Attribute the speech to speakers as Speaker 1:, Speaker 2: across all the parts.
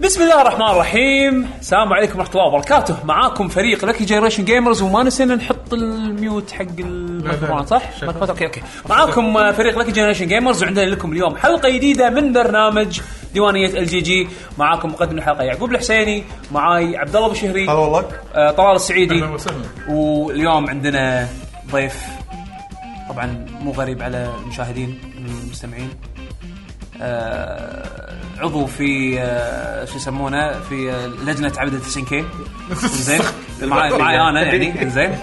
Speaker 1: بسم الله الرحمن الرحيم السلام عليكم ورحمه الله وبركاته معاكم فريق لكي جنريشن جيمرز وما نسينا نحط الميوت حق الميكروفون صح ميكروفون اوكي اوكي معاكم آه، فريق لكي جنريشن جيمرز وعندنا لكم اليوم حلقه جديده من برنامج ديوانيه ال جي جي معاكم مقدم الحلقه يعقوب الحسيني معاي عبد الله بشهري
Speaker 2: هلا والله
Speaker 1: آه، طلال السعيدي
Speaker 3: اهلا وسهلا
Speaker 1: واليوم عندنا ضيف طبعا مو غريب على المشاهدين المستمعين آه، عضو في آه، شو يسمونه في آه، لجنه عبده 90 كي زين معي معي انا يعني زين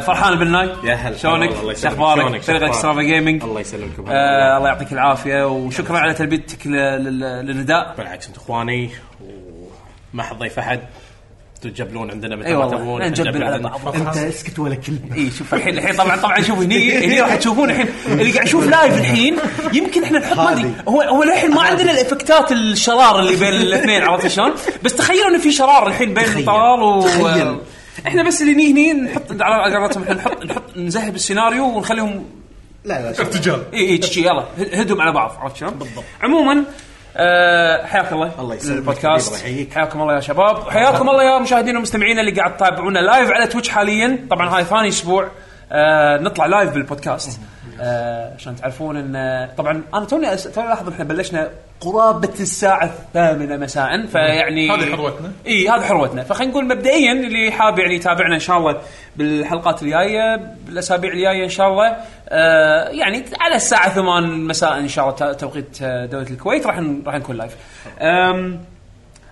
Speaker 1: فرحان البناي
Speaker 4: يا هلا.
Speaker 1: شلونك؟
Speaker 4: الله يسلمك.
Speaker 1: شو اخبارك؟
Speaker 4: شلونك؟ شو
Speaker 1: فريق
Speaker 4: أخبارك؟
Speaker 1: اكسترافا جيمنج
Speaker 4: الله يسلمكم
Speaker 1: آه، الله يعطيك العافيه وشكرا على تلبيتك لل- لل- للنداء
Speaker 4: بالعكس انتم اخواني وما حد ضيف احد تجبلون عندنا متى
Speaker 1: اي
Speaker 4: ما
Speaker 1: والله
Speaker 4: تبون
Speaker 1: نجبل على
Speaker 4: عندنا.
Speaker 1: بعض
Speaker 2: انت اسكت ولا كلمه
Speaker 1: اي شوف الحين الحين طبعا طبعا شوف هني هني راح تشوفون الحين اللي قاعد يشوف لايف الحين يمكن احنا نحط ما ادري
Speaker 2: هذه.
Speaker 1: هو هو الحين ما عندنا الافكتات الشرار اللي بين الاثنين عرفت شلون؟ بس تخيلوا انه في شرار الحين بين طلال و
Speaker 2: تخيل.
Speaker 1: احنا بس اللي هني هني نحط على قولتهم احنا نحط نحط نزهب السيناريو ونخليهم
Speaker 2: لا لا شوف.
Speaker 3: ارتجال
Speaker 1: اي اي تشي يلا هد- هدهم على بعض عرفت شلون؟ بالضبط عموما آه حياك الله
Speaker 4: الله يسلمك
Speaker 1: البودكاست
Speaker 4: حبيبي، الله يحييك.
Speaker 1: حياكم الله يا شباب وحياكم الله يا مشاهدينا ومستمعينا اللي قاعد تتابعونا لايف على تويتش حاليا طبعا هاي ثاني اسبوع آه نطلع لايف بالبودكاست آه عشان تعرفون ان آه، طبعا انا توني أس- توني الاحظ احنا بلشنا قرابه الساعه الثامنه مساء فيعني
Speaker 3: هذه حروتنا.
Speaker 1: اي هذا حروتنا فخلينا نقول مبدئيا اللي حاب يعني يتابعنا ان شاء الله بالحلقات الجايه بالاسابيع الجايه ان شاء الله آه يعني على الساعه 8 مساء ان شاء الله ت- توقيت آه، دوله الكويت راح ن- راح نكون لايف. أم،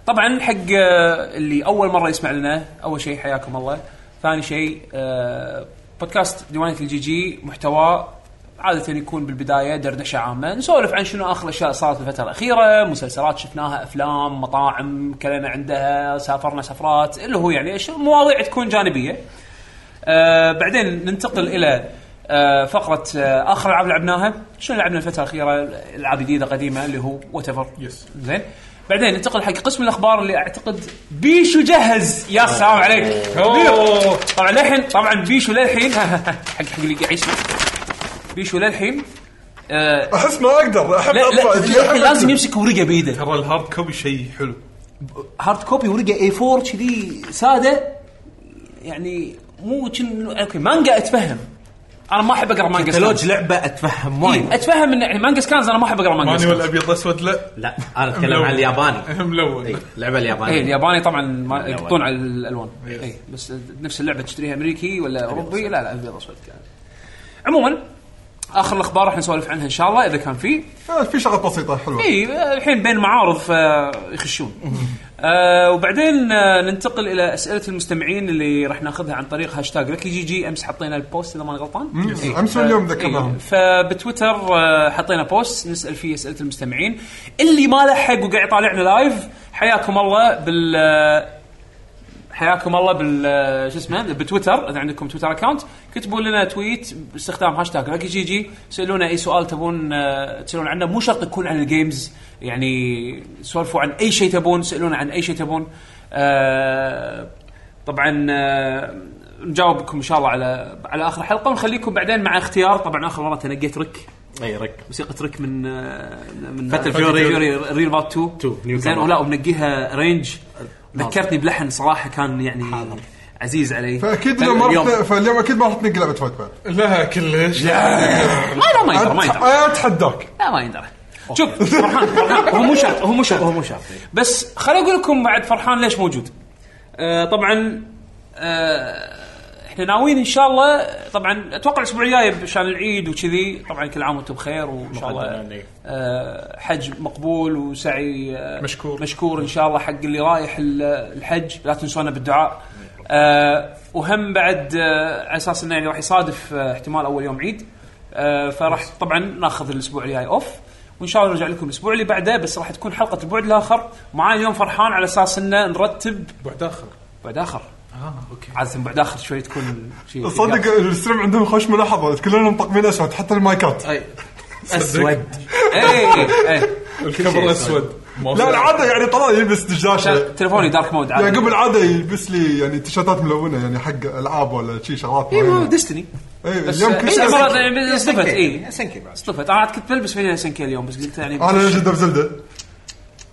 Speaker 1: طبعا حق آه، اللي اول مره يسمع لنا اول شيء حياكم الله ثاني شيء آه، بودكاست ديوانيه الجي جي محتواه عادة يكون بالبداية دردشة عامة نسولف عن شنو آخر أشياء صارت الفترة الأخيرة مسلسلات شفناها أفلام مطاعم كلنا عندها سافرنا سفرات اللي هو يعني شو- مواضيع تكون جانبية آه بعدين ننتقل الى آه فقره آه اخر العاب لعبناها شنو لعبنا الفتره الاخيره العاب جديده قديمه اللي هو وات ايفر
Speaker 3: Yes.
Speaker 1: زين بعدين ننتقل حق قسم الاخبار اللي اعتقد بيشو جهز يا سلام عليك بيشو. طبعا للحين طبعا بيشو للحين حق حق اللي قاعد يسمع بيشو للحين آه
Speaker 2: احس ما اقدر احب
Speaker 1: لا لا
Speaker 2: اطلع
Speaker 1: للحين لازم يمسك ورقه بايده
Speaker 3: ترى الهارد كوبي شيء حلو
Speaker 1: هارد كوبي ورقه اي 4 كذي ساده يعني مو كن اوكي مانجا اتفهم انا ما احب اقرا مانجا
Speaker 4: كتالوج
Speaker 1: سكانز
Speaker 4: لعبه اتفهم
Speaker 1: إيه،
Speaker 4: وايد
Speaker 1: اتفهم ان يعني مانجا سكانز انا ما احب اقرا مانجا
Speaker 3: مانيوال
Speaker 1: سكانز
Speaker 3: ابيض اسود لا
Speaker 4: لا انا اتكلم عن إيه، الياباني إي،
Speaker 1: إيه.
Speaker 3: ملون
Speaker 4: اللعبه
Speaker 1: اي
Speaker 4: اليابانيه
Speaker 1: الياباني طبعا ما
Speaker 4: لا،
Speaker 1: يقطون على الالوان اي بس نفس اللعبه تشتريها امريكي ولا اوروبي لا لا ابيض اسود عموما اخر الاخبار راح نسولف عنها ان شاء الله اذا كان في
Speaker 2: آه، في شغله بسيطه حلوه
Speaker 1: اي إيه، الحين بين معارض فيخشون آه وبعدين آه ننتقل الى اسئله المستمعين اللي راح ناخذها عن طريق هاشتاج لكي جي جي امس حطينا البوست اذا ماني غلطان إيه.
Speaker 2: أمس واليوم
Speaker 1: ف-
Speaker 2: ذكرناهم.
Speaker 1: إيه. فبتويتر آه، حطينا بوست نسال فيه اسئله المستمعين اللي ما لحق وقاعد يطالعنا لايف حياكم الله بال آه، حياكم الله بال آه، شو اسمه بتويتر اذا عندكم تويتر اكونت كتبوا لنا تويت باستخدام هاشتاج لكي جي جي سالونا اي سؤال تبون آه، تسالون عنه مو شرط يكون عن الجيمز يعني سولفوا عن اي شيء تبون سالونا عن اي شيء تبون آه، طبعا آه، نجاوبكم ان شاء الله على على اخر حلقه ونخليكم بعدين مع اختيار طبعا اخر مره تنقيت رك
Speaker 4: اي إيه، رك
Speaker 1: موسيقى رك من آه، من
Speaker 4: Fatal Fury.
Speaker 1: ريل باب 2
Speaker 4: Two. New
Speaker 1: زين
Speaker 4: cover.
Speaker 1: ولا ومنقيها رينج ذكرتني بلحن صراحه كان يعني عزيز علي
Speaker 2: فاكيد لو ما رحت- فاليوم اكيد ما راح تنقل لعبه فايت باد
Speaker 3: إيه. لها كلش
Speaker 1: آه، لا ما يندرى ما يندرى
Speaker 2: اتحداك
Speaker 1: لا ما يندرى شوف فرحان فرحان هو مو شرط هو مو شرط هو مو شرط بس خليني اقول لكم بعد فرحان ليش موجود آه طبعا آه احنا ناويين ان شاء الله طبعا اتوقع الاسبوع الجاي عشان العيد وكذي طبعا كل عام وانتم بخير وان شاء
Speaker 4: مقدماً،
Speaker 1: الله
Speaker 4: إيه.
Speaker 1: آه حج مقبول وسعي آه
Speaker 3: مشكور.
Speaker 1: مشكور ان شاء الله حق اللي رايح ال- الحج لا تنسونا بالدعاء آه وهم بعد آه على اساس انه يعني راح يصادف آه احتمال اول يوم عيد آه فراح طبعا ناخذ الاسبوع الجاي اوف وان شاء الله نرجع لكم الاسبوع اللي بعده بس راح تكون حلقه البعد الاخر معاي اليوم فرحان على اساس انه نرتب
Speaker 3: بعد اخر
Speaker 1: بعد اخر
Speaker 3: اه اوكي
Speaker 1: عاده بعد اخر شوي تكون شيء
Speaker 2: صدق الستريم عندهم خوش ملاحظه كلنا مطقمين اسود حتى المايكات
Speaker 4: اسود
Speaker 1: اي اي
Speaker 3: الكفر الاسود ما
Speaker 2: لا
Speaker 3: في-
Speaker 2: العاده يعني طلال يلبس دجاجه
Speaker 1: عشان تليفوني دارك مود عادي
Speaker 2: يعقوب العاده يلبس لي يعني تيشيرتات ملونه يعني حق العاب ولا شي شغلات
Speaker 1: اي
Speaker 2: معينه
Speaker 1: ديستني
Speaker 2: اي
Speaker 1: إيه، بس
Speaker 2: اليوم كل
Speaker 1: اي
Speaker 2: شيء
Speaker 1: مرات يعني صدفت اي
Speaker 4: سنكي بعد
Speaker 1: صدفت انا عاد كنت بلبس فينيلا سنكي اليوم بس قلت يعني
Speaker 2: انا ليجند اوف زلده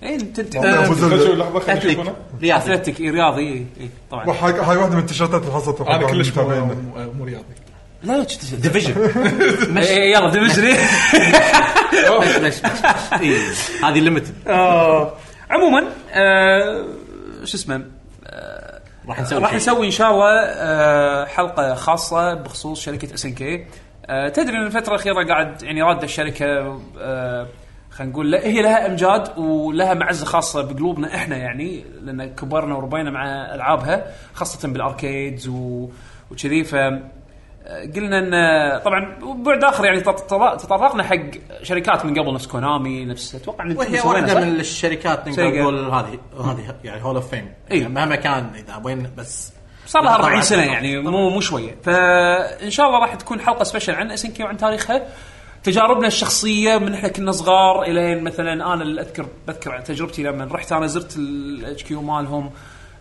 Speaker 1: اي تنتج
Speaker 2: أبو
Speaker 3: خل
Speaker 2: زلدة.
Speaker 3: شوف لحظه خل
Speaker 1: اثليك
Speaker 3: نشوف أنا.
Speaker 4: رياضي.
Speaker 1: اثليك اي إيه، رياضي اي اي طبعا
Speaker 2: وحق- هاي واحده من التيشيرتات اللي حصلتها
Speaker 3: انا كلش مو مو رياضي
Speaker 1: لا لا شفت
Speaker 4: ديفيجن
Speaker 1: إي، إي، إيه، يلا دمجني
Speaker 4: بس بس إيه. هذه ليمتد
Speaker 1: آه، عموما آه، شو اسمه آه،
Speaker 4: راح نسوي
Speaker 1: راح
Speaker 4: شيء.
Speaker 1: نسوي ان شاء الله آه، حلقه خاصه بخصوص شركه اس ان كي آه، تدري ان الفتره الاخيره قاعد يعني راد الشركه آه، خلينا نقول لا هي لها امجاد ولها معزه خاصه بقلوبنا احنا يعني لان كبرنا وربينا مع العابها خاصه بالاركيدز و- وكذي ف آه، قلنا ان طبعا بعد اخر يعني تط- تطرقنا حق شركات من قبل نفس كونامي نفس اتوقع ان
Speaker 4: وهي
Speaker 1: سوينا صح؟
Speaker 4: واحده من الشركات نقدر
Speaker 1: سيجا.
Speaker 4: نقول هذه هذه يعني هول اوف فيم
Speaker 1: إي.
Speaker 4: مهما كان اذا وين بس
Speaker 1: إيه. صار لها 40
Speaker 4: طبعاً.
Speaker 1: سنه يعني مو مو شويه فان شاء الله راح تكون حلقه سبيشل عن اس ان كي وعن تاريخها تجاربنا الشخصيه من احنا كنا صغار الين مثلا انا اللي اذكر بذكر تجربتي لما رحت انا زرت الاتش كيو مالهم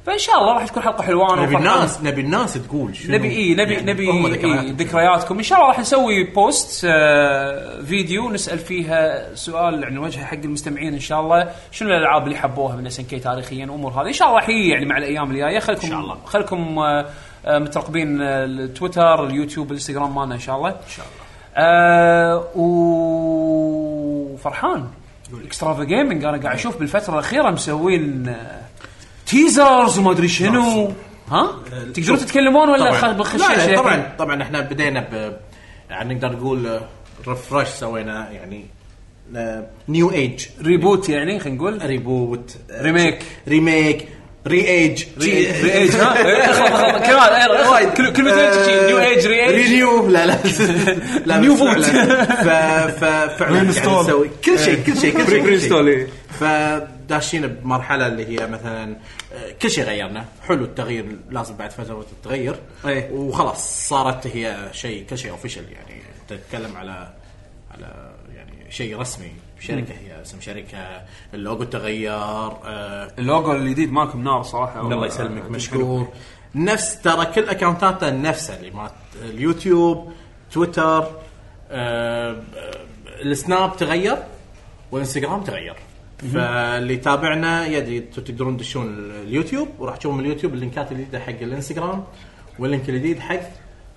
Speaker 1: فان شاء الله راح تكون حلقه حلوه أنا
Speaker 4: نبي
Speaker 1: وفرحان.
Speaker 4: طيب، الناس نبي الناس تقول شنو
Speaker 1: نبي اي نبي
Speaker 4: يعني
Speaker 1: نبي
Speaker 4: هم
Speaker 1: إيه
Speaker 4: ذكرياتهم.
Speaker 1: ذكرياتكم ان شاء الله راح نسوي بوست آه، فيديو نسال فيها سؤال عن وجهه حق المستمعين ان شاء الله شنو الالعاب اللي حبوها من اس ان كي تاريخيا امور هذه ان شاء الله حي يعني مع الايام الجايه خلكم
Speaker 4: إن شاء الله.
Speaker 1: خلكم آه، آه، مترقبين آه، التويتر اليوتيوب الانستغرام مالنا ان شاء الله ان شاء الله آه وفرحان اكسترافا جيمنج انا قاعد اشوف بالفتره الاخيره مسوين آه، تيزرز وما ادري
Speaker 4: نعم.
Speaker 1: شنو ها
Speaker 4: آه،
Speaker 1: تقدرون تتكلمون ولا
Speaker 4: طبعاً.
Speaker 1: خل- بخش
Speaker 4: لا، لا،
Speaker 1: شيء؟
Speaker 4: طبعا طبعا احنا بدينا ب يعني نقدر نقول ريفرش سوينا يعني نيو ايج
Speaker 1: ريبوت يعني خلينا نقول
Speaker 4: ريبوت
Speaker 1: ريميك.
Speaker 4: ريميك ري ايج
Speaker 1: ري ري ايج ها إيه، خلاص، خلاص، كمان إيه، آه،
Speaker 4: وايد.
Speaker 1: كل- كلمتين شي، نيو ايج ري ايج
Speaker 4: رينيو لا لا لا
Speaker 1: نيو
Speaker 4: بس
Speaker 1: فوت.
Speaker 4: فعلا ف- ف- فعلا قاعد
Speaker 2: Reinstall.
Speaker 4: نسوي كل شيء كل شيء كل شيء كل شيء.
Speaker 1: Reinstall، إيه.
Speaker 4: فداشين بمرحله اللي هي مثلا آه، كل شيء غيرنا حلو التغيير لازم بعد فتره تتغير
Speaker 1: إيه.
Speaker 4: وخلاص صارت هي شيء كل شيء اوفيشال يعني تتكلم على على يعني شيء رسمي شركه هي اسم شركه اللوجو تغير آه،
Speaker 1: اللوجو الجديد مالكم نار صراحه
Speaker 4: الله يسلمك مشكور نفس ترى كل اكونتاته نفسها اللي مالت اليوتيوب تويتر آه، آه، السناب تغير والانستغرام تغير فاللي تابعنا يدري انتم تقدرون تدشون اليوتيوب وراح تشوفون من اليوتيوب اللينكات الجديده حق الانستغرام واللينك الجديد حق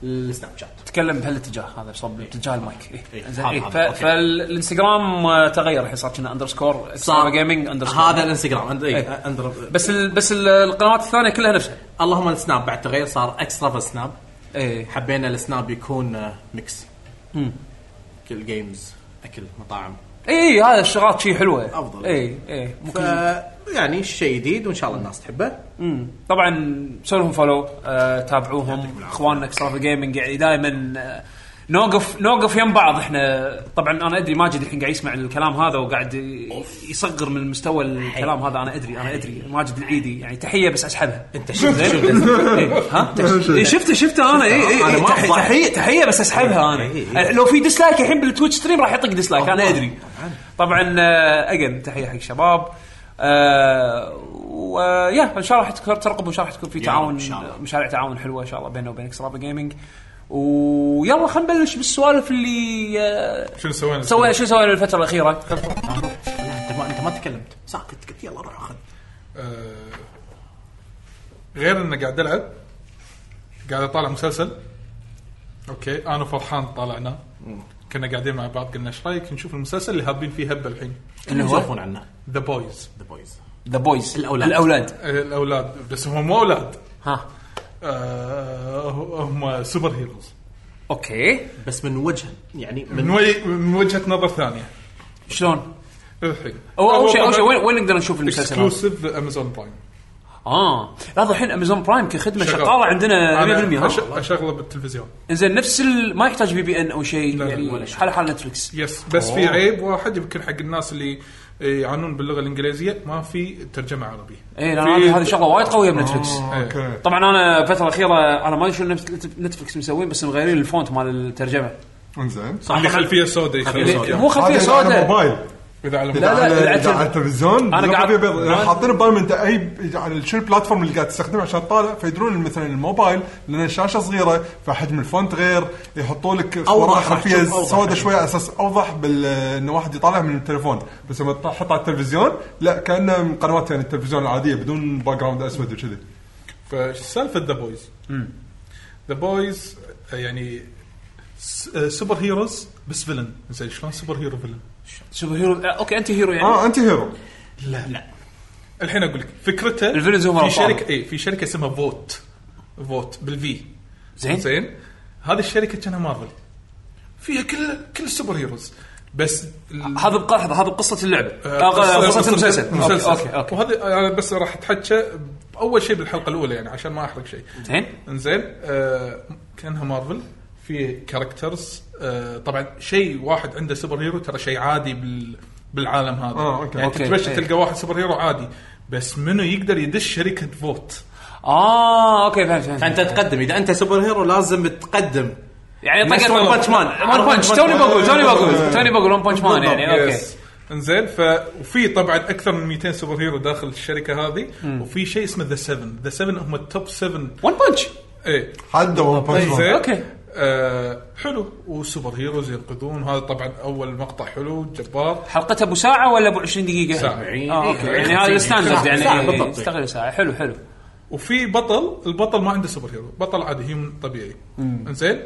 Speaker 4: السناب شات
Speaker 1: تكلم بهالاتجاه هذا صب اتجاه المايك إيه.
Speaker 4: إيه.
Speaker 1: زين،
Speaker 4: هذا-
Speaker 1: إيه.
Speaker 4: هذا،
Speaker 1: ف-
Speaker 4: أوكي.
Speaker 1: فالانستغرام آه، تغير الحين صار كنا اندرسكور صار جيمنج اندرسكور
Speaker 4: هذا الانستغرام أند- إيه،
Speaker 1: إيه.
Speaker 4: أندر-
Speaker 1: بس ال... بس ال- القنوات الثانيه كلها نفسها
Speaker 4: اللهم السناب بعد تغير صار اكسترا في السناب
Speaker 1: ايه
Speaker 4: حبينا السناب يكون آه، ميكس كل جيمز اكل مطاعم
Speaker 1: اي إيه، هذا الشغلات إيه، شيء حلوه
Speaker 4: أفضل.
Speaker 1: اي اي
Speaker 4: ف يعني شيء جديد وان شاء الله الناس تحبه
Speaker 1: مم. طبعا سووا لهم فولو آه، تابعوهم اخواننا اكسترافا جيمنج يعني دائما آه، نوقف نوقف يم بعض احنا طبعا انا ادري ماجد الحين قاعد يسمع الكلام هذا وقاعد ي- يصغر من مستوى الكلام هذا انا ادري انا ادري ماجد العيدي يعني تحيه بس اسحبها
Speaker 4: انت شو
Speaker 1: إيه، ها إيه، شفته شفته إيه، انا اي اي
Speaker 4: أنا ما
Speaker 1: تحيه
Speaker 4: أفضح.
Speaker 1: تحيه- تحيه بس اسحبها انا
Speaker 4: إيه، إيه، إيه.
Speaker 1: لو في ديسلايك الحين بالتويتش ستريم راح يطق ديسلايك انا ادري طبعا اجن تحيه آه، حق الشباب آه، ويا ان شاء الله راح تكون ترقبوا ان شاء الله راح تكون في
Speaker 4: يا رب،
Speaker 1: تعاون
Speaker 4: إن شاء الله.
Speaker 1: مشاريع تعاون حلوه ان شاء الله بيننا وبين اكسترافا جيمنج ويلا خلينا نبلش بالسوالف اللي آه،
Speaker 3: شنو سوينا؟
Speaker 1: سوينا شو سوينا الفتره الاخيره
Speaker 4: انت ما انت ما تكلمت ساكت قلت يلا روح خذ
Speaker 3: آه، غير انه قاعد العب قاعد اطالع مسلسل اوكي انا فرحان طالعنا كنا قاعدين مع بعض قلنا ايش رايك نشوف المسلسل اللي هابين فيه هبه الحين
Speaker 4: اللي يسولفون عنه
Speaker 3: ذا بويز
Speaker 4: ذا بويز
Speaker 1: ذا بويز
Speaker 4: الأولاد.
Speaker 1: الاولاد
Speaker 3: الاولاد بس هم مو اولاد
Speaker 1: ها
Speaker 3: آه، هم سوبر هيروز
Speaker 1: اوكي
Speaker 4: بس من وجه يعني
Speaker 3: من,
Speaker 4: من
Speaker 3: وي... من وجهه نظر ثانيه
Speaker 1: شلون؟
Speaker 3: الحين
Speaker 1: أو- اول شيء اول شيء وين وين نقدر نشوف المسلسل؟ هذا؟
Speaker 3: اكسكلوسيف امازون برايم
Speaker 1: اه لحظه الحين امازون برايم كخدمه شغاله عندنا 100% ها؟
Speaker 3: اشغله بالتلفزيون
Speaker 1: انزين نفس ال... ما يحتاج في بي ان او شيء
Speaker 3: لا، لا،
Speaker 1: يعني
Speaker 3: ولا
Speaker 1: حال حال نتفلكس
Speaker 3: يس بس في عيب واحد يمكن حق الناس اللي يعانون باللغه الانجليزيه ما في ترجمه عربيه
Speaker 1: اي لان
Speaker 3: في-
Speaker 1: إيه، هذه هذه شغله وايد قويه بنتفلكس
Speaker 2: اوكي
Speaker 1: طبعا انا الفتره الاخيره انا ما ادري شو نت- نتفلكس مسوين بس مغيرين الفونت مال الترجمه
Speaker 2: انزين يعني
Speaker 3: اللي خلفيه سوداء
Speaker 4: خلفية
Speaker 3: يسوي
Speaker 4: سوداء.
Speaker 1: مو خلفيه
Speaker 2: هذا على
Speaker 1: سوداء
Speaker 2: الموبايل
Speaker 3: اذا على
Speaker 1: لا،
Speaker 2: لا
Speaker 3: الموبايل.
Speaker 1: لا،
Speaker 2: لا
Speaker 1: على
Speaker 2: اذا على التلفزيون
Speaker 1: أنا
Speaker 2: أنا
Speaker 1: قاعد-
Speaker 2: قاعد أبيض. يعني
Speaker 1: أنا-
Speaker 2: حاطين ببالهم انت اي على شنو البلاتفورم اللي قاعد تستخدمه عشان تطالع فيدرون مثلا الموبايل لان الشاشه صغيره فحجم الفونت غير يحطوا لك صوره
Speaker 4: أوضح،
Speaker 2: خلفيه
Speaker 4: محجوم أوضح.
Speaker 2: سوداء شوي على اساس اوضح بال انه واحد يطالع من التليفون بس لما تحط على التلفزيون لا كانه من قنوات يعني التلفزيون العاديه بدون باك جراوند اسود وكذي
Speaker 3: فش سالفه ذا بويز؟ ذا بويز يعني س- آه، سوبر هيروز بس فيلن زين شلون سوبر هيرو فيلن؟
Speaker 1: سوبر هيرو آه، اوكي انت هيرو يعني
Speaker 2: اه انت هيرو
Speaker 3: لا لا الحين اقول لك فكرته
Speaker 1: الفيلنز هم
Speaker 3: في
Speaker 1: الأبطال.
Speaker 3: شركه اي في شركه اسمها فوت فوت بالفي
Speaker 1: زين.
Speaker 3: زين هذه الشركه كانها مارفل فيها كل كل السوبر هيروز بس ال-
Speaker 1: هذا بق- لحظه هذا بقصه اللعبه آه،
Speaker 3: قصة-
Speaker 1: قصه
Speaker 3: قصة
Speaker 1: المسلسل
Speaker 3: مسلسل.
Speaker 1: اوكي اوكي
Speaker 3: وهذه انا بس راح اتحكى اول شيء بالحلقه الاولى يعني عشان ما احرق شيء
Speaker 1: زين
Speaker 3: انزين آه كانها مارفل في كاركترز آه طبعا شيء واحد عنده سوبر هيرو ترى شيء عادي بال بالعالم هذا
Speaker 2: آه، أوكي.
Speaker 3: يعني
Speaker 1: أوكي.
Speaker 3: تتمشى
Speaker 1: إيه.
Speaker 3: تلقى واحد سوبر هيرو عادي بس منو يقدر يدش شركه فوت
Speaker 1: اه اوكي فهمت فهمت
Speaker 4: فانت تقدم اذا انت سوبر هيرو لازم تقدم
Speaker 1: يعني
Speaker 4: نفس
Speaker 1: طقت
Speaker 4: One
Speaker 1: والله.
Speaker 4: Punch Man.
Speaker 1: One Punch. توني بقول توني بقول توني بقول ون بانش مان يعني اوكي
Speaker 3: يس. انزين ف وفي طبعا اكثر من 200 سوبر هيرو داخل الشركه هذه وفي شيء اسمه ذا 7 ذا 7 هم التوب 7
Speaker 1: ون بانش
Speaker 3: ايه
Speaker 2: حد ون بانش
Speaker 3: زين
Speaker 2: مان
Speaker 1: أوكي.
Speaker 3: آه حلو وسوبر هيروز ينقذون هذا طبعا اول مقطع حلو جبار
Speaker 1: حلقتها ابو ساعه ولا ابو 20 دقيقه؟
Speaker 3: ساعة.
Speaker 4: آه،
Speaker 1: اه اوكي يعني هذا الستاندرد
Speaker 4: إيه. ساعة،
Speaker 1: يعني
Speaker 4: ساعة
Speaker 1: إيه،
Speaker 4: بالضبط.
Speaker 1: استغل ساعه حلو حلو
Speaker 3: وفي بطل البطل ما عنده سوبر هيرو بطل عادي هيومن طبيعي انزين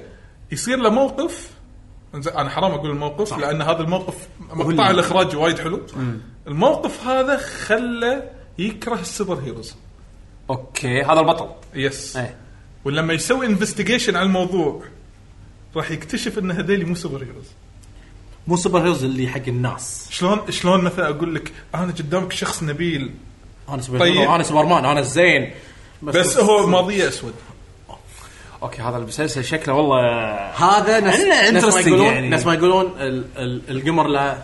Speaker 3: يصير له موقف انزين انا حرام اقول الموقف صح. لان هذا الموقف مقطع الاخراج وايد حلو الموقف هذا خله يكره السوبر هيروز
Speaker 1: اوكي هذا البطل
Speaker 3: يس
Speaker 1: إيه.
Speaker 3: ولما يسوي انفستيجيشن على الموضوع راح يكتشف ان هذيلي مو سوبر هيروز
Speaker 4: مو سوبر هيروز اللي حق الناس
Speaker 3: شلون شلون مثلا اقول لك انا قدامك شخص نبيل
Speaker 4: انا سوبر
Speaker 3: طيب.
Speaker 4: هيرو انا سوبر مان انا الزين
Speaker 3: بس هو ماضيه اسود
Speaker 1: اوكي هذا المسلسل شكله والله
Speaker 4: هذا نفس
Speaker 1: يعني
Speaker 4: نفس ما
Speaker 1: interesting
Speaker 4: يقولون
Speaker 1: يعني.
Speaker 4: نفس ما يقولون ال- ال- القمر لا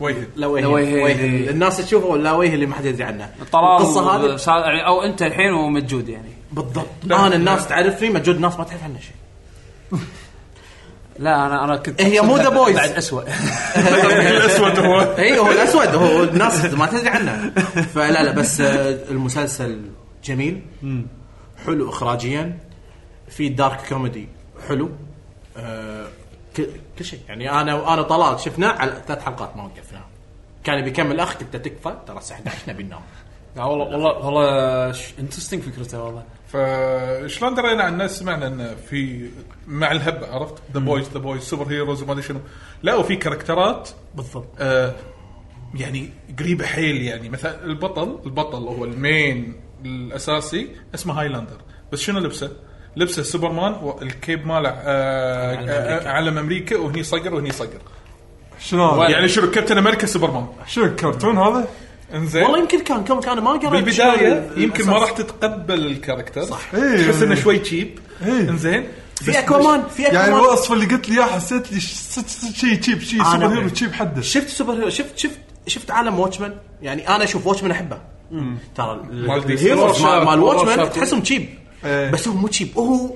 Speaker 3: وجهه
Speaker 4: لا
Speaker 1: لا
Speaker 4: وجه
Speaker 1: وجه.
Speaker 4: وجه. الناس تشوفه ولا وجه اللي ما حد يدري عنه
Speaker 1: طلال
Speaker 4: القصه هذه
Speaker 1: وسا- يعني او انت الحين ومجود يعني
Speaker 4: بالضبط
Speaker 3: لا،
Speaker 4: انا الناس
Speaker 3: لا.
Speaker 4: تعرفني مجهود الناس ما تعرف عنه شيء
Speaker 1: لا انا انا كنت
Speaker 4: هي مو The Boys.
Speaker 1: بعد اسوء
Speaker 3: الاسود هو
Speaker 4: اي إيه، هو الاسود هو الناس ما تدري عنه فلا لا بس آه، المسلسل جميل حلو اخراجيا في دارك كوميدي حلو آه، ك- كل شيء يعني انا وانا طلال شفناه على ثلاث حلقات ما وقفناه كان بيكمل اخ قلت له تكفى ترى الساعه 11 نبي ننام
Speaker 1: لا والله والله والله انترستنج فكرته والله
Speaker 3: فشلون درينا عن الناس سمعنا ان في مع الهبه عرفت ذا بويز ذا بويز سوبر هيروز وما ادري شنو لا وفي كاركترات
Speaker 4: بالضبط
Speaker 3: آه يعني قريبه حيل يعني مثلا البطل البطل هو المين الاساسي اسمه هايلاندر بس شنو لبسه؟ لبسه سوبرمان والكيب ماله آه
Speaker 4: علم
Speaker 3: آه
Speaker 4: أمريكا.
Speaker 3: علم امريكا وهني صقر وهني صقر
Speaker 2: شنو هذا؟
Speaker 3: يعني شنو كابتن امريكا سوبرمان
Speaker 2: شنو الكرتون هذا؟
Speaker 3: انزين
Speaker 4: والله يمكن كان كم كان ما قرأت
Speaker 1: طيب،
Speaker 3: بالبدايه
Speaker 4: شنو
Speaker 3: يمكن ما
Speaker 4: الأساس.
Speaker 3: راح تتقبل الكاركتر صح
Speaker 2: إيه.
Speaker 3: تحس انه شوي تشيب
Speaker 2: إيه.
Speaker 3: انزين بس-
Speaker 4: في اكوامان في اكوامان
Speaker 2: يعني الوصف اللي قلت لي اياه حسيت لي صدق صدق شيء تشيب شيء
Speaker 4: أنا
Speaker 2: سوبر هيرو
Speaker 4: أعرف.
Speaker 2: تشيب حده
Speaker 4: شفت سوبر هيرو شفت شفت شفت عالم واتشمان يعني انا اشوف واتشمان احبه ترى ال-
Speaker 3: مال دي سي.
Speaker 4: الهيروز
Speaker 1: وورشاب-
Speaker 4: مال مال واتشمان
Speaker 1: وورشاب.
Speaker 4: تحسهم تشيب
Speaker 2: إيه.
Speaker 4: بس هو مو تشيب هو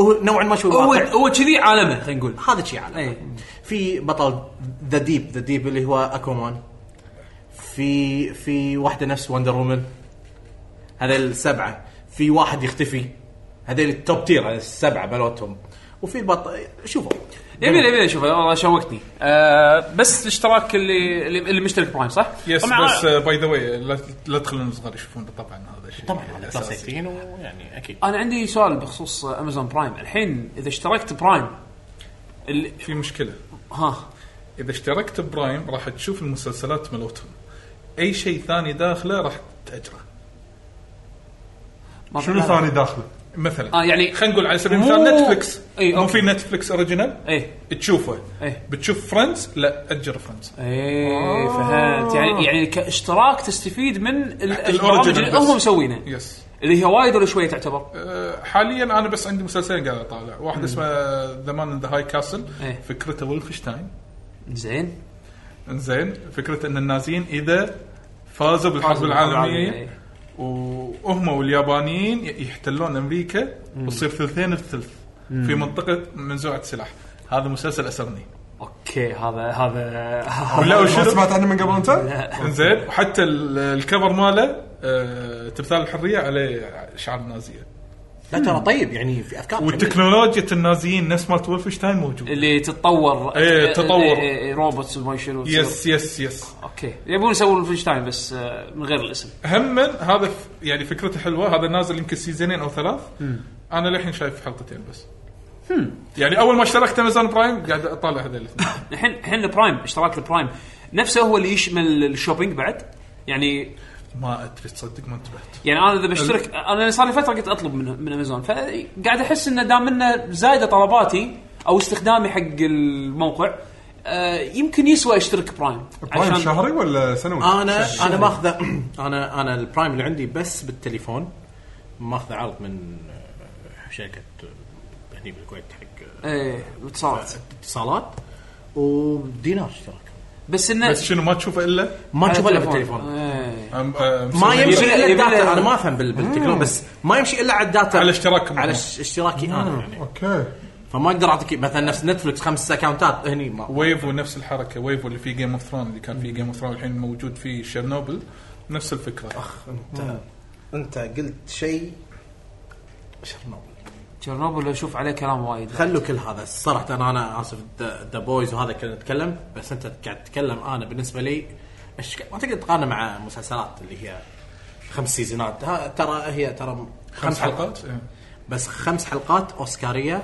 Speaker 4: هو نوعا ما شوي
Speaker 1: هو
Speaker 4: واقع
Speaker 1: هو كذي عالمه خلينا نقول
Speaker 4: هذا شيء عالم
Speaker 1: إيه.
Speaker 4: في بطل ذا ديب ذا ديب اللي هو اكوامان في في واحده نفس وندر وومن هذا السبعه في واحد يختفي هذول التوب تير هذول السبعه مالتهم وفي البطل شوفوا
Speaker 1: جميل جميل شوف والله شوقتني آه بس الاشتراك اللي اللي اللي مشترك برايم صح؟
Speaker 3: يس
Speaker 1: طبعاً
Speaker 3: بس آه،
Speaker 1: أنا-
Speaker 3: باي ذا واي لا تخلون الصغار يشوفون طبعا هذا الشيء
Speaker 4: طبعا هذا
Speaker 3: الأساسي.
Speaker 4: كلاسيكيين ويعني اكيد
Speaker 1: انا عندي سؤال بخصوص امازون برايم الحين اذا اشتركت برايم اللي
Speaker 3: في مشكله
Speaker 1: ها
Speaker 3: اذا اشتركت برايم راح تشوف المسلسلات ملوتهم اي شيء ثاني داخله راح تاجره
Speaker 1: ما
Speaker 2: شنو ثاني داخله؟
Speaker 3: مثلا
Speaker 1: آه، يعني
Speaker 3: خلينا نقول على سبيل
Speaker 1: مو-
Speaker 3: المثال نتفلكس
Speaker 1: إي،
Speaker 3: مو
Speaker 1: أوكي.
Speaker 3: في نتفلكس اوريجينال
Speaker 1: ايه
Speaker 3: تشوفه
Speaker 1: إي.
Speaker 3: بتشوف فريندز لا اجر فريندز
Speaker 1: ايه فهمت يعني يعني كاشتراك تستفيد من البرامج
Speaker 3: الأوريجينال
Speaker 1: اللي
Speaker 3: آه. بس.
Speaker 1: هم مسوينه
Speaker 3: يس
Speaker 1: اللي هي وايد ولا شويه تعتبر؟
Speaker 3: أه، حاليا انا بس عندي مسلسلين قاعد اطالع واحد اسمه ذا مان ان ذا هاي كاسل
Speaker 1: إيه.
Speaker 3: فكرته ولفشتاين
Speaker 1: زين
Speaker 3: انزين فكرة ان النازيين اذا فازوا بالحرب
Speaker 1: فازوا بالحرب
Speaker 3: العالمية
Speaker 1: العالمية. إيه.
Speaker 3: وهم واليابانيين يحتلون امريكا وتصير ثلثين الثلث في منطقة منزوعة سلاح هذا مسلسل اسرني
Speaker 1: اوكي هذا هذا
Speaker 3: ولا
Speaker 2: ما
Speaker 3: وشنو
Speaker 2: سمعت عنه من قبل انت؟
Speaker 3: انزين وحتى ال- الكفر ماله آه، تمثال الحريه عليه شعار النازيه
Speaker 4: لا ترى طيب يعني في افكار جميلة.
Speaker 3: وتكنولوجيا النازيين نفس مالت ولفشتاين موجود
Speaker 1: اللي تتطور
Speaker 3: إيه، تطور.
Speaker 1: إيه، إيه، إيه، روبوتس وما شنو تصير.
Speaker 3: يس يس يس
Speaker 1: اوكي يبون يسوون الفنشتاين بس آه، من غير الاسم
Speaker 3: هم هذا ف- يعني فكرته حلوه هذا نازل يمكن سيزونين او ثلاث انا للحين شايف حلقتين بس يعني اول ما اشتركت امازون برايم قاعد اطالع هذول الاثنين
Speaker 1: الحين الحين البرايم اشتراك البرايم نفسه هو اللي يشمل الشوبينج بعد يعني
Speaker 3: ما ادري تصدق ما انتبهت
Speaker 1: يعني انا اذا بشترك انا صار لي فتره كنت اطلب من من امازون فقاعد احس انه دام انه زايده طلباتي او استخدامي حق الموقع آه، يمكن يسوى اشترك برايم
Speaker 2: برايم شهري ولا سنوي؟
Speaker 4: انا انا ماخذه انا انا البرايم اللي عندي بس بالتليفون ماخذه عرض من آه، شركه آه، هني بالكويت حق آه،
Speaker 1: ايه اتصالات
Speaker 4: اتصالات ودينار اشتراك
Speaker 1: بس انه
Speaker 3: بس شنو ما تشوفه الا
Speaker 4: ما
Speaker 1: على
Speaker 4: تشوفه الا
Speaker 1: التليفون.
Speaker 4: بالتليفون
Speaker 1: إيه.
Speaker 3: أم- آه،
Speaker 4: ما
Speaker 3: مسوي-
Speaker 4: يمشي
Speaker 1: يبي-
Speaker 4: الا
Speaker 1: يبي-
Speaker 4: الداتا انا ما افهم بال- بالتكنولوجيا بس ما يمشي الا على الداتا
Speaker 3: على اشتراكهم.
Speaker 4: على اش- اشتراكي انا يعني
Speaker 2: اوكي
Speaker 4: فما اقدر اعطيك مثلا نفس نتفلكس خمس اكونتات هني ما
Speaker 3: ويف ونفس الحركه ويف اللي في جيم اوف ثرون اللي كان في جيم اوف ثرون الحين موجود في شيرنوبل نفس الفكره
Speaker 4: انت انت قلت شيء شرنوبل
Speaker 1: تشيرنوبل اشوف عليه كلام وايد
Speaker 4: خلوا كل هذا صراحه انا انا اسف ذا بويز وهذا كنا نتكلم بس انت قاعد تتكلم انا بالنسبه لي أش- ما تقدر تقارنه مع مسلسلات اللي هي خمس سيزونات ها- ترى هي ترى
Speaker 3: خمس حلقات إيه.
Speaker 4: بس خمس حلقات اوسكاريه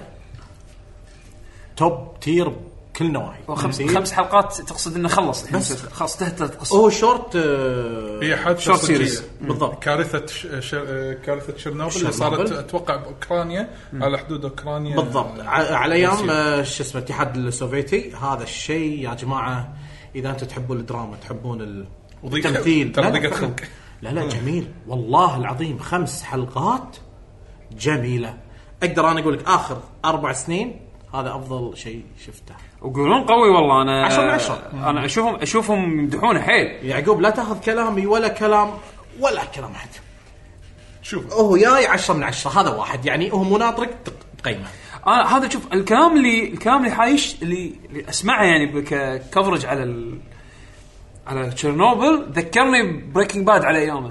Speaker 4: توب تير كل نواحي
Speaker 1: خمس
Speaker 4: تير.
Speaker 1: خمس حلقات تقصد انه خلص الحين
Speaker 4: بس.
Speaker 1: خلاص انتهت القصه
Speaker 4: هو شورت آه،
Speaker 3: هي حادثه
Speaker 4: شورت
Speaker 3: صجية.
Speaker 4: سيريز بالضبط
Speaker 3: كارثه ش... ش... كارثه شيرنوبل اللي صارت
Speaker 4: شيرنوبل.
Speaker 3: اتوقع باوكرانيا على حدود اوكرانيا
Speaker 4: بالضبط
Speaker 3: آه،
Speaker 4: ع- على ايام
Speaker 3: روسيا.
Speaker 4: آه، شو اسمه الاتحاد السوفيتي هذا الشيء يا جماعه اذا انتم تحبون الدراما تحبون ال-
Speaker 3: وضيق-
Speaker 4: التمثيل
Speaker 3: ترى
Speaker 4: لا، لا،
Speaker 3: ضيقة
Speaker 4: فعلاً.
Speaker 3: خلق.
Speaker 4: لا لا جميل والله العظيم خمس حلقات جميله اقدر انا اقول لك اخر اربع سنين هذا افضل شيء شفته
Speaker 1: ويقولون قوي والله انا
Speaker 4: عشرة من عشرة.
Speaker 1: انا اشوفهم اشوفهم يمدحونه حيل
Speaker 4: يعقوب لا تاخذ كلامي ولا كلام ولا كلام احد
Speaker 3: شوف
Speaker 4: هو جاي 10 من 10 هذا واحد يعني هو مناطرك تقيمه
Speaker 1: انا آه، هذا شوف الكلام اللي الكلام اللي حايش اللي, اللي اسمعه يعني ككفرج على ال... على تشيرنوبل ذكرني بريكنج باد على ايامه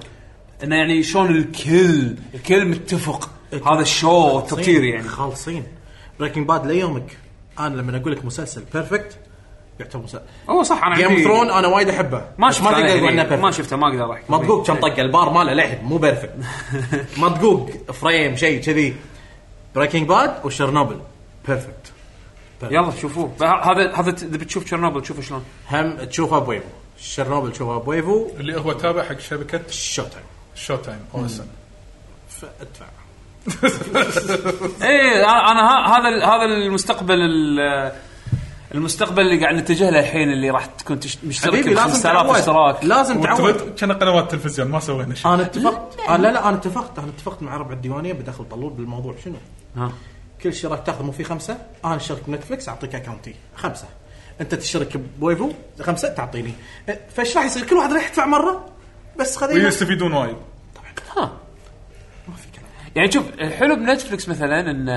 Speaker 1: انه يعني شلون الكل الكل متفق هذا الشو تطير يعني
Speaker 4: خالصين بريكنج باد ليومك انا لما اقول لك مسلسل بيرفكت يعتبر مسلسل
Speaker 1: هو صح انا
Speaker 4: جيم
Speaker 1: عندي-
Speaker 4: اوف ثرون انا وايد احبه
Speaker 1: ما
Speaker 4: بس ما
Speaker 1: شفته
Speaker 4: تقدر
Speaker 1: أنا
Speaker 4: تقول انه
Speaker 1: يعني. ما
Speaker 4: بيرفكت
Speaker 1: شفته ما اقدر احكي
Speaker 4: مطقوق كم
Speaker 1: إيه.
Speaker 4: طقه البار ماله لحم مو بيرفكت مطقوق فريم شيء كذي بريكنج باد وشرنوبل بيرفكت
Speaker 1: يلا شوفوه هذا هذا ت- اذا بتشوف تشيرنوبل تشوفه شلون
Speaker 4: هم تشوفها بويفو شرنوبل تشوفها بويفو
Speaker 3: اللي هو تابع حق شبكه
Speaker 4: شو تايم
Speaker 3: شو تايم او اس ان
Speaker 4: فادفع
Speaker 1: ايه انا أنا ه- هذا ال- هذا المستقبل ال- المستقبل اللي قاعد نتجه له الحين اللي راح تكون تش- مشترك
Speaker 4: حبيبي
Speaker 1: ب
Speaker 4: لازم
Speaker 1: 5000
Speaker 4: تعود
Speaker 1: اشتراك
Speaker 4: لازم تعود
Speaker 3: كان قنوات تلفزيون ما سوينا شيء
Speaker 4: انا اتفقت انا لا لا انا اتفقت انا اتفقت مع ربع الديوانيه بدخل طلول بالموضوع شنو؟
Speaker 1: ها.
Speaker 4: كل شراك تاخذ مو في خمسه انا اشترك بنتفلكس اعطيك اكونتي خمسه انت تشترك بويفو خمسه تعطيني فايش راح يصير؟ كل واحد راح يدفع مره بس خذينا
Speaker 3: ويستفيدون وايد
Speaker 1: ها.
Speaker 4: ما في كلام
Speaker 1: يعني شوف الحلو بنتفلكس مثلا ان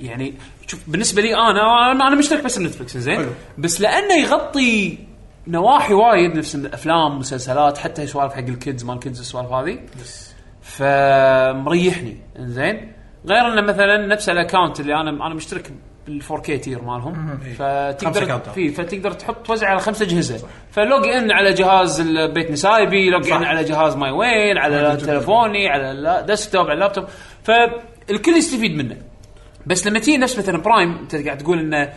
Speaker 1: يعني شوف بالنسبه لي انا انا أنا مشترك بس بنتفلكس زين بس لانه يغطي نواحي وايد نفس الافلام مسلسلات حتى سوالف حق الكيدز مال الكيدز السوالف هذه فمريحني زين غير انه مثلا نفس الاكونت اللي انا انا مشترك بال 4K تير مالهم
Speaker 4: خمسة
Speaker 1: فتقدر
Speaker 4: أكاونتات.
Speaker 1: في فتقدر تحط توزع على خمسة اجهزه فلوج ان على جهاز البيت نسايبي لوج ان على جهاز ماي وين على تلفوني على الديسكتوب على اللابتوب فالكل يستفيد منه بس لما تيجي نفس مثلا برايم انت قاعد تقول انه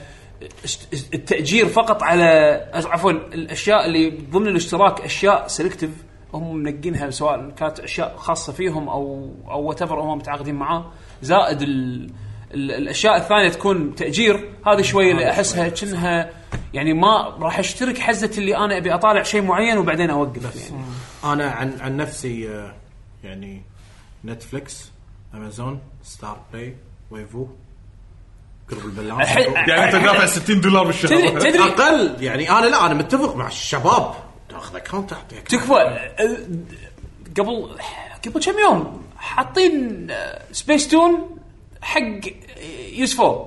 Speaker 1: اشت- التاجير فقط على عفوا الاشياء اللي ضمن الاشتراك اشياء سلكتيف هم منقينها سواء كانت اشياء خاصه فيهم او او وات هم متعاقدين معاه زائد ال ال الاشياء الثانيه تكون تاجير هذه شويه اللي احسها كأنها يعني ما راح اشترك حزه اللي انا ابي اطالع شيء معين وبعدين اوقف يعني
Speaker 4: انا عن عن نفسي آه، يعني نتفلكس امازون ستار بلاي ويفو قرب البلان
Speaker 1: الحين-
Speaker 3: يعني انت دافع 60 دولار
Speaker 1: تدري
Speaker 3: بالشهر
Speaker 1: تدري
Speaker 4: اقل يعني انا لا انا متفق مع الشباب تاخذ اكونت اعطيك
Speaker 1: تكفى ال- قبل قبل كم يوم آه، حاطين سبيس تون حق يوسفو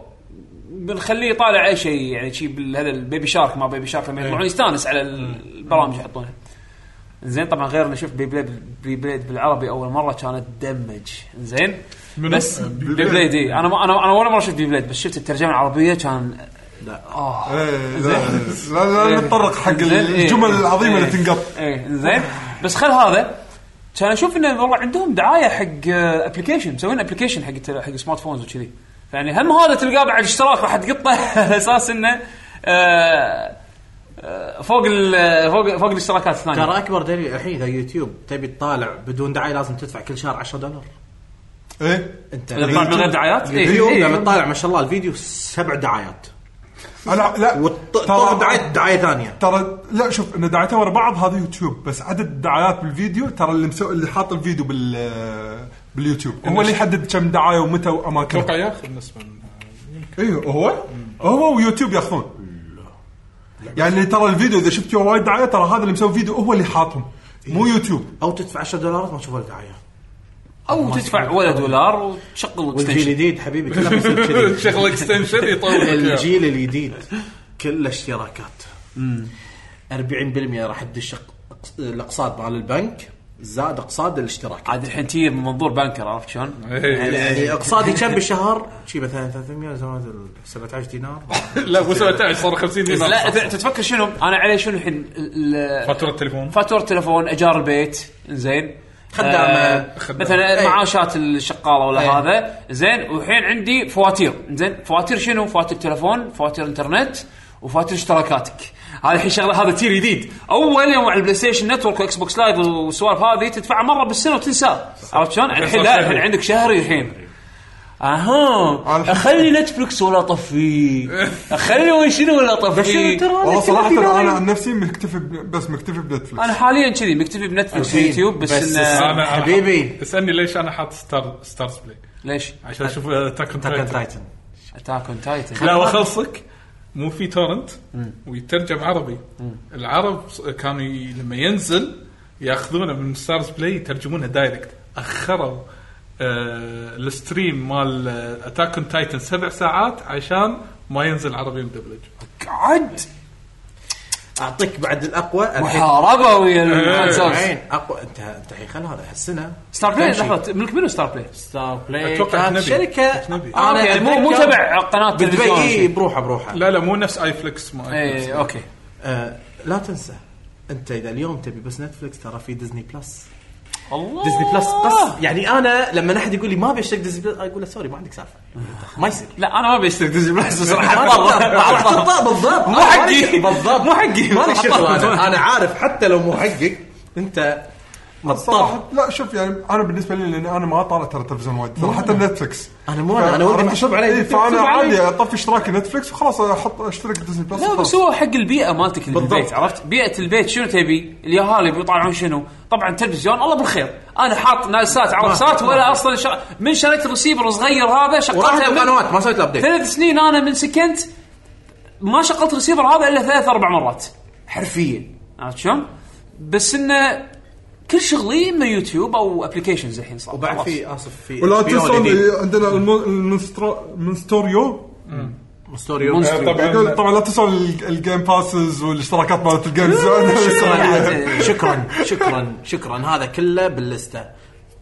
Speaker 1: بنخليه يطالع اي شيء يعني شي بال- هذا البيبي شارك ما بيبي شارك لما يطلعون يستانس على ال- البرامج يحطونها زين طبعا غيرنا شوف بي بليد بي بليد بالعربي اول مره كانت دمج زين
Speaker 3: منو؟
Speaker 1: بس
Speaker 3: آه، بي
Speaker 1: بي
Speaker 3: بليد.
Speaker 1: بليد إي. انا ما- انا انا ولا مره شفت بي بليد بس شفت الترجمه العربيه كان
Speaker 2: إيه، لا لا لا نتطرق حق
Speaker 1: زين، إيه.
Speaker 2: الجمل العظيمه اللي
Speaker 1: إيه.
Speaker 2: تنقط
Speaker 1: ايه زين بس خل هذا كان اشوف انه والله عندهم دعايه حق ابلكيشن مسوين ابلكيشن حق التل- حق سمارت فونز وكذي يعني هم هذا تلقاه بعد اشتراك راح تقطه على اساس انه آه، آه، فوق ال- فوق فوق الاشتراكات الثانيه
Speaker 4: ترى اكبر دليل الحين اذا يوتيوب تبي تطالع بدون دعايه لازم تدفع كل شهر 10 دولار
Speaker 2: ايه
Speaker 4: انت
Speaker 1: إذا طلع من غير دعايات إيه،
Speaker 4: الفيديو
Speaker 1: إيه.
Speaker 4: لما تطالع ما شاء الله الفيديو سبع دعايات
Speaker 2: لا لا
Speaker 4: وطلب دعايه دعايه ثانيه
Speaker 2: ترى لا شوف ان دعايتين ورا بعض هذا يوتيوب بس عدد الدعايات بالفيديو ترى اللي مسو... اللي حاط الفيديو بال باليوتيوب هو اللي يحدد كم دعايه ومتى
Speaker 3: اتوقع
Speaker 2: واماكن
Speaker 3: ياخذ نسبه من-
Speaker 2: ايوه هو هو ويوتيوب ياخذون يعني ترى الفيديو اذا شفت وايد دعايه ترى هذا اللي مسوي فيديو هو اللي حاطهم مو
Speaker 1: إيه.
Speaker 2: يوتيوب
Speaker 4: او تدفع 10 دولار ما تشوف ولا دعايه
Speaker 1: او تدفع ولا دولار وتشغل
Speaker 4: والجيل
Speaker 1: extension.
Speaker 4: الجديد حبيبي كله بيصير كذي.
Speaker 3: شغل اكستنشن يطول لك إياه.
Speaker 4: الجيل الجديد كله اشتراكات 40% راح تدش أق- الاقساط مال البنك زائد اقساط الاشتراك
Speaker 1: عاد الحين تجي من منظور بانكر عرفت شلون؟
Speaker 3: إيه.
Speaker 4: يعني اقساطي كم بالشهر؟ شي مثلا 300 زمان 17 دينار
Speaker 3: لا مو 17 صار 50 دينار
Speaker 1: لا ت- تتفكر شنو؟ انا علي شنو الحين ال- ال-
Speaker 3: فاتوره التليفون
Speaker 1: فاتوره تليفون اجار البيت زين آه،
Speaker 4: خدامة.
Speaker 3: خدامة.
Speaker 1: مثلا
Speaker 4: أي.
Speaker 1: معاشات الشقاله ولا
Speaker 4: أي.
Speaker 1: هذا زين والحين عندي فواتير زين فواتير شنو؟ فواتير تلفون فواتير انترنت وفواتير اشتراكاتك هذا الحين شغله هذا تير جديد اول يوم على البلاي ستيشن نتورك واكس بوكس لايف والسوالف هذه تدفع مره بالسنه وتنساه عرفت شلون؟ الحين لا
Speaker 3: شهري.
Speaker 1: الحين عندك شهري الحين اها اخلي نتفلكس ولا اطفيه اخلي وين شنو ولا اطفيه
Speaker 2: والله صراحه انا عن نفسي مكتفي ب- بس مكتفي بنتفلكس
Speaker 1: انا حاليا كذي مكتفي بنتفلكس
Speaker 4: أوكي.
Speaker 1: ويوتيوب بس,
Speaker 4: بس
Speaker 1: انه
Speaker 4: السنة. حبيبي.
Speaker 3: اسالني ليش انا حاط ستار ستارز بلاي
Speaker 1: ليش؟
Speaker 3: عشان آه، اشوف اتاك اون
Speaker 4: تاكن
Speaker 3: تايتن
Speaker 4: تايتن
Speaker 1: اتاك اون تايتن
Speaker 3: لا واخلصك مو في تورنت ويترجم عربي العرب ص- كانوا ي- لما ينزل ياخذونه من ستارز بلاي يترجمونه دايركت اخروا آه الستريم مال آه، اتاك اون تايتن سبع ساعات عشان ما ينزل عربي مدبلج
Speaker 1: قعد
Speaker 4: اعطيك بعد الاقوى الحين
Speaker 1: محاربه ويا الفانسيرفس.
Speaker 4: الحين اقوى انت انت الحين خل هذا هالسنه
Speaker 1: ستار بلاي
Speaker 4: تمشي.
Speaker 1: لحظه ملك منو ستار بلاي؟
Speaker 4: ستار بلاي
Speaker 3: أتوقع
Speaker 4: كانت
Speaker 1: طيب،
Speaker 3: أجنبي.
Speaker 4: شركه
Speaker 3: أجنبي.
Speaker 1: آه، أوكي، يعني مو- مو
Speaker 4: طيب، أتذكر
Speaker 1: تبع قناة
Speaker 4: بدبي
Speaker 1: تلفزيون.
Speaker 4: إي، بروحه بروحه لا.
Speaker 3: لا لا مو نفس اي فليكس ما
Speaker 1: اي اوكي
Speaker 4: آه لا تنسى انت اذا اليوم تبي بس نتفلكس ترى في ديزني بلس
Speaker 1: الله
Speaker 4: ديزني بلس بس يعني انا لما احد يقول لي ما ابي اشترك ديزني بلس اقول له سوري ما عندك سالفه ما يصير
Speaker 1: لا انا ما بشترك ديزني بلس بصراحه
Speaker 4: راح تطلع بالضبط
Speaker 1: مو حقي.
Speaker 4: بالضبط
Speaker 1: مو حقي.
Speaker 4: مالي شغل انا انا عارف حتى لو مو حقك انت مضطر
Speaker 2: صراحه لا شوف يعني انا بالنسبه لي لان انا ما طالع ترى تلفزيون وايد صراحه نتفلكس
Speaker 4: انا مو انا انا ولدي محسوب علي
Speaker 2: إيه، فانا
Speaker 1: مكتوب علي.
Speaker 2: عادي اطفي اشتراكي نتفلكس وخلاص احط اشترك ديزني بلس
Speaker 1: لا
Speaker 2: وخلاص.
Speaker 1: بس هو حق البيئه مالتك اللي
Speaker 4: بالضبط.
Speaker 1: بالبيت عرفت؟ بيئه البيت شنو تبي؟ اليهالي بيطالعون شنو؟ طبعا تلفزيون الله بالخير انا حاط ناسات عرسات ولا اصلا شر... من شريت الرسيفر صغير هذا
Speaker 4: وراحت
Speaker 1: شغلته من-
Speaker 4: القنوات ما سويت الابديت
Speaker 1: ثلاث سنين انا من سكنت ما شغلت ريسيفر هذا الا ثلاث اربع مرات حرفيا عرفت شلون؟ بس انه كل شغلي اما يوتيوب او ابلكيشنز الحين صار
Speaker 4: وبعد
Speaker 1: خلاص.
Speaker 4: في اسف في
Speaker 2: ولا
Speaker 4: HBO
Speaker 2: تنسون
Speaker 4: جديد.
Speaker 2: إيه، عندنا الم- المنسترو- المنستوريو
Speaker 4: ستوريو
Speaker 1: مونستر.
Speaker 2: طبعا طبعا لا تنسون ال- الجيم باسز والاشتراكات مالت الجيمز
Speaker 1: يعني؟
Speaker 4: شكرا شكرا شكرا شكرا هذا كله باللسته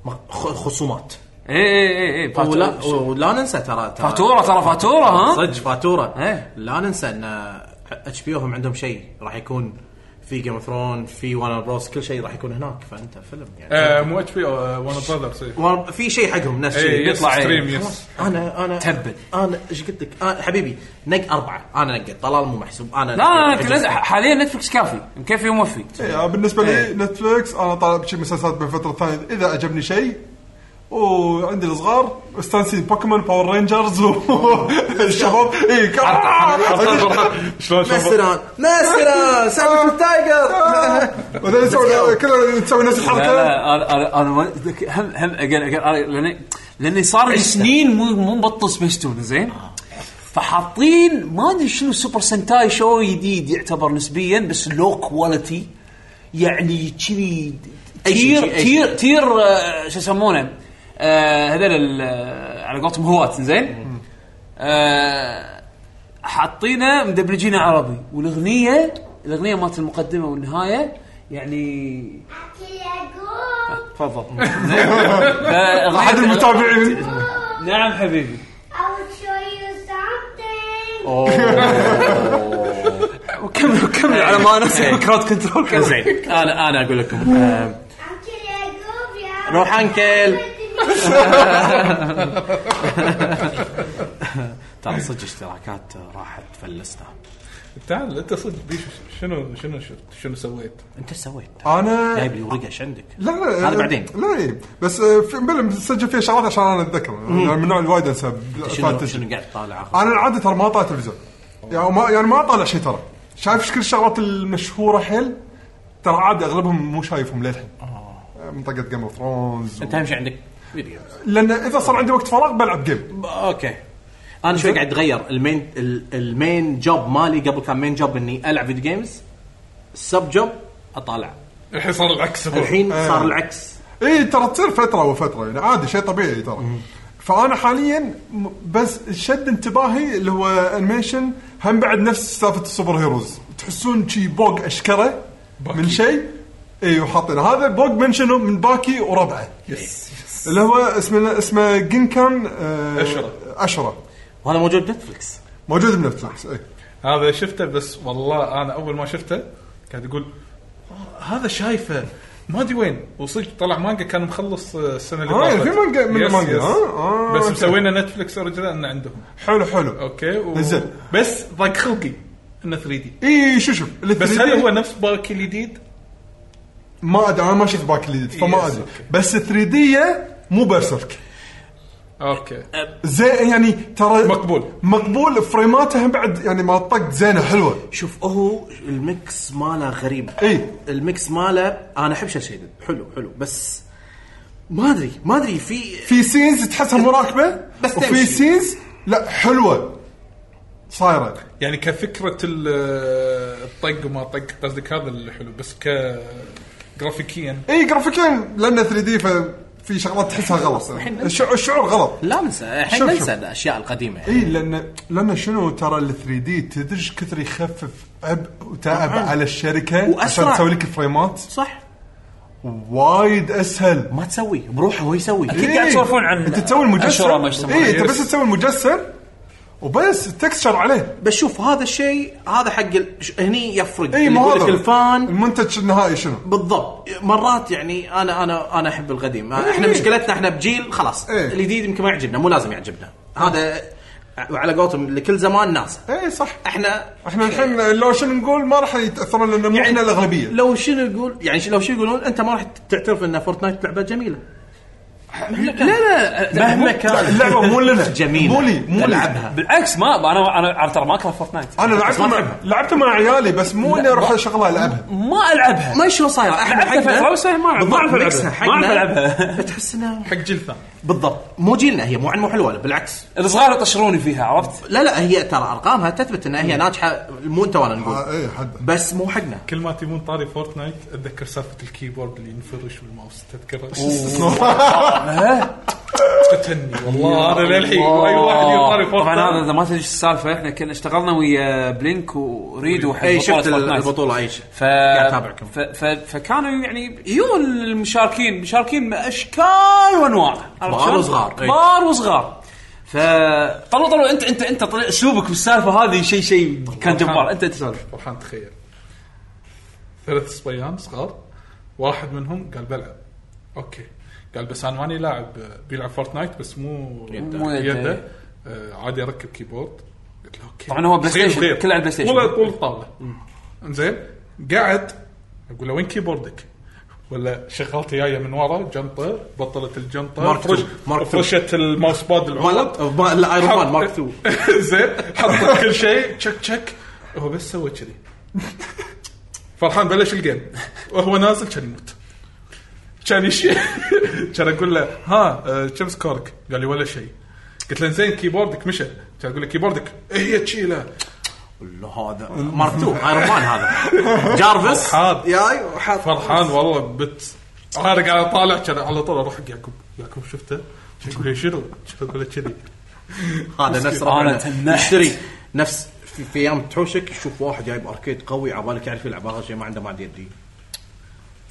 Speaker 4: ما- خ- خصومات
Speaker 1: اي اي اي اي
Speaker 4: ولا
Speaker 1: فاتورة.
Speaker 4: ولا ننسى ترى ترى-
Speaker 1: فاتوره ترى فاتوره ها
Speaker 4: صدق فاتوره
Speaker 1: إيه.
Speaker 4: لا ننسى ان اتش بي هم عندهم شيء راح يكون في جيم اوف ثرون في وانا بروس كل شيء راح يكون هناك فانت فيلم
Speaker 1: إيه.
Speaker 4: يعني
Speaker 3: آه إيه. مو اتش بي وانا براذرز
Speaker 4: Warner- في شيء حقهم
Speaker 1: إيه،
Speaker 4: نفس
Speaker 3: اي
Speaker 4: الشيء
Speaker 3: يس
Speaker 1: بيطلع عيني.
Speaker 3: ستريم يس
Speaker 4: انا انا
Speaker 1: تبت.
Speaker 4: انا ايش قلت لك أنا- حبيبي نق اربعه انا نقيت طلال مو محسوب انا
Speaker 1: لا
Speaker 4: نقيت.
Speaker 1: لا لا حاليا نتفلكس كافي مكفي وموفي
Speaker 2: بالنسبه آه،
Speaker 4: إيه.
Speaker 2: لي نتفلكس انا طالع بشي مسلسلات بين فتره ثانيه اذا عجبني شيء وعندي الصغار استانسين بوكيمون باور رينجرز والشباب اي
Speaker 3: شلون شلون
Speaker 4: مسران مسران سالفه
Speaker 1: آه.
Speaker 4: التايجر
Speaker 2: كلنا نسوي نفس
Speaker 1: لا
Speaker 2: الحركه
Speaker 1: لا انا انا انا ما- ذك- هم هم اجل اجل أنا- لاني لاني صار لي سنين مو مو مبطل سبيستون زين فحاطين ما ادري شنو سوبر سنتاي شو جديد يعتبر نسبيا بس لو كواليتي يعني كذي
Speaker 4: أي شيء-
Speaker 1: تير
Speaker 4: شيء- أي
Speaker 1: تير تير آه، شو يسمونه آه، هذول ال- على قولتهم هواة زين آه، حاطينه مدبلجينه عربي والاغنيه الاغنيه مالت المقدمه والنهايه يعني
Speaker 5: يعقوب
Speaker 1: تفضل آه،
Speaker 2: احد المتابعين
Speaker 1: نعم حبيبي
Speaker 5: I'll show you something.
Speaker 1: وكمل كمل على ما انا كراود كنترول كمل.
Speaker 4: زين انا انا اقول لكم آه،
Speaker 5: Uncle يعقوب يا
Speaker 4: روح انكل ترى صدق اشتراكات راحت فلسنا
Speaker 3: تعال انت صدق بيش شنو شنو شفت شنو سويت؟
Speaker 4: انت ايش سويت؟
Speaker 2: انا
Speaker 4: جايب لي ورقه ايش عندك؟
Speaker 2: آه. لا لا
Speaker 4: هذا بعدين.
Speaker 2: لا إيه. بس آه، في مبلا مسجل فيها شغلات عشان انا اتذكر أنا يعني من النوع اللي وايد انسى
Speaker 4: شنو شنو قاعد تطالع آخر؟
Speaker 2: انا العاده ترى ما اطالع تلفزيون يعني ما يعني ما اطالع شيء ترى شايف ايش كل الشغلات المشهوره حيل ترى عادي اغلبهم مو شايفهم للحين منطقه جيم اوف ثرونز
Speaker 4: انت اهم شيء عندك فيديو جيمز.
Speaker 2: لان اذا صار عندي وقت فراغ بلعب جيم
Speaker 4: ب- اوكي انا شوي قاعد اتغير المين ال- المين جوب مالي قبل كان مين جوب اني العب فيديو جيمز السب جوب اطالع
Speaker 3: الحين صار العكس هو.
Speaker 4: الحين صار العكس
Speaker 2: اي ترى تصير فتره وفتره يعني عادي شيء طبيعي ترى فانا حاليا م- بس شد انتباهي اللي هو انيميشن هم بعد نفس سالفه السوبر هيروز تحسون شي بوق اشكره من شيء اي وحاطين هذا بوق من شنو من باكي وربعه
Speaker 3: يس
Speaker 2: اللي هو اسمه اسمه جنكان آه،
Speaker 3: أشرة.
Speaker 2: أشرة
Speaker 4: وهذا موجود نتفلكس
Speaker 2: موجود بنتفلكس اي
Speaker 3: هذا شفته بس والله انا اول ما شفته قاعد اقول "آه، هذا شايفه ما ادري وين وصدق طلع مانجا كان مخلص آه، السنه اللي
Speaker 2: آه،
Speaker 3: فاتت
Speaker 2: في مانجا- من
Speaker 3: يس،
Speaker 2: مانجا،
Speaker 3: يس.
Speaker 2: آه، آه،
Speaker 3: بس
Speaker 2: أوكي.
Speaker 3: مسوينا نتفلكس اوريجنال انه عندهم
Speaker 2: حلو حلو
Speaker 3: اوكي و...
Speaker 2: زين.
Speaker 3: بس ضاق خلقي انه 3 دي
Speaker 2: اي شو شوف ال
Speaker 3: بس
Speaker 2: 3D
Speaker 3: هل هو نفس باكي الجديد؟
Speaker 2: ما ادري انا ما شفت باك الجديد فما
Speaker 3: يس،
Speaker 2: ادري
Speaker 3: أوكي.
Speaker 2: بس 3 دي مو برسيرك
Speaker 3: اوكي
Speaker 2: زين يعني ترى
Speaker 3: مقبول.
Speaker 2: مقبول فريماته هم بعد يعني ما طقت زينه حلوه
Speaker 4: شوف هو الميكس ماله غريب
Speaker 2: إي.
Speaker 4: الميكس ماله انا احب شاشيد حلو حلو بس ما ادري ما ادري في
Speaker 2: في سينز تحسها مراكبه
Speaker 4: بس
Speaker 2: وفي
Speaker 4: تمشي.
Speaker 2: سينز لا حلوه صايره
Speaker 3: يعني كفكره ال- آه، الطق وما طق قصدك هذا اللي حلو بس ك جرافيكيا
Speaker 2: اي جرافيكيا لان 3 دي ففي شغلات تحسها غلط
Speaker 4: الحين
Speaker 2: الشعور الشعور غلط
Speaker 4: لا ننسى الحين
Speaker 2: شوف،
Speaker 4: ننسى
Speaker 2: شوف.
Speaker 4: الاشياء القديمه يعني
Speaker 2: اي لان لان شنو ترى ال 3 دي تدري إيش كثر يخفف عبء وتعب
Speaker 1: نعم.
Speaker 4: طبعاً.
Speaker 2: على الشركه
Speaker 4: وأسرع.
Speaker 2: عشان تسوي لك فريمات
Speaker 4: صح
Speaker 2: وايد اسهل
Speaker 4: ما تسوي بروحه هو يسوي
Speaker 1: أكيد. قاعد تسولفون عن
Speaker 2: انت تسوي
Speaker 1: أشهر
Speaker 2: المجسم
Speaker 1: ما يسمونه.
Speaker 2: اي
Speaker 3: يس.
Speaker 2: انت بس تسوي المجسم وبس التكستشر عليه
Speaker 4: بس شوف هذا الشيء هذا حق ال... ش- هني يفرق
Speaker 2: اي إيه، ما
Speaker 4: يقول لك
Speaker 2: هذا
Speaker 4: الفان
Speaker 2: المنتج النهائي شنو؟
Speaker 4: بالضبط مرات يعني انا انا انا احب القديم احنا
Speaker 2: إيه.
Speaker 4: مشكلتنا احنا بجيل خلاص
Speaker 2: إيه.
Speaker 4: الجديد يمكن ما يعجبنا مو لازم يعجبنا هذا على قولتهم لكل زمان ناس
Speaker 2: اي صح
Speaker 4: احنا
Speaker 2: احنا الحين لو شنو نقول ما راح يتاثرون لان مو احنا الاغلبيه
Speaker 4: يعني لو شنو يقول يعني لو شنو يقولون انت ما راح تعترف ان فورتنايت لعبه جميله لا لا مهما كان
Speaker 2: اللعبه مو لنا
Speaker 4: جميله
Speaker 2: مو لي مو لي
Speaker 4: العبها
Speaker 1: بالعكس ما انا انا ترى ما اكره فورتنايت
Speaker 2: انا لعبت
Speaker 4: ما
Speaker 2: مع
Speaker 4: تحبها.
Speaker 2: لعبت مع عيالي بس مو اني اروح شغله العبها
Speaker 1: ما العبها
Speaker 4: ما شلون صايره احنا
Speaker 1: لعبتها فترة بس ما أعرف- ما أعرف ألعبها.
Speaker 4: ميكسها
Speaker 1: ما
Speaker 4: حقنا
Speaker 1: أعرف ألعبها.
Speaker 4: تحس انها
Speaker 3: حق جيل ثاني
Speaker 4: بالضبط مو جيلنا هي مو عن مو حلوه لا، بالعكس
Speaker 1: الصغار يطشروني فيها عرفت؟
Speaker 4: لا لا هي ترى ارقامها تثبت انها هي ناجحه مو انت وانا
Speaker 2: آه،
Speaker 4: نقول
Speaker 2: اي حد
Speaker 4: بس مو حقنا
Speaker 3: كل ما تبون طاري فورتنايت اتذكر سالفه الكيبورد اللي ينفرش بالماوس تذكرها تقتلني والله انا للحين اي واحد يطاري فورتنايت
Speaker 1: طبعا هذا اذا ما تدري ايش السالفه احنا كنا اشتغلنا ويا بلينك وريدو حق
Speaker 4: اي
Speaker 1: بطولة
Speaker 4: شفت
Speaker 1: فورتنايت.
Speaker 4: البطوله اي شيء
Speaker 1: ف...
Speaker 4: أتابعكم.
Speaker 1: ف... ف... فكانوا يعني يجون المشاركين مشاركين اشكال وانواع عرفت
Speaker 4: كبار
Speaker 1: شلون؟
Speaker 4: وصغار، إي.
Speaker 1: كبار وصغار فطلوا طلوا انت انت انت طلع اسلوبك بالسالفه هذه شيء شيء كان جبار انت تسولف
Speaker 3: فرحان تخيل ثلاث صبيان صغار واحد منهم قال بلعب اوكي قال بس انا ماني لاعب بيلعب فورتنايت بس مو
Speaker 4: يده.
Speaker 1: مو يده.
Speaker 3: يده آه، عادي اركب كيبورد قلت له اوكي
Speaker 1: طبعاً هو بلاي
Speaker 3: صغير
Speaker 1: ستيشن،
Speaker 3: صغير.
Speaker 1: كله على البلاي ستيشن.
Speaker 3: طول طول الطاوله انزين قعد اقول له وين كيبوردك؟ ولا شغلتي جايه من ورا جنطه بطلت الجنطه
Speaker 4: مارك تو،
Speaker 3: فرش-
Speaker 4: مارك تو.
Speaker 3: فرشت الماوس باد العود
Speaker 4: مال- الايرون مان مارك 2
Speaker 3: زين حط كل شيء تشك تشك هو بس سوى كذي فرحان بلش الجيم وهو نازل كان يموت كان يش كان اقول له ها آه، كم سكورك؟ قال لي ولا شيء قلت له زين كيبوردك مشى كان اقول له كيبوردك إيه هي تشيله
Speaker 4: هذا مارك 2 ايرون مان هذا جارفس
Speaker 3: فرحان.
Speaker 4: ياي وحاط
Speaker 3: فرحان والله بت انا قاعد اطالع كان على طول اروح حق يعقوب يعقوب شفته كان يقول لي شنو؟ كان اقول له كذي
Speaker 4: هذا نفس
Speaker 1: آه، أنا
Speaker 4: رقمنا
Speaker 1: تنحت.
Speaker 4: نشتري نفس في, في ايام تحوشك تشوف واحد جايب اركيد قوي عبالك يعرف يلعب هذا الشيء ما عنده ما عاد يدري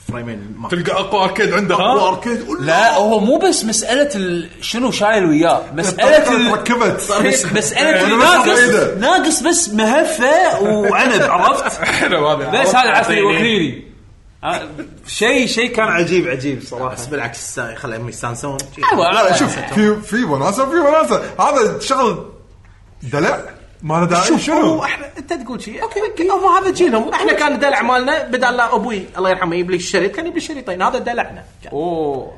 Speaker 4: فريمين ما
Speaker 3: تلقى اقوى اركيد عنده
Speaker 1: ها؟
Speaker 2: اركيد
Speaker 1: لا هو مو بس مساله ال- شنو شايل وياه مساله ال-
Speaker 2: ركبت
Speaker 1: مساله
Speaker 2: يعني
Speaker 1: ال-
Speaker 2: بس
Speaker 1: ناقص
Speaker 2: صغيرة.
Speaker 1: ناقص بس مهفه وعنب عرفت
Speaker 3: حلو هذا
Speaker 1: بس هذا عرفت يوكليني آه، شيء شيء كان عجيب عجيب صراحه
Speaker 4: بس بالعكس خليهم يستانسون
Speaker 1: أيوة،
Speaker 2: لا لا شوف في في وناسه في وناسه هذا شغل دلع ما له داعي
Speaker 4: شوف
Speaker 2: شنو
Speaker 4: شنو احنا انت تقول شيء اوكي اوكي هم هذا جيلهم احنا كان الدلع مالنا بدل لا ابوي الله يرحمه يجيب لي الشريط كان يجيب لي شريطين هذا دلعنا كان.
Speaker 1: اوه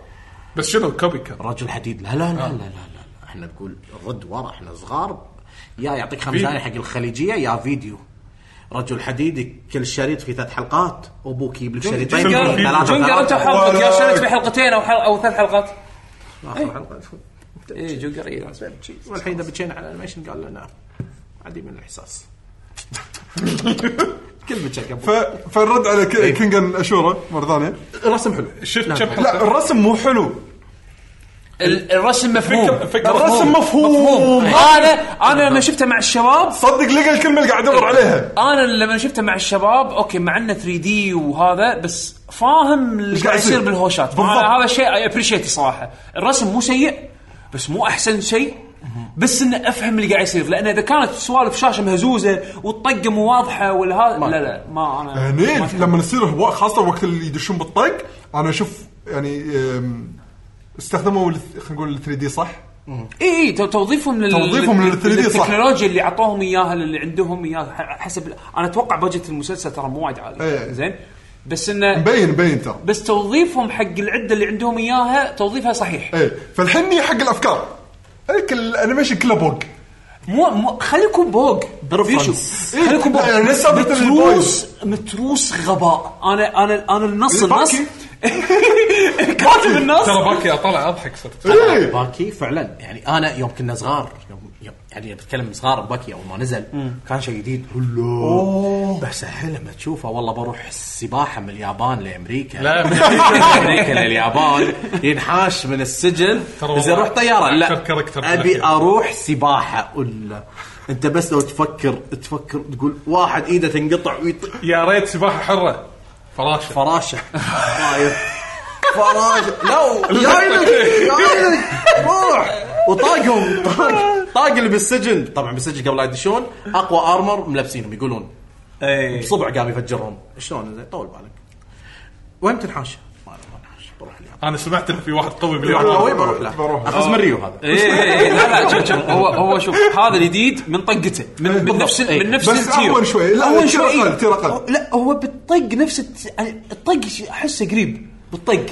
Speaker 3: بس شنو كوبي كان
Speaker 4: رجل حديد لا لا لا لا لا, لا. احنا نقول رد ورا احنا صغار يا يعطيك خمس
Speaker 3: فيديو.
Speaker 4: دنانير حق الخليجيه يا فيديو رجل حديد كل شريط فيه ثلاث حلقات ابوك يجيب لك شريطين
Speaker 1: جنجر
Speaker 4: ثلاثة-
Speaker 1: جنجر انت
Speaker 4: ثلاثة.
Speaker 1: وحلقك يا
Speaker 2: ولا-
Speaker 1: شلت في حلقتين او حلقة او ثلاث حلقات إيه،
Speaker 4: آخر حلقة.
Speaker 1: اي جنجر اي
Speaker 4: والحين اذا بتشينا على الانيميشن قال لنا عادي من الاحساس كلمه شك أبو.
Speaker 2: ف- فالرد على
Speaker 4: إيه.
Speaker 2: ك- كينجن اشوره مره ثانيه
Speaker 4: رسم حلو
Speaker 3: شفت كم
Speaker 2: لا
Speaker 3: حلقه
Speaker 2: الرسم مو حلو
Speaker 1: ال- الرسم مفهوم
Speaker 3: فكرة- فكرة-
Speaker 2: الرسم مفهوم.
Speaker 1: انا انا لما شفته مع الشباب
Speaker 2: صدق لقى الكلمه اللي قاعد ادور عليها
Speaker 1: انا لما شفته مع الشباب اوكي مع انه 3 دي وهذا بس فاهم اللي
Speaker 2: إيش
Speaker 1: قاعد
Speaker 2: قاعد
Speaker 1: يصير
Speaker 2: يصير؟
Speaker 1: بالهوشات
Speaker 2: بالضبط.
Speaker 1: أنا هذا شيء اي ابريشيت صراحه الرسم مو سيء بس مو احسن شيء بس انه افهم اللي قاعد يصير لان اذا كانت سوالف شاشه مهزوزه والطقه مو واضحه ولا هذا لا لا ما انا ما
Speaker 2: هني
Speaker 1: أفهم.
Speaker 2: لما يصير هو خاصه وقت اللي يدشون بالطق انا اشوف يعني أم، استخدموا ال- خلينا نقول 3 دي صح
Speaker 1: اي اي تو- توظيفهم لل
Speaker 2: توظيفهم لل 3D صح.
Speaker 1: التكنولوجيا اللي اعطوهم اياها اللي عندهم اياها ح- حسب انا اتوقع بجت المسلسل ترى مو وايد عالي
Speaker 2: إيه.
Speaker 1: زين بس انه
Speaker 2: مبين مبين ترى
Speaker 1: بس توظيفهم حق العده اللي عندهم اياها توظيفها صحيح
Speaker 2: ايه فالحين حق الافكار هيك الانيميشن كله بوق
Speaker 1: مو, مو خليكم بوق
Speaker 4: برفرنس.
Speaker 1: بيشو. خليكم بوق
Speaker 2: يعني لسه مثل
Speaker 1: متروس
Speaker 2: البويز.
Speaker 1: متروس غباء انا انا انا النص النص
Speaker 2: باكي.
Speaker 1: كاتب النص
Speaker 3: ترى باكي اطلع اضحك صرت
Speaker 2: ايه
Speaker 4: باكي فعلا يعني انا يوم كنا صغار يوم يوم يعني بتكلم صغار باكي اول ما نزل كان شيء جديد هلو بس الحين لما تشوفه والله بروح السباحه من اليابان لامريكا
Speaker 3: لا
Speaker 4: من امريكا لليابان ينحاش من السجن
Speaker 3: ترى والله
Speaker 4: زين روح طياره
Speaker 3: أكثر
Speaker 4: لا
Speaker 3: كاركتر
Speaker 4: ابي
Speaker 3: بالأخير.
Speaker 4: اروح سباحه ولا انت بس لو تفكر تفكر تقول واحد ايده تنقطع ويط...
Speaker 3: يا ريت سباحه حره فراشه
Speaker 4: فراشه طاير فراشه لا يا عينك يا عينك روح وطاقهم طاق طاق اللي بالسجن طبعا بالسجن قبل لا يدشون اقوى ارمر ملبسينهم يقولون
Speaker 1: إيه.
Speaker 4: بصبع قام يفجرهم شلون زين طول بالك وين تنحاش؟ ما أنا ما أنحاش، بروح اليابان
Speaker 3: انا سمعت انه في واحد قوي
Speaker 4: في واحد
Speaker 3: باليابان
Speaker 4: قوي بروح له
Speaker 2: إيه. بروح.
Speaker 4: اخذ من ريو هذا
Speaker 1: إيه، إيه، إيه، لا لا شوف شوف هو هو شوف هذا الجديد من طقته من, من نفس ال- من نفس
Speaker 2: إيه، بس
Speaker 1: التير.
Speaker 2: أول شوي، لا،
Speaker 1: أول
Speaker 2: تير
Speaker 1: شوي. إيه.
Speaker 2: أقل، تير أقل.
Speaker 1: لا هو بالطق نفس الت- الطق ش- احسه قريب بالطق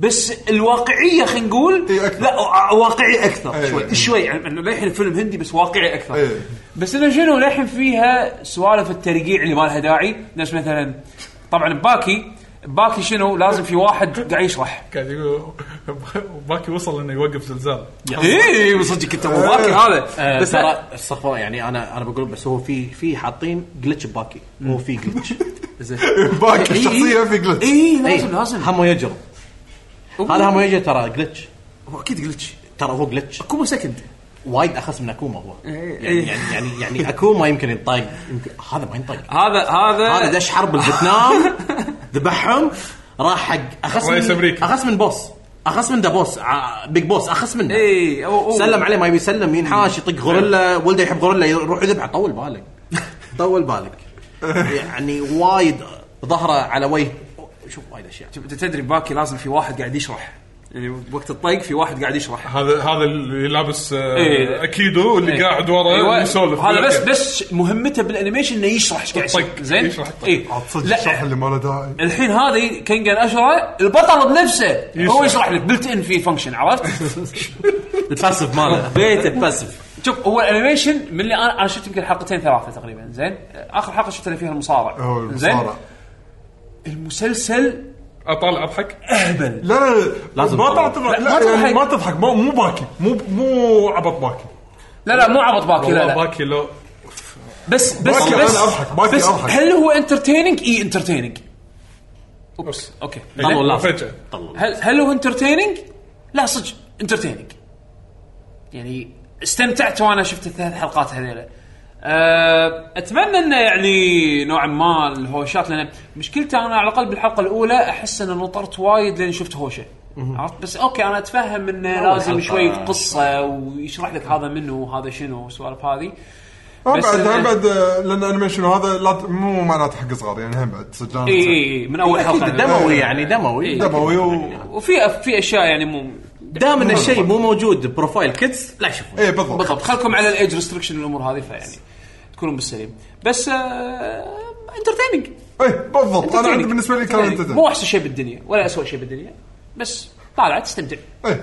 Speaker 1: بس الواقعيه خلينا نقول
Speaker 2: إيه، أكثر.
Speaker 1: لا وا- واقعي اكثر
Speaker 2: إيه.
Speaker 1: شوي شوي يعني إنه للحين الفيلم هندي بس واقعي اكثر
Speaker 2: إيه.
Speaker 1: بس انه شنو للحين فيها سوالف الترقيع اللي ما لها داعي نفس مثلا طبعا باكي باكي شنو لازم في واحد قاعد يشرح
Speaker 3: قاعد يقول باكي وصل انه يوقف زلزال
Speaker 2: إيه،
Speaker 4: إيه،
Speaker 1: اي إيه، صدق انت مو باكي هذا
Speaker 4: بس
Speaker 1: بس
Speaker 4: آه، ترى استغفر الله، يعني انا انا بقول بس هو في في حاطين جلتش باكي هو في جلتش زين
Speaker 2: باكي الشخصيه إيه، في جلتش
Speaker 1: اي إيه، لازم
Speaker 4: اي
Speaker 1: لازم
Speaker 4: هم يجرب إيه. هذا هم يجرب ترى جلتش
Speaker 1: هو اكيد جلتش
Speaker 4: ترى هو جلتش
Speaker 1: كومو سكند
Speaker 4: وايد اخس من اكوما هو
Speaker 1: إيه.
Speaker 4: يعني يعني يعني, يعني اكوما يمكن ينطق يمكن هذا ما ينطق
Speaker 1: هذا
Speaker 4: هذا
Speaker 1: هذا
Speaker 4: دش حرب الفيتنام ذبحهم راح حق اخس
Speaker 3: رئيس
Speaker 4: من
Speaker 3: أمريكا.
Speaker 4: اخس من بوس اخس من ذا بوس ع- بيج بوس اخس منه
Speaker 1: اي إيه، أو- أو.
Speaker 4: سلم عليه ما يبي يسلم ينحاش يطق غوريلا ولده يحب غوريلا يروح يذبحه طول بالك طول بالك يعني وايد ظهره على وجه شوف وايد اشياء
Speaker 1: انت تدري باكي لازم في واحد قاعد يشرح يعني وقت الطق في واحد قاعد يشرح
Speaker 3: هذا هذا اللي لابس آه،
Speaker 1: إيه.
Speaker 3: اكيدو اللي قاعد
Speaker 1: أيوة.
Speaker 3: ورا يسولف
Speaker 1: هذا بس بس مهمته بالانيميشن انه يشرح ايش قاعد يصير.
Speaker 3: الطق.
Speaker 1: زين
Speaker 3: يشرح الطق.
Speaker 1: اي
Speaker 4: آه،
Speaker 2: عاد صدق الشرح
Speaker 1: لا
Speaker 2: اللي ما له داعي
Speaker 1: الحين هذه كينجن اشرا البطل بنفسه هو يشرح لك بلت ان في فانكشن عرفت؟
Speaker 4: الباسف ماله
Speaker 1: بيت الباسف شوف هو الانيميشن من اللي انا انا شفت يمكن حلقتين ثلاثه تقريبا زين اخر حلقه شفت اللي فيها المصارع
Speaker 2: هو المصارع.
Speaker 1: المسلسل
Speaker 3: اطالع اضحك
Speaker 1: اهبل
Speaker 2: لا لا
Speaker 4: لازم
Speaker 2: لازم ما
Speaker 4: تضحك.
Speaker 2: تضحك
Speaker 1: لا، ما
Speaker 2: لا يعني
Speaker 1: تضحك.
Speaker 2: ما تضحك مو مو باكي مو مو عبط باكي
Speaker 1: لا لا مو عبط باكي لا
Speaker 3: والله
Speaker 1: لا
Speaker 3: باكي لو
Speaker 1: بس بس
Speaker 2: باكي
Speaker 1: بس
Speaker 2: أنا أضحك، باكي
Speaker 1: بس
Speaker 2: أضحك.
Speaker 1: هل هو إيه انترتيننج؟ اي انترتيننج اوبس اوكي
Speaker 4: طلعوا اللافة.
Speaker 3: فجاه
Speaker 4: طلعوا.
Speaker 1: نعم، هل هل هو انترتيننج؟ لا صدق انترتيننج يعني استمتعت وانا شفت الثلاث حلقات هذيلا أه، اتمنى انه يعني نوعا ما الهوشات لان مشكلته انا على الاقل بالحلقه الاولى احس ان نطرت وايد لان شفت هوشه عرفت بس اوكي انا اتفهم انه لازم
Speaker 4: حلقة.
Speaker 1: شوي قصه ويشرح لك هذا منه وهذا شنو والسوالف هذه
Speaker 2: هم
Speaker 1: بس إيه.
Speaker 2: بعد هم
Speaker 1: إنه-
Speaker 2: بعد آه، لان انيميشن هذا لا ت- مو معناته حق صغار يعني هم بعد صدق
Speaker 1: اي اي إيه، من
Speaker 2: إيه،
Speaker 1: اول حلقه
Speaker 4: دموي يعني دموي
Speaker 2: دموي و-
Speaker 1: وفي أف- في اشياء يعني مو
Speaker 4: دام ان الشيء مو موجود بروفايل كيدز لا يشوفون
Speaker 2: اي إيه، بالضبط
Speaker 1: بالضبط خلكم على الايج ريستركشن الامور هذه فيعني تكونون بالسليم بس آه، انترتيننج
Speaker 2: اي إيه، بالضبط انا عندي بالنسبه لي كان
Speaker 1: مو
Speaker 2: انتدن
Speaker 1: احسن شيء بالدنيا ولا اسوء شيء بالدنيا بس طالع تستمتع
Speaker 2: اي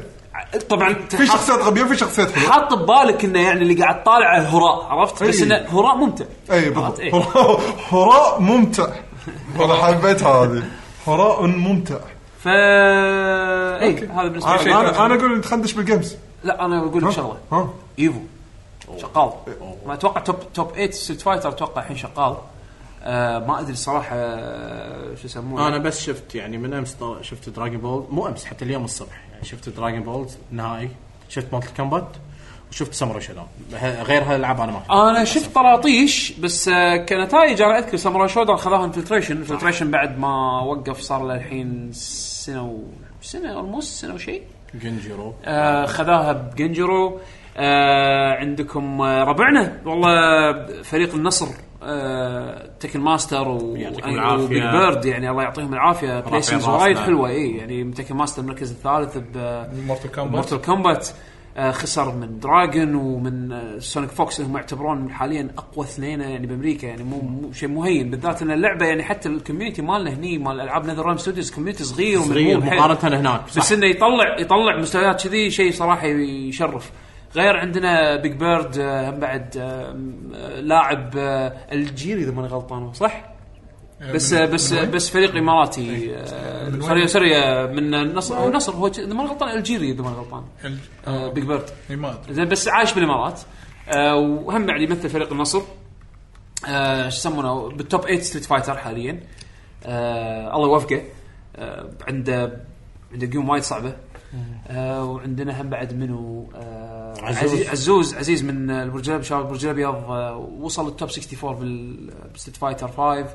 Speaker 1: طبعا
Speaker 2: إيه. في
Speaker 1: تحط-
Speaker 2: شخصيات غبيه وفي شخصيات حلوه
Speaker 1: حاط ببالك انه يعني اللي قاعد طالعه هراء عرفت بس
Speaker 2: إي.
Speaker 1: انه هراء ممتع
Speaker 2: اي
Speaker 1: عرفت؟
Speaker 2: إيه،
Speaker 1: إيه.
Speaker 2: بالضبط
Speaker 1: إي.
Speaker 2: هراء ممتع انا حبيتها هذه هراء ممتع
Speaker 1: ف اي إيه، هذا بالنسبه
Speaker 2: انا
Speaker 1: لي
Speaker 2: انا آه، أنا اقول ندخندش بالجيمز
Speaker 1: لا انا بقول لك شغله
Speaker 2: ها
Speaker 1: ايفو شغال ما اتوقع توب توب 8 ستريت فايتر اتوقع الحين شغال آه ما ادري الصراحه آه، شو يسمونه
Speaker 4: انا بس شفت يعني من امس طل- شفت دراجون بول مو امس حتى اليوم الصبح يعني شفت دراجون بول نهائي شفت مالتي كومبات وشفت سامورا شودون غير هالالعاب انا ما شفت.
Speaker 1: انا شفت طراطيش بس آه، كنتائج انا اذكر ساموراي شودر خذاها انفلتريشن انفلتريشن بعد ما وقف صار له الحين سنه و... سنه اولموست سنه وشيء
Speaker 4: جنجيرو
Speaker 1: آه، خذاها بجنجرو آه، عندكم آه، ربعنا والله فريق النصر آه، تكن ماستر و-
Speaker 4: يعطيكم العافية.
Speaker 1: وبيج بيرد يعني الله يعطيهم العافيه بليسنجز
Speaker 4: راسنا.
Speaker 1: وايد حلوه اي يعني تكن ماستر المركز الثالث ب
Speaker 3: مورتل كومبات
Speaker 1: مورتال كومبات آه، خسر من دراجون ومن آه، سونيك فوكس اللي هم يعتبرون حاليا اقوى اثنين يعني بامريكا يعني مو, مو شيء مهين بالذات ان اللعبه يعني حتى الكوميونتي مالنا هني مال العاب نذر رام ستوديوز كوميونتي صغير ومنمو
Speaker 4: صغير
Speaker 1: بحيل.
Speaker 4: مقارنه هناك
Speaker 1: بس
Speaker 4: بس
Speaker 1: انه يطلع يطلع مستويات كذي شيء صراحه يشرف غير عندنا بيج بيرد آه، هم بعد آه، م- آه، لاعب آه، الجيري اذا ماني غلطان هو، صح؟
Speaker 3: يعني
Speaker 1: بس آه، بس آه، بس فريق اماراتي آه، سوري سوري آه، من النصر هو النصر هو اذا ماني غلطان الجيري اذا ماني غلطان آه، بيج بيرد
Speaker 3: يعني ما ادري
Speaker 1: زين بس عايش بالامارات آه، وهم بعد يمثل فريق النصر آه، شو يسمونه بالتوب 8 ستريت فايتر حاليا آه، الله يوفقه آه، عنده عنده قيم وايد صعبه آه، وعندنا هم بعد منو آه،
Speaker 4: عزوز.
Speaker 1: عزيز عزوز عزيز من آه، البرج الابيض شباب البرج الابيض آه، وصل للتوب 64 بال- بالستريت فايتر 5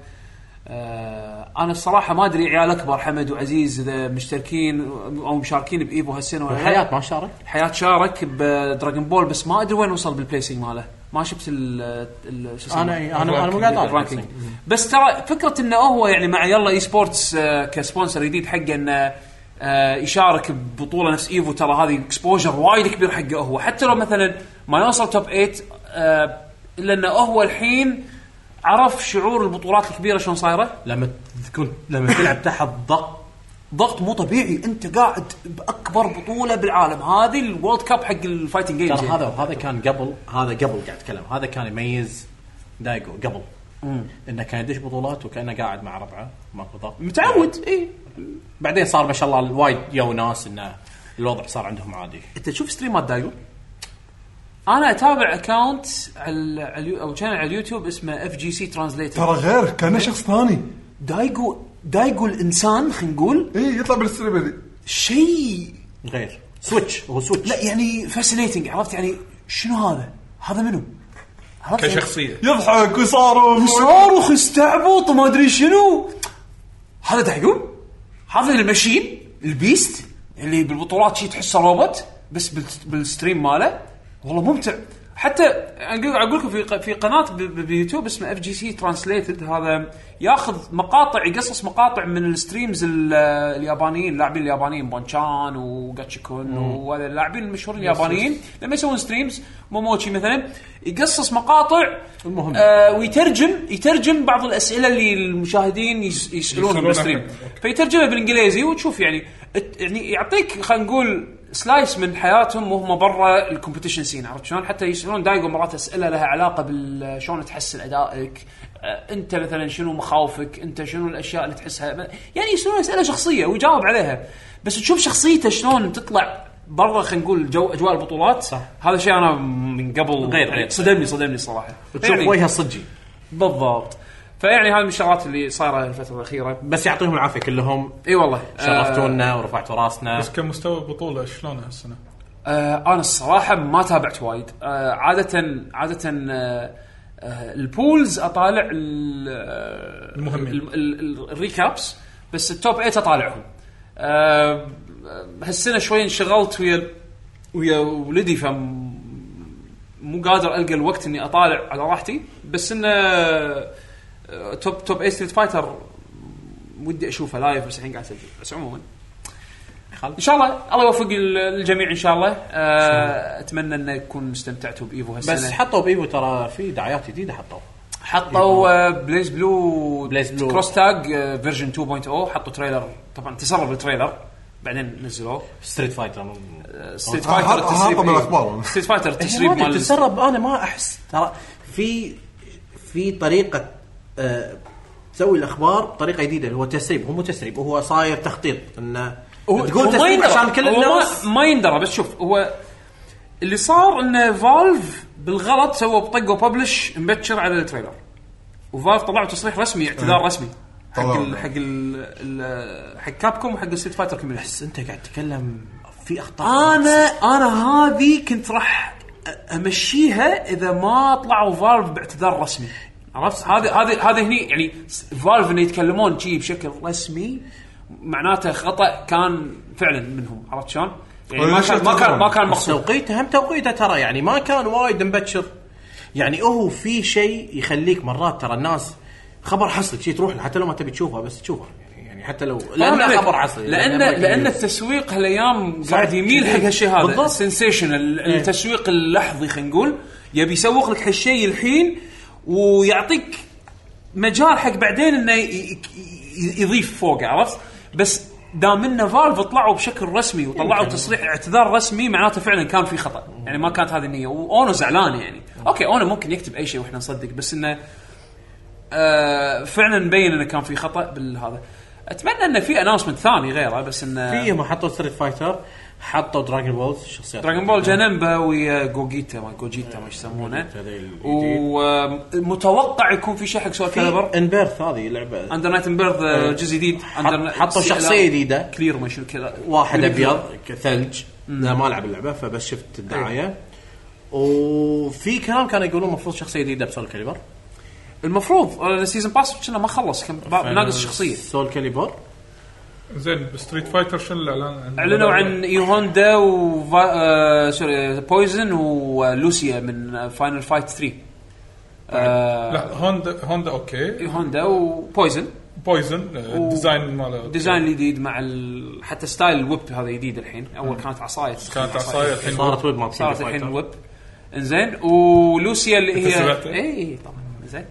Speaker 1: آه، انا الصراحه ما ادري عيال اكبر حمد وعزيز اذا مشتركين او مشاركين بايفو هالسنه ولا لا.
Speaker 4: الحياه ما شارك
Speaker 1: حياة شارك بدراجون بول بس ما ادري وين وصل بالبليسنج ماله ما شفت ال ال- شو اسمه؟
Speaker 4: انا انا انا مو قاعد أطالع.
Speaker 1: الرانكينج بس ترى فكره انه هو يعني مع يلا اي سبورتس آه، كسبونسر جديد حقه انه آه، يشارك ببطوله نفس ايفو ترى هذه اكسبوجر وايد كبير حقه هو حتى لو مثلا ما يوصل توب 8 آه، الا انه هو الحين عرف شعور البطولات الكبيره شلون صايره
Speaker 4: لما تكون لما تلعب تحت ضغط
Speaker 1: ضغط مو طبيعي انت قاعد باكبر بطوله بالعالم هذه الوورلد كاب حق يعني. الفايتنج جيمز
Speaker 4: ترى هذا وهذا كان قبل هذا قبل قاعد اتكلم هذا كان يميز دايجو قبل انه كان يدش بطولات وكانه قاعد مع ربعه ماكو ضغط
Speaker 1: متعود اي
Speaker 4: بعدين صار ما شاء الله وايد جو ناس انه الوضع صار عندهم عادي
Speaker 1: انت تشوف ستريمات دايجو انا اتابع اكونت على على اليو- او شانل على اليوتيوب اسمه اف جي سي
Speaker 2: ترى
Speaker 1: ترانزليتر
Speaker 2: غير كانه شخص ثاني
Speaker 1: دايجو دايجو الانسان خلينا نقول
Speaker 2: اي إيه، يطلع بالستريبري
Speaker 1: شيء
Speaker 4: غير سويتش هو سويتش
Speaker 1: لا يعني فاسينيتنج عرفت يعني شنو هذا؟ هذا منو؟ عرفت يعني-
Speaker 3: كشخصيه
Speaker 2: يضحك ويصارخ
Speaker 1: وصاروخ استعبط وما ادري شنو هذا دايجو هذا المشين البيست اللي بالبطولات شي تحسه روبوت بس بال- بالستريم ماله والله ممتع حتى اقول اقول لكم في ق- في قناه ب- ب- بيوتيوب اسمها اف جي سي ترانسليتد هذا ياخذ مقاطع يقصص مقاطع من الستريمز ال- اليابانيين اللاعبين اليابانيين بونشان وجاتشيكون وهذا اللاعبين المشهورين اليابانيين لما يسوون ستريمز موموتشي مثلا يقصص مقاطع
Speaker 4: المهم.
Speaker 1: آه، آه، ويترجم يترجم بعض الاسئله اللي المشاهدين يس- يسالونها
Speaker 3: يسألونها
Speaker 1: بالستريم
Speaker 3: فيها. أوكي.
Speaker 1: فيترجمها بالانجليزي وتشوف يعني الت- يعني يعطيك خلينا نقول سلايس من حياتهم وهم برا الكومبetition سين عرفت شلون؟ حتى يسالون دايجو مرات اسئله لها علاقه بال شلون تحسن ادائك آه، انت مثلا شنو مخاوفك؟ انت شنو الاشياء اللي تحسها؟ يعني يسالون اسئله شخصيه ويجاوب عليها بس تشوف شخصيته شلون تطلع برا خلينا نقول جو اجواء البطولات صح هذا شيء انا من قبل
Speaker 4: غير-
Speaker 1: يعني صدمني صدمني صراحه
Speaker 4: تشوف
Speaker 1: يعني-
Speaker 4: وجهه صجي
Speaker 1: بالضبط فيعني هذه من الشغلات اللي صايره الفتره الاخيره
Speaker 4: بس يعطيهم العافيه كلهم
Speaker 1: اي والله آه
Speaker 4: شرفتونا ورفعتوا راسنا
Speaker 3: بس كمستوى بطوله شلون هالسنه؟
Speaker 1: آه انا الصراحه ما تابعت وايد آه عاده عاده آه آه، البولز اطالع ال- آه،
Speaker 3: المهمين.
Speaker 1: ال- ال- ال- الريكابس بس التوب 8 اطالعهم آه، هالسنه شوي انشغلت ويا ويا ولدي فم مو قادر القى الوقت اني اطالع على راحتي بس انه آه، توب توب 8 ستريت فايتر ودي اشوفه لايف بس الحين قاعد اسجل بس عموما ان شاء الله الله يوفق ال- الجميع ان شاء الله آه، اتمنى ان يكون استمتعتوا بايفو هالسنه
Speaker 4: بس حطوا بايفو ترى في دعايات جديده حطوا
Speaker 1: حطوا آه، بليز بلو
Speaker 4: بليز بلو.
Speaker 1: كروس تاج آه، فيرجن 2.0 حطوا تريلر طبعا تسرب التريلر بعدين نزلوه
Speaker 4: ستريت فايتر
Speaker 1: آه، ستريت
Speaker 2: آه، هذا-
Speaker 1: فايتر
Speaker 2: هذا
Speaker 1: التسريب
Speaker 2: من الأخبار.
Speaker 1: ستريت فايتر
Speaker 4: تسريب
Speaker 1: التسريب
Speaker 4: مال
Speaker 1: مال
Speaker 4: تسرب انا ما احس ترى في في طريقه آه، تسوي الاخبار بطريقه جديده اللي هو تسريب هو مو تسريب هو صاير تخطيط انه
Speaker 1: هو
Speaker 4: تقول
Speaker 1: هو ما
Speaker 4: تسريب
Speaker 1: يندرى
Speaker 4: عشان كل
Speaker 1: هو ما-
Speaker 4: الناس
Speaker 1: ما يندرى بس شوف هو اللي صار انه فالف بالغلط سوى بطقه ببلش مبكر على التريلر وفالف طلعوا تصريح رسمي اعتذار رسمي حق
Speaker 2: طلعوا.
Speaker 1: ال حق ال حق كابكوم وحق ستريت فايتر كوميونتي
Speaker 4: بس انت قاعد تتكلم في اخطاء
Speaker 1: انا انا هذه كنت راح أ- امشيها اذا ما طلعوا فالف باعتذار رسمي عرفت هذا هذا هذا هني يعني س- فالف انه يتكلمون شي بشكل رسمي معناته خطا كان فعلا منهم عرفت شلون؟ يعني ما كان ما كان ما كان
Speaker 4: بس
Speaker 1: مقصود
Speaker 4: توقيته هم توقيته ترى يعني ما كان وايد مبكر يعني هو في شيء يخليك مرات ترى الناس خبر حصري شيء تروح له حتى لو ما تبي تشوفه بس تشوفه يعني يعني حتى لو لانه
Speaker 1: فاهم
Speaker 4: خبر
Speaker 1: عليك.
Speaker 4: حصري
Speaker 1: لان
Speaker 4: لأنه
Speaker 1: لان التسويق هالايام
Speaker 4: صح.
Speaker 1: قاعد يميل حق هالشيء هذا
Speaker 4: بالضبط. إيه.
Speaker 1: السنسيشن التسويق اللحظي خلينا نقول يبي يسوق لك هالشيء الحين ويعطيك مجال حق بعدين انه ي- ي- ي- يضيف فوق عرفت بس دام ان فالف طلعوا بشكل رسمي
Speaker 4: إيه.
Speaker 1: وطلعوا تصريح اعتذار رسمي معناته فعلا كان في خطا يعني ما كانت هذه النيه واونو زعلان يعني
Speaker 4: إيه.
Speaker 1: اوكي اونو ممكن يكتب اي شيء واحنا نصدق بس انه آه، فعلا مبين انه كان في خطا بالهذا اتمنى انه في اناونسمنت ثاني غيره بس انه
Speaker 4: في ما حطوا ستريت فايتر حطوا دراجون بول الشخصيات
Speaker 1: دراجون بول جانمبا ويا جوجيتا ما جوجيتا ما إيش يسمونه
Speaker 4: جوجيتا ذي الجديد.
Speaker 1: ومتوقع يكون في شيء حق سول كاليبر
Speaker 4: في انبيرث هذه لعبه
Speaker 1: اندر نايت بيرث آه، جزء جديد
Speaker 4: حط- حطوا شخصيه جديده
Speaker 1: كلير ما شنو كذا
Speaker 4: واحد ابيض ثلج انا ما العب اللعبه فبس
Speaker 1: إيه.
Speaker 4: شفت الدعايه وفي كلام كانوا يقولون المفروض شخصيه جديده بسول كاليبر
Speaker 1: المفروض آه، السيزون باس كنا ما خلص كان با- ناقص شخصيه
Speaker 4: سول كاليبر
Speaker 3: زين ستريت فايتر شنو الاعلان
Speaker 1: اعلنوا عن يوهوندا و آه، سوري بويزن ولوسيا من فاينل فايت 3 آه،
Speaker 3: لا هوندا هوندا اوكي
Speaker 1: هوندا وبويزن
Speaker 3: بويزن
Speaker 1: و-
Speaker 3: الديزاين ماله
Speaker 1: ديزاين جديد مع ال... حتى ستايل الويب هذا جديد الحين اول كانت عصايه
Speaker 3: كانت عصايه الحين
Speaker 4: صارت ويب ماب
Speaker 1: صارت الحين ويب انزين ولوسيا اللي
Speaker 3: أنت
Speaker 1: هي إيه،
Speaker 3: سمعتها؟
Speaker 1: اي طبعا زين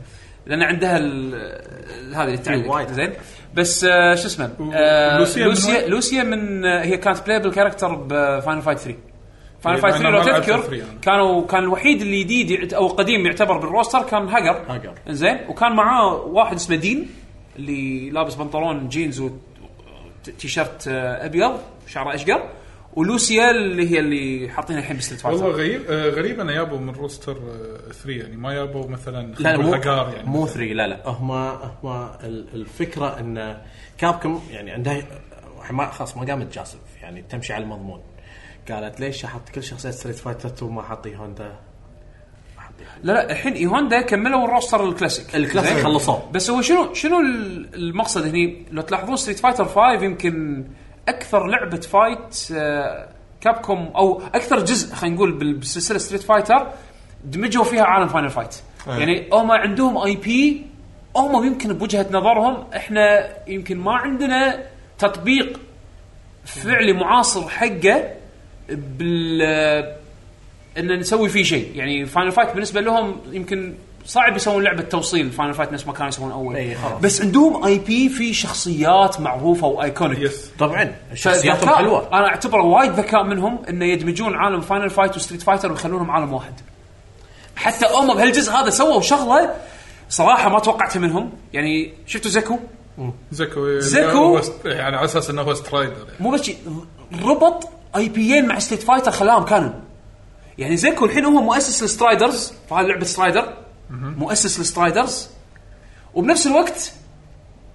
Speaker 1: لان عندها ال... ال- هذه اللي تعلق
Speaker 4: وايد.
Speaker 1: زين بس آه، شو اسمه
Speaker 3: و-
Speaker 1: آه،
Speaker 3: لوسيا من
Speaker 1: لوسيا
Speaker 3: وين؟
Speaker 1: لوسيا من آه، هي كانت بلايبل كاركتر بفاينل فايت 3 فاينل
Speaker 3: إيه،
Speaker 1: فايت
Speaker 3: أنا
Speaker 1: 3 لو
Speaker 3: ما لعبت
Speaker 1: تذكر
Speaker 3: 3 أنا.
Speaker 1: كانوا كان الوحيد اللي جديد يعت- او قديم يعتبر بالروستر كان هاجر
Speaker 4: هاجر.
Speaker 1: انزين وكان معاه واحد اسمه دين اللي لابس بنطلون جينز وتيشيرت آه، ابيض شعره اشقر ولوسيا اللي هي اللي حاطينها الحين بستريت فايتر
Speaker 3: والله غريب آه، غريب انه يابوا من روستر 3 يعني ما يابوا مثلا
Speaker 4: لا مو
Speaker 3: هجار يعني
Speaker 4: مو 3 لا لا هم هم ال- الفكره ان كابكم يعني عندها ما خلاص ما قامت جاسف يعني تمشي على المضمون قالت ليش حط كل شخصيه ستريت فايتر وما حطي هوندا
Speaker 1: لا لا الحين اي هوندا كملوا الروستر الكلاسيك
Speaker 4: الكلاسيك
Speaker 1: زين؟
Speaker 4: خلصوه.
Speaker 1: بس هو شنو شنو ال- المقصد هني لو تلاحظون ستريت فايتر 5 يمكن اكثر لعبه فايت آه، كابكوم او اكثر جزء خلينا نقول بال- بالسلسله ستريت فايتر دمجوا فيها عالم فاينل فايت
Speaker 2: أي.
Speaker 1: يعني هم عندهم اي بي هم يمكن بوجهه نظرهم احنا يمكن ما عندنا تطبيق فعلي معاصر حقه بال ان نسوي فيه شيء يعني فاينل فايت بالنسبه لهم يمكن صعب يسوون لعبه توصيل فاينل فايت نفس ما كانوا يسوون اول
Speaker 4: إي إيه، خلاص.
Speaker 1: بس عندهم اي بي في شخصيات معروفه وايكونيك
Speaker 3: يس
Speaker 4: طبعا شخصياتهم
Speaker 1: فذكاء
Speaker 4: حلوه
Speaker 1: انا اعتبره وايد ذكاء منهم انه يدمجون عالم فاينل فايت وستريت فايتر ويخلونهم عالم واحد حتى هم بهالجزء هذا سووا شغله صراحه ما توقعتها منهم يعني شفتوا زكو
Speaker 3: زكو
Speaker 1: زكو.
Speaker 3: هو ست- آه، يعني على اساس انه هو سترايدر يعني.
Speaker 1: مو بس شي، ربط اي بيين مع ستيت فايتر خلاهم كانون يعني زيكو الحين هو مؤسس السترايدرز فهذه لعبه سترايدر مؤسس السترايدرز وبنفس الوقت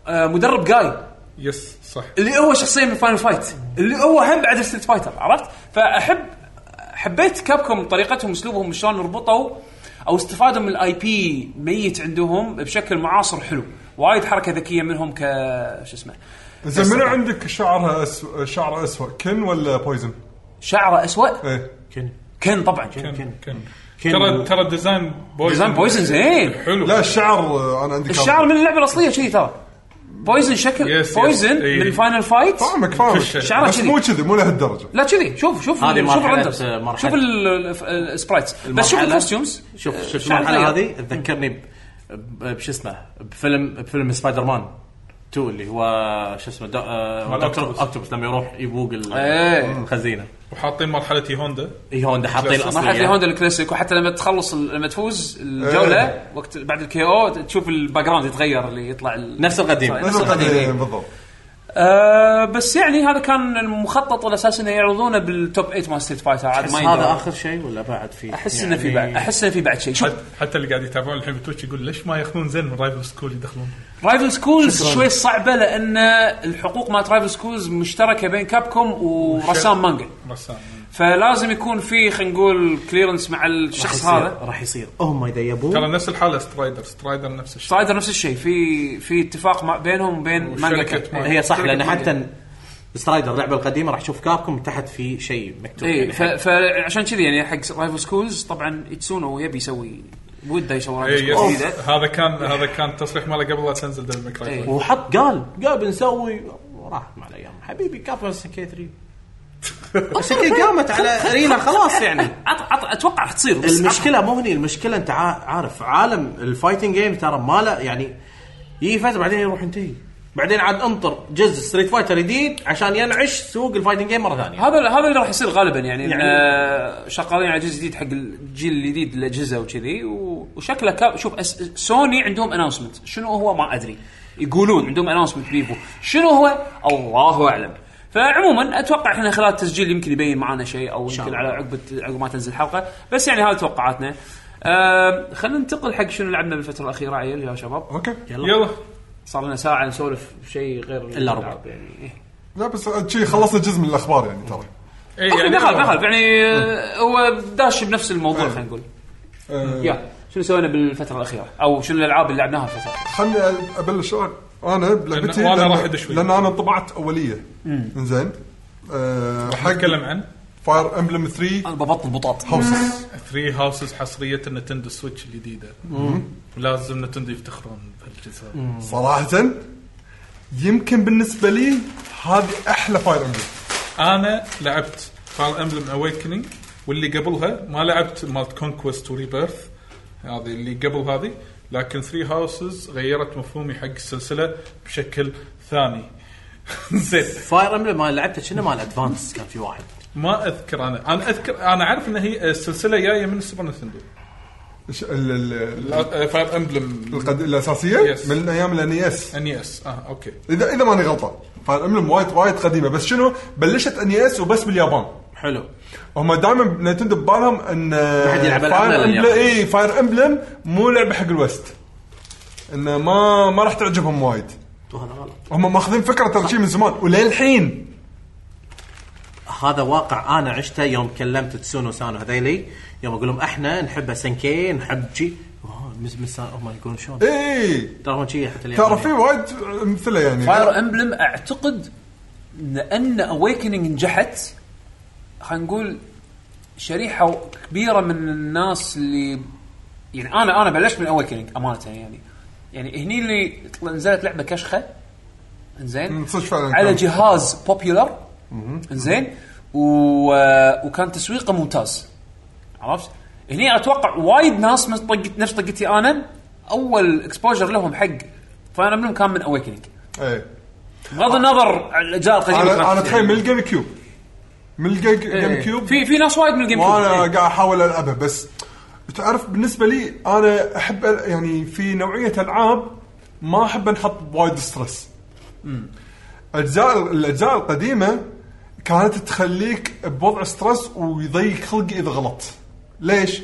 Speaker 1: آه، مدرب جاي
Speaker 3: يس صح
Speaker 1: اللي هو شخصيه من فاينل فايت اللي هو هم بعد ستريت فايتر عرفت فاحب حبيت كابكم طريقتهم اسلوبهم شلون ربطوا او استفادوا من الاي بي ميت عندهم بشكل معاصر حلو وايد حركه ذكيه منهم ك شو اسمه
Speaker 2: زين منو عندك شعرها أسو... شعره اسوء كن ولا بويزن؟
Speaker 1: شعره اسوء
Speaker 2: ايه
Speaker 4: كن
Speaker 1: كن طبعا
Speaker 4: كن
Speaker 3: كن
Speaker 4: كن
Speaker 3: ترى ترى الديزاين بويزن
Speaker 1: ديزاين بويزن زين
Speaker 3: حلو
Speaker 2: لا الشعر آه، انا عندي
Speaker 1: الشعر من اللعبه الاصليه كذي ترى بويزن شكل
Speaker 3: يس، يس،
Speaker 1: بويزن
Speaker 3: إي.
Speaker 1: من فاينل فايت
Speaker 2: فاهمك فاهمك
Speaker 3: كل شيء.
Speaker 1: شعره
Speaker 2: بس
Speaker 1: كذي.
Speaker 2: مو كذي مو لهالدرجه
Speaker 1: لا كذي شوف شوف
Speaker 4: هذه
Speaker 1: شوف
Speaker 4: مرحلة-
Speaker 1: الرندرز
Speaker 4: مرحلة.
Speaker 1: شوف ال- ال- السبرايتس بس شوف
Speaker 4: المرحلة-
Speaker 1: الكوستيومز
Speaker 4: شوف شوف
Speaker 1: شعر
Speaker 4: المرحله
Speaker 1: غير.
Speaker 4: هذه تذكرني ب- ب- بشو اسمه بفيلم بفيلم سبايدر مان 2 اللي هو شو اسمه دو- آه،
Speaker 3: مال
Speaker 4: دكتور
Speaker 3: أوكتوبوس.
Speaker 4: اوكتوبس لما يروح يبوق ال-
Speaker 1: إيه.
Speaker 4: الخزينه
Speaker 3: وحاطين مرحله هوندا
Speaker 4: اي هوندا حاطين
Speaker 3: مرحلة
Speaker 1: مرحله
Speaker 4: الاصليه
Speaker 1: الهوندا الكلاسيك وحتى لما تخلص ال- لما تفوز الجوله
Speaker 2: إيه.
Speaker 1: وقت بعد الكي او تشوف الباك جراوند يتغير اللي يطلع ال-
Speaker 4: نفس القديم.
Speaker 1: نفس
Speaker 2: نفس
Speaker 1: القديم
Speaker 2: القضية،
Speaker 1: إيه.
Speaker 2: بالضبط
Speaker 1: آه، بس يعني هذا كان المخطط الاساسي انه يعرضونه بالتوب 8 مال ستريت فايتر عاد
Speaker 4: بس
Speaker 1: ما
Speaker 4: هذا
Speaker 1: يندرى.
Speaker 4: اخر شيء ولا بعد في
Speaker 1: احس
Speaker 4: يعني-
Speaker 1: انه في بعد احس انه في بعد شيء شوف
Speaker 3: حت- حتى اللي قاعد يتابعون الحين بتويتش يقول ليش ما ياخذون زين من رايفل سكول يدخلون
Speaker 1: رايفل سكولز شوي صعبه لان الحقوق مالت رايفل سكولز مشتركه بين كابكوم ورسام مانجا
Speaker 3: رسام
Speaker 1: فلازم يكون في خلينا نقول كليرنس مع الشخص
Speaker 4: راح يصير-
Speaker 1: هذا
Speaker 4: راح يصير Oh هم اذا يبون
Speaker 3: ترى نفس الحاله سترايدر سترايدر نفس الشيء
Speaker 1: سترايدر نفس الشيء في في اتفاق ما بينهم وبين مانجا
Speaker 3: وشركة
Speaker 1: كاب.
Speaker 3: مانجا.
Speaker 4: هي صح لان حتى سترايدر اللعبه القديمه راح تشوف كابكم تحت في شيء مكتوب
Speaker 1: اي
Speaker 4: يعني
Speaker 1: إيه، ف- فعشان كذي يعني حق رايفل سكولز طبعا يتسونو يبي يسوي وده يسوي
Speaker 3: إيه،
Speaker 1: رايفل
Speaker 3: يس.
Speaker 1: سكولز جديدة.
Speaker 3: هذا كان هذا كان تصريح ماله قبل لا تنزل ديفل
Speaker 1: إيه.
Speaker 3: ماكراي
Speaker 4: وحط قال قال بنسوي راحت مع الايام حبيبي كابكم سي كي 3 بس هي قامت على رينا خلاص يعني
Speaker 1: عط عط اتوقع راح تصير بس
Speaker 4: المشكله مو هني المشكله انت عا- عارف عالم الفايتنج جيم ترى ما له يعني يجي فتره بعدين يروح ينتهي بعدين عاد انطر جزء ستريت فايتر جديد عشان ينعش سوق الفايتنج جيم مره ثانيه
Speaker 1: هذا هذا اللي راح يصير غالبا يعني,
Speaker 4: يعني-
Speaker 1: يعني آه شغالين على جزء جديد حق الجيل الجديد الاجهزه وكذي و- وشكله كاب شوف أس سوني عندهم اناونسمنت شنو هو ما ادري يقولون عندهم اناونسمنت بيفو شنو هو الله اعلم فعموما اتوقع احنا خلال التسجيل يمكن يبين معنا شيء او يمكن على عقب عقب ما تنزل الحلقه بس يعني هذه توقعاتنا آه خلينا ننتقل حق شنو لعبنا بالفتره الاخيره عيل يا شباب
Speaker 2: اوكي
Speaker 3: يلا
Speaker 1: صار لنا ساعه نسولف شيء غير
Speaker 4: إلا ربع.
Speaker 1: الألعاب يعني إيه.
Speaker 2: لا بس شي خلصنا جزء من الاخبار يعني ترى
Speaker 3: إيه،
Speaker 1: يعني ما يخالف ما
Speaker 3: يلا.
Speaker 1: يخالف يعني آه، هو داش بنفس الموضوع خلينا نقول
Speaker 2: آه،
Speaker 1: يا شنو سوينا بالفتره الاخيره او شنو الالعاب اللي لعبناها الفتره الأخيرة؟
Speaker 2: خلني ابلش انا بلعبتي
Speaker 3: وأنا
Speaker 2: لأن-
Speaker 3: راح أدش وياك.
Speaker 2: لان انا انطبعت اوليه انزين آه، حق
Speaker 3: نتكلم عن
Speaker 2: فاير امبلم 3
Speaker 1: انا ببطل بطاط
Speaker 2: هاوسز
Speaker 3: 3 هاوسز حصريه نتندو سويتش الجديده ولازم نتندو يفتخرون بهالجزء
Speaker 2: صراحه يمكن بالنسبه لي هذه احلى فاير امبلم
Speaker 3: انا لعبت فاير امبلم اويكننج واللي قبلها ما لعبت مالت كونكوست وريبيرث هذه اللي قبل هذه لكن 3 هاوسز غيرت مفهومي حق السلسله بشكل ثاني زين
Speaker 4: فاير امبلم ما لعبته كنا مال ادفانس كان في واحد
Speaker 3: ما اذكر انا انا اذكر انا اعرف ان هي السلسله جايه من السوبر نتندو
Speaker 2: إيش ال- ال-
Speaker 3: فاير امبلم
Speaker 2: القد- الاساسيه
Speaker 3: Yes.
Speaker 2: من ايام الان اس
Speaker 3: ان اس اه اوكي
Speaker 2: اذا اذا ماني غلطان فاير امبلم وايد وايد قديمه بس شنو بلشت ان اس وبس باليابان
Speaker 4: حلو
Speaker 2: هم دائما نتندو ببالهم ان
Speaker 4: حد يلعب ألعاب
Speaker 2: فاير
Speaker 4: إلا
Speaker 2: امبلم
Speaker 4: اليابان.
Speaker 2: اي فاير امبلم مو لعبه حق الوست انه ما ما راح تعجبهم وايد
Speaker 4: وهذا غلط
Speaker 2: هم ماخذين فكره ترى شي من زمان وللحين
Speaker 4: هذا واقع انا عشته يوم كلمت تسونو سانو هذيلي يوم اقول لهم احنا نحب سنكي نحب جي آه، مس مس هم يقولون شلون
Speaker 2: اي
Speaker 4: ترى هم شي حتى
Speaker 2: ترى
Speaker 4: اليابانيين.
Speaker 2: في وايد امثله يعني
Speaker 1: فاير امبلم اعتقد لان اويكننج نجحت خلينا نقول شريحه كبيره من الناس اللي يعني انا انا بلشت من اويكننج امانه يعني يعني هني اللي نزلت لعبه كشخه
Speaker 2: أمم،
Speaker 1: انزين
Speaker 2: صدق فعلاً
Speaker 1: على
Speaker 2: كان.
Speaker 1: جهاز بوبيولر انزين و... آه، وكان تسويقه ممتاز عرفت؟ هني اتوقع وايد ناس مثل طقت نفس طقتي انا اول اكسبوجر لهم حق فاير امبلم كان من اويكننج
Speaker 2: اي آه.
Speaker 1: بغض النظر عن الاجزاء القديمه
Speaker 2: انا انا
Speaker 1: كانت-
Speaker 2: اتخيل من الجيم كيوب من الجيم
Speaker 1: إيه.
Speaker 2: جيم كيوب
Speaker 1: في في ناس وايد من الجيم كيوب
Speaker 2: وانا
Speaker 1: إيه.
Speaker 2: قاعد احاول العبها بس تعرف بالنسبه لي انا احب أل- يعني في نوعيه العاب ما احب انحط بوايد ستريس اجزاء الاجزاء القديمه كانت تخليك بوضع ستريس ويضيق خلقي اذا غلطت ليش؟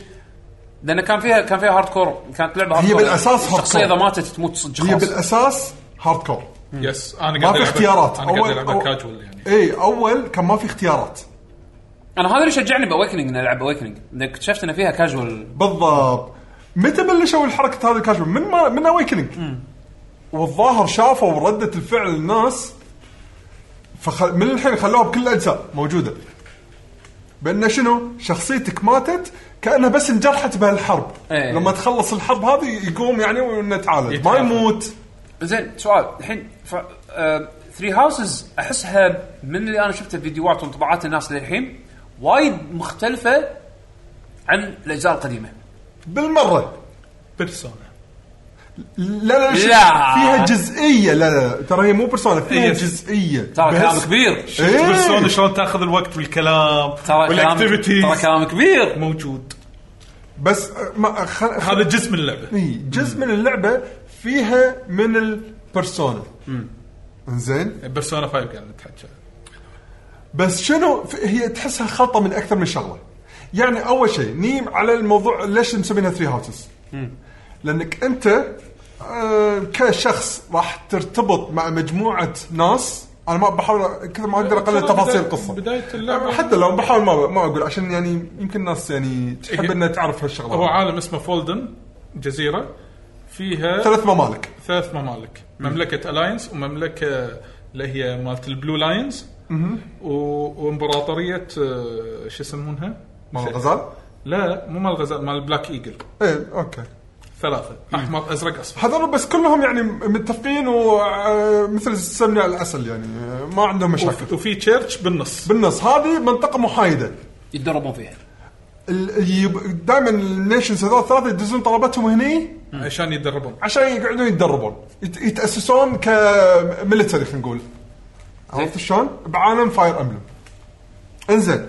Speaker 1: لان كان فيها كان فيها هارد كور كانت لعبه هارد
Speaker 2: هي
Speaker 1: كور.
Speaker 2: بالأساس هارد
Speaker 1: الشخصيه
Speaker 2: كور.
Speaker 1: اذا ماتت تموت صدق
Speaker 2: هي
Speaker 1: خلاص
Speaker 2: بالاساس هارد كور
Speaker 3: يس انا
Speaker 2: ما
Speaker 3: قاعد
Speaker 2: في
Speaker 3: ألعبها-
Speaker 2: اختيارات
Speaker 3: انا قاعد
Speaker 2: أو-
Speaker 3: العبها كاجوال يعني
Speaker 2: اي اول كان ما في اختيارات
Speaker 1: انا هذا اللي شجعني باويكننج اني العب اويكننج اكتشفت ان فيها كاجوال
Speaker 2: بالضبط متى بلشوا الحركه هذه الكاش من ما من اويكننج والظاهر شافوا رده الفعل الناس فخ... من الحين خلوها بكل الاجزاء موجوده بان شنو شخصيتك ماتت كانها بس انجرحت بهالحرب
Speaker 1: إيه.
Speaker 2: لما تخلص الحرب هذه يقوم يعني وانه يتعالج ما
Speaker 3: يتعافى.
Speaker 2: يموت
Speaker 1: زين سؤال الحين ف... ثري هاوسز احسها من اللي انا شفته فيديوهات وانطباعات الناس للحين وايد مختلفه عن الاجزاء القديمه
Speaker 2: بالمره
Speaker 3: بيرسونا
Speaker 2: لا لا, لا.
Speaker 1: لا.
Speaker 2: فيها جزئيه لا لا ترى هي مو بيرسونا فيها
Speaker 3: إيه.
Speaker 2: جزئيه
Speaker 1: ترى كلام
Speaker 2: بس-
Speaker 1: كبير
Speaker 2: إيه.
Speaker 3: بيرسونا شلون تاخذ الوقت بالكلام
Speaker 1: ترى كلام ترى
Speaker 3: والاكتيفيتيز
Speaker 1: كلام كبير
Speaker 3: موجود
Speaker 2: بس ما خل...
Speaker 3: هذا جزء من اللعبه
Speaker 2: إي، جزء من اللعبه فيها من البرسونا انزين
Speaker 3: بيرسونا 5 قاعد نتحكى
Speaker 2: بس شنو ف- هي تحسها خلطه من اكثر من شغله يعني اول شيء نيم على الموضوع ليش مسمينها ثري هاوسز لانك انت آه، كشخص راح ترتبط مع مجموعه ناس انا ما بحاول كثر ما اقدر اقلل
Speaker 3: ترى
Speaker 2: تفاصيل
Speaker 3: بداية-
Speaker 2: القصه
Speaker 3: بداية اللعبة-
Speaker 2: حتى لو بحاول ما ما اقول عشان يعني يمكن الناس يعني تحب
Speaker 3: إيه.
Speaker 2: انها تعرف هالشغله
Speaker 3: هو عالم اسمه فولدن جزيره فيها
Speaker 2: ثلاث ممالك
Speaker 3: ثلاث ممالك مملكه الاينز ومملكه اللي هي مالت البلو لاينز و- وامبراطوريه آه، شو يسمونها؟
Speaker 2: مال
Speaker 3: شيء.
Speaker 2: الغزال؟
Speaker 3: لا مو مال الغزال مال بلاك ايجل
Speaker 2: ايه اوكي
Speaker 3: ثلاثه احمر ازرق اصفر
Speaker 2: هذول بس كلهم يعني متفقين آه، ومثل السمنة على العسل يعني آه، ما عندهم مشاكل
Speaker 3: وف- وفي تشيرش بالنص
Speaker 2: بالنص هذه منطقه محايده
Speaker 1: يتدربون فيها
Speaker 2: دائما النيشنز هذول الثلاثه يدزون طلبتهم هني
Speaker 3: عشان يتدربون
Speaker 2: عشان يقعدون يتدربون يت- يتاسسون كملتري خلينا نقول عرفت شلون؟ بعالم فاير امبلم انزين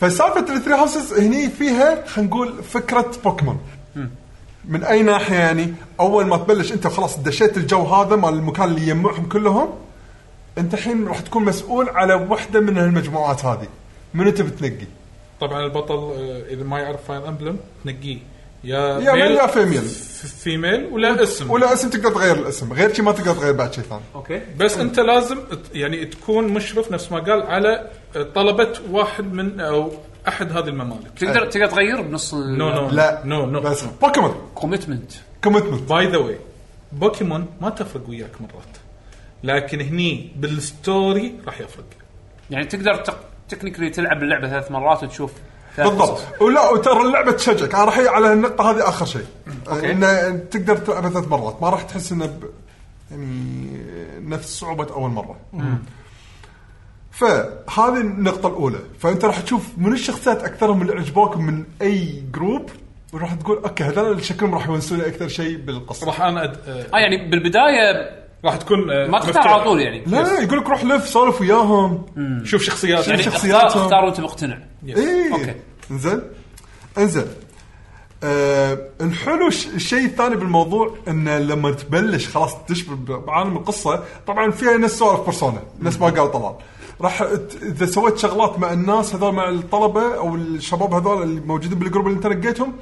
Speaker 2: فسالفه الثري هاوسز هني فيها خلينا نقول فكره بوكيمون من اي ناحيه يعني اول ما تبلش انت خلاص دشيت الجو هذا مال المكان اللي يجمعهم كلهم انت الحين راح تكون مسؤول على وحده من هالمجموعات هذه منو تبي تنقي؟
Speaker 3: طبعا البطل آه، اذا ما يعرف فاير امبلم تنقيه يا
Speaker 2: يا ميل يا فيميل.
Speaker 3: ف- فيميل ولا اسم
Speaker 2: ولا اسم تقدر تغير الاسم غير شي ما تقدر تغير بعد شيء ثاني
Speaker 1: اوكي
Speaker 3: بس انت لازم ت- يعني تكون مشرف نفس ما قال على طلبه واحد من او احد هذه الممالك
Speaker 1: تقدر تقدر تغير بنص
Speaker 3: نو نو
Speaker 2: لا
Speaker 3: نو نو
Speaker 2: بس بوكيمون
Speaker 1: كوميتمنت
Speaker 2: كوميتمنت
Speaker 3: باي ذا واي بوكيمون ما تفرق وياك مرات لكن هني بالستوري راح يفرق
Speaker 1: يعني تقدر تق... تكنيكلي تلعب اللعبه ثلاث مرات وتشوف ثلاث قصص.
Speaker 2: بالضبط ولا وترى اللعبه تشجعك انا راح أجي على النقطه هذه اخر شيء انه تقدر تلعبها ثلاث مرات ما راح تحس انه ب... يعني نفس صعوبه اول مره فهذه النقطة الأولى، فأنت راح تشوف من الشخصيات أكثرهم اللي عجبوك من أي جروب وراح تقول أوكي هذول اللي شكلهم راح يونسوني أكثر شيء بالقصة.
Speaker 3: راح انا أد... آه،
Speaker 1: اه يعني بالبدايه
Speaker 3: راح تكون آه،
Speaker 1: ما تختار
Speaker 3: مفتوح.
Speaker 1: على طول يعني
Speaker 2: لا لا يقول لك روح لف سولف وياهم
Speaker 3: شوف شخصيات
Speaker 1: يعني
Speaker 3: يعني
Speaker 2: شخص-
Speaker 1: اختار
Speaker 2: شخصياتهم.
Speaker 1: اختار وانت مقتنع
Speaker 2: ايه
Speaker 1: أوكي.
Speaker 2: انزين انزين آه الحلو ش- الشيء الثاني بالموضوع انه لما تبلش خلاص تشبه ب- بعالم القصه طبعا فيها نفس سوالف بيرسونا نفس ما قال طلال راح ت- اذا سويت شغلات مع الناس هذول مع الطلبه او الشباب هذول اللي موجودين بالجروب اللي انت نقيتهم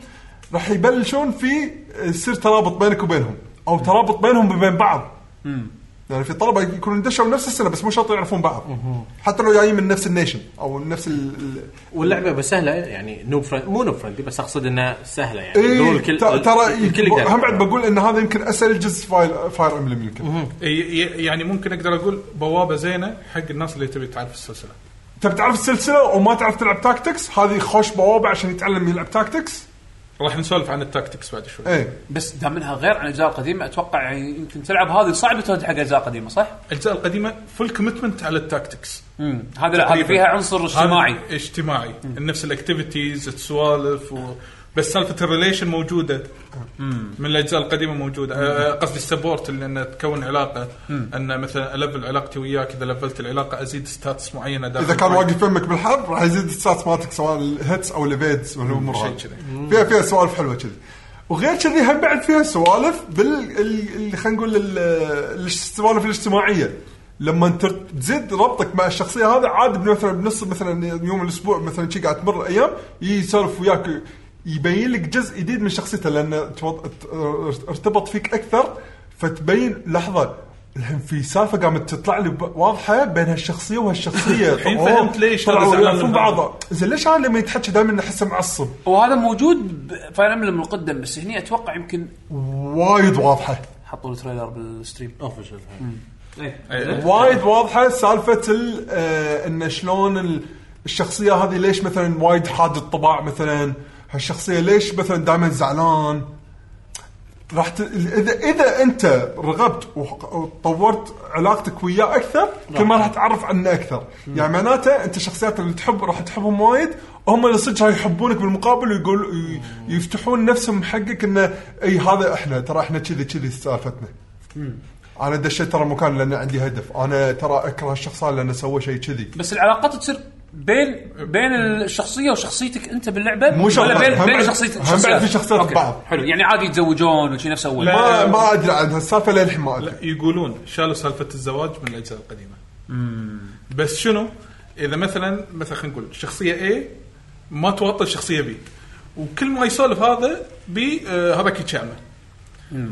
Speaker 2: راح يبلشون في آه، يصير ترابط بينك وبينهم او ترابط بينهم وبين بعض يعني في طلبه يكونوا دشوا نفس السنه بس مو شرط يعرفون بعض حتى لو جايين من نفس النيشن او نفس ال- ال-
Speaker 4: واللعبه بس سهله يعني نوب فريند مو نوب فريندلي بس اقصد انها سهله يعني
Speaker 2: ايه
Speaker 4: الكل-
Speaker 2: ت- ترى
Speaker 4: الكل
Speaker 2: يمكن-
Speaker 4: يقدر.
Speaker 2: هم بعد بقول ان هذا يمكن اسهل جزء فاير فاير امبلم يمكن
Speaker 3: يعني ممكن اقدر اقول بوابه زينه حق الناس اللي تبي تعرف السلسله
Speaker 2: تبي تعرف السلسله وما تعرف تلعب تاكتكس هذه خوش بوابه عشان يتعلم يلعب تاكتكس
Speaker 3: راح نسولف عن التاكتكس بعد شوي
Speaker 2: ايه
Speaker 1: بس دام انها غير عن الاجزاء القديمه اتوقع يعني يمكن تلعب هذه صعبه ترد حق اجزاء قديمه صح؟
Speaker 3: الاجزاء القديمه فل كوميتمنت على التاكتكس
Speaker 1: امم هذا لا هذه فيها عنصر اجتماعي
Speaker 3: هذا اجتماعي نفس الاكتيفيتيز السوالف و... بس سالفه الريليشن موجوده من الاجزاء القديمه موجوده آه، قصدي السبورت اللي انه تكون علاقه ان مثلا الفل علاقتي وياك اذا لفلت العلاقه ازيد ستاتس معينه داخل
Speaker 2: اذا كان
Speaker 3: الفايت.
Speaker 2: واقف يمك بالحرب راح يزيد الستاتس مالتك سواء الهيتس او الفيدز والامور
Speaker 3: شيء
Speaker 2: هذه.
Speaker 3: كذي.
Speaker 2: فيها فيها سوالف حلوه كذي وغير كذي هم بعد فيها سوالف بال ال- ال- خلينا نقول ال- ال- السوالف الاجتماعيه لما تر- تزيد ربطك مع الشخصيه هذا عاد مثلا بنص مثلا يوم الاسبوع مثلا شي قاعد تمر الايام يسولف وياك يبين لك جزء جديد من شخصيته لان توض- ارتبط فيك اكثر فتبين لحظه الحين في سالفه قامت تطلع لي ب- واضحه بين هالشخصيه وهالشخصيه
Speaker 3: الحين
Speaker 2: طلعوا-
Speaker 3: فهمت ليش
Speaker 2: طلعوا
Speaker 3: هذا زعلان
Speaker 2: يعرفون
Speaker 3: من
Speaker 2: بعض زين ليش انا لما يتحكى دائما احسه معصب
Speaker 1: وهذا موجود بفاير امبلم القدم بس هني اتوقع يمكن
Speaker 2: وايد واضحه
Speaker 1: حطوا التريلر بالستريم
Speaker 4: اوفشل
Speaker 2: إيه.
Speaker 3: أي-
Speaker 2: وايد واضحه سالفه ال- آه، ان شلون ال- الشخصيه هذه ليش مثلا وايد حاد الطباع مثلا هالشخصيه ليش مثلا دائما زعلان راح ت... اذا اذا انت رغبت وح- وطورت علاقتك وياه اكثر كل ما راح تعرف عنه اكثر يعني معناته انت الشخصيات اللي تحب راح تحبهم وايد هم اللي صدق راح يحبونك بالمقابل ويقول ي- يفتحون نفسهم حقك انه اي هذا احنا ترى احنا كذي كذي سالفتنا انا دشيت ترى مكان لان عندي هدف انا ترى اكره الشخص هذا لانه سوى شيء كذي
Speaker 1: بس العلاقات تصير بين بين الشخصيه وشخصيتك انت باللعبه
Speaker 2: مو شرط.
Speaker 1: ولا بين
Speaker 2: هم
Speaker 1: بين
Speaker 2: بعد-
Speaker 1: شخصيه
Speaker 2: هم بعد في شخصيات
Speaker 1: أوكي.
Speaker 2: بعض.
Speaker 1: حلو يعني عادي يتزوجون وشي نفس اول
Speaker 3: لا.
Speaker 2: ما ما ادري عن هالسالفه للحين ما ادري
Speaker 3: لا يقولون شالوا سالفه الزواج من الاجزاء القديمه بس شنو اذا مثلا مثلا خلينا نقول شخصيه A ما توطى الشخصيه B وكل ما يسولف هذا بي آه هذاك يتشعمه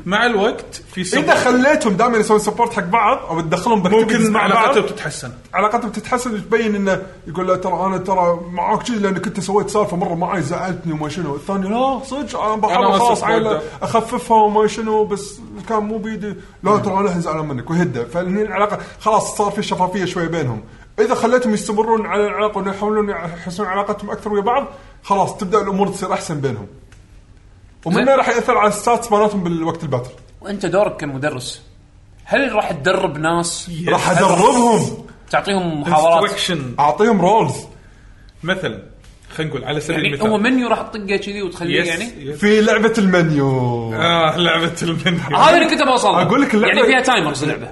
Speaker 3: مع الوقت في support.
Speaker 2: اذا خليتهم دائما يسوون سبورت حق بعض او تدخلهم
Speaker 3: ممكن
Speaker 2: بactivities مع
Speaker 3: علاقته
Speaker 2: بعض
Speaker 3: بتتحسن
Speaker 2: علاقتهم بتتحسن وتبين انه يقول له ترى انا ترى معاك كذي لانك انت سويت سالفه مره معي زعلتني وما شنو الثاني لا صدق انا
Speaker 3: أنا
Speaker 2: بحاول
Speaker 3: ما
Speaker 2: خلاص
Speaker 3: صدق
Speaker 2: عيلة
Speaker 3: أقدر.
Speaker 2: اخففها وما شنو بس كان مو بيدي لا ترى انا الحين زعلان منك وهده فهني العلاقه خلاص صار في شفافيه شويه بينهم اذا خليتهم يستمرون على العلاقه ويحاولون يحسنون علاقتهم اكثر ويا بعض خلاص تبدا الامور تصير احسن بينهم ومنها
Speaker 1: زين.
Speaker 2: راح ياثر على الستاتس مالتهم بالوقت الباتل
Speaker 1: وانت دورك كمدرس هل راح تدرب ناس
Speaker 2: راح ادربهم
Speaker 1: تعطيهم محاضرات
Speaker 3: انستركشن
Speaker 2: اعطيهم رولز
Speaker 3: مثلا خلينا نقول على سبيل
Speaker 1: يعني
Speaker 3: المثال
Speaker 1: هو منيو راح تطقه كذي وتخليه
Speaker 3: يس
Speaker 1: يعني
Speaker 3: يس.
Speaker 2: في لعبه المنيو
Speaker 3: اه لعبه المنيو
Speaker 1: هذا اللي كنت بوصل له.
Speaker 2: أقول لك اللعبة-
Speaker 1: يعني فيها تايمرز اللعبه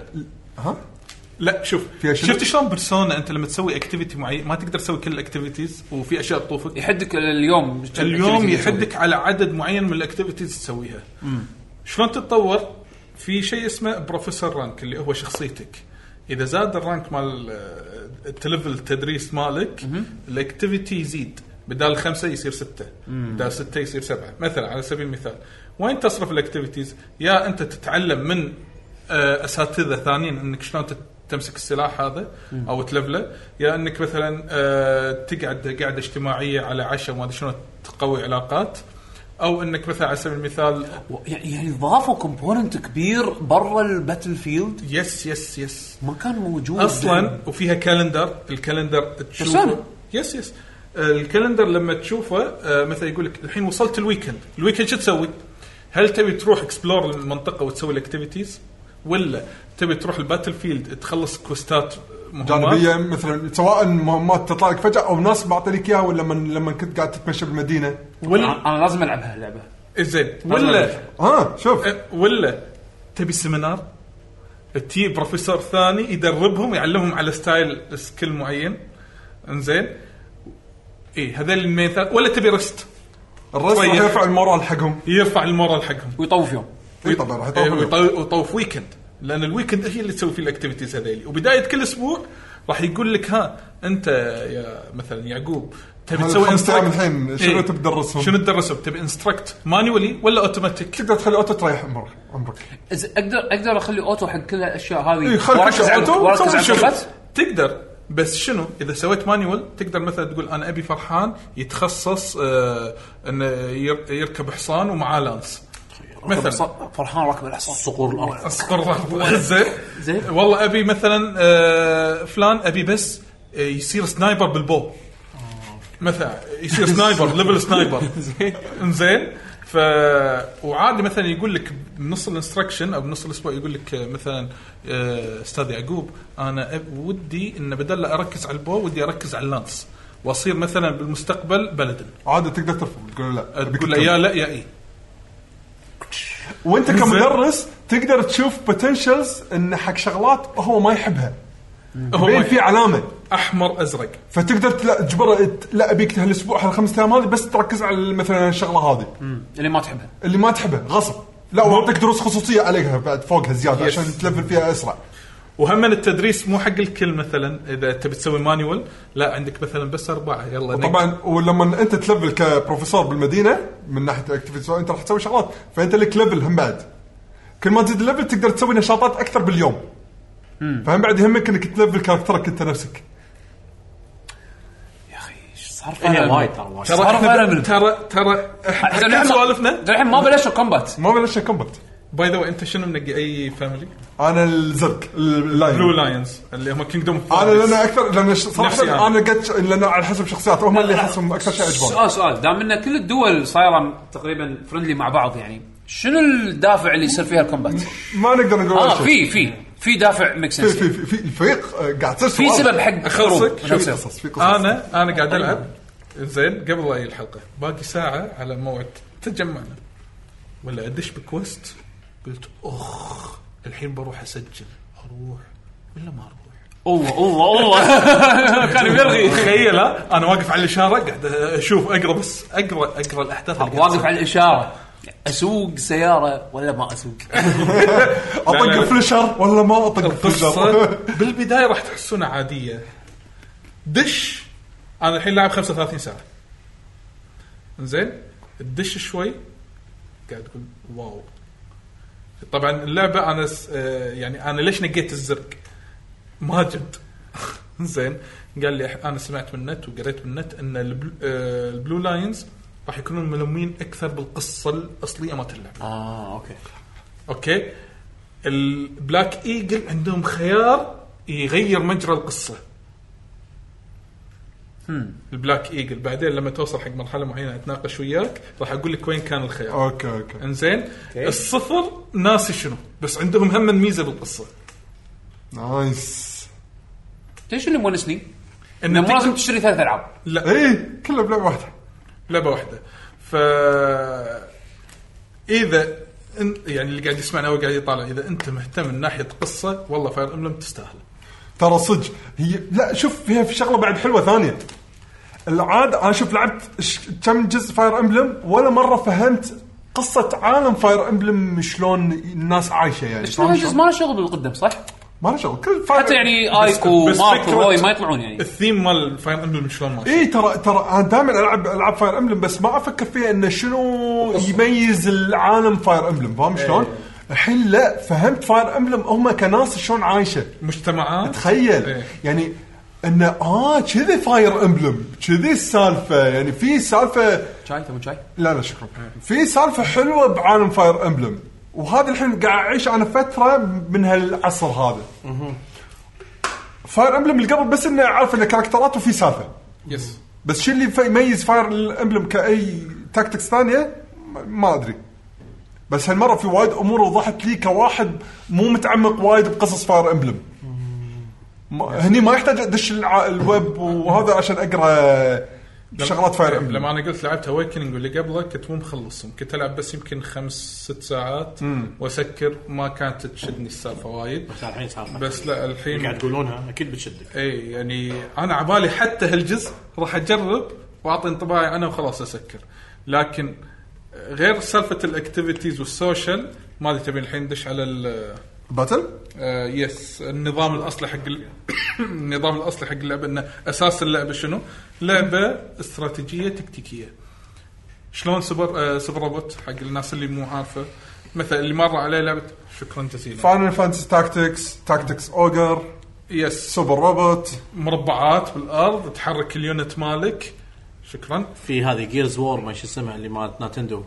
Speaker 3: لا شوف
Speaker 2: فيها شنو؟
Speaker 3: شفت شلون بيرسونا انت لما تسوي اكتيفيتي معين ما تقدر تسوي كل الاكتيفيتيز وفي اشياء تطوفك
Speaker 1: يحدك اليوم
Speaker 3: اليوم يحدك على عدد معين من الاكتيفيتيز تسويها شلون تتطور في شيء اسمه بروفيسور رانك اللي هو شخصيتك اذا زاد الرانك مال آه، التلفل التدريس مالك الاكتيفيتي يزيد بدال خمسه يصير سته بدال سته يصير سبعه مثلا على سبيل المثال وين تصرف الاكتيفيتيز يا انت تتعلم من آه، اساتذه ثانيين انك شلون تت- تمسك السلاح هذا او تلفله يا انك مثلا آه، تقعد قعده اجتماعيه على عشاء ما ادري شلون تقوي علاقات او انك مثلا على سبيل المثال
Speaker 1: يعني يعني ضافوا كومبوننت كبير برا الباتل فيلد
Speaker 3: يس يس يس
Speaker 1: ما كان موجود
Speaker 3: اصلا وفيها كالندر الكالندر
Speaker 1: رسالة.
Speaker 3: تشوفه يس يس الكالندر لما تشوفه آه، مثلا يقول لك الحين وصلت الويكند الويكند شو تسوي؟ هل تبي تروح اكسبلور المنطقه وتسوي الاكتيفيتيز ولا تبي تروح الباتل فيلد تخلص كوستات مهمات
Speaker 2: جانبيه مثلا سواء مهمات تطلع لك فجاه او ناس معطيك اياها ولا من لما كنت قاعد تتمشى بالمدينه
Speaker 3: ولا
Speaker 1: انا أنا لازم العبها اللعبه
Speaker 3: زين
Speaker 1: لازم
Speaker 3: ولا
Speaker 1: أعرف.
Speaker 2: ها آه، شوف
Speaker 3: أه، ولا تبي سيمينار تجيب بروفيسور ثاني يدربهم يعلمهم على ستايل سكيل معين انزين اي هذول المين ثا- ولا تبي رست
Speaker 2: الرسم راح
Speaker 3: طيب.
Speaker 2: يرفع المورال حقهم
Speaker 3: يرفع المورال حقهم
Speaker 1: ويطوف يوم
Speaker 2: اي طبعا راح
Speaker 3: إيه،
Speaker 2: يطول
Speaker 3: ويطو- ويطوف ويكند لان الويكند هي اللي تسوي فيه الاكتيفيتيز هذيلي وبدايه كل اسبوع راح يقول لك ها انت يا مثلا يعقوب تبي
Speaker 2: هذا
Speaker 3: تسوي
Speaker 2: الخمس أيام
Speaker 3: instruct.
Speaker 2: الحين، شنو
Speaker 3: إيه.
Speaker 2: تبي تدرسهم؟
Speaker 3: شنو تدرسهم؟ تبي انستركت مانيولي ولا اوتوماتيك؟
Speaker 2: تقدر تخلي اوتو تريح عمرك عمرك
Speaker 1: إز- اقدر اقدر اخلي اوتو حق كل الاشياء هذه
Speaker 2: إيه، خلي كل
Speaker 1: وأركز
Speaker 2: شيء
Speaker 1: على-
Speaker 2: أوتو،
Speaker 1: وأركز
Speaker 2: سوي
Speaker 1: على
Speaker 2: شغل.
Speaker 1: الكومبات.
Speaker 3: تقدر بس شنو اذا سويت مانيوال تقدر مثلا تقول انا ابي فرحان يتخصص آه انه ير- يركب حصان ومعاه لانس مثلا
Speaker 1: ص- فرحان راكب الحصان
Speaker 4: صقور الارض
Speaker 3: اصقر زين
Speaker 1: زين.
Speaker 3: والله ابي مثلا آه، فلان ابي بس آه، يصير سنايبر بالبو مثلا يصير سنايبر ليفل سنايبر زين ف وعادي مثلا يقول لك بنص الانستركشن او بنص الاسبوع يقول لك آه، مثلا آه، استاذ يعقوب انا أب- ودي ان بدل لا اركز على البو ودي اركز على اللانس واصير مثلا بالمستقبل بلدن
Speaker 2: عادي تقدر ترفض تقول له لا أبيك
Speaker 3: تقول له
Speaker 2: تكمل.
Speaker 3: يا إيه. لا يا اي
Speaker 2: وانت
Speaker 3: زين.
Speaker 2: كمدرس تقدر تشوف بوتنشلز ان حق شغلات هو ما يحبها
Speaker 3: هو
Speaker 2: يبين في علامه
Speaker 3: احمر ازرق
Speaker 2: فتقدر تلا- تجبره ت- لا ابيك هالاسبوع هالخمس ايام هذه بس تركز على مثلا الشغله هذه
Speaker 1: اللي ما تحبها
Speaker 2: اللي ما تحبه غصب لا ويعطيك دروس خصوصيه عليها بعد فوقها زياده
Speaker 3: يس.
Speaker 2: عشان تلفل فيها اسرع
Speaker 3: وهم من التدريس مو حق الكل مثلا اذا تبي تسوي مانيوال لا عندك مثلا بس اربعه يلا نقل.
Speaker 2: طبعا ولما انت تلفل كبروفيسور بالمدينه من ناحيه الاكتيفيتيز انت راح تسوي شغلات فانت لك ليفل هم بعد كل ما تزيد ليفل تقدر تسوي نشاطات اكثر باليوم فهم بعد يهمك انك تلفل كاركترك انت نفسك
Speaker 1: يا اخي ايش صار
Speaker 4: هي
Speaker 1: فعلاً؟
Speaker 4: إيه، وايد ترى وايد
Speaker 1: صار فعلاً
Speaker 3: ترى
Speaker 1: من-
Speaker 3: ترى ترى
Speaker 1: إحنا
Speaker 3: احنا
Speaker 1: الحين
Speaker 3: كل
Speaker 1: ما-
Speaker 3: سوالفنا
Speaker 1: الحين ما بلشوا كومبات
Speaker 2: ما بلشنا كومبات
Speaker 3: باي ذا انت شنو منقي اي فاميلي؟
Speaker 2: انا الزرق اللاين
Speaker 3: بلو لاينز اللي هم كينجدوم
Speaker 2: انا لان اكثر لان ش- صراحه
Speaker 3: نفسي أنا.
Speaker 2: انا قلت لان على حسب شخصيات هم اللي احسهم اكثر شيء عجبهم
Speaker 1: سؤال سؤال دام ان كل الدول صايره تقريبا فرندلي مع بعض يعني شنو الدافع اللي يصير فيها الكومبات؟
Speaker 2: ما نقدر نقول
Speaker 1: اه
Speaker 2: ولا شيء.
Speaker 1: في في في دافع ميك
Speaker 2: في
Speaker 1: سنس
Speaker 2: في في في الفريق آه، قاعد تصير
Speaker 1: في
Speaker 2: سوالف.
Speaker 1: سبب حق الحروب
Speaker 3: أخلصك؟
Speaker 2: في
Speaker 1: شو يصير؟
Speaker 2: قصص في قصص
Speaker 1: آه،
Speaker 3: انا انا قاعد العب زين قبل اي الحلقه باقي ساعه على موعد تجمعنا ولا ادش بكوست قلت اخ الحين بروح اسجل اروح ولا ما اروح؟
Speaker 1: الله الله الله كان يرغي
Speaker 3: تخيل ها، انا واقف على الاشاره قاعد اشوف اقرا بس اقرا اقرا الاحداث اللي قاعد
Speaker 1: واقف على الاشاره اسوق سياره ولا ما اسوق؟
Speaker 3: لا، لا.
Speaker 2: اطق فلشر ولا ما اطق
Speaker 3: القصه
Speaker 2: فلشر
Speaker 3: بالبدايه راح تحسونها عاديه دش انا الحين لاعب 35 ساعه زين تدش شوي قاعد تقول واو طبعا اللعبه انا س... آه، يعني انا ليش نقيت الزرق؟ ماجد زين قال لي أح- انا سمعت من النت وقريت من النت ان البل... آه، البلو لاينز راح يكونون ملمين اكثر بالقصه الاصليه مالت اللعبه
Speaker 4: اه اوكي
Speaker 3: اوكي البلاك ايجل عندهم خيار يغير مجرى القصه البلاك ايجل بعدين لما توصل حق مرحله معينه اتناقش وياك راح اقول لك وين كان الخيار
Speaker 2: اوكي اوكي
Speaker 3: انزين الصفر ناسي شنو بس عندهم هم ميزه بالقصه
Speaker 2: نايس
Speaker 1: تدري شنو اللي مونسني؟ انه
Speaker 3: ان
Speaker 1: مو لازم
Speaker 3: تقدر-
Speaker 1: تشتري ثلاث العاب
Speaker 3: لا
Speaker 2: اي كله بلعبه واحده
Speaker 3: لعبه واحده ف اذا إن- يعني اللي قاعد يسمعنا او قاعد يطالع اذا انت مهتم من ناحيه قصه والله فاير املم تستاهل
Speaker 2: ترى صدق هي لا شوف فيها في شغله بعد حلوه ثانيه العاده انا شوف لعبت ش- كم جزء فاير امبلم ولا مره فهمت قصه عالم فاير امبلم شلون الناس عايشه يعني
Speaker 1: بس هالجزء ما له شغل بالقدم صح؟
Speaker 2: ما له شغل كل Fire
Speaker 1: حتى يعني
Speaker 2: بس-
Speaker 1: ايك ومارك
Speaker 3: فكرة-
Speaker 1: وروي ما يطلعون يعني
Speaker 3: الثيم مال فاير امبلم شلون ماشي
Speaker 2: اي إيه، ترى ترى انا دائما العب العاب فاير امبلم بس ما افكر فيها انه شنو يميز العالم فاير امبلم فاهم شلون؟ الحين لا فهمت فاير امبلم هم كناس شلون عايشه
Speaker 3: مجتمعات
Speaker 2: تخيل
Speaker 3: إيه.
Speaker 2: يعني انه اه كذي فاير امبلم كذي السالفه يعني في سالفه
Speaker 1: شاي تبون شاي؟
Speaker 2: لا لا شكرا في سالفه حلوه بعالم فاير امبلم وهذا الحين قاعد اعيش انا فتره من هالعصر هذا فاير امبلم اللي قبل بس انه عارف انه كاركترات وفي سالفه
Speaker 3: يس
Speaker 2: بس شو اللي في- يميز فاير امبلم كاي تاكتكس ثانيه ما- ما ادري بس هالمره في وايد امور وضحت لي كواحد مو متعمق وايد بقصص فاير امبلم هني ما يحتاج ادش الع- الويب وهذا عشان اقرا شغلات فاير
Speaker 3: إيه،
Speaker 2: امبلم
Speaker 3: لما انا قلت لعبت اويكننج واللي قبله كنت مو مخلصهم كنت العب بس يمكن خمس ست ساعات واسكر ما كانت تشدني السالفه وايد
Speaker 4: بس الحين صار
Speaker 3: بس لا
Speaker 4: اللي قاعد
Speaker 3: الحين
Speaker 4: تقولونها اكيد بتشدك
Speaker 3: اي يعني انا عبالي حتى هالجزء راح اجرب واعطي انطباعي انا وخلاص اسكر لكن غير سالفه الاكتيفيتيز والسوشيال ما ادري تبي الحين ندش على ال-
Speaker 2: باتل
Speaker 3: آه، يس النظام الاصلي حق ال- النظام الاصلي حق اللعبه انه اساس اللعبه شنو؟ لعبه استراتيجيه تكتيكيه. شلون سوبر آه، سوبر روبوت حق الناس اللي مو عارفه مثلا اللي مر عليه لعبه شكرا جزيلا
Speaker 2: فاينل فانتسي تاكتكس تاكتكس اوجر
Speaker 3: يس
Speaker 2: سوبر روبوت
Speaker 3: مربعات بالارض تحرك اليونت مالك شكرا
Speaker 4: في هذه جيرز وور ما شو اسمها اللي مالت آه، ناتندو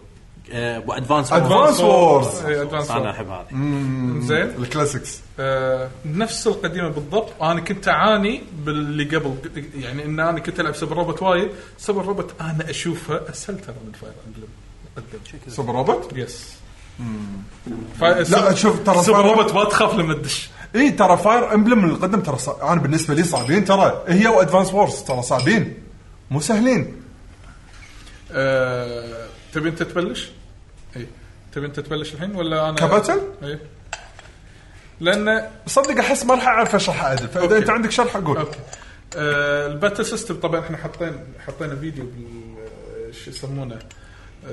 Speaker 4: ادفانس
Speaker 2: Advance Wars.
Speaker 3: ادفانس
Speaker 4: انا
Speaker 3: وورز
Speaker 4: احب هذه
Speaker 3: إيه، زين
Speaker 2: الكلاسيكس
Speaker 3: آه، نفس القديمه بالضبط انا كنت اعاني باللي قبل يعني ان انا كنت العب سوبر روبوت وايد سوبر روبوت انا اشوفها اسهل ترى من فاير امبلم مقدم
Speaker 2: سوبر روبوت
Speaker 3: يس فا-
Speaker 2: لا،
Speaker 3: سوب-
Speaker 2: شوف، ترى
Speaker 3: سوبر
Speaker 2: فاير-
Speaker 3: روبوت ما تخاف لما تدش
Speaker 2: اي ترى فاير امبلم اللي قدم ترى صع- انا بالنسبه لي صعبين ترى هي وادفانس وورز ترى صعبين مو سهلين
Speaker 3: آه، تبي انت تبلش؟ اي تبي انت تبلش الحين ولا إيه. انا
Speaker 2: كباتل؟
Speaker 3: اي لان
Speaker 2: صدق احس ما راح اعرف اشرح عدل فاذا
Speaker 3: أوكي.
Speaker 2: انت عندك شرح قول
Speaker 3: اوكي آه الباتل سيستم طبعا احنا حاطين حطينا فيديو بال شو يسمونه آه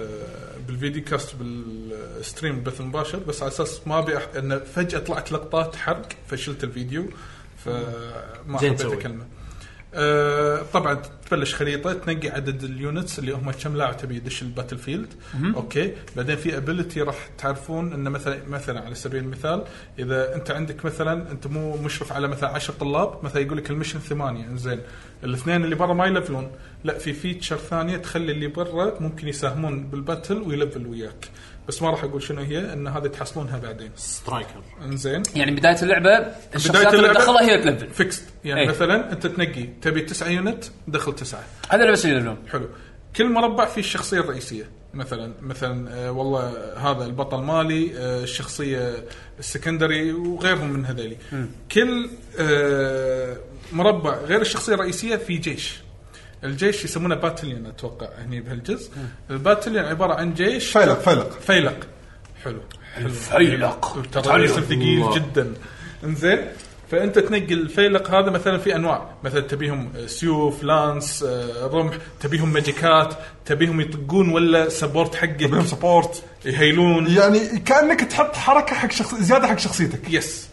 Speaker 3: بالفيديو كاست بالستريم بث مباشر بس على اساس ما ابي أح- انه فجاه طلعت لقطات حرق فشلت الفيديو فما
Speaker 4: زين
Speaker 3: حبيت
Speaker 4: تسوي.
Speaker 3: اكلمه آه طبعا تبلش خريطه تنقي عدد اليونتس اللي هم كم لاعب تبي يدش الباتل فيلد اوكي بعدين في ابيلتي راح تعرفون انه مثلا مثلا على سبيل المثال اذا انت عندك مثلا انت مو مشرف على مثلا 10 طلاب مثلا يقول لك المشن ثمانيه زين الاثنين اللي برا ما يلفلون لا في فيتشر ثانيه تخلي اللي برا ممكن يساهمون بالباتل ويلفل وياك بس ما راح اقول شنو هي ان هذه تحصلونها بعدين
Speaker 4: سترايكر
Speaker 3: انزين
Speaker 1: يعني بدايه اللعبه الشخصيات اللي
Speaker 3: اللعبة
Speaker 1: تدخلها هي تلفل
Speaker 3: فيكست يعني
Speaker 1: إيه.
Speaker 3: أي. مثلا انت تنقي تبي تسعة يونت دخل تسعة
Speaker 1: هذا اللي بس يلفلون
Speaker 3: حلو كل مربع فيه الشخصيه الرئيسيه مثلا مثلا آه والله هذا البطل مالي آه الشخصيه السكندري وغيرهم من هذيلي كل آه مربع غير الشخصيه الرئيسيه في جيش الجيش يسمونه باتليون اتوقع هني بهالجزء الباتليون عباره عن جيش
Speaker 2: فيلق فيلق
Speaker 3: فيلق حلو حلو
Speaker 1: الفيلق.
Speaker 3: ترى الاسم ثقيل جدا انزين فانت تنقي الفيلق هذا مثلا في انواع مثلا تبيهم سيوف لانس آه، رمح تبيهم ماجيكات تبيهم يطقون ولا سبورت
Speaker 2: بهم
Speaker 3: حقك
Speaker 2: سبورت
Speaker 3: يهيلون
Speaker 2: يعني كانك تحط حركه حق شخص زياده حق شخصيتك
Speaker 3: يس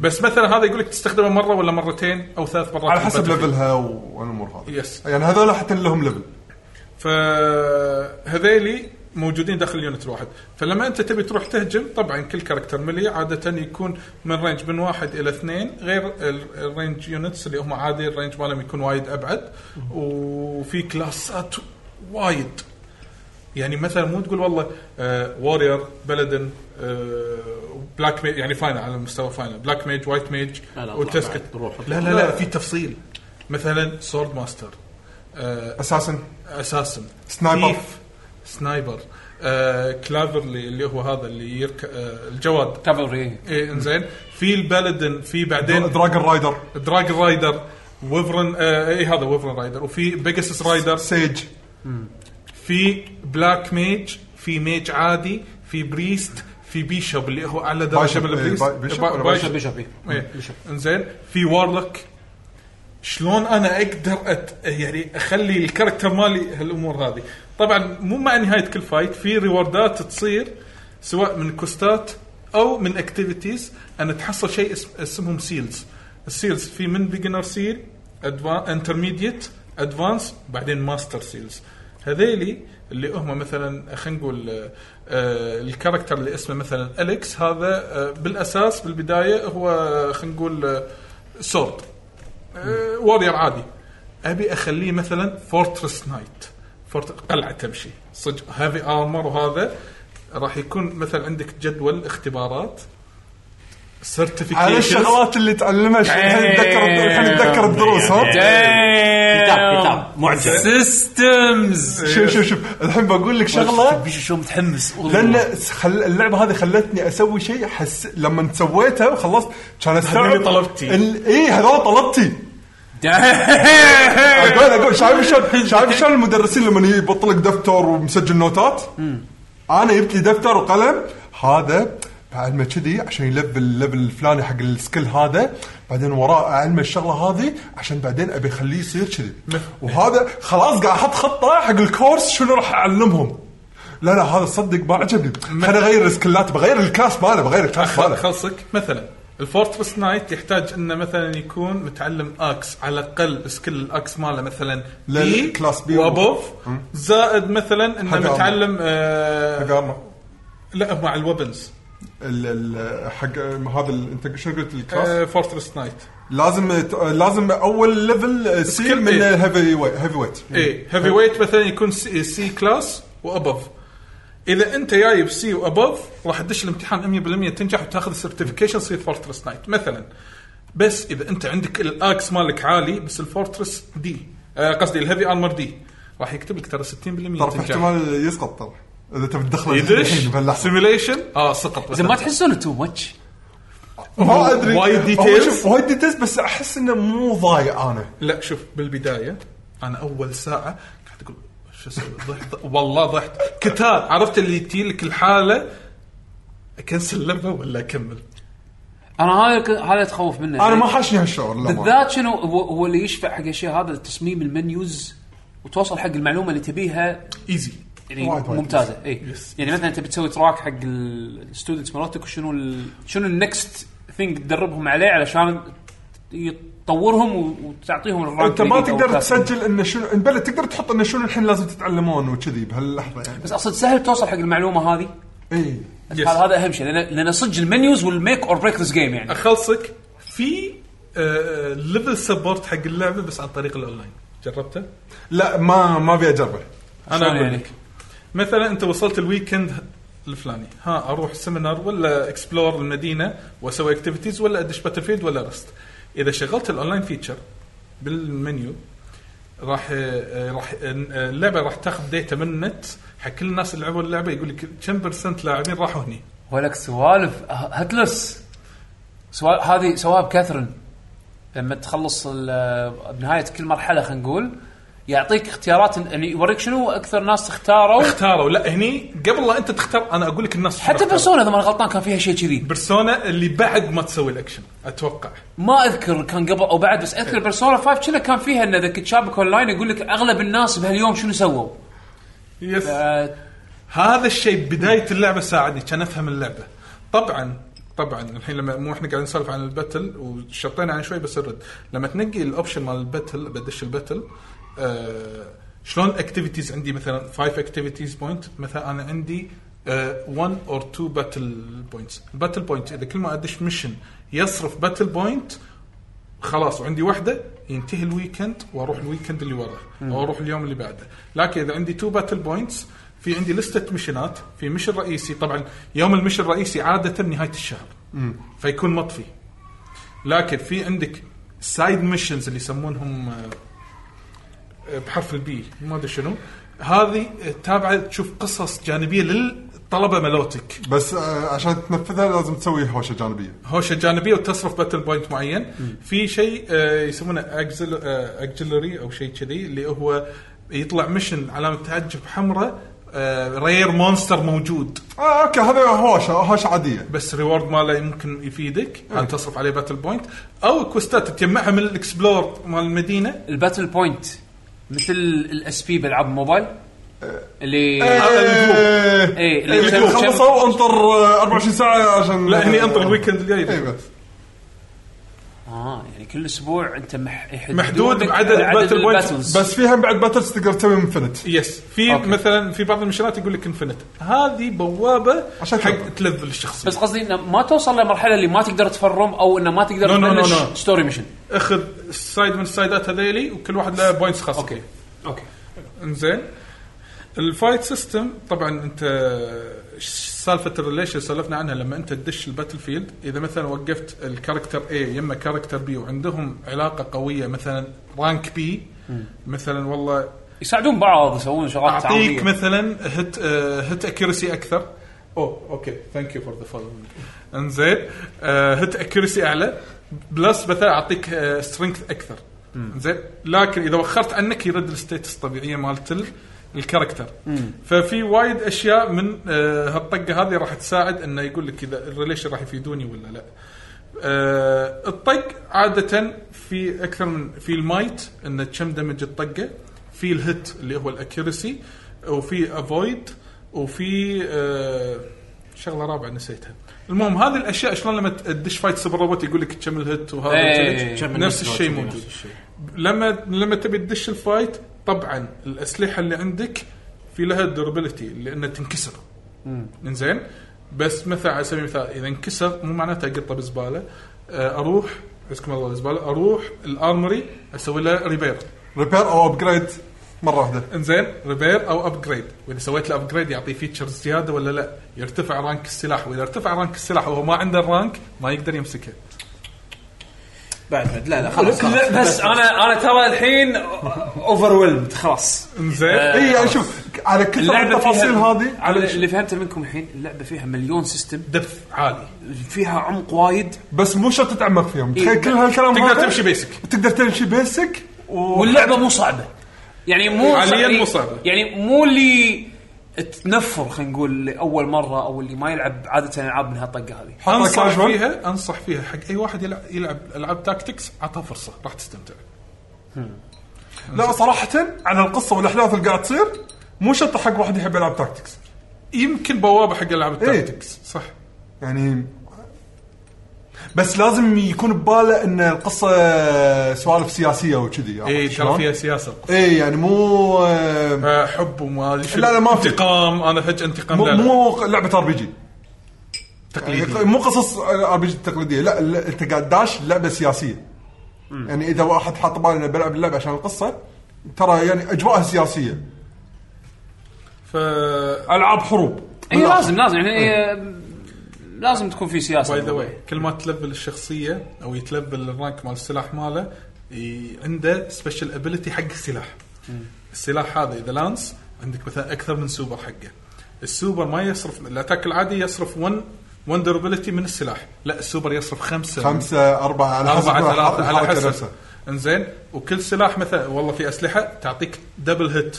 Speaker 3: بس مثلا هذا يقول لك تستخدمه مره ولا مرتين او ثلاث مرات
Speaker 2: على حسب
Speaker 3: بالباتل فيلد.
Speaker 2: ليفلها والامور هذه
Speaker 3: Yes.
Speaker 2: يعني هذول حتى اللي لهم ليفل
Speaker 3: فهذيلي موجودين داخل اليونت الواحد فلما انت تبي تروح تهجم طبعا كل كاركتر ملي عاده يكون من رينج من واحد الى اثنين غير ال- الرينج يونتس اللي هم عادي الرينج مالهم يكون وايد ابعد وفي كلاسات وايد يعني مثلا مو تقول والله آه وورير بلدن آه بلاك ميج يعني فاينل على مستوى فاينل بلاك ميج وايت ميج
Speaker 4: لا، لا،
Speaker 3: وتسكت
Speaker 4: طلع بعد، روح.
Speaker 3: لا لا لا في تفصيل مثلا سورد ماستر آه
Speaker 2: اساسا
Speaker 3: اساسا
Speaker 2: سنايبر.
Speaker 3: سنايبر آه كلافرلي اللي هو هذا اللي يرك... آه الجواد
Speaker 1: كافلري
Speaker 3: إيه انزين في البلدن في بعدين
Speaker 2: دراجون رايدر
Speaker 3: دراج رايدر ويفرن آه اي هذا ويفرن رايدر وفي بيجاسس رايدر
Speaker 2: سيج
Speaker 3: في بلاك ميج في ميج عادي في بريست في بيشب اللي هو اعلى درجه
Speaker 2: بايشب،
Speaker 3: من
Speaker 2: إيه،
Speaker 3: البريست
Speaker 2: باي- بيشب
Speaker 3: با-
Speaker 2: ولا
Speaker 3: بايشب.
Speaker 1: بيشوفي
Speaker 3: إيه. انزين في وارلوك شلون انا اقدر أت... يعني اخلي الكاركتر مالي هالامور هذه طبعا مو مع نهايه كل فايت في ريوردات تصير سواء من كوستات او من اكتيفيتيز ان تحصل شيء اسم... اسمهم سيلز السيلز في من بيجنر سيل انترميديت ادفانس بعدين ماستر سيلز هذيلي اللي هم مثلا خلينا نقول آه، آه، الكاركتر اللي اسمه مثلا اليكس هذا آه، بالاساس بالبدايه هو آه، خلينا نقول آه، سورد آه، وارير عادي ابي اخليه مثلا فورترس نايت فورت قلعه تمشي صدق هافي ارمر وهذا راح يكون مثلا عندك جدول اختبارات
Speaker 2: على
Speaker 3: سيرتيفيكيشن
Speaker 2: الشغلات اللي تعلمها شو- الحين نتذكر الحين نتذكر الدروس ها
Speaker 4: كتاب كتاب معجم
Speaker 1: سيستمز
Speaker 2: شوف شوف شوف الحين بقول لك شغله
Speaker 1: شو متحمس
Speaker 2: لان خل... اللعبه هذه خلتني اسوي شيء حس لما سويتها وخلصت كان استوعب
Speaker 3: هذول طلبتي.
Speaker 2: ال... اي هذول طلبتي اقول اقول شايف شلون شايف شلون المدرسين لما يبطل لك دفتر ومسجل نوتات انا جبت لي دفتر وقلم هذا بعد ما كذي عشان يلفل الليفل الفلاني حق السكيل هذا بعدين وراه اعلمه الشغله هذه عشان بعدين ابي اخليه يصير كذي وهذا خلاص قاعد احط خطه حق الكورس شنو راح اعلمهم لا لا هذا صدق ما عجبني خليني اغير السكلات بغير الكلاس ماله بغير الكلاس
Speaker 3: خل-
Speaker 2: ماله
Speaker 3: خلصك مثلا الفورترس نايت يحتاج انه مثلا يكون متعلم اكس على الاقل سكيل الاكس ماله مثلا
Speaker 2: لا، لا، كلاس B
Speaker 3: وابوف زائد مثلا انه
Speaker 2: حق armor.
Speaker 3: متعلم آه
Speaker 2: قام
Speaker 3: لا مع الوبنز
Speaker 2: ال- ال- حق هذا ال- انت شنو قلت الكلاس؟
Speaker 3: آه فورترس نايت
Speaker 2: لازم ت- لازم اول ليفل سيل
Speaker 3: سكيل
Speaker 2: من
Speaker 3: إيه.
Speaker 2: هيفي ويت هيفي ويت
Speaker 3: اي هيفي ويت مثلا إيه، يكون سي, سي كلاس وابوف اذا انت جايب سي وابوف راح تدش الامتحان 100% تنجح وتاخذ السيرتيفيكيشن تصير فورترس نايت مثلا بس اذا انت عندك الاكس مالك عالي بس الفورترس دي آه، قصدي الهيفي ارمر دي راح يكتب لك ترى 60%
Speaker 2: ترى في
Speaker 3: تنجح
Speaker 2: احتمال يسقط ترى اذا تبي تدخله
Speaker 3: يدش
Speaker 2: باللحظه
Speaker 3: سيميليشن اه سقط
Speaker 1: زين ما تحسون تو ماتش
Speaker 2: ما ادري
Speaker 3: وايد
Speaker 2: هو
Speaker 3: details.
Speaker 2: شوف، وايد ديتيلز بس احس انه مو ضايع انا
Speaker 3: لا شوف بالبدايه انا اول ساعه قاعد اقول شو اسوي ضحت والله ضحت كتار عرفت اللي تجي لك الحاله اكنسل لعبه ولا اكمل
Speaker 1: انا هذا ك- هذا تخوف منه
Speaker 2: انا ما حاشني هالشعور للأمانة.
Speaker 1: بالذات شنو هو, هو اللي يشفع حق الشيء هذا تصميم المنيوز وتوصل حق المعلومه اللي تبيها
Speaker 3: ايزي
Speaker 1: يعني
Speaker 2: وايد وايد.
Speaker 1: ممتازه اي
Speaker 3: Yes.
Speaker 1: يعني مثلا انت بتسوي تراك حق الستودنتس مالتك وشنو ال- شنو النكست ثينج تدربهم عليه علشان تطورهم و- وتعطيهم الرانك
Speaker 2: انت ما
Speaker 1: الجديد أو
Speaker 2: تقدر
Speaker 1: الكلاس
Speaker 2: تسجل انه شنو بلا تقدر تحط انه شنو الحين لازم تتعلمون وكذي بهاللحظه يعني إيه.
Speaker 1: بس اقصد سهل توصل حق المعلومه هذه
Speaker 2: اي
Speaker 3: Yes.
Speaker 1: هذا اهم شيء لان لان صدق المنيوز والميك اور بريك ذس جيم يعني
Speaker 3: اخلصك في ليفل سبورت حق اللعبه بس عن طريق الاونلاين جربته؟
Speaker 2: لا ما ما ابي اجربه
Speaker 3: انا
Speaker 1: شلون
Speaker 3: اقول
Speaker 1: يعني؟
Speaker 3: لك مثلا انت وصلت الويكند الفلاني ها اروح سيمينار ولا اكسبلور المدينه واسوي اكتيفيتيز ولا ادش باتل فيلد ولا رست اذا شغلت الاونلاين فيتشر بالمنيو راح آه، راح آه، اللعبه راح تاخذ ديتا من النت حق كل الناس اللي لعبوا اللعبه يقول لك كم برسنت لاعبين راحوا هني
Speaker 1: ولك سوالف ه- هتلس سوال هذه سوالف كاثرين لما تخلص ال- بنهايه كل مرحله خلينا نقول يعطيك اختيارات يعني يوريك شنو اكثر ناس اختاروا
Speaker 3: اختاروا لا هني قبل لا انت تختار انا اقول لك الناس شنو
Speaker 1: حتى
Speaker 3: اختاروا.
Speaker 1: بيرسونا اذا ما أنا غلطان كان فيها شيء كذي
Speaker 3: بيرسونا اللي بعد ما تسوي الاكشن اتوقع
Speaker 1: ما اذكر كان قبل او بعد بس اذكر بيرسونا 5 كنا كان فيها ان اذا كنت شابك اون لاين يقول لك اغلب الناس بهاليوم شنو سووا
Speaker 3: يس
Speaker 1: آه،
Speaker 3: هذا الشيء بدايه اللعبه ساعدني كان افهم اللعبه طبعا طبعا الحين لما مو احنا قاعدين نسولف عن الباتل وشطينا عن شوي بس الرد لما تنقي الاوبشن مال الباتل بدش الباتل آه شلون اكتيفيتيز عندي مثلا 5 اكتيفيتيز بوينت مثلا انا عندي آه، 1 اور 2 باتل بوينتس الباتل بوينت اذا كل ما ادش ميشن يصرف باتل بوينت خلاص وعندي واحده ينتهي الويكند واروح الويكند اللي وراه او اروح اليوم اللي بعده لكن اذا عندي تو باتل بوينتس في عندي لستة مشنات في مشن رئيسي طبعا يوم المشن الرئيسي عادة نهاية الشهر فيكون مطفي لكن في عندك سايد ميشنز اللي يسمونهم آه، آه، بحرف البي ما ادري شنو هذه آه، تابعه تشوف قصص جانبيه للطلبه ملوتك
Speaker 2: بس آه، عشان تنفذها لازم تسوي هوشه جانبيه
Speaker 3: هوشه جانبيه وتصرف باتل بوينت معين في شيء آه، يسمونه أكزل- آه، اكزلري او شيء كذي اللي هو يطلع مشن علامه تعجب حمراء آه، رير مونستر موجود
Speaker 2: اه اوكي هذا هوشه هوشه عاديه
Speaker 3: بس ريورد ماله يمكن يفيدك هل تصرف عليه باتل بوينت او كوستات تجمعها من الاكسبلور مال المدينه
Speaker 1: الباتل بوينت مثل الاس بي بالعاب موبايل اللي
Speaker 2: يعني ايه
Speaker 1: إيه، اللي
Speaker 2: اللي
Speaker 1: يسوي-
Speaker 2: خلصوا انطر آه، 24 ساعه عشان
Speaker 3: لا هني انطر الويكند الجاي
Speaker 2: اي بس
Speaker 1: اه يعني كل اسبوع انت مح... يحددون
Speaker 3: محدود
Speaker 1: لك
Speaker 3: بعدد باتل بوينت
Speaker 1: الباتلز.
Speaker 2: بس فيها بعد باتلز تقدر تسوي انفنت
Speaker 3: يس في
Speaker 1: أوكي.
Speaker 3: مثلا في بعض المشنات يقول لك انفنت هذه بوابه
Speaker 2: عشان
Speaker 3: حق
Speaker 2: تلفل.
Speaker 3: تلفل الشخصيه
Speaker 1: بس قصدي انه ما توصل لمرحله اللي ما تقدر تفرم او انه ما تقدر
Speaker 3: No, no, no,
Speaker 1: تبلش
Speaker 3: no.
Speaker 1: ستوري ميشن
Speaker 3: اخذ سايد من السايدات هذيلي وكل واحد له بوينتس خاصه اوكي
Speaker 1: اوكي
Speaker 3: انزين الفايت سيستم طبعا انت ش- سالفه الريليشن سولفنا عنها لما انت تدش الباتل فيلد اذا مثلا وقفت الكاركتر اي يما كاركتر بي وعندهم علاقه قويه مثلا رانك بي مثلا والله
Speaker 1: يساعدون بعض يسوون شغلات
Speaker 3: اعطيك
Speaker 1: تعاونية.
Speaker 3: مثلا هت آه، هت اكيرسي اكثر اوه اوكي ثانك يو فور ذا فولوينج انزين آه، هت اكيرسي اعلى بلس مثلا اعطيك سترينث اكثر زين لكن اذا وخرت عنك يرد الستيتس الطبيعيه مالت ال- الكاركتر ففي وايد اشياء من آه، هالطقه هذه راح تساعد انه يقول لك اذا الريليشن راح يفيدوني ولا لا آه، الطق عادة في أكثر من في المايت إن كم دمج الطقة في الهيت اللي هو الأكيرسي وفي أفويد وفي آه، شغلة رابعة نسيتها المهم هذه الأشياء شلون لما تدش فايت سوبر روبوت يقول لك كم الهيت وهذا
Speaker 1: إيه.
Speaker 3: وكذا.
Speaker 4: كم
Speaker 3: نفس
Speaker 4: النسبة
Speaker 3: الشيء
Speaker 4: وكذي،
Speaker 3: موجود
Speaker 4: نفس الشيء.
Speaker 3: لما لما تبي تدش الفايت طبعا الاسلحه اللي عندك في لها دوربيلتي لانها تنكسر انزين بس مثلا على سبيل المثال اذا انكسر مو معناته اقطه بزباله آه، اروح عزكم الله الزباله اروح الارمري اسوي له ريبير
Speaker 2: ريبير او ابجريد مره واحده
Speaker 3: انزين ريبير او ابجريد واذا سويت له ابجريد يعطيه فيتشرز زياده ولا لا يرتفع رانك السلاح واذا ارتفع رانك السلاح وهو ما عنده الرانك ما يقدر يمسكه
Speaker 4: بعد بعد لا لا خلاص خلاص.
Speaker 1: لا، بس انا انا ترى الحين اوفر ويلد خلاص
Speaker 3: انزين
Speaker 2: اي يعني شوف على كثر التفاصيل
Speaker 1: فيها-
Speaker 2: هذه
Speaker 1: على اللي فهمته منكم الحين اللعبه فيها مليون سيستم
Speaker 3: دبث عالي
Speaker 1: فيها عمق وايد
Speaker 2: بس مو شرط تتعمق فيهم
Speaker 1: إيه.
Speaker 2: تخيل كل هالكلام
Speaker 3: تقدر
Speaker 2: هذا
Speaker 3: تمشي بيسك
Speaker 2: تقدر تمشي بيسك و...
Speaker 1: واللعبه مو صعبه يعني مو
Speaker 3: حالياً
Speaker 1: يعني-
Speaker 3: مو صعبة.
Speaker 1: يعني مو اللي تنفر خلينا نقول لاول مره او اللي ما يلعب عاده العاب من هالطقه هذه
Speaker 2: حطها
Speaker 3: انصح
Speaker 2: casual.
Speaker 3: فيها انصح فيها حق اي واحد يلعب, يلعب العاب تاكتكس عطها فرصه راح تستمتع
Speaker 2: لا صراحه عن القصه والاحداث اللي قاعد تصير مو شرط حق واحد يحب يلعب تاكتكس
Speaker 3: يمكن بوابه حق العاب
Speaker 2: إيه.
Speaker 3: التاكتكس صح
Speaker 2: يعني بس لازم يكون بباله ان القصه سوالف سياسيه وكذي عرفت
Speaker 3: اي
Speaker 2: شلون؟
Speaker 3: إيه، ترى فيها سياسه
Speaker 2: اي يعني مو آه،
Speaker 3: آه، حب وما ادري شنو.
Speaker 2: لا، لا، ما في.
Speaker 3: انتقام انا فجاه انتقام
Speaker 2: مو
Speaker 3: لا لا
Speaker 2: مو لعبه ار بي جي
Speaker 3: تقليدي
Speaker 2: يعني مو قصص ار بي جي التقليديه لا ال- انت قاعد داش لعبه سياسيه يعني اذا واحد حاط باله انه بلعب اللعبه عشان القصه ترى يعني اجواءها سياسيه
Speaker 3: ف
Speaker 2: العاب حروب
Speaker 1: اي لازم لازم يعني آه، لازم تكون في سياسه
Speaker 3: باي ذا واي كل ما تلفل الشخصيه او يتلفل الرانك مال السلاح ماله ي- عنده سبيشل ابيلتي حق السلاح السلاح هذا اذا لانس عندك مثلا اكثر من سوبر حقه السوبر ما يصرف الاتاك العادي يصرف 1 1 دوربلتي من السلاح لا السوبر يصرف خمسه من-
Speaker 2: خمسه اربعه على حسب
Speaker 3: أربعة ثلاثة على
Speaker 2: الحركة
Speaker 3: حسب
Speaker 2: نفسها.
Speaker 3: انزين وكل سلاح مثلا والله في أسلحة تعطيك دبل هيت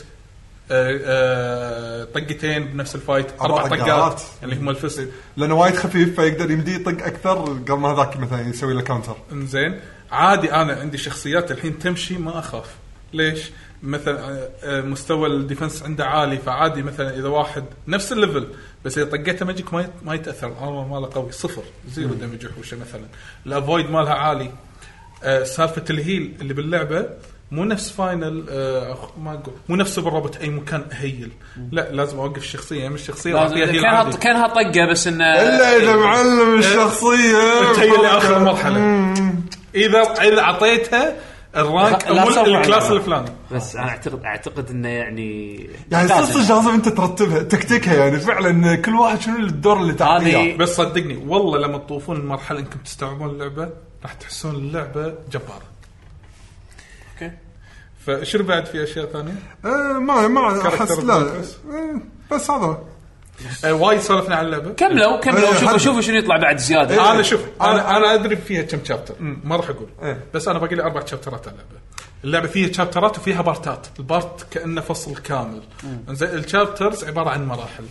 Speaker 3: آه، آه، طقتين بنفس الفايت
Speaker 2: أربع
Speaker 3: أربع طقات يعني
Speaker 2: طقات.
Speaker 3: اللي هم الفس
Speaker 2: لانه وايد خفيف فيقدر يمديه يطق اكثر قبل ما هذاك مثلا يسوي له كاونتر
Speaker 3: انزين عادي أنا عندي شخصيات الحين تمشي ما أخاف ليش؟ مثلا آه، آه، مستوى الديفنس عنده عالي فعادي مثلا اذا واحد نفس الليفل بس اذا طقيته ماجيك ما يت- ما يتاثر الارمر ماله قوي صفر زيرو دمج وحوشه مثلا الافويد مالها عالي آه، سالفه الهيل اللي باللعبه مو نفس فاينل آه أخ- ما اقول مو نفس سوبر روبوت اي مكان اهيل لا لازم اوقف الشخصيه من الشخصيه أعطيها
Speaker 1: لازم
Speaker 3: هيل
Speaker 1: كانها
Speaker 3: عادي.
Speaker 1: كانها طقه بس إيه. انه
Speaker 2: الا اذا
Speaker 3: إيه.
Speaker 2: معلم الشخصيه
Speaker 3: تهيل لاخر المرحله اذا اذا اعطيتها الرانك
Speaker 1: لا
Speaker 3: او
Speaker 1: تصور
Speaker 3: الكلاس
Speaker 1: عليها.
Speaker 3: الفلاني
Speaker 1: بس انا اعتقد اعتقد انه يعني
Speaker 2: يعني صدق
Speaker 1: لازم.
Speaker 2: صدق لازم انت ترتبها تكتكها يعني فعلا كل واحد شنو الدور اللي تعطيه
Speaker 1: هذه-
Speaker 2: إياه.
Speaker 3: بس صدقني والله لما تطوفون المرحله انكم تستوعبون اللعبه راح تحسون اللعبه جباره
Speaker 1: اوكي
Speaker 3: فشنو بعد في اشياء ثانيه؟
Speaker 2: آه، ما ما
Speaker 3: كاركتر
Speaker 2: احس لا
Speaker 3: بس.
Speaker 2: آه، بس هذا
Speaker 3: آه وايد سولفنا عن اللعبه
Speaker 1: كملوا كملوا
Speaker 2: إيه،
Speaker 1: شوفوا
Speaker 2: حلو.
Speaker 1: شوفوا شنو يطلع بعد زياده
Speaker 3: انا شوف انا انا ادري فيها كم شابتر ما راح اقول
Speaker 2: إيه.
Speaker 3: بس انا باقي لي اربع شابترات على اللعبه اللعبه فيها شابترات وفيها بارتات البارت كانه فصل كامل زين الشابترز عباره عن مراحل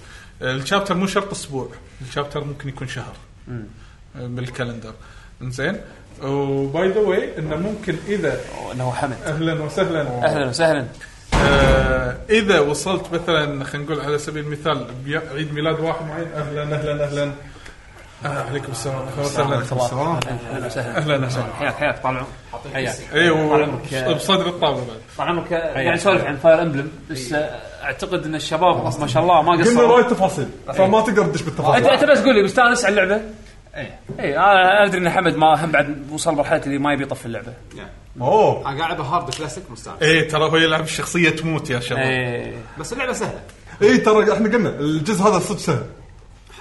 Speaker 3: الشابتر مو شرط اسبوع الشابتر ممكن يكون شهر بالكالندر زين وباي ذا واي انه ممكن اذا
Speaker 1: انه حمد
Speaker 3: اهلا وسهلا
Speaker 1: اهلا وسهلا
Speaker 3: آه، اذا وصلت مثلا خلينا نقول على سبيل المثال بي- عيد ميلاد واحد معين اهلا اهلا اهلا آه عليكم السلام اهلا وسهلا
Speaker 2: سلام.
Speaker 1: اهلا وسهلا
Speaker 3: اهلا وسهلا
Speaker 1: حياك حياك طال عمرك
Speaker 4: حياك
Speaker 3: اي
Speaker 1: طال عمرك.
Speaker 3: إيه، و- بصدر الطاوله بعد
Speaker 1: طال عمرك قاعد نسولف عن فاير امبلم بس آه، اعتقد ان الشباب ما شاء الله ما
Speaker 2: قلنا
Speaker 1: قصروا
Speaker 2: وايد تفاصيل فما تقدر تدش بالتفاصيل
Speaker 1: انت انت بس قول لي مستانس على اللعبه؟ اي انا ادري ان آه، حمد ما هم بعد وصل مرحله اللي ما يبي يطفي اللعبه
Speaker 6: يعني
Speaker 2: اوه
Speaker 6: انا قاعد العبها هارد كلاسيك مستعد
Speaker 3: اي إيه، ترى هو يلعب الشخصيه تموت يا
Speaker 4: إيه.
Speaker 3: شباب
Speaker 1: اي
Speaker 6: بس اللعبه سهله
Speaker 2: اي إيه، ترى احنا قلنا الجزء هذا صدق سهل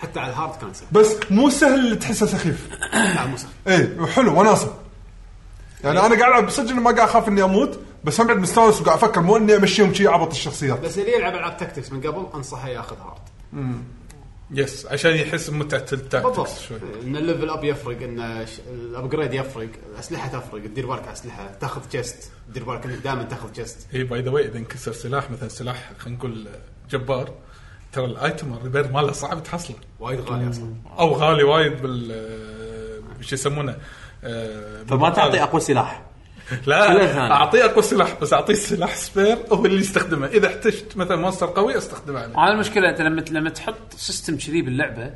Speaker 6: حتى على الهارد كان سهل
Speaker 2: بس مو سهل اللي تحسه سخيف
Speaker 6: لا مو سهل
Speaker 2: اي حلو وناسه يعني انا قاعد العب صدق اني ما قاعد اخاف اني اموت بس هم بعد مستانس وقاعد افكر مو اني امشيهم شي عبط الشخصيات
Speaker 6: بس اللي يلعب العاب تكتكس من قبل انصحه ياخذ هارد
Speaker 3: يس عشان يحس بمتعه
Speaker 6: بالضبط
Speaker 3: التاكتكس شوي
Speaker 6: ان الليفل اب يفرق ان ش- الابجريد يفرق الاسلحه تفرق تدير بالك على الاسلحه تاخذ جست تدير بالك انك دائما تاخذ جست
Speaker 3: اي باي ذا واي اذا انكسر سلاح مثلا سلاح خلينا نقول جبار ترى الايتم الريبير ماله صعب تحصله
Speaker 6: وايد غالي اصلا
Speaker 3: او غالي وايد بال شو يسمونه آه،
Speaker 4: فما تعطي
Speaker 3: بالمقابل.
Speaker 4: اقوى سلاح كله
Speaker 3: لا
Speaker 4: ثاني.
Speaker 3: اعطيه اقوى سلاح بس اعطيه سلاح سبير هو اللي يستخدمه اذا احتجت مثلا مونستر قوي استخدمه عليه
Speaker 1: انا المشكله انت لما لما تحط سيستم كذي باللعبه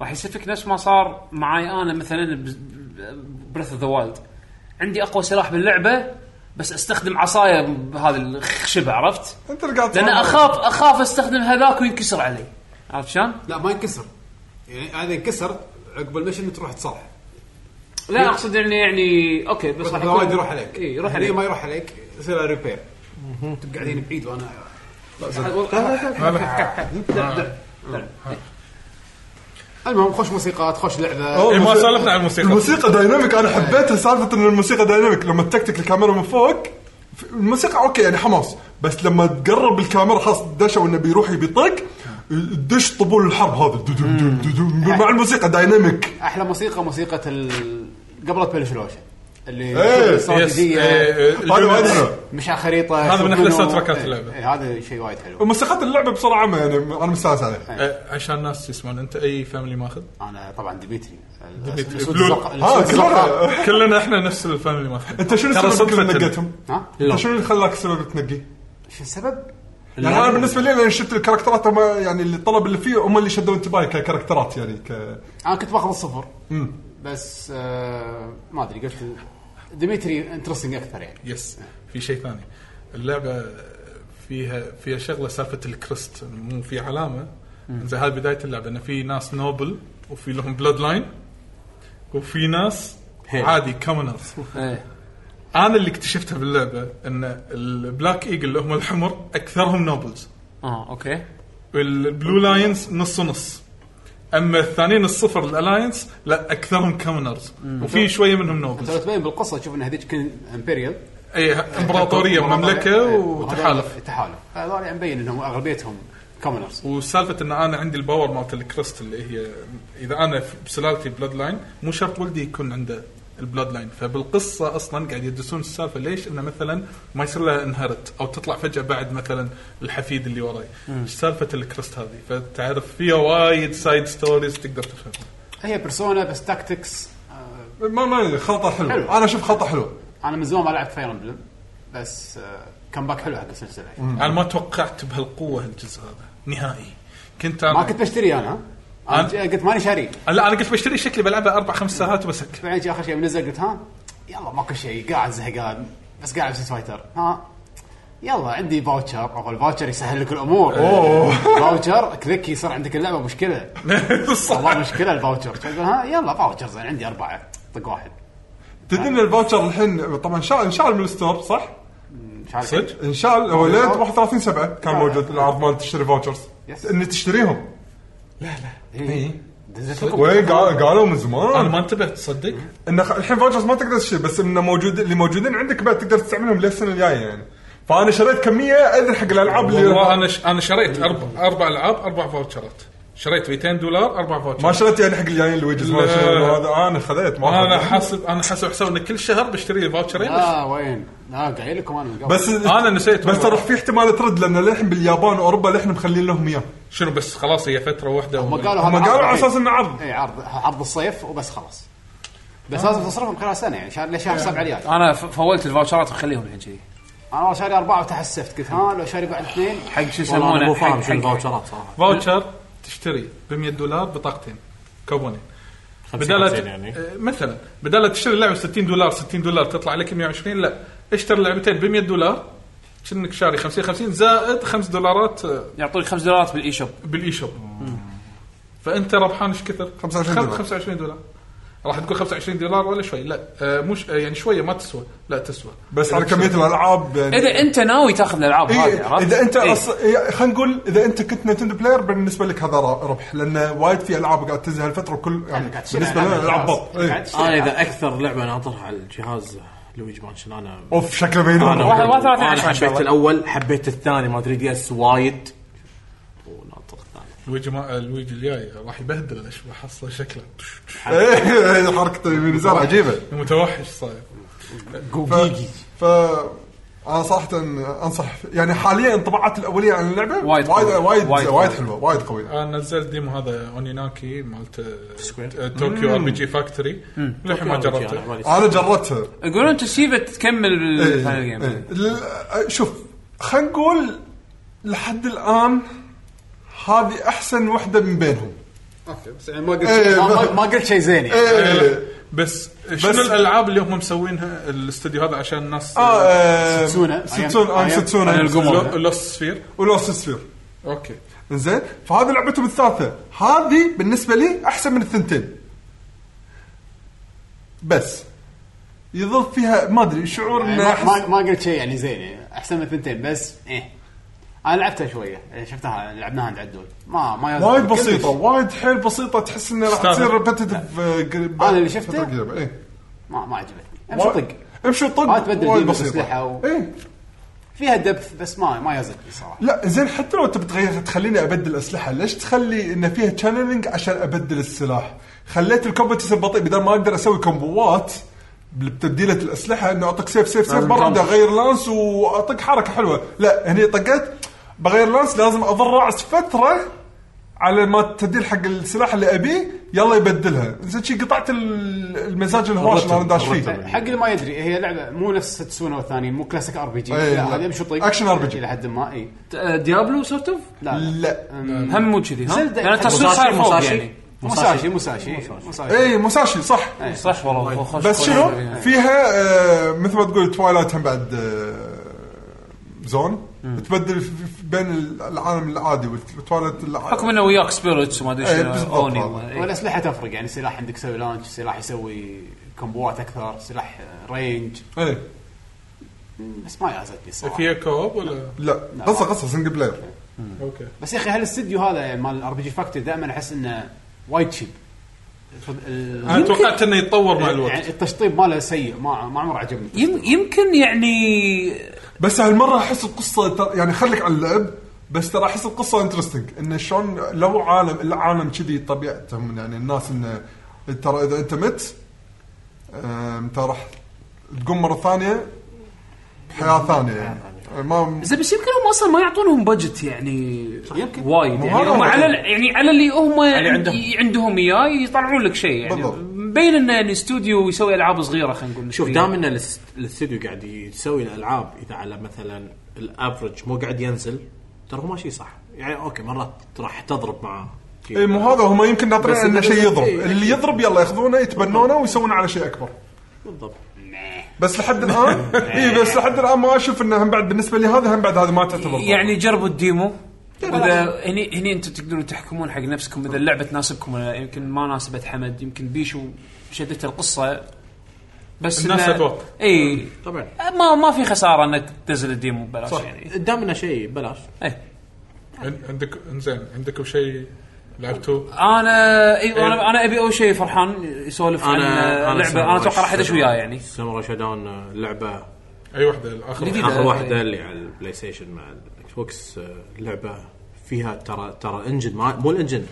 Speaker 1: راح يصير فيك نفس ما صار معي انا مثلا بريث اوف ذا وايلد عندي اقوى سلاح باللعبه بس استخدم عصايه هذا الخشبه عرفت؟
Speaker 2: انت اللي قاعد
Speaker 1: لان
Speaker 2: تطالع.
Speaker 1: اخاف اخاف استخدم هذاك وينكسر علي عرفت شلون؟
Speaker 6: لا ما ينكسر يعني هذا ينكسر عقب المشن تروح تصلح
Speaker 1: لا اقصد انه يعني اوكي بس
Speaker 6: بس
Speaker 1: راح
Speaker 6: وايد
Speaker 1: يكون-
Speaker 6: يروح عليك
Speaker 1: اي يروح
Speaker 6: هني
Speaker 1: عليك
Speaker 6: ما يروح عليك يصير ريبير تبقى قاعدين بعيد وانا المهم خوش موسيقات خوش لعبه
Speaker 2: أوه،
Speaker 3: إيه، ما
Speaker 2: الموسيقى-
Speaker 3: سولفنا عن الموسيقى.
Speaker 2: الموسيقى دايناميك انا حبيتها سالفه ان الموسيقى دايناميك لما تكتك الكاميرا من فوق ف- الموسيقى اوكي يعني حماس بس لما تقرب الكاميرا خلاص دشوا انه بيروح يبي يطق دش طبول الحرب هذا دو- دو- دو- دو- دو- مع الموسيقى دايناميك
Speaker 6: احلى موسيقى موسيقى ال... قبل تبلش الوشه
Speaker 2: إيه،
Speaker 6: اللي
Speaker 3: يس إيه،
Speaker 6: استراتيجيه
Speaker 2: هذا وايد حلو.
Speaker 6: مش على خريطه
Speaker 3: هذا من أحلى
Speaker 6: شوبينو.
Speaker 3: ساوند تراكات
Speaker 6: إيه،
Speaker 3: اللعبة.
Speaker 6: إيه، هذا شيء وايد حلو
Speaker 2: وموسيقى اللعبه بصراحه عامة يعني انا مستانس عليها
Speaker 3: آه، عشان الناس يسمعون انت اي فاميلي ماخذ؟
Speaker 6: انا طبعا ديمتري
Speaker 3: ديمتري.
Speaker 6: الأسود
Speaker 3: بلول.
Speaker 6: الزرق-
Speaker 2: ها
Speaker 6: الأسود الزرق.
Speaker 2: كلنا
Speaker 3: كلنا احنا نفس الفاميلي ماخذ
Speaker 2: انت شنو
Speaker 3: ترى
Speaker 2: السبب اللي
Speaker 3: صدفة
Speaker 2: نقيتهم؟
Speaker 6: ها
Speaker 2: انت شنو اللي خلاك السبب تنقي؟
Speaker 6: شو السبب؟
Speaker 2: يعني انا بالنسبه لي انا شفت الكاركترات هم يعني الطلب اللي فيه هم اللي شدوا انتباهي ككاركترات يعني ك
Speaker 6: انا كنت باخذ الصفر بس آه ما ادري قلت ديمتري انترستنج اكثر يعني
Speaker 3: يس في شيء ثاني اللعبه فيها فيها شغله سالفه الكريست مو في علامه زي هذه بدايه اللعبه ان في ناس نوبل وفي لهم بلاد لاين وفي ناس عادي كومنرز
Speaker 1: إيه.
Speaker 3: انا اللي اكتشفتها باللعبه ان البلاك ايجل اللي هم الحمر اكثرهم نوبلز
Speaker 1: اه اوكي
Speaker 3: والبلو لاينز نص ونص اما الثانيين الصفر الالاينس لا اكثرهم كومنرز وفي شويه منهم
Speaker 6: انت
Speaker 3: نوبلز
Speaker 6: لو تبين بالقصه تشوف ان هذيك كان امبيريال
Speaker 3: اي امبراطوريه مملكه
Speaker 6: إيه،
Speaker 3: وتحالف
Speaker 6: وهذول- تحالف هذول يعني مبين انهم اغلبيتهم كومنرز
Speaker 3: وسالفه ان انا عندي الباور مالت الكريست اللي هي اذا انا في- بسلالتي بلاد لاين مو شرط ولدي يكون عنده البلاد لاين فبالقصه اصلا قاعد يدرسون السالفه ليش انه مثلا ما يصير لها انهرت او تطلع فجاه بعد مثلا الحفيد اللي وراي سالفه الكريست هذه فتعرف فيها وايد سايد ستوريز تقدر تفهمها
Speaker 6: هي بيرسونا بس تاكتكس
Speaker 2: ما ما خلطه حلوه
Speaker 6: حلو.
Speaker 2: انا اشوف خلطه حلوه
Speaker 6: انا من زمان ما لعبت فاير امبلم بس آه كم باك حلو حق السلسله يعني.
Speaker 3: انا ما توقعت بهالقوه هالجزء هذا نهائي كنت انا
Speaker 6: ما كنت بشتري انا ها؟
Speaker 3: أنا-
Speaker 6: انا ج- قلت ماني شاري
Speaker 3: لا انا قلت بشتري شكلي بلعبها اربع خمس ساعات وبسكر
Speaker 6: بعدين جي اخر شيء منزل قلت ها يلا ماكو شيء قاعد زهقان بس قاعد العب ستريت فايتر ها يلا عندي فاوتشر او الفاوتشر يسهل لك الامور اوه فاوتشر كليك يصير عندك اللعبه مشكله
Speaker 3: صح.
Speaker 6: والله مشكله الفاوتشر شو أقول؟ ها يلا فاوتشر زين عندي اربعه طق واحد
Speaker 2: تدري ان الفاوتشر الحين طبعا شا- انشال من الستور صح؟
Speaker 6: مش عارف
Speaker 3: صدق؟
Speaker 2: انشال هو لين 31 7 كان
Speaker 3: آه.
Speaker 2: موجود العرض مال تشتري فاوتشرز
Speaker 6: يس.
Speaker 2: ان تشتريهم
Speaker 6: إيه. دزت لكم.
Speaker 2: وين قا- قالوا من
Speaker 3: انا
Speaker 2: زمان
Speaker 3: ما انتبهت تصدق
Speaker 2: ان خ- الحين فاوتشرز ما تقدر تشتري بس انه موجود اللي موجودين عندك بعد تقدر تستعملهم للسنه الجايه يعني فانا شريت كميه ادري حق الالعاب
Speaker 3: والله
Speaker 2: اللي
Speaker 3: انا ش... انا شريت اربع اربع العاب اربع فاوتشرات شريت 200 دولار اربع
Speaker 2: ما
Speaker 3: فاوتشرات
Speaker 2: شريت يعني حق الجايين اللي ويجز ما
Speaker 3: لا.
Speaker 2: شريت هذا انا خذيت ما
Speaker 3: انا
Speaker 2: أخذت.
Speaker 3: حاسب انا حاسب حساب ان كل شهر بشتري فاوتشرين بس
Speaker 6: اه وين لا قايل لكم انا من قبل
Speaker 2: بس
Speaker 3: أنا نسيت
Speaker 2: بس
Speaker 3: والله.
Speaker 2: ترى في احتمال ترد لان للحين باليابان واوروبا للحين مخلين لهم اياه
Speaker 3: شنو بس خلاص هي فتره واحده
Speaker 6: هم
Speaker 3: وم-
Speaker 6: قالوا
Speaker 2: هم
Speaker 6: هذا عرض
Speaker 2: قالوا على
Speaker 6: العيد.
Speaker 2: اساس انه عرض
Speaker 6: اي عرض عرض الصيف وبس خلاص بس لازم تصرفهم خلال سنه يعني شهر لشهر سبعه الجاي
Speaker 1: انا ف- فولت الفاوتشرات وخليهم الحين كذي
Speaker 6: انا والله شاري اربعه وتحسفت قلت ها لو شاري بعد اثنين
Speaker 1: حق شو
Speaker 4: والله انا
Speaker 1: يسمونه
Speaker 4: مو فاهم شو
Speaker 1: حق- حق
Speaker 4: الفاوتشرات صراحه
Speaker 3: فاوتشر تشتري ب 100 دولار بطاقتين كوبونين
Speaker 4: 50
Speaker 3: بدل ت-
Speaker 4: يعني
Speaker 3: آه، مثلا بدل لا تشتري لعبه 60 دولار 60 دولار تطلع لك 120 لا اشتري لعبتين ب 100 دولار كأنك شاري 50 50 زائد 5 دولارات آه،
Speaker 1: يعطوك 5 دولارات بالاي شوب
Speaker 2: إيه.
Speaker 3: بالاي شوب فانت ربحان ايش كثر؟
Speaker 2: 25
Speaker 3: خم-
Speaker 2: دولار.
Speaker 3: 25 دولار راح تقول 25 دولار ولا شوي لا آه مش آه يعني شويه ما تسوى لا تسوى
Speaker 2: بس على كميه الالعاب
Speaker 3: إيه،
Speaker 2: يعني
Speaker 1: اذا انت ناوي تاخذ الالعاب هذه
Speaker 2: إيه
Speaker 1: عرفت
Speaker 2: اذا انت
Speaker 1: إيه.
Speaker 2: إيه؟ أص... إيه خلينا نقول اذا انت كنت نينتندو بلاير بالنسبه لك هذا ر- ربح لان وايد في العاب قاعد تنزل هالفتره كل يعني
Speaker 6: قاعد تشتري
Speaker 2: بالنسبه لنا
Speaker 6: ألعاب
Speaker 2: العاب
Speaker 6: خلاص.
Speaker 2: بط
Speaker 6: قاعد
Speaker 2: إيه.
Speaker 6: تشتري
Speaker 4: انا
Speaker 6: ألعاب.
Speaker 4: اذا اكثر لعبه انا انطرها على الجهاز لويجي مانشن انا
Speaker 2: اوف شكله بين
Speaker 4: انا
Speaker 1: واحد- واحد ثلاثة
Speaker 4: أنا
Speaker 1: عشر إن شاء الله.
Speaker 4: حبيت الاول حبيت الثاني ما ادري دي اس وايد وناطر الثاني
Speaker 3: لويجي ما... لويجي الجاي راح يبهدل الاشباح حصل شكله تش- تش-
Speaker 2: إيه، حركته اليمين يسار عجيبه
Speaker 3: متوحش صاير
Speaker 2: ف... ف انا صراحه انصح يعني حاليا انطباعاتي الاوليه عن اللعبه
Speaker 1: وايد
Speaker 2: وايد
Speaker 1: قوية.
Speaker 2: وايد,
Speaker 1: وايد
Speaker 2: وايد,
Speaker 1: قوية.
Speaker 2: حلوه وايد قويه
Speaker 3: انا نزلت ديمو هذا اونيناكي مالت آه، آه، طوكيو ار بي جي فاكتوري للحين ما جربته
Speaker 2: انا جربتها
Speaker 1: يقولون تسيبه تكمل الثاني
Speaker 2: إيه،
Speaker 1: الجيم
Speaker 2: إيه. ل- شوف خلينا نقول لحد الان هذه احسن وحده من بينهم
Speaker 6: اوكي بس يعني ما قلت
Speaker 2: إيه،
Speaker 6: ما-
Speaker 2: بس-
Speaker 6: ما- ما قلت شيء زين يعني
Speaker 2: إيه.
Speaker 3: بس شنو الالعاب اللي هم مسوينها الاستوديو هذا عشان الناس
Speaker 2: آه، آه،
Speaker 6: ستسونا.
Speaker 2: ستسونا آه،
Speaker 6: أيام-
Speaker 2: ستسونا
Speaker 6: أيام القمر.
Speaker 3: لو- لوست سفير
Speaker 2: ولوست سفير
Speaker 3: اوكي
Speaker 2: زين فهذه لعبتهم الثالثه هذه بالنسبه لي احسن من الثنتين بس يظل فيها ما ادري شعور
Speaker 6: يعني
Speaker 2: انه
Speaker 6: ما- ما
Speaker 2: أحس-
Speaker 6: ما قلت شيء يعني زين يعني احسن من ثنتين بس ايه انا لعبتها شويه يعني شفتها لعبناها عند عدول ما ما يزعل.
Speaker 2: وايد
Speaker 6: كلش.
Speaker 2: بسيطه وايد حيل بسيطه تحس انها راح
Speaker 3: استاذ.
Speaker 2: تصير آه، ريبتتف
Speaker 6: أنا اللي شفته؟
Speaker 2: ايه
Speaker 6: ما ما عجبتني يعني امشي طق
Speaker 2: امشي طق
Speaker 6: ما تبدل
Speaker 2: وايد
Speaker 6: ديمو
Speaker 2: بسيطة.
Speaker 6: أسلحة و-
Speaker 2: ايه
Speaker 6: فيها دبث بس ما ما يزق صراحه
Speaker 2: لا زين حتى لو تبي تغير تخليني ابدل اسلحه ليش تخلي ان فيها تشانلنج عشان ابدل السلاح خليت الكومبو تصير بطيء بدل ما اقدر اسوي كومبوات بتبديلة الاسلحه انه اعطيك سيف سيف سيف
Speaker 1: لازم
Speaker 2: مره
Speaker 1: ترمي.
Speaker 2: بدي اغير لانس واطق حركه حلوه لا هني طقت بغير لانس لازم اضل راس فتره على ما تديل حق السلاح اللي ابيه يلا يبدلها زين شي قطعت ال- المزاج الهواش اللي انا داش فيه
Speaker 6: حق اللي ما يدري هي لعبه مو نفس سونا والثاني مو كلاسيك ار بي جي
Speaker 2: إيه،
Speaker 6: لا
Speaker 2: لا.
Speaker 6: هذه امشي طق
Speaker 2: أكشن RPG.
Speaker 6: الى طيب. حد ما اي
Speaker 1: آه، ديابلو سورت اوف
Speaker 6: لا لا
Speaker 2: لا
Speaker 1: هم مو كذي ها
Speaker 6: زلدة.
Speaker 1: يعني تصوير
Speaker 4: موساشي-
Speaker 1: صاير فوق
Speaker 4: موساشي.
Speaker 1: يعني
Speaker 6: موساشي موساشي موساشي
Speaker 2: اي موساشي إيه، صح
Speaker 1: صح والله خوش
Speaker 2: إيه. طيب. بس
Speaker 1: خوش. يعني.
Speaker 2: شنو فيها آه، مثل ما تقول توايلايت هم بعد آه، زون تبدل في- في- بين العالم العادي والتوايلايت
Speaker 1: حكم انه وياك سبيرتس وما ادري
Speaker 2: إيه،
Speaker 1: شنو
Speaker 2: بالضبط
Speaker 1: اوني
Speaker 2: هذا.
Speaker 1: وما- إيه.
Speaker 6: والاسلحه تفرق يعني سلاح عندك يسوي لانش سلاح يسوي كومبوات اكثر سلاح آه، رينج
Speaker 2: اي
Speaker 6: بس ما يعزتني الصراحه
Speaker 3: فيها كوب ولا
Speaker 2: لا
Speaker 6: لا.
Speaker 2: قصه قصه سنجل بلاير
Speaker 3: اوكي
Speaker 6: بس يا اخي هالاستديو هذا مال ار بي جي فاكتوري دائما احس انه وايد شيب
Speaker 3: انا توقعت انه يتطور مع نعم، الوقت
Speaker 6: يعني التشطيب ماله سيء ما ما عمره عجبني
Speaker 1: يم- يمكن يعني
Speaker 2: بس هالمره احس القصه تر- يعني خليك على اللعب بس ترى احس القصه انترستنج انه شلون لو عالم العالم كذي طبيعتهم يعني الناس انه ترى اذا انت مت آم، ترى راح تقوم مره ثانيه بحياه ثانيه يعني ما
Speaker 1: زين بس يمكن هم اصلا ما يعطونهم بجت يعني
Speaker 6: يمكن.
Speaker 1: وايد
Speaker 2: مو
Speaker 1: يعني
Speaker 2: هذا
Speaker 1: هم
Speaker 2: هو.
Speaker 1: على ال- يعني على اللي هم
Speaker 4: عندهم.
Speaker 1: ي- عندهم اياه يطلعون لك شيء يعني
Speaker 2: بالضبط.
Speaker 1: مبين انه يعني استوديو يسوي العاب صغيره خلينا نقول
Speaker 4: شوف
Speaker 1: فيه.
Speaker 4: دام ان الاس- الاستوديو قاعد يسوي الالعاب اذا على مثلا الافرج مو قاعد ينزل ترى هو ماشي صح يعني اوكي مرات راح تضرب معاه
Speaker 1: إيه،
Speaker 2: اي إيه، مو هذا هم يمكن ناطرين
Speaker 4: بس
Speaker 2: انه
Speaker 4: إنه
Speaker 2: شيء
Speaker 4: بالضبط،
Speaker 2: يضرب
Speaker 4: إيه.
Speaker 2: اللي يضرب يلا ياخذونه يتبنونه ويسوون على شيء اكبر
Speaker 4: بالضبط
Speaker 2: بس لحد الان اي بس لحد الان ما اشوف انه هم بعد بالنسبه لي هذا هم بعد هذا ما تعتبر ضرب.
Speaker 1: يعني جربوا الديمو واذا هني هني انتم تقدرون تحكمون حق نفسكم اذا اللعبه تناسبكم ولا لا. يمكن ما ناسبت حمد يمكن بيشو شدته القصه بس
Speaker 3: الناس
Speaker 1: إنه-
Speaker 3: أتوقع.
Speaker 1: اي
Speaker 4: طبعا
Speaker 1: ما ما في خساره انك تنزل الديمو ببلاش يعني
Speaker 4: دام انه شيء بلاش
Speaker 1: إيه.
Speaker 3: عن- عندك انزين عندكم شيء لعبتوه
Speaker 1: انا
Speaker 4: إيه.
Speaker 1: اي انا انا ابي اول شيء فرحان يسولف عن لعبه انا اتوقع راح ادش وياه يعني
Speaker 4: ساموراي شادون لعبه
Speaker 3: اي واحده الاخر
Speaker 1: جديد.
Speaker 3: واحدة.
Speaker 1: إيه.
Speaker 4: اخر واحده اللي على البلاي ستيشن مع الاكس بوكس آه، لعبه فيها ترى ترى انجن ما مو الانجن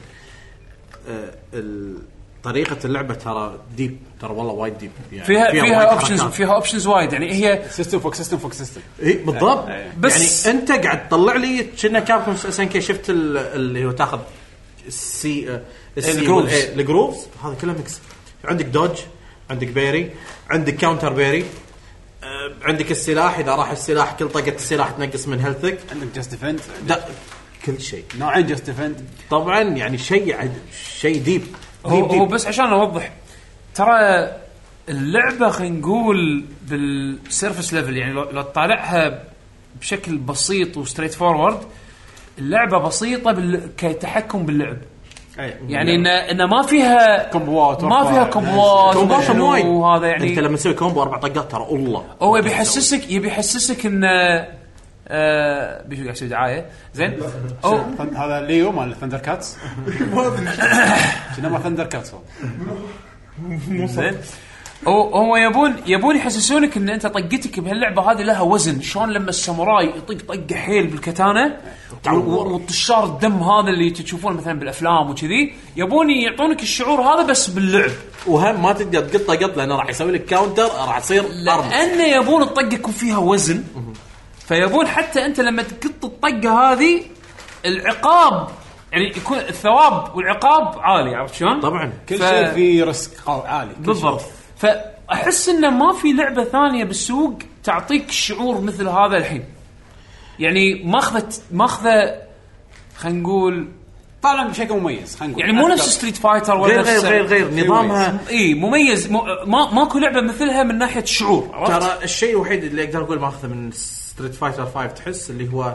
Speaker 4: آه، ال- طريقه اللعبه ترى ديب ترى والله وايد ديب يعني
Speaker 1: فيها فيها
Speaker 4: وايد
Speaker 1: اوبشنز
Speaker 4: حركات.
Speaker 1: فيها اوبشنز وايد يعني هي
Speaker 6: سيستم فوق سيستم فوق سيستم
Speaker 4: اي بالضبط
Speaker 1: آه، بس-
Speaker 4: بس يعني انت قاعد تطلع لي كنا كابكم اس ان كي شفت ال- اللي هو تاخذ السي آه، السي-
Speaker 1: الجروفز.
Speaker 4: إيه، الجروفز هذا كله ميكس عندك دوج عندك بيري عندك كاونتر بيري آه، عندك السلاح اذا راح السلاح كل طقه السلاح تنقص من هيلثك
Speaker 6: عندك جاست ديفند
Speaker 4: دا كل شيء
Speaker 6: نوعين جاست ديفند
Speaker 4: طبعا يعني شيء عد... شيء ديب
Speaker 1: هو,
Speaker 4: ديب
Speaker 1: هو
Speaker 4: ديب
Speaker 1: بس عشان اوضح ترى اللعبه خلينا نقول بالسيرفس ليفل يعني لو, لو تطالعها بشكل بسيط وستريت فورورد اللعبه بسيطه بال... كتحكم باللعب
Speaker 6: إيه.
Speaker 1: يعني
Speaker 4: نعم.
Speaker 1: ان ان ما فيها
Speaker 6: كومبوات
Speaker 1: ما فيها كومبوات
Speaker 4: كومبوات
Speaker 1: وما شنو
Speaker 4: وايد
Speaker 1: وهذا يعني
Speaker 4: انت لما تسوي كومبو اربع طقات ترى الله
Speaker 1: هو يبي يحسسك يبي يحسسك ان آه بيشو قاعد يسوي دعايه زين او
Speaker 6: هذا ليو مال ثندر كاتس
Speaker 2: ما ادري
Speaker 6: كنا مال ثندر كاتس هو.
Speaker 1: زين هو هم يبون يبون يحسسونك ان انت طقتك بهاللعبه هذه لها وزن شلون لما الساموراي يطق طقه حيل بالكتانه و- و- والطشار الدم هذا اللي تشوفونه مثلا بالافلام وكذي يبون يعطونك الشعور هذا بس باللعب
Speaker 4: وهم ما تقدر تقطه قط لانه راح يسوي لك كاونتر راح تصير اربع
Speaker 1: لان يبون الطقه يكون فيها وزن فيبون حتى انت لما تقط الطقه هذه العقاب يعني يكون الثواب والعقاب عالي عرفت شلون؟
Speaker 4: طبعا
Speaker 6: كل
Speaker 1: ف-
Speaker 6: شيء فيه ريسك قوي عالي كل
Speaker 1: بالضبط فاحس انه ما في لعبه ثانيه بالسوق تعطيك شعور مثل هذا الحين يعني ماخذه ماخذه خلينا نقول
Speaker 6: شيء. طالع بشكل مميز خلينا نقول
Speaker 1: يعني مو نفس
Speaker 6: أكثر.
Speaker 1: ستريت فايتر ولا
Speaker 4: غير
Speaker 1: نفس
Speaker 4: غير غير غير نظامها
Speaker 1: اي مميز مو ما ماكو لعبه مثلها من ناحيه شعور عرفت؟
Speaker 4: ترى الشيء الوحيد اللي اقدر اقول ماخذه من ستريت فايتر 5 تحس اللي هو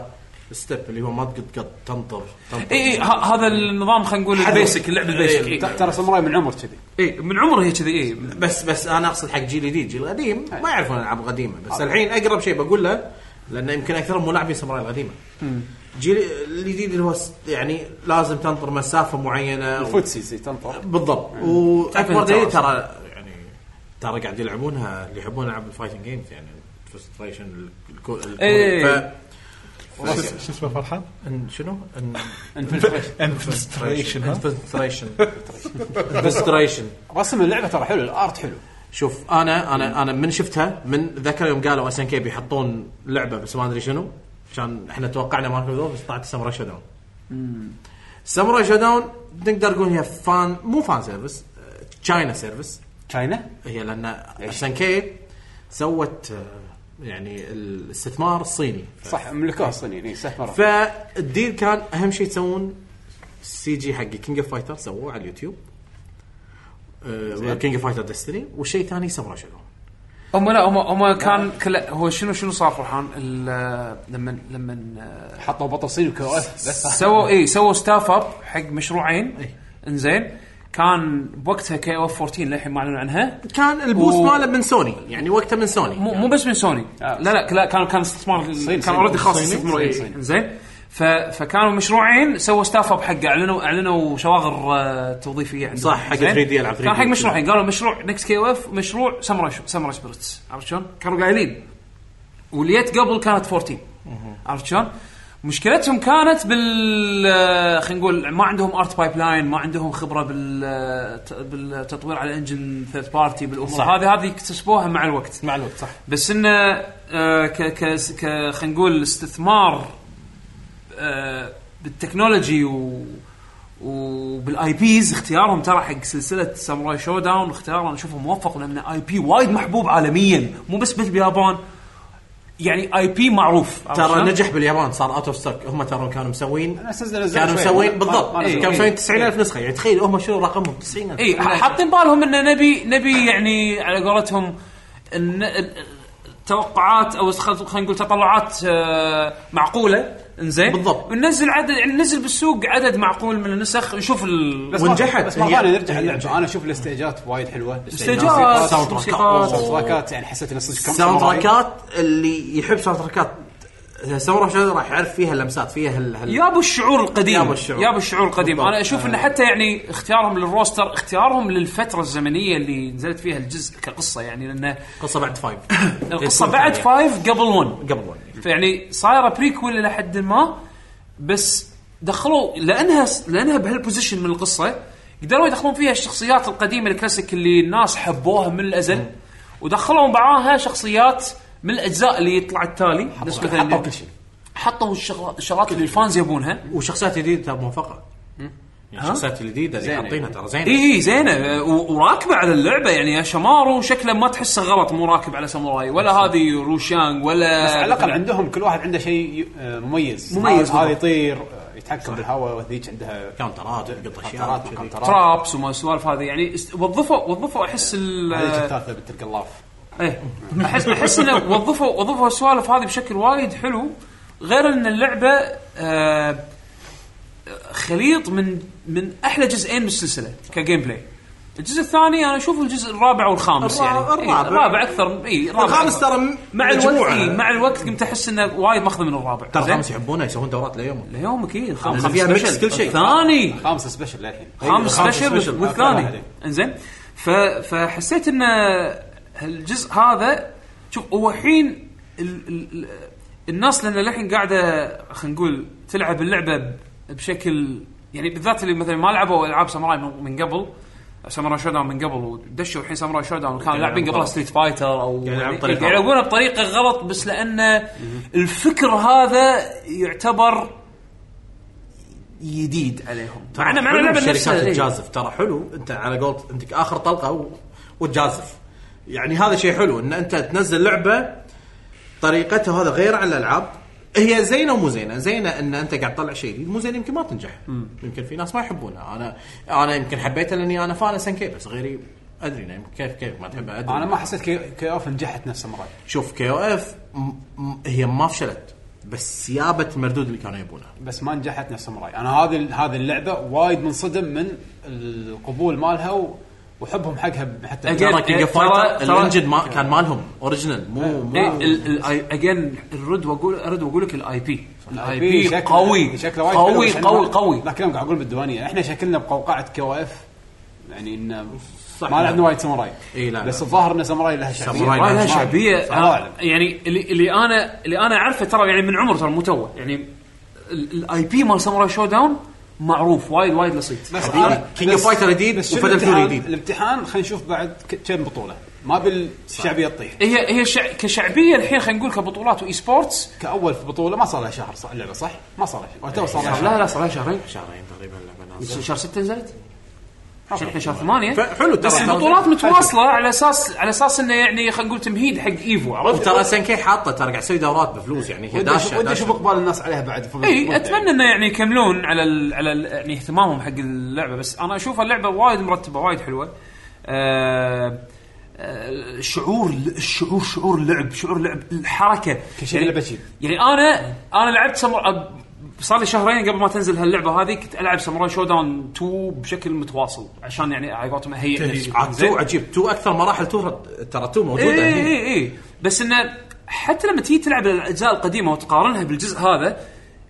Speaker 4: ستيب اللي هو ما تقط قط تنطر تنطر
Speaker 1: اي اي إيه، ه- هذا النظام خلينا نقول البيسك اللعبه البيسك
Speaker 6: ت- ترى ساموراي من عمر كذي
Speaker 1: اي من عمره هي كذي إيه. اي
Speaker 4: بس بس انا اقصد حق جيل جديد جيل قديم ما يعرفون العاب قديمه بس الحين اقرب شيء بقول له لانه يمكن اكثرهم مو لاعبين ساموراي القديمه جيل الجديد اللي هو س- يعني لازم تنطر مسافه معينه و...
Speaker 6: فوتسي زي تنطر
Speaker 4: بالضبط واكبر دليل
Speaker 1: تعرف.
Speaker 4: ترى يعني ترى قاعد يلعبونها اللي يحبون العاب الفايتنج جيمز يعني فرستريشن
Speaker 1: إيه.
Speaker 3: شو شو اسمه فرحان؟
Speaker 4: شنو؟
Speaker 3: انفلستريشن ها؟
Speaker 4: انفستريشن انفستريشن
Speaker 6: رسم اللعبه ترى حلو الارت حلو
Speaker 4: شوف انا انا انا من شفتها من ذكر يوم قالوا اس ان كي بيحطون لعبه بس ما ادري شنو عشان احنا توقعنا ماركو ذول بس طلعت ساموراي شاداون ساموراي شاداون نقدر نقول هي فان مو فان سيرفس تشاينا سيرفس
Speaker 6: تشاينا
Speaker 4: هي لان اس ان كي سوت آه، يعني الاستثمار الصيني
Speaker 6: إيه، صح ملكوها الصينيين اي سهمره
Speaker 4: فالديل كان اهم شيء تسوون السي جي حق كينج اوف فايتر سووه على اليوتيوب كينج اوف فايتر ديستني والشيء الثاني ساموراي شنو
Speaker 1: هم لا هم هم كان كل هو شنو شنو صار فرحان ال- لما لما
Speaker 6: حطوا بطاصيل وكوارث بس
Speaker 1: سووا اي سووا ستاف اب حق مشروعين انزين كان بوقتها كي او 14 للحين ما اعلنوا عنها
Speaker 4: كان البوست
Speaker 1: و-
Speaker 4: ماله من سوني يعني وقته من سوني
Speaker 1: مو مو بس من سوني لا لا لا كان كان استثمار كان
Speaker 6: صين.
Speaker 1: اوريدي خاص
Speaker 6: آه. صيني.
Speaker 1: استثمار
Speaker 6: صين، صين.
Speaker 1: إيه، زين ف... فكانوا مشروعين سووا ستاف اب حقه اعلنوا اعلنوا شواغر آه، توظيفيه عندهم
Speaker 4: صح، حق
Speaker 1: زين؟
Speaker 4: 3D ألعاب
Speaker 1: كان
Speaker 4: 3D.
Speaker 1: حق مشروعين قالوا مشروع نكس كي او اف مشروع ساموراي شو- ساموراي سبيرتس عرفت شلون؟ كانوا قايلين والليت قبل كانت 14 عرفت شلون؟ مشكلتهم كانت بال آه، خلينا نقول ما عندهم ارت بايب لاين ما عندهم خبره بال آه، ت- بالتطوير على انجن ثيرد بارتي بالامور هذه هذه اكتسبوها مع الوقت
Speaker 4: مع الوقت صح
Speaker 1: بس انه آه، ك ك ك خلينا نقول استثمار آه، بالتكنولوجي و وبالاي بيز اختيارهم ترى حق سلسله ساموراي شو داون اختيارهم اشوفه موفق لانه اي بي وايد محبوب عالميا مو بس بس باليابان يعني اي بي معروف عرفت
Speaker 4: ترى
Speaker 1: شلون؟
Speaker 4: نجح باليابان صار اوت اوف ستوك هم ترى كانوا مسوين
Speaker 6: أنا أساس نزلوا
Speaker 4: كانوا
Speaker 6: شوي.
Speaker 4: مسوين
Speaker 6: ما-
Speaker 4: بالضبط
Speaker 6: ما نزلوا.
Speaker 4: كانوا مسوين
Speaker 6: إيه.
Speaker 4: 90000 نسخه يعني تخيل هم شنو رقمهم 90000
Speaker 1: اي إيه، حاطين بالهم انه نبي نبي يعني على قولتهم إن- ال- التوقعات او خل- خلينا نقول تطلعات آه، معقوله انزين
Speaker 4: بالضبط.
Speaker 1: ننزل عدد يعني ننزل بالسوق عدد معقول من النسخ نشوف ال-
Speaker 6: ما-
Speaker 4: ونجحت.
Speaker 6: بس ما
Speaker 4: هي-
Speaker 6: ثاني نرجع
Speaker 4: هي
Speaker 6: اللعبه انا اشوف الاستيجات وايد حلوه
Speaker 1: استيجات
Speaker 4: ساوند
Speaker 1: موسيقات
Speaker 4: تراكات.
Speaker 6: تراكات يعني حسيت انه صدق كم
Speaker 4: ساوند
Speaker 6: ساموراي.
Speaker 4: تراكات اللي يحب ساوند تراكات ساموراي شنو راح يعرف فيها اللمسات فيها هال- هال-
Speaker 1: يابو الشعور القديم
Speaker 4: يابو الشعور.
Speaker 1: يابو الشعور القديم
Speaker 4: بالضبط.
Speaker 1: انا اشوف انه حتى يعني اختيارهم للروستر اختيارهم للفتره الزمنيه اللي نزلت فيها الجزء كقصه يعني
Speaker 4: إيه،
Speaker 1: لانه
Speaker 4: قصه بعد فايف
Speaker 1: القصه بعد
Speaker 4: يعني.
Speaker 1: فايف قبل 1
Speaker 4: قبل وايد.
Speaker 1: فيعني صايره بريكول الى حد ما بس دخلوا لانها لانها بهالبوزيشن من القصه قدروا يدخلون فيها الشخصيات القديمه الكلاسيك اللي الناس حبوها من الازل ودخلوا معاها شخصيات من الاجزاء اللي يطلع التالي نفس مثلا
Speaker 6: حطوا كل شيء.
Speaker 1: حطوا الشغل- الشغلات اللي الفانز يبونها
Speaker 4: وشخصيات جديده ترى موفقه يعني
Speaker 1: ها؟
Speaker 4: الشخصيات الجديده اللي
Speaker 6: زينة
Speaker 4: حاطينها
Speaker 6: يعني.
Speaker 4: ترى زينه
Speaker 1: اي اي زينه آه، و- وراكبه على اللعبه يعني يا شمارو شكله ما تحسه غلط مو راكب على ساموراي ولا هذه روشانج ولا
Speaker 6: بس على الاقل
Speaker 1: مثلاً-
Speaker 6: عندهم كل واحد عنده شيء ي- آه، مميز
Speaker 1: مميز
Speaker 6: هذا- هذا
Speaker 1: بالضبط.
Speaker 6: يطير آه، يتحكم بالهواء وذيك عندها
Speaker 4: كاونترات يقطع
Speaker 6: كانترات
Speaker 4: اشياء كذي.
Speaker 6: وكانترات
Speaker 1: ترابس وما السوالف هذه يعني است- وظفوا وظفوا احس ال
Speaker 6: هذيك الثالثه بنت القلاف
Speaker 1: ايه احس احس انه وظفوا وظفوا السوالف هذه بشكل وايد حلو غير ان اللعبه آه خليط من من احلى جزئين من السلسله كجيم بلاي الجزء الثاني انا اشوف الجزء الرابع والخامس
Speaker 4: الرا-
Speaker 1: يعني إيه،
Speaker 4: الرابع.
Speaker 1: الرابع اكثر اي
Speaker 4: الخامس ترى م-
Speaker 1: مع الوقت
Speaker 4: مجموعة.
Speaker 1: إيه مع الوقت قمت احس انه وايد ماخذ من الرابع زين؟
Speaker 4: ترى
Speaker 1: إيه،
Speaker 4: الخامس يحبونه يسوون دورات ليوم
Speaker 1: اليوم اكيد الخامس
Speaker 4: فيها
Speaker 1: سبيشل.
Speaker 4: ميكس كل شيء.
Speaker 1: الثاني
Speaker 6: خامس سبيشل للحين
Speaker 1: خامس
Speaker 4: خامس
Speaker 1: سبيشل
Speaker 4: سبيشل.
Speaker 6: أكثر
Speaker 1: والثاني
Speaker 6: واحد.
Speaker 1: انزين ف- فحسيت ان الجزء هذا شوف هو الحين ال ال ال الناس لان الحين قاعده خلينا نقول تلعب اللعبه ب- بشكل يعني بالذات اللي مثلا ما لعبوا العاب ساموراي من من قبل ساموراي شوداون من قبل ودشوا الحين ساموراي شوداون كانوا لاعبين قبلها ستريت فايتر او
Speaker 4: قاعد يلعبون بطريقة
Speaker 1: قاعد يلعبونها بطريقه يعني غلط بس لان الفكر هذا يعتبر جديد عليهم مع إن- مع إن
Speaker 4: حلو
Speaker 1: اللعبه نفسها
Speaker 4: الشركات
Speaker 1: إيه.
Speaker 4: تجازف ترى حلو انت على قولت عندك اخر طلقه و... وتجازف يعني هذا شيء حلو ان انت تنزل لعبه طريقتها هذا غير عن الالعاب هي زينه ومو زينه، زينه ان انت قاعد تطلع شيء جديد، مو زينه يمكن ما تنجح. يمكن في ناس ما يحبونها، انا انا يمكن حبيتها لاني انا فان سنكي بس غيري ادري إنه يمكن كيف كيف ما تحبها ادري
Speaker 6: انا ما حسيت كي- كي اوف نجحت نفس ساموراي
Speaker 4: شوف كي او اف م... م... هي ما فشلت بس يابت المردود اللي كانوا يبونه.
Speaker 6: بس ما نجحت نفس ساموراي انا هذه هذه اللعبه وايد منصدم من القبول مالها و- وحبهم حقها حتى
Speaker 1: أجل.
Speaker 4: ترى كينج اوف
Speaker 1: ترى-
Speaker 4: فايتر
Speaker 1: ترى-
Speaker 4: الانجن ما كان مالهم اوريجنال مو
Speaker 1: إيه،
Speaker 4: مو
Speaker 1: ال- ال- I- again الرد واقول ارد واقول لك الاي بي الاي
Speaker 6: IP
Speaker 1: بي
Speaker 6: شكله-
Speaker 1: قوي
Speaker 6: شكله وايد حلو،
Speaker 1: قوي
Speaker 6: بس إحنا-
Speaker 1: قوي قوي
Speaker 6: لكن أنا قاعد اقول بالديوانيه احنا شكلنا بقوقعه كي او اف يعني ان
Speaker 4: صح.
Speaker 6: ما لعبنا وايد ساموراي
Speaker 4: إي، لا،
Speaker 6: بس
Speaker 4: لا.
Speaker 6: الظاهر ان ساموراي لها شعبيه
Speaker 4: ساموراي
Speaker 1: والله لها
Speaker 4: ما-
Speaker 1: شعبيه
Speaker 6: ما أعلم.
Speaker 1: أنا- يعني اللي, اللي انا اللي انا اعرفه ترى يعني من عمر ترى مو توه يعني الاي بي مال ساموراي شو داون معروف وايد وايد لصيت
Speaker 6: بس
Speaker 4: حبيبي،
Speaker 6: أنا-
Speaker 4: كينج
Speaker 6: بس-
Speaker 4: أوف فايتر جديد
Speaker 6: بس شنو
Speaker 4: وفدل
Speaker 6: الامتحان؟
Speaker 4: فيوري جديد.
Speaker 6: الامتحان خلينا نشوف بعد ك- كم بطوله ما بالشعبيه تطيح
Speaker 1: هي هي شع... كشعبيه الحين خلينا نقول كبطولات واي سبورتس
Speaker 6: كاول في بطوله ما صار لها شهر صح اللعبه صح؟
Speaker 1: إيه،
Speaker 6: ما صار لها شهر وتو صار لها شهر
Speaker 4: يعني
Speaker 1: لا لا صار لها شهرين
Speaker 4: شهرين تقريبا لعبه نازله
Speaker 1: شهر 6 نزلت عشان احنا شهر ثمانيه
Speaker 4: فحلو ترى
Speaker 1: إيه؟ بس البطولات متواصله على اساس على اساس انه يعني خلينا نقول تمهيد حق ايفو عرفت؟
Speaker 4: ترى سنكي حاطه ترى قاعد تسوي دورات بفلوس يعني هي
Speaker 6: ودي أشوف-
Speaker 4: داشه
Speaker 6: ودي اشوف
Speaker 4: داشة.
Speaker 6: اقبال الناس عليها بعد في-
Speaker 1: اي اتمنى انه يعني يكملون على ال على ال يعني اهتمامهم حق اللعبه بس انا اشوف اللعبه وايد مرتبه وايد حلوه آه آه، شعور الشعور شعور اللعب شعور اللعب الحركه
Speaker 6: كشيء
Speaker 1: يعني-
Speaker 6: لعبة شيء.
Speaker 1: يعني انا انا لعبت سمر... صار لي شهرين قبل ما تنزل هاللعبه هذه كنت العب ساموراي شو داون 2 بشكل متواصل عشان يعني على قولتهم اهيئ
Speaker 3: تهيئ.
Speaker 1: نفسي
Speaker 4: عاد تو عجيب تو اكثر مراحل تو ترى تو موجوده
Speaker 1: اي
Speaker 4: هي.
Speaker 1: اي اي إيه، بس انه حتى لما تيجي تلعب الاجزاء القديمه وتقارنها بالجزء هذا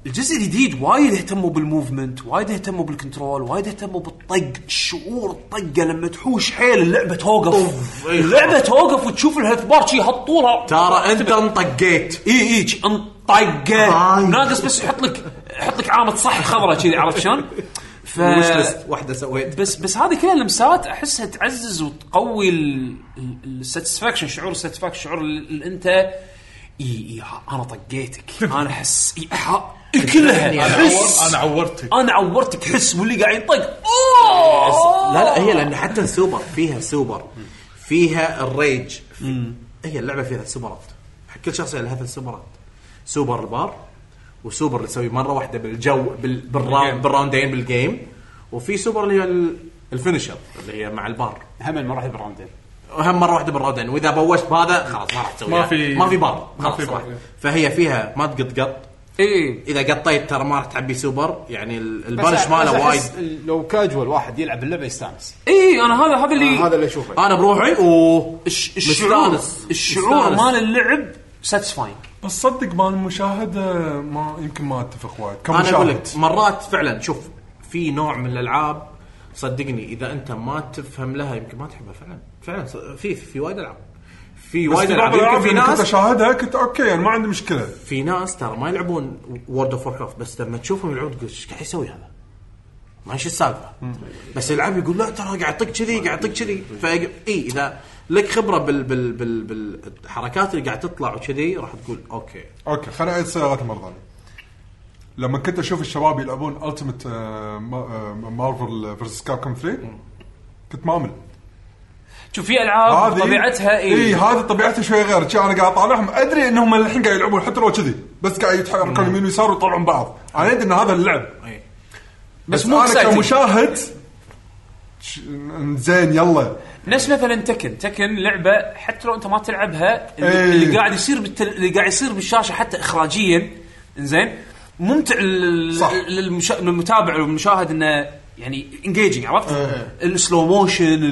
Speaker 1: الجزء الجديد وايد اهتموا بالموفمنت وايد اهتموا بالكنترول وايد اهتموا بالطق الشعور الطقه لما تحوش حيل اللعبه توقف
Speaker 4: أوف، إي.
Speaker 1: اللعبه توقف وتشوف الهيلث بار شي هالطوله
Speaker 4: ترى انت انطقيت
Speaker 1: اي اي شي انطقه
Speaker 4: هاي.
Speaker 1: ناقص بس يحط لك يحط لك علامه صح خضراء كذي عرفت شلون؟ ف
Speaker 4: وش لست واحده سويت
Speaker 1: بس بس هذه كلها لمسات احسها تعزز وتقوي الساتسفاكشن شعور الساتسفاكشن شعور ال- ال- انت اي اي ها- انا طقيتك انا احس إي ها- إي كلها
Speaker 3: انا عور-
Speaker 1: احس
Speaker 3: أنا عورتك
Speaker 1: انا عورتك حس واللي قاعد ينطق أوه!
Speaker 4: لا لا هي لان حتى السوبر فيها سوبر فيها الريج هي اللعبه فيها ثلاث سوبرات حق كل شخصيه لها ثلاث سوبرات سوبر البار وسوبر اللي تسوي مره واحده بالجو بال- بالراوند بالراوندين بالجيم وفي سوبر اللي هي ال- الفينشر اللي هي مع البار
Speaker 6: هم المراحل بالراوندين
Speaker 4: وهم مره واحده بالراوندين واذا بوشت بهذا خلاص ما راح تسوي
Speaker 3: ما في-
Speaker 4: ما في بار
Speaker 3: ما
Speaker 4: خلاص
Speaker 3: في بار،
Speaker 4: راح.
Speaker 3: إيه.
Speaker 4: فهي فيها ما تقط قط
Speaker 1: اي
Speaker 4: اذا قطيت ترى ما راح تعبي سوبر يعني ال-
Speaker 6: بس
Speaker 4: البانش
Speaker 6: أ-
Speaker 4: ماله
Speaker 6: بس
Speaker 4: وايد
Speaker 6: أحس لو كاجوال واحد يلعب اللعبه يستانس
Speaker 1: اي انا هذا هذا اللي
Speaker 6: هذا اللي اشوفه
Speaker 4: انا بروحي و
Speaker 1: الش- الشعور
Speaker 4: مستانس.
Speaker 1: الشعور
Speaker 4: مستانس.
Speaker 1: مال اللعب ساتسفاين
Speaker 2: بس صدق مال المشاهد آه، ما يمكن ما اتفق وايد
Speaker 4: انا
Speaker 2: كمشاهد
Speaker 4: اقول لك مرات فعلا شوف في نوع من الالعاب صدقني اذا انت ما تفهم لها يمكن ما تحبها فعلا فعلا ص- في في وايد العاب في
Speaker 2: بس
Speaker 4: وايد
Speaker 2: في بعض
Speaker 4: العاب يمكن
Speaker 2: الالعاب
Speaker 4: في
Speaker 2: اللي كنت
Speaker 4: ناس
Speaker 2: اشاهدها كنت اوكي يعني ما عندي مشكله
Speaker 4: في ناس ترى ما يلعبون وورد اوف كرافت بس لما تشوفهم يلعبون تقول ايش قاعد يسوي هذا؟ ما ايش السالفه بس يلعب يقول لا ترى قاعد يطق كذي قاعد يطق كذي فاي اذا لك خبره بال بال بال بالحركات اللي قاعد تطلع وكذي راح تقول اوكي
Speaker 2: اوكي خليني اعيد صياغتها مره ثانيه لما كنت اشوف الشباب يلعبون آه، التيمت مارفل فيرسس كابكوم 3 كنت مامل
Speaker 1: شوف في العاب طبيعتها
Speaker 2: اي إيه
Speaker 1: اي
Speaker 2: هذه طبيعتها شوي غير شي انا قاعد اطالعهم ادري انهم الحين قاعد يلعبون حتى لو كذي بس قاعد يتحركون يمين ويسار ويطلعون بعض انا ادري ان هذا اللعب
Speaker 4: إيه.
Speaker 2: بس,
Speaker 1: بس
Speaker 2: بس
Speaker 1: مو
Speaker 2: انا
Speaker 1: exciting.
Speaker 2: كمشاهد ش- زين يلا
Speaker 1: نفس مثلا تكن تكن لعبه حتى لو انت ما تلعبها اللي,
Speaker 2: إيه.
Speaker 1: اللي قاعد يصير بالتل... اللي قاعد يصير بالشاشه حتى اخراجيا زين ممتع لل...
Speaker 2: صح.
Speaker 1: للمشا... للمتابع والمشاهد انه يعني انجيجنج عرفت؟
Speaker 2: إيه.
Speaker 1: السلو موشن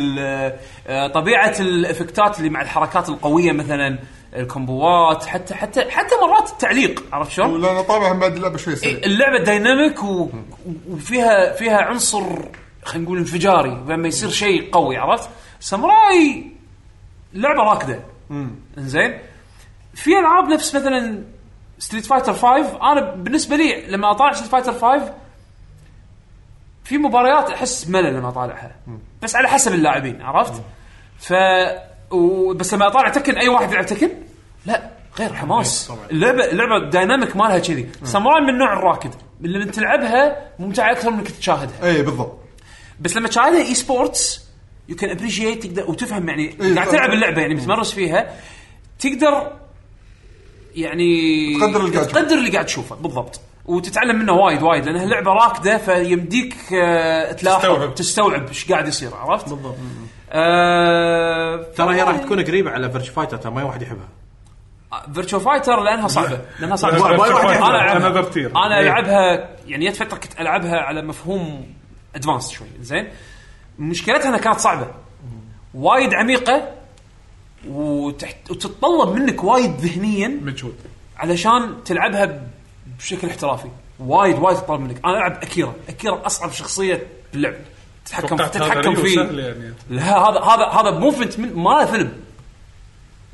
Speaker 1: طبيعه الافكتات آه، اللي مع الحركات القويه مثلا الكومبوات حتى حتى حتى مرات التعليق عرفت شلون؟
Speaker 2: لان طبعا بعد اللعبه شوي سريع
Speaker 1: اللعبه دايناميك و... وفيها فيها عنصر خلينا نقول انفجاري لما يصير شيء قوي عرفت؟ ساموراي لعبه راكده انزين في العاب نفس مثلا ستريت فايتر 5 انا بالنسبه لي لما اطالع ستريت فايتر 5 في مباريات احس ملل لما اطالعها بس على حسب اللاعبين عرفت؟ ف و... بس لما اطالع تكن اي واحد يلعب تكن لا غير حماس اللعبه اللعبه الدايناميك مالها كذي ساموراي من النوع الراكد اللي من تلعبها ممتعه اكثر من انك تشاهدها
Speaker 2: اي إيه، بالضبط
Speaker 1: بس لما تشاهدها اي سبورتس يو كان ابريشيت تقدر وتفهم يعني
Speaker 2: إيه،
Speaker 1: قاعد
Speaker 2: فاهم.
Speaker 1: تلعب اللعبه يعني متمرس فيها تقدر يعني
Speaker 2: تقدر اللي قاعد تشوفه.
Speaker 1: تقدر اللي قاعد تشوفه بالضبط وتتعلم منه وايد وايد لانها لعبه راكده فيمديك آه، تلاحظ
Speaker 3: تستوعب.
Speaker 1: تستوعب ايش قاعد يصير عرفت؟ بالضبط آه
Speaker 4: ترى هي راح تكون قريبه على فيرتش فايتر ترى ما أي واحد يحبها
Speaker 1: فيرتشو فايتر لانها صعبه لانها صعبه
Speaker 3: لا،
Speaker 4: Virtua Fighter
Speaker 1: انا
Speaker 3: another
Speaker 1: العبها
Speaker 3: tier.
Speaker 1: انا
Speaker 3: إيه.
Speaker 1: العبها يعني جت فتره كنت العبها على مفهوم ادفانس شوي زين مشكلتها انها كانت صعبه وايد عميقه وتحت وتتطلب منك وايد ذهنيا
Speaker 3: مجهود
Speaker 1: علشان تلعبها ب- بشكل احترافي وايد وايد تطلب منك انا العب اكيرا اكيرا اصعب شخصيه باللعب تتحكم
Speaker 3: توقعت هذا
Speaker 1: تتحكم
Speaker 3: ريو
Speaker 1: فيه
Speaker 3: سهل يعني.
Speaker 1: لا هذا هذا هذا موفمنت من- ماله فيلم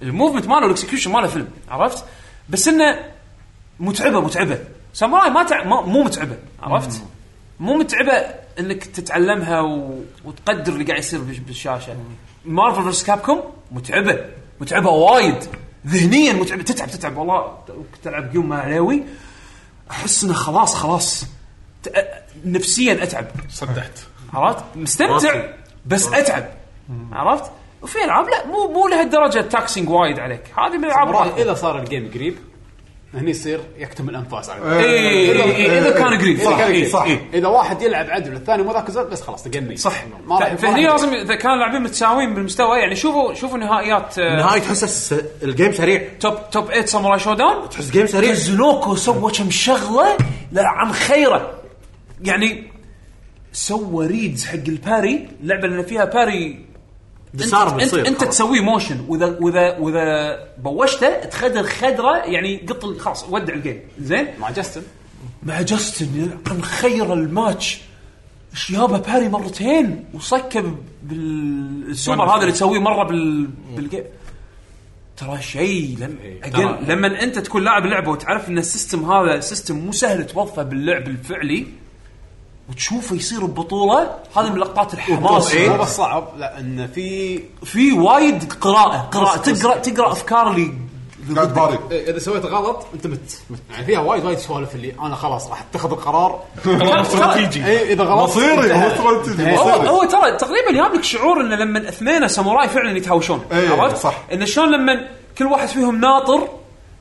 Speaker 1: الموفمنت ماله والاكسكيوشن ماله فيلم عرفت بس انه متعبه متعبه ساموراي ما, تع... ما مو متعبه عرفت مو متعبه انك تتعلمها و... وتقدر اللي قاعد يصير بش- يعني بالشاشه مارفل فيرس كابكوم متعبه متعبه وايد ذهنيا متعبه تتعب تتعب والله كنت العب جيم مع علاوي احس انه خلاص خلاص ت... نفسيا اتعب
Speaker 3: صدعت
Speaker 1: عرفت مستمتع
Speaker 4: راسي.
Speaker 1: بس اتعب عرفت؟ وفي العاب لا مو مو لهالدرجه تاكسينج وايد عليك هذه من العاب
Speaker 6: مرات
Speaker 1: راحة.
Speaker 6: اذا صار الجيم قريب هني يصير يكتم الانفاس على
Speaker 1: إي- إي- إي- اذا كان قريب
Speaker 6: إذا كان قريب.
Speaker 1: إيه، صح
Speaker 2: صح.
Speaker 1: إي.
Speaker 6: اذا واحد يلعب عدل والثاني مو ذاك الزود بس خلاص تقني
Speaker 1: صح
Speaker 6: ما راح
Speaker 1: ف- فهني لازم اذا كانوا اللاعبين متساويين بالمستوى يعني شوفوا شوفوا نهائيات آه،
Speaker 4: نهاية تحس الس- الجيم سريع
Speaker 1: توب توب 8 ساموراي شو داون
Speaker 4: تحس جيم سريع
Speaker 1: زنوكو سوى كم شغله لا عن خيره يعني سوى ريدز حق الباري اللعبه اللي فيها باري
Speaker 4: دسار
Speaker 1: انت, انت,
Speaker 4: بيصير
Speaker 1: انت
Speaker 4: خلاص.
Speaker 1: تسويه موشن واذا واذا واذا بوشته تخدر خدره يعني قط ال- خلاص ودع الجيم زين
Speaker 6: مع جاستن
Speaker 1: مع جاستن كان خير الماتش ايش يابا باري مرتين وصكه بالسوبر هذا اللي تسويه مره بال بالجيم ترى شيء لم
Speaker 4: ترى.
Speaker 1: Again، لما انت تكون لاعب لعبه وتعرف ان السيستم هذا سيستم مو سهل توظفه باللعب الفعلي وتشوفه يصير ببطوله هذه من لقطات الحماس
Speaker 6: مو بس صعب لا ان في
Speaker 1: في وايد قراءه قراءه تقرا تقرا افكار اللي
Speaker 2: قاعد باري
Speaker 6: إيه، اذا سويت غلط انت مت مت. يعني فيها وايد وايد سوالف اللي انا خلاص راح اتخذ القرار اي اذا غلط
Speaker 2: مصيري هو
Speaker 6: انتهى.
Speaker 2: استراتيجي
Speaker 1: هو
Speaker 2: مصيري
Speaker 1: هو ترى تقريبا جاب لك شعور انه لما اثنين ساموراي فعلا يتهاوشون
Speaker 2: إيه،
Speaker 1: عرفت؟
Speaker 2: صح.
Speaker 1: انه شلون لما كل واحد فيهم ناطر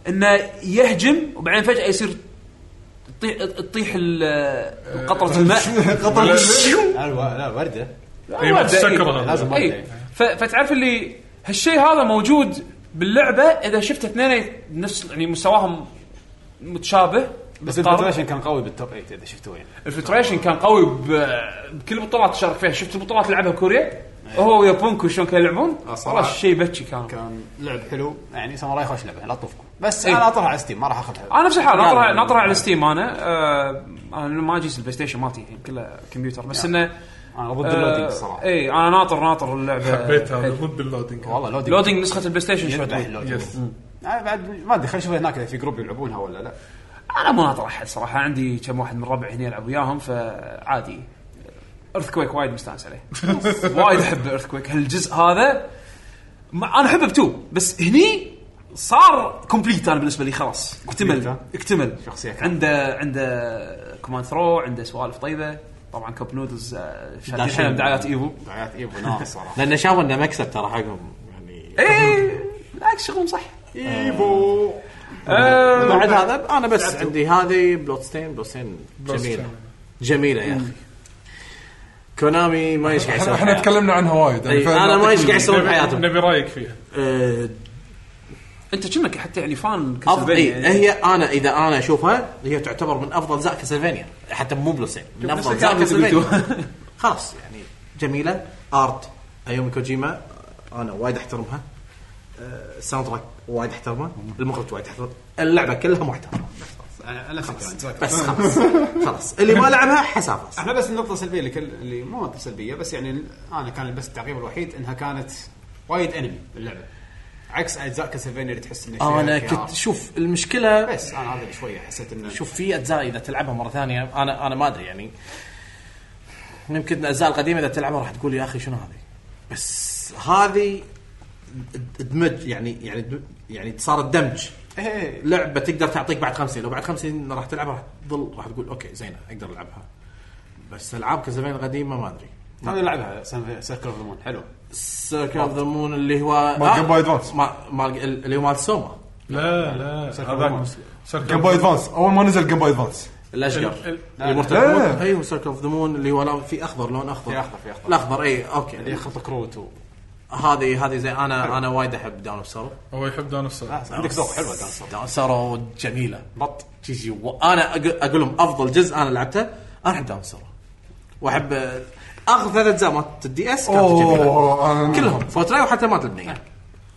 Speaker 1: انه يهجم وبعدين فجاه يصير تطيح تطيح ال-
Speaker 2: إيه،
Speaker 1: قطره الماء
Speaker 2: قطر
Speaker 1: شيو.
Speaker 6: لا لا لا ورده
Speaker 3: اي
Speaker 1: ورده،
Speaker 3: متسكره
Speaker 1: إيه.
Speaker 3: هذا.
Speaker 6: لازم
Speaker 1: إيه.
Speaker 6: ورده
Speaker 1: ف- فتعرف اللي هالشيء هذا موجود باللعبه اذا شفت اثنين نفس يعني مستواهم متشابه
Speaker 6: بس
Speaker 1: متقارب.
Speaker 6: الفلتريشن كان قوي بالتوب 8 اذا شفتوه يعني
Speaker 1: الفلتريشن كان قوي ب- بكل البطولات شارك فيها شفت البطولات اللي لعبها كوريا هو ويا بونكو شلون كانوا يلعبون
Speaker 6: إيه. آه، صراحة.
Speaker 1: والله شيء بكي كانوا
Speaker 6: كان لعب حلو يعني ساموراي خوش لعبه لا تطوفكم بس
Speaker 1: إيه.
Speaker 6: انا اطرح على ستيم ما راح اخذها
Speaker 1: انا نفس الحال
Speaker 4: لا،
Speaker 1: ناطرها
Speaker 4: لا، لا.
Speaker 1: ناطرها على ستيم انا آه انا ما اجيس البلاي ستيشن مالتي الحين كله كمبيوتر بس انه
Speaker 6: انا ضد اللودينج
Speaker 1: آه
Speaker 6: الصراحه
Speaker 1: اي انا ناطر ناطر اللعبه
Speaker 3: حبيت هذا ضد اللودينج
Speaker 6: والله لودينج
Speaker 1: لودينج نسخه البلاي ستيشن شوي
Speaker 6: يذبح
Speaker 1: طويل.
Speaker 6: اللودينج
Speaker 3: يس
Speaker 6: انا آه، بعد ما ادري خلينا نشوف هناك اذا في جروب يلعبونها ولا لا
Speaker 1: انا مو ناطر احد صراحه عندي كم واحد من ربعي هنا يلعب وياهم فعادي ايرث كويك وايد مستانس عليه وايد احب ايرث كويك هالجزء هذا ما انا احبه بتو بس هني صار كومبليت انا بالنسبه لي خلاص
Speaker 6: Complete،
Speaker 1: اكتمل
Speaker 6: ها؟
Speaker 1: اكتمل
Speaker 6: شخصية كاملة.
Speaker 1: عنده عنده كوماند ثرو عنده سوالف طيبه طبعا كوب نودلز آه، شادين
Speaker 4: داشين.
Speaker 1: حيلهم دعايات ايفو
Speaker 6: دعايات ايفو نار صراحه
Speaker 4: لان شافوا انه مكسب ترى حقهم يعني
Speaker 1: اي بالعكس شغلهم إيه، صح
Speaker 6: ايفو
Speaker 1: آه،
Speaker 4: بعد هذا انا بس عندي هذه بلوتستين بلوتستين جميله جميله يا اخي كونامي ما ايش قاعد يسوي
Speaker 2: احنا
Speaker 4: بحياته.
Speaker 2: تكلمنا عنها وايد
Speaker 4: إي، انا ما ايش قاعد يسوي بحياته
Speaker 3: نبي رايك فيها
Speaker 4: آه،
Speaker 1: انت كأنك حتى يعني فان
Speaker 4: أفضل إيه
Speaker 1: كاسلفينيا.
Speaker 4: هي انا اذا انا اشوفها هي تعتبر من افضل اجزاء كاسلفينيا حتى مو بلوسين من
Speaker 1: نفس
Speaker 4: افضل اجزاء
Speaker 1: الكلام اللي
Speaker 4: كاسلفينيا خلاص يعني جميله ارت ايومي كوجيما انا وايد احترمها آه، الساوند تراك وايد احترمه المخرج وايد احترمه اللعبه كلها محترمه
Speaker 6: انا
Speaker 2: يعني،
Speaker 6: فكره
Speaker 4: بس خلاص خلاص اللي ما لعبها حسافه
Speaker 6: احنا بس النقطه السلبيه اللي كل اللي مو نقطه سلبيه بس يعني انا كان بس التعقيب الوحيد انها كانت وايد انمي اللعبه عكس اجزاء كاسلفينيا اللي تحس انه فيها
Speaker 4: انا
Speaker 6: VR.
Speaker 4: كنت شوف المشكله
Speaker 6: بس انا هذا اللي شويه حسيت انه
Speaker 4: شوف في اجزاء اذا تلعبها مره ثانيه انا انا ما ادري يعني يمكن الاجزاء القديمه اذا تلعبها راح تقول يا اخي شنو هذه بس هذه ادمج يعني يعني د- يعني صارت دمج
Speaker 6: إيه.
Speaker 4: لعبه تقدر تعطيك بعد 50 لو بعد 50 راح تلعبها راح تظل راح تقول اوكي زينه اقدر العبها بس العاب كازافين القديمه ما ادري
Speaker 6: انا العبها سيركل اوف ذا مون حلو
Speaker 4: سيركل اوف ذا مون اللي هو
Speaker 2: مال
Speaker 4: آه،
Speaker 2: Game Boy Advance.
Speaker 4: ما- مال اللي هو مال سوما
Speaker 3: لا لا هذاك سيركل
Speaker 2: جيم بوي ادفانس اول ما نزل جيم بوي ادفانس
Speaker 3: ال-
Speaker 4: الاشقر
Speaker 3: ال-
Speaker 4: المرتبط
Speaker 2: لا.
Speaker 4: ايوه سيركل اوف ذا مون اللي هو لا- في اخضر لون اخضر
Speaker 6: في أخضر- في أخضر.
Speaker 4: الاخضر اي اوكي
Speaker 6: اللي يخط كروت و
Speaker 4: هذه هذه زي انا انا وايد احب داون اوف سورو
Speaker 3: هو يحب دون الصدر
Speaker 6: عندك ذوق حلوه دانسر
Speaker 4: داون اوف سورو جميله
Speaker 6: بط
Speaker 4: جيجي و- انا أق- اقول لهم افضل جزء انا لعبته انا احب داون اوف سورو واحب آه، اخر ثلاث اجزاء مالت الدي اس كانت جميله
Speaker 2: اوه أنا-
Speaker 4: كلهم فورتنايت وحتى مالت البنيه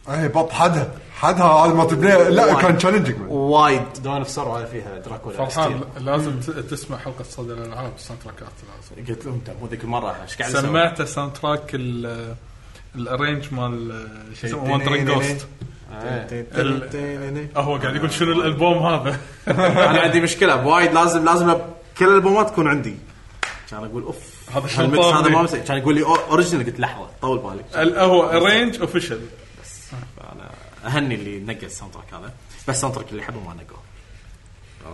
Speaker 2: اي بط حدها حدها هذا ما تبنيه لا
Speaker 4: وايد.
Speaker 2: كان تشالنجنج
Speaker 4: وايد
Speaker 6: دون اوف سر هذا فيها دراكولا
Speaker 3: فرحان
Speaker 6: ستيل.
Speaker 3: لازم ت- تسمع حلقه صدى الالعاب الساوند تراكات لازم.
Speaker 4: قلت لهم انت مو ذيك المره ايش قاعد أسوي؟
Speaker 3: سمعت الساوند تراك ال- الارينج مال آه، شو اسمه وان تراك جوست
Speaker 4: إيه.
Speaker 3: هو قاعد يقول شنو الالبوم هذا
Speaker 4: انا عندي مشكله وايد لازم لازم أب- كل الالبومات تكون عندي كان اقول اوف
Speaker 3: هذا شو
Speaker 4: هالميكس هذا
Speaker 3: طارني؟
Speaker 4: ما مسوي كان يقول لي اوريجنال قلت لحظه طول بالك
Speaker 3: ال- هو ارينج اوفيشال
Speaker 4: انا اهني اللي نقى الساوند تراك هذا بس الساوند تراك اللي احبه ما نقوه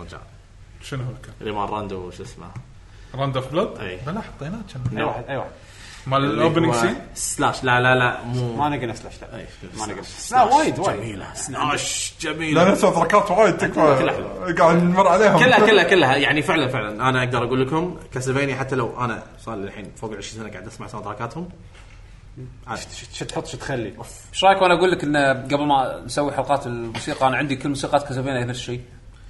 Speaker 4: رجع
Speaker 3: شنو هو كان؟
Speaker 4: اللي مال راندو شو اسمه
Speaker 3: راند اوف بلود؟
Speaker 4: إي.
Speaker 3: بلا حطيناه كان
Speaker 6: اي واحد اي واحد
Speaker 3: مال الاوبننج سين
Speaker 4: سلاش لا لا لا مو إيه،
Speaker 6: ما نقل سلاش لا ما نقل لا
Speaker 4: سلاش
Speaker 6: وايد وايد
Speaker 4: جميله سلاش جميله
Speaker 2: لان تراكات وايد تكفى
Speaker 4: كلها حلوة.
Speaker 2: قاعد نمر عليهم
Speaker 4: كلها كلها كلها يعني فعلا فعلا انا اقدر اقول لكم كاسلفينيا حتى لو انا صار لي الحين فوق ال 20 سنه قاعد اسمع ساوند تراكاتهم عادي
Speaker 6: شو تحط شو تخلي
Speaker 1: ايش رايك وانا اقول لك انه قبل ما نسوي حلقات الموسيقى انا عندي كل موسيقات كاسلفينيا نفس الشيء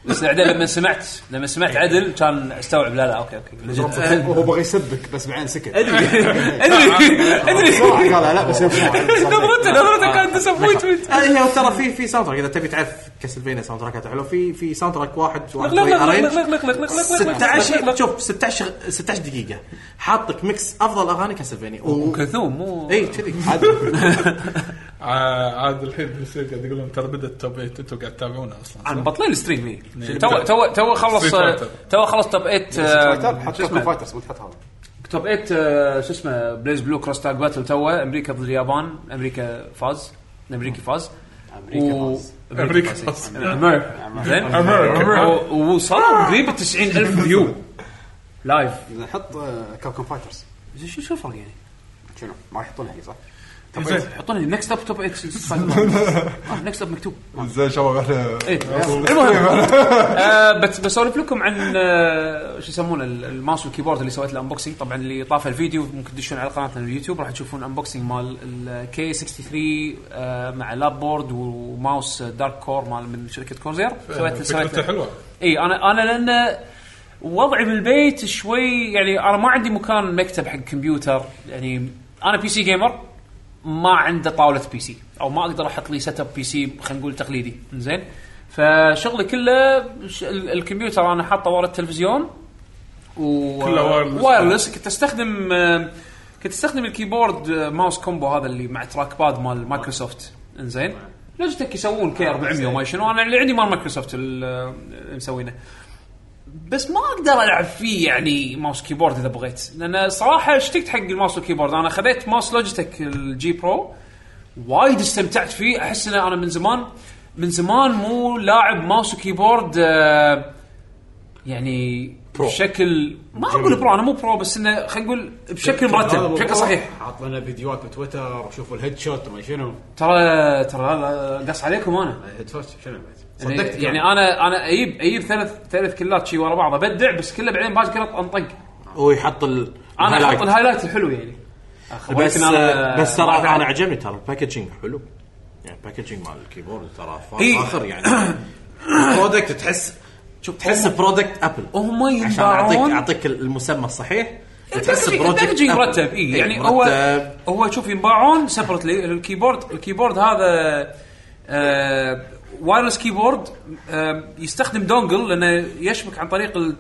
Speaker 1: بس بعدين لما سمعت لما سمعت عدل كان استوعب لا لا اوكي اوكي legit.
Speaker 4: أه.
Speaker 6: هو بغى يسبك بس بعدين سكت
Speaker 4: ادري ادري ادري
Speaker 6: بسرعه قالها لا بس
Speaker 1: نظرته نظرته
Speaker 4: آه.
Speaker 1: كانت ديسابوينتمنت
Speaker 4: هذه هي ترى في في ساوند تراك اذا تبي تعرف كاسلفينيا ساوند تراكاته حلو في في ساوند تراك واحد واحد
Speaker 1: لا، لا، لا،
Speaker 4: شوي
Speaker 1: لا،
Speaker 4: arrange.
Speaker 1: لا، لا، لا، لا، لا، لا،
Speaker 4: 16 شوف 16 16 دقيقه حاطك ميكس افضل اغاني كاسلفينيا و-
Speaker 1: كلثوم مو
Speaker 4: اي كذي
Speaker 3: آه، عاد الحين بالسيف قاعد يقول لهم ترى بدات التوب 8 انتم قاعد تتابعونه اصلا
Speaker 1: عن بطلين الستريم إيه.
Speaker 3: نعم.
Speaker 1: تو تو تو خلص
Speaker 3: Street Fighter.
Speaker 1: تو خلص آه، توب 8
Speaker 6: حط كوكو فايترز مو تحط هذا
Speaker 1: توب 8 آه، شو اسمه بليز بلو كروس تاج باتل تو امريكا ضد اليابان امريكا فاز الامريكي فاز
Speaker 6: أمريكا فاز.
Speaker 3: أمريكا
Speaker 1: امريكا
Speaker 3: فاز.
Speaker 1: فاز أمريكا. زين و- ووصلوا قريب 90000 فيو لايف
Speaker 6: حط كوكو آه، فايترز
Speaker 1: شو شو الفرق يعني؟ إيه،
Speaker 6: شنو ما راح يحطونها هي صح؟
Speaker 3: زين
Speaker 1: حطونا نكست اب توب 8 نكست اب آه، مكتوب
Speaker 2: زين شباب احنا
Speaker 1: إيه. المهم آه، بت- بسولف لكم عن آه، شو يسمونه ال- الماوس والكيبورد اللي سويت له انبوكسنج طبعا اللي طاف الفيديو ممكن تدشون على قناتنا اليوتيوب راح تشوفون انبوكسنج مال الكي 63 آه، مع لاب بورد وماوس دارك كور مال من شركه كورزير سويت سويت
Speaker 3: فكرته
Speaker 1: له-
Speaker 3: حلوه
Speaker 1: اي انا انا لان وضعي بالبيت شوي يعني انا ما عندي مكان مكتب حق كمبيوتر يعني انا بي سي جيمر ما عنده طاوله بي سي او ما اقدر احط لي سيت اب بي سي خلينا نقول تقليدي زين فشغلي كله ش- ال- الكمبيوتر انا حاطه ورا التلفزيون و
Speaker 3: كله وايرلس.
Speaker 1: وايرلس كنت استخدم آه، كنت استخدم الكيبورد آه، ماوس كومبو هذا اللي مع تراك باد مال مايكروسوفت انزين لوجيتك يسوون كي 400 وما شنو انا اللي عندي مال مايكروسوفت ال- آه، اللي مسوينه بس ما اقدر العب فيه يعني ماوس كيبورد اذا بغيت لان صراحه اشتقت حق الماوس والكيبورد انا خذيت ماوس لوجيتك الجي برو وايد استمتعت فيه احس ان انا من زمان من زمان مو لاعب ماوس وكيبورد آه، يعني برو. بشكل ما اقول برو انا مو برو بس انه خلينا نقول بشكل مرتب بشكل صحيح
Speaker 6: حاط لنا فيديوهات بتويتر وشوفوا الهيد شوت وما شنو
Speaker 1: ترى ترى هذا قص عليكم انا
Speaker 6: الهيد شوت شنو بعد؟
Speaker 1: يعني,
Speaker 6: صدقت
Speaker 1: يعني انا انا اجيب اجيب ثلاث ثلاث كلات شي ورا بعض ابدع بس كله بعدين باش قلط انطق
Speaker 4: ويحط ال
Speaker 1: انا
Speaker 4: highlight.
Speaker 1: احط الهايلايت الحلو يعني آه،
Speaker 4: بس
Speaker 1: ولكن أنا-
Speaker 4: بس ترى انا عجبني ترى الباكجينج حلو يعني الباكجينج مال الكيبورد ترى فا-
Speaker 1: إي.
Speaker 4: فاخر يعني برودكت تحس شوف تحس برودكت ابل
Speaker 1: هم
Speaker 4: عشان اعطيك
Speaker 1: ينباعون
Speaker 4: اعطيك المسمى الصحيح إيه، تحس برودكت
Speaker 1: الباكجينج مرتب اي
Speaker 4: إيه،
Speaker 1: يعني هو هو شوف ينباعون سبرتلي الكيبورد الكيبورد هذا آه وايرلس كيبورد آه يستخدم دونجل لانه يشبك عن طريق ال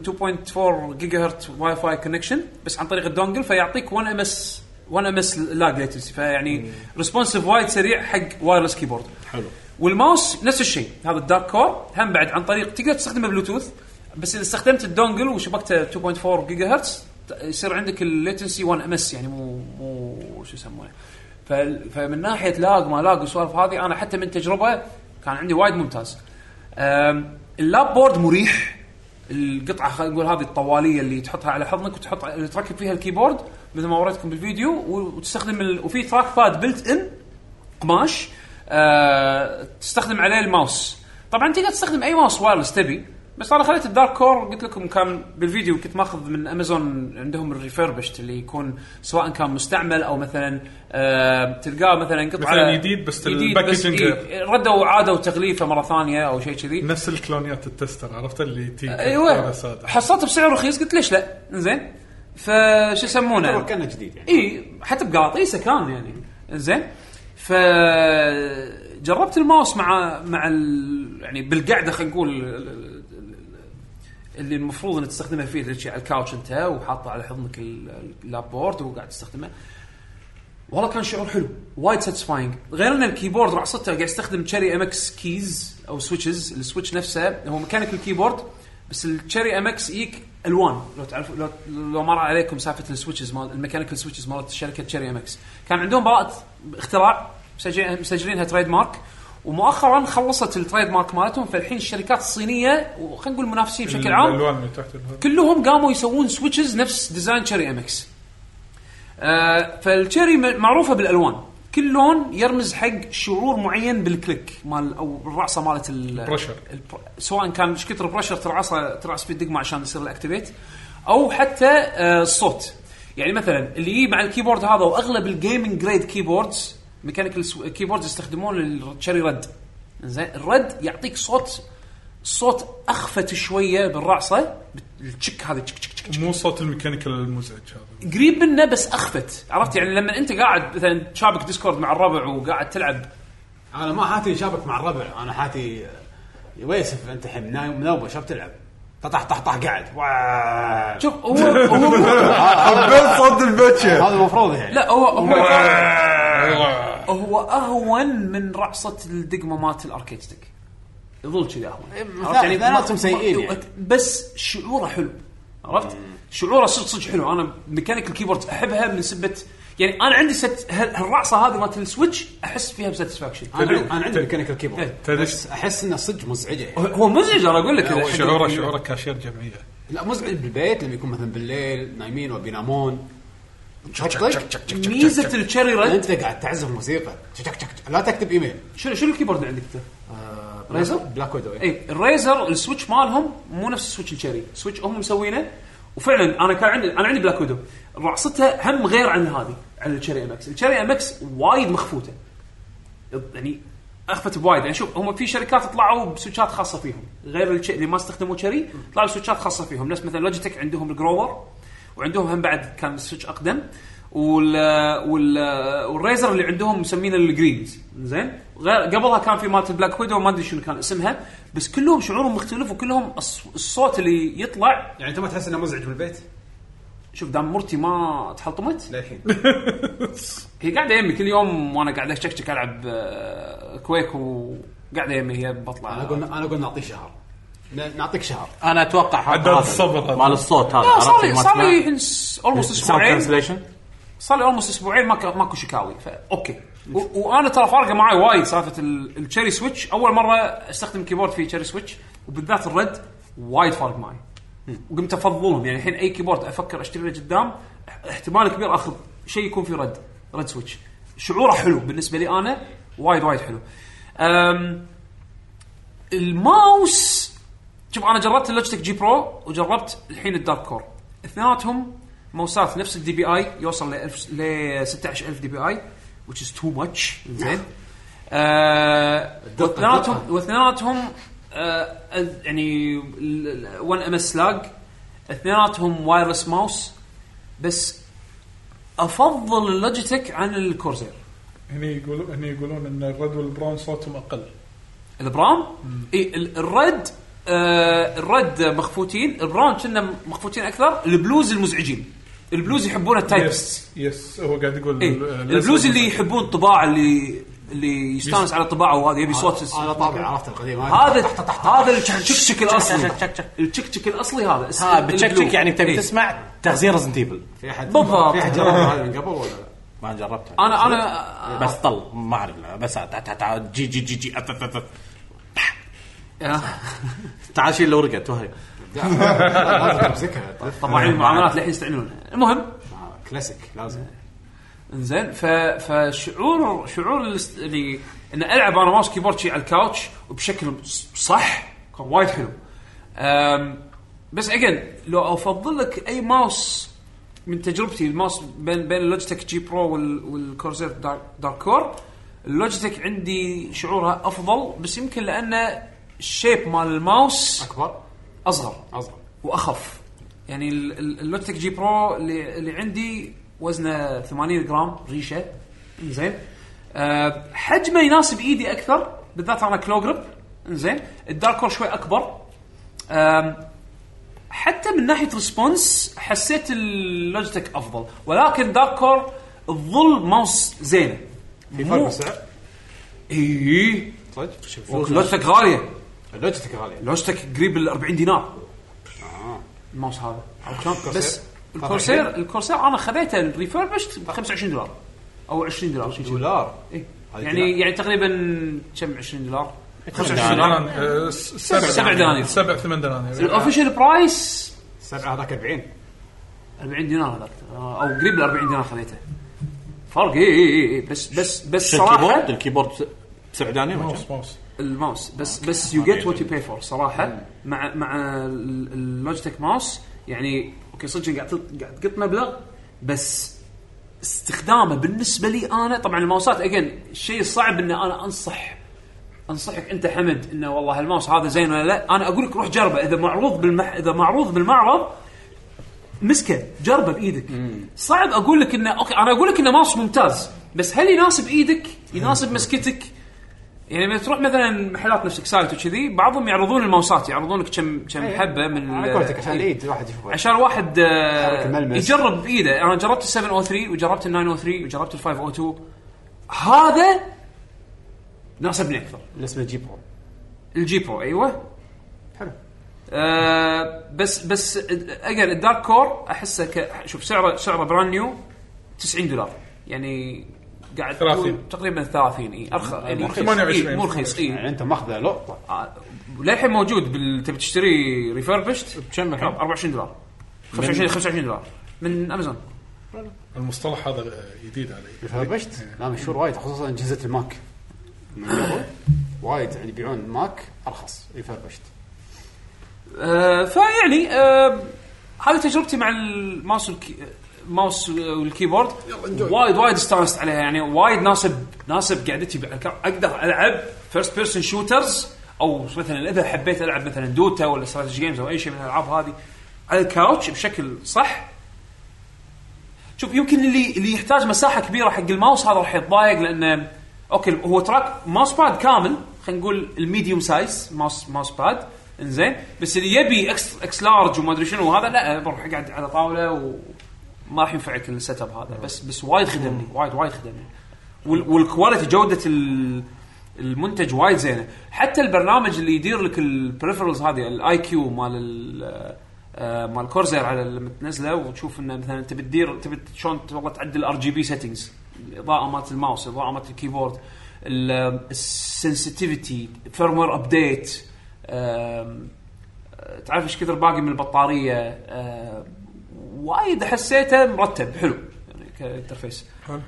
Speaker 1: 2.4 جيجا هرت واي فاي كونكشن بس عن طريق الدونجل فيعطيك 1 ام اس 1 ام اس لاج ليتنسي فيعني ريسبونسيف وايد سريع حق وايرلس كيبورد حلو والماوس نفس الشيء هذا الدارك كور هم بعد عن طريق تقدر تستخدمه بلوتوث بس اذا استخدمت الدونجل وشبكته 2.4 جيجا هرتز ت- يصير عندك الليتنسي 1 ام اس يعني مو مو شو يسمونه فال- فمن ناحيه لاج ما لاج والسوالف هذه انا حتى من تجربه كان عندي وايد ممتاز أم، اللاب بورد مريح القطعه خلينا نقول هذه الطواليه اللي تحطها على حضنك وتحط اللي تركب فيها الكيبورد مثل ما وريتكم بالفيديو و- وتستخدم ال... وفي تراك باد بلت ان قماش آه تستخدم عليه الماوس طبعا تقدر تستخدم اي ماوس وايرلس تبي بس انا خليت الدارك كور قلت لكم كان بالفيديو كنت ماخذ من امازون عندهم الريفربشت اللي يكون سواء كان مستعمل او مثلا آه تلقاه مثلا قطعه
Speaker 3: مثلاً جديد بس
Speaker 1: بس
Speaker 3: الباكجينج نعم.
Speaker 1: إي، ردوا عادوا تغليفه مره ثانيه او شيء كذي
Speaker 3: نفس الكلونيات التستر عرفت اللي تي
Speaker 1: ايوه حصلته بسعر رخيص قلت ليش لا زين فشو يسمونه
Speaker 6: كانه جديد يعني
Speaker 1: اي إيه، حتى بقراطيسه كان يعني زين ف جربت الماوس مع مع ال... يعني بالقعده خلينا نقول ال- ال- اللي المفروض انك تستخدمها فيه اللي شي على الكاوتش انت وحاطه على حضنك ال- اللابورد وقاعد تستخدمه والله كان شعور حلو وايد ساتسفاينج غير ان الكيبورد رعصته قاعد يستخدم تشيري ام اكس كيز او سويتشز السويتش نفسه هو ميكانيك الكيبورد بس التشيري ام اكس يجيك الوان لو تعرف لو, لو مر عليكم سالفه السويتشز مال الميكانيكال سويتشز مالت شركه تشيري ام اكس كان عندهم براءه اختراع مسجل- مسجلينها تريد مارك ومؤخرا خلصت التريد مارك مالتهم فالحين الشركات الصينيه وخلينا نقول المنافسين بشكل عام
Speaker 3: الالوان اللي تحت الهذا.
Speaker 1: كلهم قاموا يسوون سويتشز نفس ديزاين شيري ام اكس آه، فالتشيري م- معروفه بالالوان كل لون يرمز حق شعور معين بالكليك مال او الرعصه مالت
Speaker 3: البرشر.
Speaker 1: البريشر سواء كان ايش كثر بريشر ترعصه ترعص في الدقمه عشان يصير الاكتيفيت او حتى آه، الصوت يعني مثلا اللي يجي مع الكيبورد هذا واغلب الجيمنج جريد كيبوردز ميكانيكال كيبوردز يستخدمون التشيري رد زين الرد يعطيك صوت صوت اخفت شويه بالرعصه التشك هذا تشك تشك تشك
Speaker 3: مو صوت الميكانيكال المزعج هذا
Speaker 1: قريب منه بس اخفت عرفت يعني لما انت قاعد مثلا شابك ديسكورد مع الربع وقاعد تلعب
Speaker 6: انا ما حاتي شابك مع الربع انا حاتي ويسف انت الحين نايم منوبه شو بتلعب؟ طح طح طح قاعد وااا.
Speaker 1: شوف هو هو
Speaker 2: حبيت صوت البتشة
Speaker 6: هذا المفروض يعني
Speaker 1: لا هو هو هو اهون من رعصه الدقمه مالت الاركيد ستيك يظل كذي اهون
Speaker 6: مثلا-
Speaker 1: عرفت يعني
Speaker 6: مثلاتهم
Speaker 1: ما-
Speaker 6: سيئين
Speaker 1: ما-
Speaker 6: يعني.
Speaker 1: بس شعوره حلو عرفت شعوره صدق صدق حلو انا ميكانيك الكيبورد احبها من سبه يعني انا عندي ست هال- هالرعصه هذه مالت السويتش احس فيها بساتسفاكشن
Speaker 6: انا انا عندي ميكانيكال
Speaker 1: إيه.
Speaker 6: كيبورد
Speaker 3: تدري-
Speaker 6: بس احس انه صدق مزعجه يعني.
Speaker 1: هو مزعج انا اقول لك
Speaker 6: لا، هو
Speaker 1: حق-
Speaker 3: شعوره شعوره كاشير جمعيه
Speaker 6: لا مزعج بالبيت لما يكون مثلا بالليل نايمين وبينامون تحطك
Speaker 1: ميزه التشيري ريد
Speaker 6: انت قاعد تعزف موسيقى شك شك شك. لا تكتب ايميل
Speaker 1: شنو شنو الكيبورد عندك انت؟ ريزر؟
Speaker 6: بلاك ويدو إيه.
Speaker 1: اي الريزر السويتش مالهم مو نفس السويتش الشري، سويتش هم مسوينه وفعلا انا كان عندي انا عندي بلاك ويدو رعصته هم غير عن هذه عن الشري ام اكس، الشري ام اكس وايد مخفوته. يعني اخفت بوايد يعني شوف هم في شركات طلعوا بسويتشات خاصه فيهم غير الش- اللي ما استخدموا شري طلعوا بسويتشات خاصه فيهم نفس مثلا لوجيتك عندهم الجروور وعندهم هم بعد كان سويتش اقدم وال وال والريزر اللي عندهم مسمينه الجرينز زين غير قبلها كان في مالت البلاك ويدو ما ادري شنو كان اسمها بس كلهم شعورهم مختلف وكلهم الص- الصوت اللي يطلع
Speaker 7: يعني انت ما تحس انه مزعج بالبيت
Speaker 1: شوف دام مرتي ما تحلطمت
Speaker 7: للحين
Speaker 1: هي قاعده يمي كل يوم وانا قاعد اشكشك العب آه، كويك وقاعده يمي هي بطلع
Speaker 6: انا اقول انا اقول نعطيه شهر ن- نعطيك شهر
Speaker 4: انا اتوقع
Speaker 3: عداد
Speaker 4: هذا
Speaker 3: الصبر هذا.
Speaker 4: مال الصوت هذا
Speaker 1: لا،
Speaker 4: عرفت
Speaker 1: صار
Speaker 4: اللي
Speaker 1: لي
Speaker 4: ما
Speaker 1: صار
Speaker 4: تسمع؟
Speaker 1: لي اولموست
Speaker 4: الساوند
Speaker 1: اسبوعين
Speaker 4: كانسليشن
Speaker 1: صار لي اولموست اسبوعين ماكو ماكو شكاوي فا اوكي و- وانا ترى فارقه معي وايد سالفه ال- التشيري سويتش اول مره استخدم كيبورد في تشيري سويتش وبالذات الرد وايد فارق معي وقمت افضلهم يعني الحين اي كيبورد افكر اشتري له قدام اه- احتمال كبير اخذ شيء يكون فيه رد رد سويتش شعوره حلو بالنسبه لي انا وايد وايد حلو أم الماوس شوف انا جربت اللوجيتك جي برو وجربت الحين الدارك كور اثنيناتهم موسات نفس الدي بي اي يوصل ل 1000 ل 16000 دي بي اي which is too much زين آه واثنيناتهم واثنيناتهم آه أذ- يعني 1 ام اس لاج اثنيناتهم وايرلس ماوس بس افضل اللوجيتك عن الكورزير
Speaker 3: هني يقولون هني يقولون ان الرد والبراون صوتهم اقل
Speaker 1: البراون اي ال- الرد آه الرد مخفوتين البراون كنا مخفوتين اكثر البلوز المزعجين البلوز يحبون التايبست
Speaker 3: يس يس هو قاعد يقول
Speaker 1: اي
Speaker 3: ال- ال-
Speaker 1: البلوز اللي يحبون طباع اللي اللي يستانس على طباعه وهذا
Speaker 4: آه،
Speaker 1: يبي صوت
Speaker 6: انا طابع عرفت القديم هذا
Speaker 1: هذا هذا التشكشك الاصلي التشكشك الاصلي هذا اسمه
Speaker 4: ها بتشكشك
Speaker 1: البلو.
Speaker 4: يعني تبي
Speaker 1: إيه.
Speaker 4: تسمع تغزير ريزنت ايفل
Speaker 6: في احد
Speaker 1: بالضبط.
Speaker 6: في احد جرب هذا من قبل ولا لا؟
Speaker 4: ما جربتها
Speaker 1: انا انا
Speaker 4: بس طل ما اعرف لا، بس تع- تع- تع- جي جي جي جي أف- أف- أف- أف.
Speaker 1: آه،
Speaker 4: تعال شيل الورقه توهق
Speaker 6: لا، لازم تمسكها طبعاً.
Speaker 1: طبعا المعاملات للحين يستعملونها المهم
Speaker 6: آه، كلاسيك لازم
Speaker 1: انزين ف... فشعور شعور الاست- اللي ان العب انا ماوس كيبورد شي على الكاوتش وبشكل ص- صح كان وايد حلو أم... بس اجين لو افضل لك اي ماوس من تجربتي الماوس بين بين اللوجيتك جي برو وال... والكورزير دار... دارك كور اللوجيتك عندي شعورها افضل بس يمكن لان الشيب مال الماوس
Speaker 6: اكبر
Speaker 1: اصغر
Speaker 6: اصغر
Speaker 1: واخف يعني ال- ال- اللوتك جي برو اللي, اللي عندي وزنه 80 جرام ريشه زين أه حجمه يناسب ايدي اكثر بالذات انا كلو جريب زين الداركور شوي اكبر أم، حتى من ناحيه ريسبونس حسيت اللوجيتك افضل ولكن داركور الظل ماوس زينه
Speaker 6: في فرق طيب. بالسعر
Speaker 1: اي
Speaker 6: صدق
Speaker 1: لوجيتك غاليه
Speaker 6: اللوجيتك غاليه
Speaker 1: لوجيتك قريب ال 40 دينار الماوس هذا بس الكورسير الكورسير انا خذيته الريفربشت ب 25 دولار او 20 دولار شيء كذي.
Speaker 6: دولار
Speaker 1: إيه. يعني يعني تقريبا كم 20 دولار 25 دولار
Speaker 3: دنانير. آه، س- سبع
Speaker 1: سبع دنانير.
Speaker 3: سبع ثمان دنانير
Speaker 1: الاوفيشال برايس
Speaker 6: السبعه هذاك 40
Speaker 1: 40 دينار هذاك او قريب ال 40 دينار خذيته فرق إيه، اي اي اي بس بس بس
Speaker 4: الكيبورد
Speaker 1: صراحه
Speaker 4: الكيبورد سعوداني ما كان.
Speaker 3: ماوس ماوس
Speaker 1: الماوس بس بس يو جيت وات يو باي فور صراحه مع مع ال- اللوجيتك ماوس يعني اوكي صدق قاعد تط- قاعد تقط مبلغ بس استخدامه بالنسبه لي انا طبعا الماوسات اجين الشيء الصعب ان انا انصح انصحك انت حمد انه والله الماوس هذا زين ولا لا انا اقول لك روح جربه اذا معروض بالمح... اذا معروض بالمعرض مسكه جربه بايدك صعب اقول لك انه اوكي انا اقول لك انه ماوس ممتاز بس هل يناسب ايدك يناسب مسكتك يعني لما تروح مثلا محلات نفسك سايت وكذي بعضهم يعرضون الماوسات يعرضون لك كم كم حبه من
Speaker 6: إيه. على
Speaker 1: ال- إيه.
Speaker 6: قولتك عشان إيه؟ العيد الواحد يشوفه
Speaker 1: عشان واحد آه،
Speaker 6: طيب. حركة ملمس.
Speaker 1: يجرب بايده انا جربت ال 703 وجربت ال 903 وجربت ال 502 هذا ناسبني اكثر
Speaker 6: الاسم جي برو
Speaker 1: الجي برو ايوه
Speaker 6: حلو
Speaker 1: آه بس بس اجين الدارك كور احسه ك... شوف سعره سعره براند نيو 90 دولار يعني قاعد تقول
Speaker 3: 30.
Speaker 1: تقريبا 30 اي ارخص يعني رخيص.
Speaker 3: 28.
Speaker 1: إي، مو رخيص
Speaker 6: يعني
Speaker 1: اي
Speaker 6: انت ماخذه لقطه
Speaker 1: آه، للحين موجود بال... تبي تشتري ريفربشت
Speaker 4: بكم الحين؟
Speaker 1: 24 دولار 25 25 دولار من امازون
Speaker 3: المصطلح هذا جديد علي
Speaker 6: فربشت لا مشهور وايد خصوصا اجهزه الماك من قبل وايد يعني يبيعون ماك ارخص ريفربشت
Speaker 1: آه، فيعني آه، هذه تجربتي مع الماوس والكي... ماوس والكيبورد آه، وايد وايد استانست عليها يعني وايد ناسب ناسب قعدتي بالأركان. اقدر العب فيرست بيرسون شوترز او مثلا اذا حبيت العب مثلا دوتا ولا استراتيجي جيمز او اي شيء من الالعاب هذه على الكاوتش بشكل صح شوف يمكن اللي اللي يحتاج مساحه كبيره حق الماوس هذا راح يتضايق لانه اوكي هو تراك ماوس باد كامل خلينا نقول الميديوم سايز ماوس ماوس باد انزين بس اللي يبي اكس اكس لارج وما ادري شنو وهذا لا بروح اقعد على طاوله وما راح ينفعك السيت اب هذا بس بس وايد خدمني وايد وايد خدمني وال- والكواليتي جوده ال- المنتج وايد زينه حتى البرنامج اللي يدير لك البريفرالز هذه الاي كيو مال ال- آه، مال كورزير على لما تنزله وتشوف انه مثلا تبي تدير تبي شلون ت- والله تعدل ار جي بي سيتنجز الاضاءه مالت الماوس الاضاءه مالت الكيبورد السنسيتيفيتي فيرموير ابديت تعرف ايش كثر باقي من البطاريه آه، وايد حسيته مرتب حلو يعني كانترفيس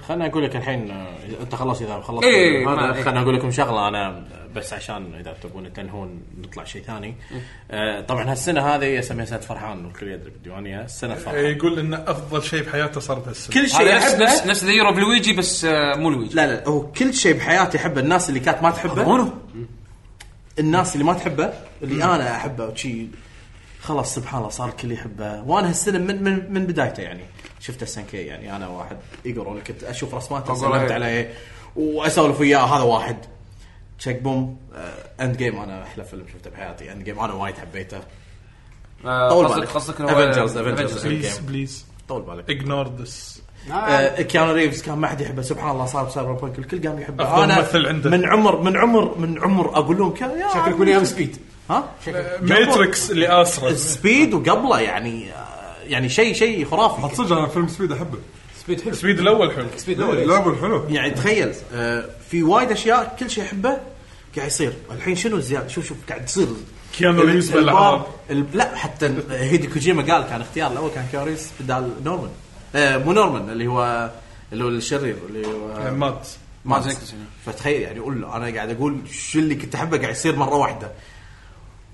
Speaker 4: خلنا اقول لك الحين آه، انت خلاص اذا خلصت
Speaker 1: إيه،
Speaker 4: هذا
Speaker 1: ما- إيه.
Speaker 4: خلنا اقول لكم شغله انا بس عشان اذا تبون تنهون نطلع شيء ثاني
Speaker 1: إيه.
Speaker 4: آه طبعا هالسنه هذه اسميها سنه فرحان والكل يدري بالديوانيه
Speaker 1: إيه،
Speaker 4: سنه فرحان
Speaker 3: يقول ان افضل شيء بحياته صار بهالسنه
Speaker 4: كل شيء
Speaker 1: هذا نفس
Speaker 4: يحبه
Speaker 1: نفس نفس ذا يورو بلويجي بس آه، مو لويجي
Speaker 4: لا لا هو كل شيء بحياتي يحبه الناس اللي كانت ما تحبه
Speaker 1: منو؟
Speaker 4: الناس اللي ما تحبه اللي انا احبه وشي خلاص سبحان الله صار الكل يحبه وانا هالسنه من من, من بدايته يعني شفت السنكي يعني انا واحد ايجور كنت اشوف رسماته
Speaker 1: إيه.
Speaker 4: سلمت عليه واسولف وياه هذا واحد تشيك بوم آه، اند جيم انا احلى فيلم شفته بحياتي اند جيم انا وايد حبيته
Speaker 1: آه،
Speaker 4: طول
Speaker 1: قصدك
Speaker 4: بالك.
Speaker 1: قصدك
Speaker 4: Avengers- Avengers.
Speaker 3: بليز
Speaker 4: Game.
Speaker 3: بليز
Speaker 4: طول بالك
Speaker 3: اجنور ذس
Speaker 4: إيه. آه، كيانو ريفز كان ما حد يحبه سبحان الله صار بسايبر بانك الكل قام يحبه
Speaker 3: أفضل ممثل عنده.
Speaker 4: من عمر من عمر من عمر اقول لهم كان- يا
Speaker 6: شكلك ويليام سبيد
Speaker 4: ها
Speaker 3: ماتريكس اللي اسرع
Speaker 4: السبيد وقبله يعني آه، يعني شيء شيء خرافي
Speaker 2: صدق انا فيلم سبيد احبه
Speaker 6: سبيد حلو
Speaker 3: سبيد الاول حلو
Speaker 6: سبيد
Speaker 2: لا
Speaker 6: حلو
Speaker 2: لا أقول حلو
Speaker 4: يعني تخيل آه، في وايد اشياء كل شيء يحبه قاعد يصير الحين شنو الزياده شوف شوف قاعد تصير
Speaker 3: كيانو
Speaker 4: ال-
Speaker 3: ريفز
Speaker 4: البار-
Speaker 3: بالألعاب.
Speaker 4: ال- لا حتى هيدي كوجيما قال كان اختيار الاول كان كاريس بدال نورمان آه، مو نورمان اللي هو اللي هو الشرير اللي هو
Speaker 3: مات
Speaker 4: ما فتخيل يعني قول له انا قاعد اقول شو اللي كنت احبه قاعد يصير مره واحده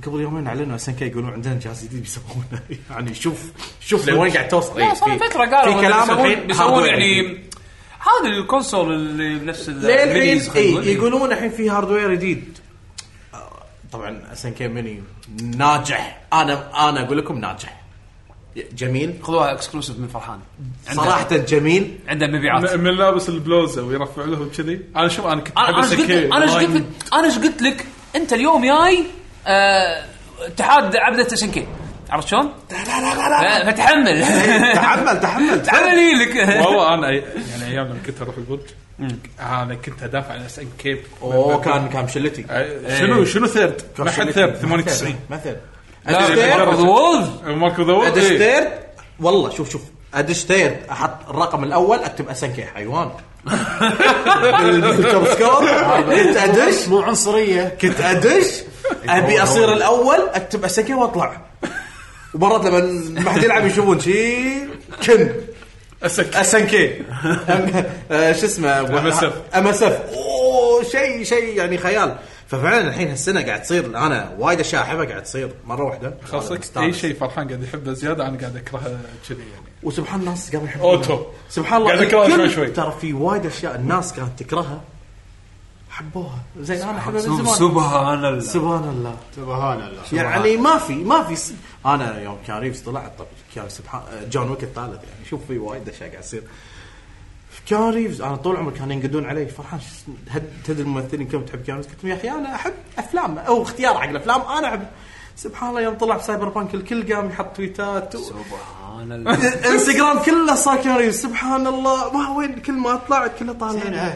Speaker 4: قبل يومين اعلنوا اس ان كي يقولون عندنا جهاز جديد بيسوونه يعني شوف شوف لوين قاعد توصل
Speaker 1: لا
Speaker 4: إيه،
Speaker 1: صار
Speaker 4: في-
Speaker 1: فتره قالوا
Speaker 4: في
Speaker 1: إنه
Speaker 4: كلام
Speaker 1: بيسوون-
Speaker 4: الحين
Speaker 1: بيسوون
Speaker 4: hardware
Speaker 1: يعني
Speaker 4: جديد.
Speaker 1: هذا الكونسول اللي بنفس ال-
Speaker 4: للحين
Speaker 1: minis خلينا نقول.
Speaker 4: إيه يقولون الحين في هاردوير جديد آه، طبعا اس ان كي ميني ناجح انا انا اقول لكم ناجح جميل
Speaker 1: خذوها اكسكلوسيف من فرحان عنده-
Speaker 4: صراحه جميل
Speaker 1: عنده مبيعات
Speaker 3: من من لابس البلوزه ويرفع له كذي انا شوف انا كنت
Speaker 1: انا
Speaker 3: أحب
Speaker 1: أنا إيش قلت
Speaker 3: السكي.
Speaker 1: لك- انا ايش قلت لك انا ايش قلت لك انت اليوم جاي آه، اتحاد عبده سنكي عرفت شلون؟ ف- فتحمل
Speaker 4: تحمل تحمل
Speaker 1: تحمل يجيلك
Speaker 3: والله انا يعني ايام لما كنت اروح البرج انا كنت ادافع عن اس ان كيب
Speaker 4: اوه كان كان شلتي
Speaker 1: إيه.
Speaker 3: شنو شنو ثيرد؟ ما حد ثيرد 98
Speaker 4: مثلا
Speaker 3: لا،
Speaker 1: وولف
Speaker 3: ماركو ذا وورد
Speaker 4: ادش
Speaker 3: إيه.
Speaker 4: تيرد والله شوف شوف ادش تيرد احط الرقم الاول اكتب اس ان كي حيوان بالتلسكوب كنت ادش
Speaker 6: مو عنصريه
Speaker 4: كنت ادش ابي اصير الاول اكتب اس ان كي واطلع ومرات لما ما حد يلعب يشوفون شي كن
Speaker 3: اسك
Speaker 4: اس ان كي آه، شو اسمه
Speaker 3: MSF.
Speaker 4: ام اس اف اوه شيء شيء يعني خيال ففعلا الحين هالسنه قاعد تصير انا وايد اشياء احبها قاعد تصير مره واحده
Speaker 3: خاصك
Speaker 4: مستانس.
Speaker 3: اي شيء فرحان قاعد يحبه زياده انا قاعد اكرهه كذي يعني
Speaker 4: وسبحان الناس قبل يحبونها.
Speaker 3: اوتو
Speaker 4: سبحان الله
Speaker 3: قاعد أكرهها
Speaker 4: الكل-
Speaker 3: شوي شوي.
Speaker 4: ترى في وايد اشياء الناس كانت تكرهها حبوها زين انا احبها من زمان
Speaker 1: سبحان الله
Speaker 4: سبحان الله
Speaker 6: سبحان الله
Speaker 4: يعني ما في ما في س... انا يوم كان ريفز طلع طب كان سبحان جون ويك الثالث يعني شوف في وايد اشياء قاعد تصير كان ريفز انا طول عمري كانوا ينقدون علي فرحان شو- هد- تدري الممثلين كم تحب كان ريفز قلت لهم يا اخي انا احب افلام او اختيار حق الافلام انا احب سبحان الله يوم طلع بسايبر بانك الكل قام يحط تويتات و...
Speaker 1: سبحان الله
Speaker 4: انستغرام كله صار كان ريفز سبحان الله ما وين كل ما طلع كله طالع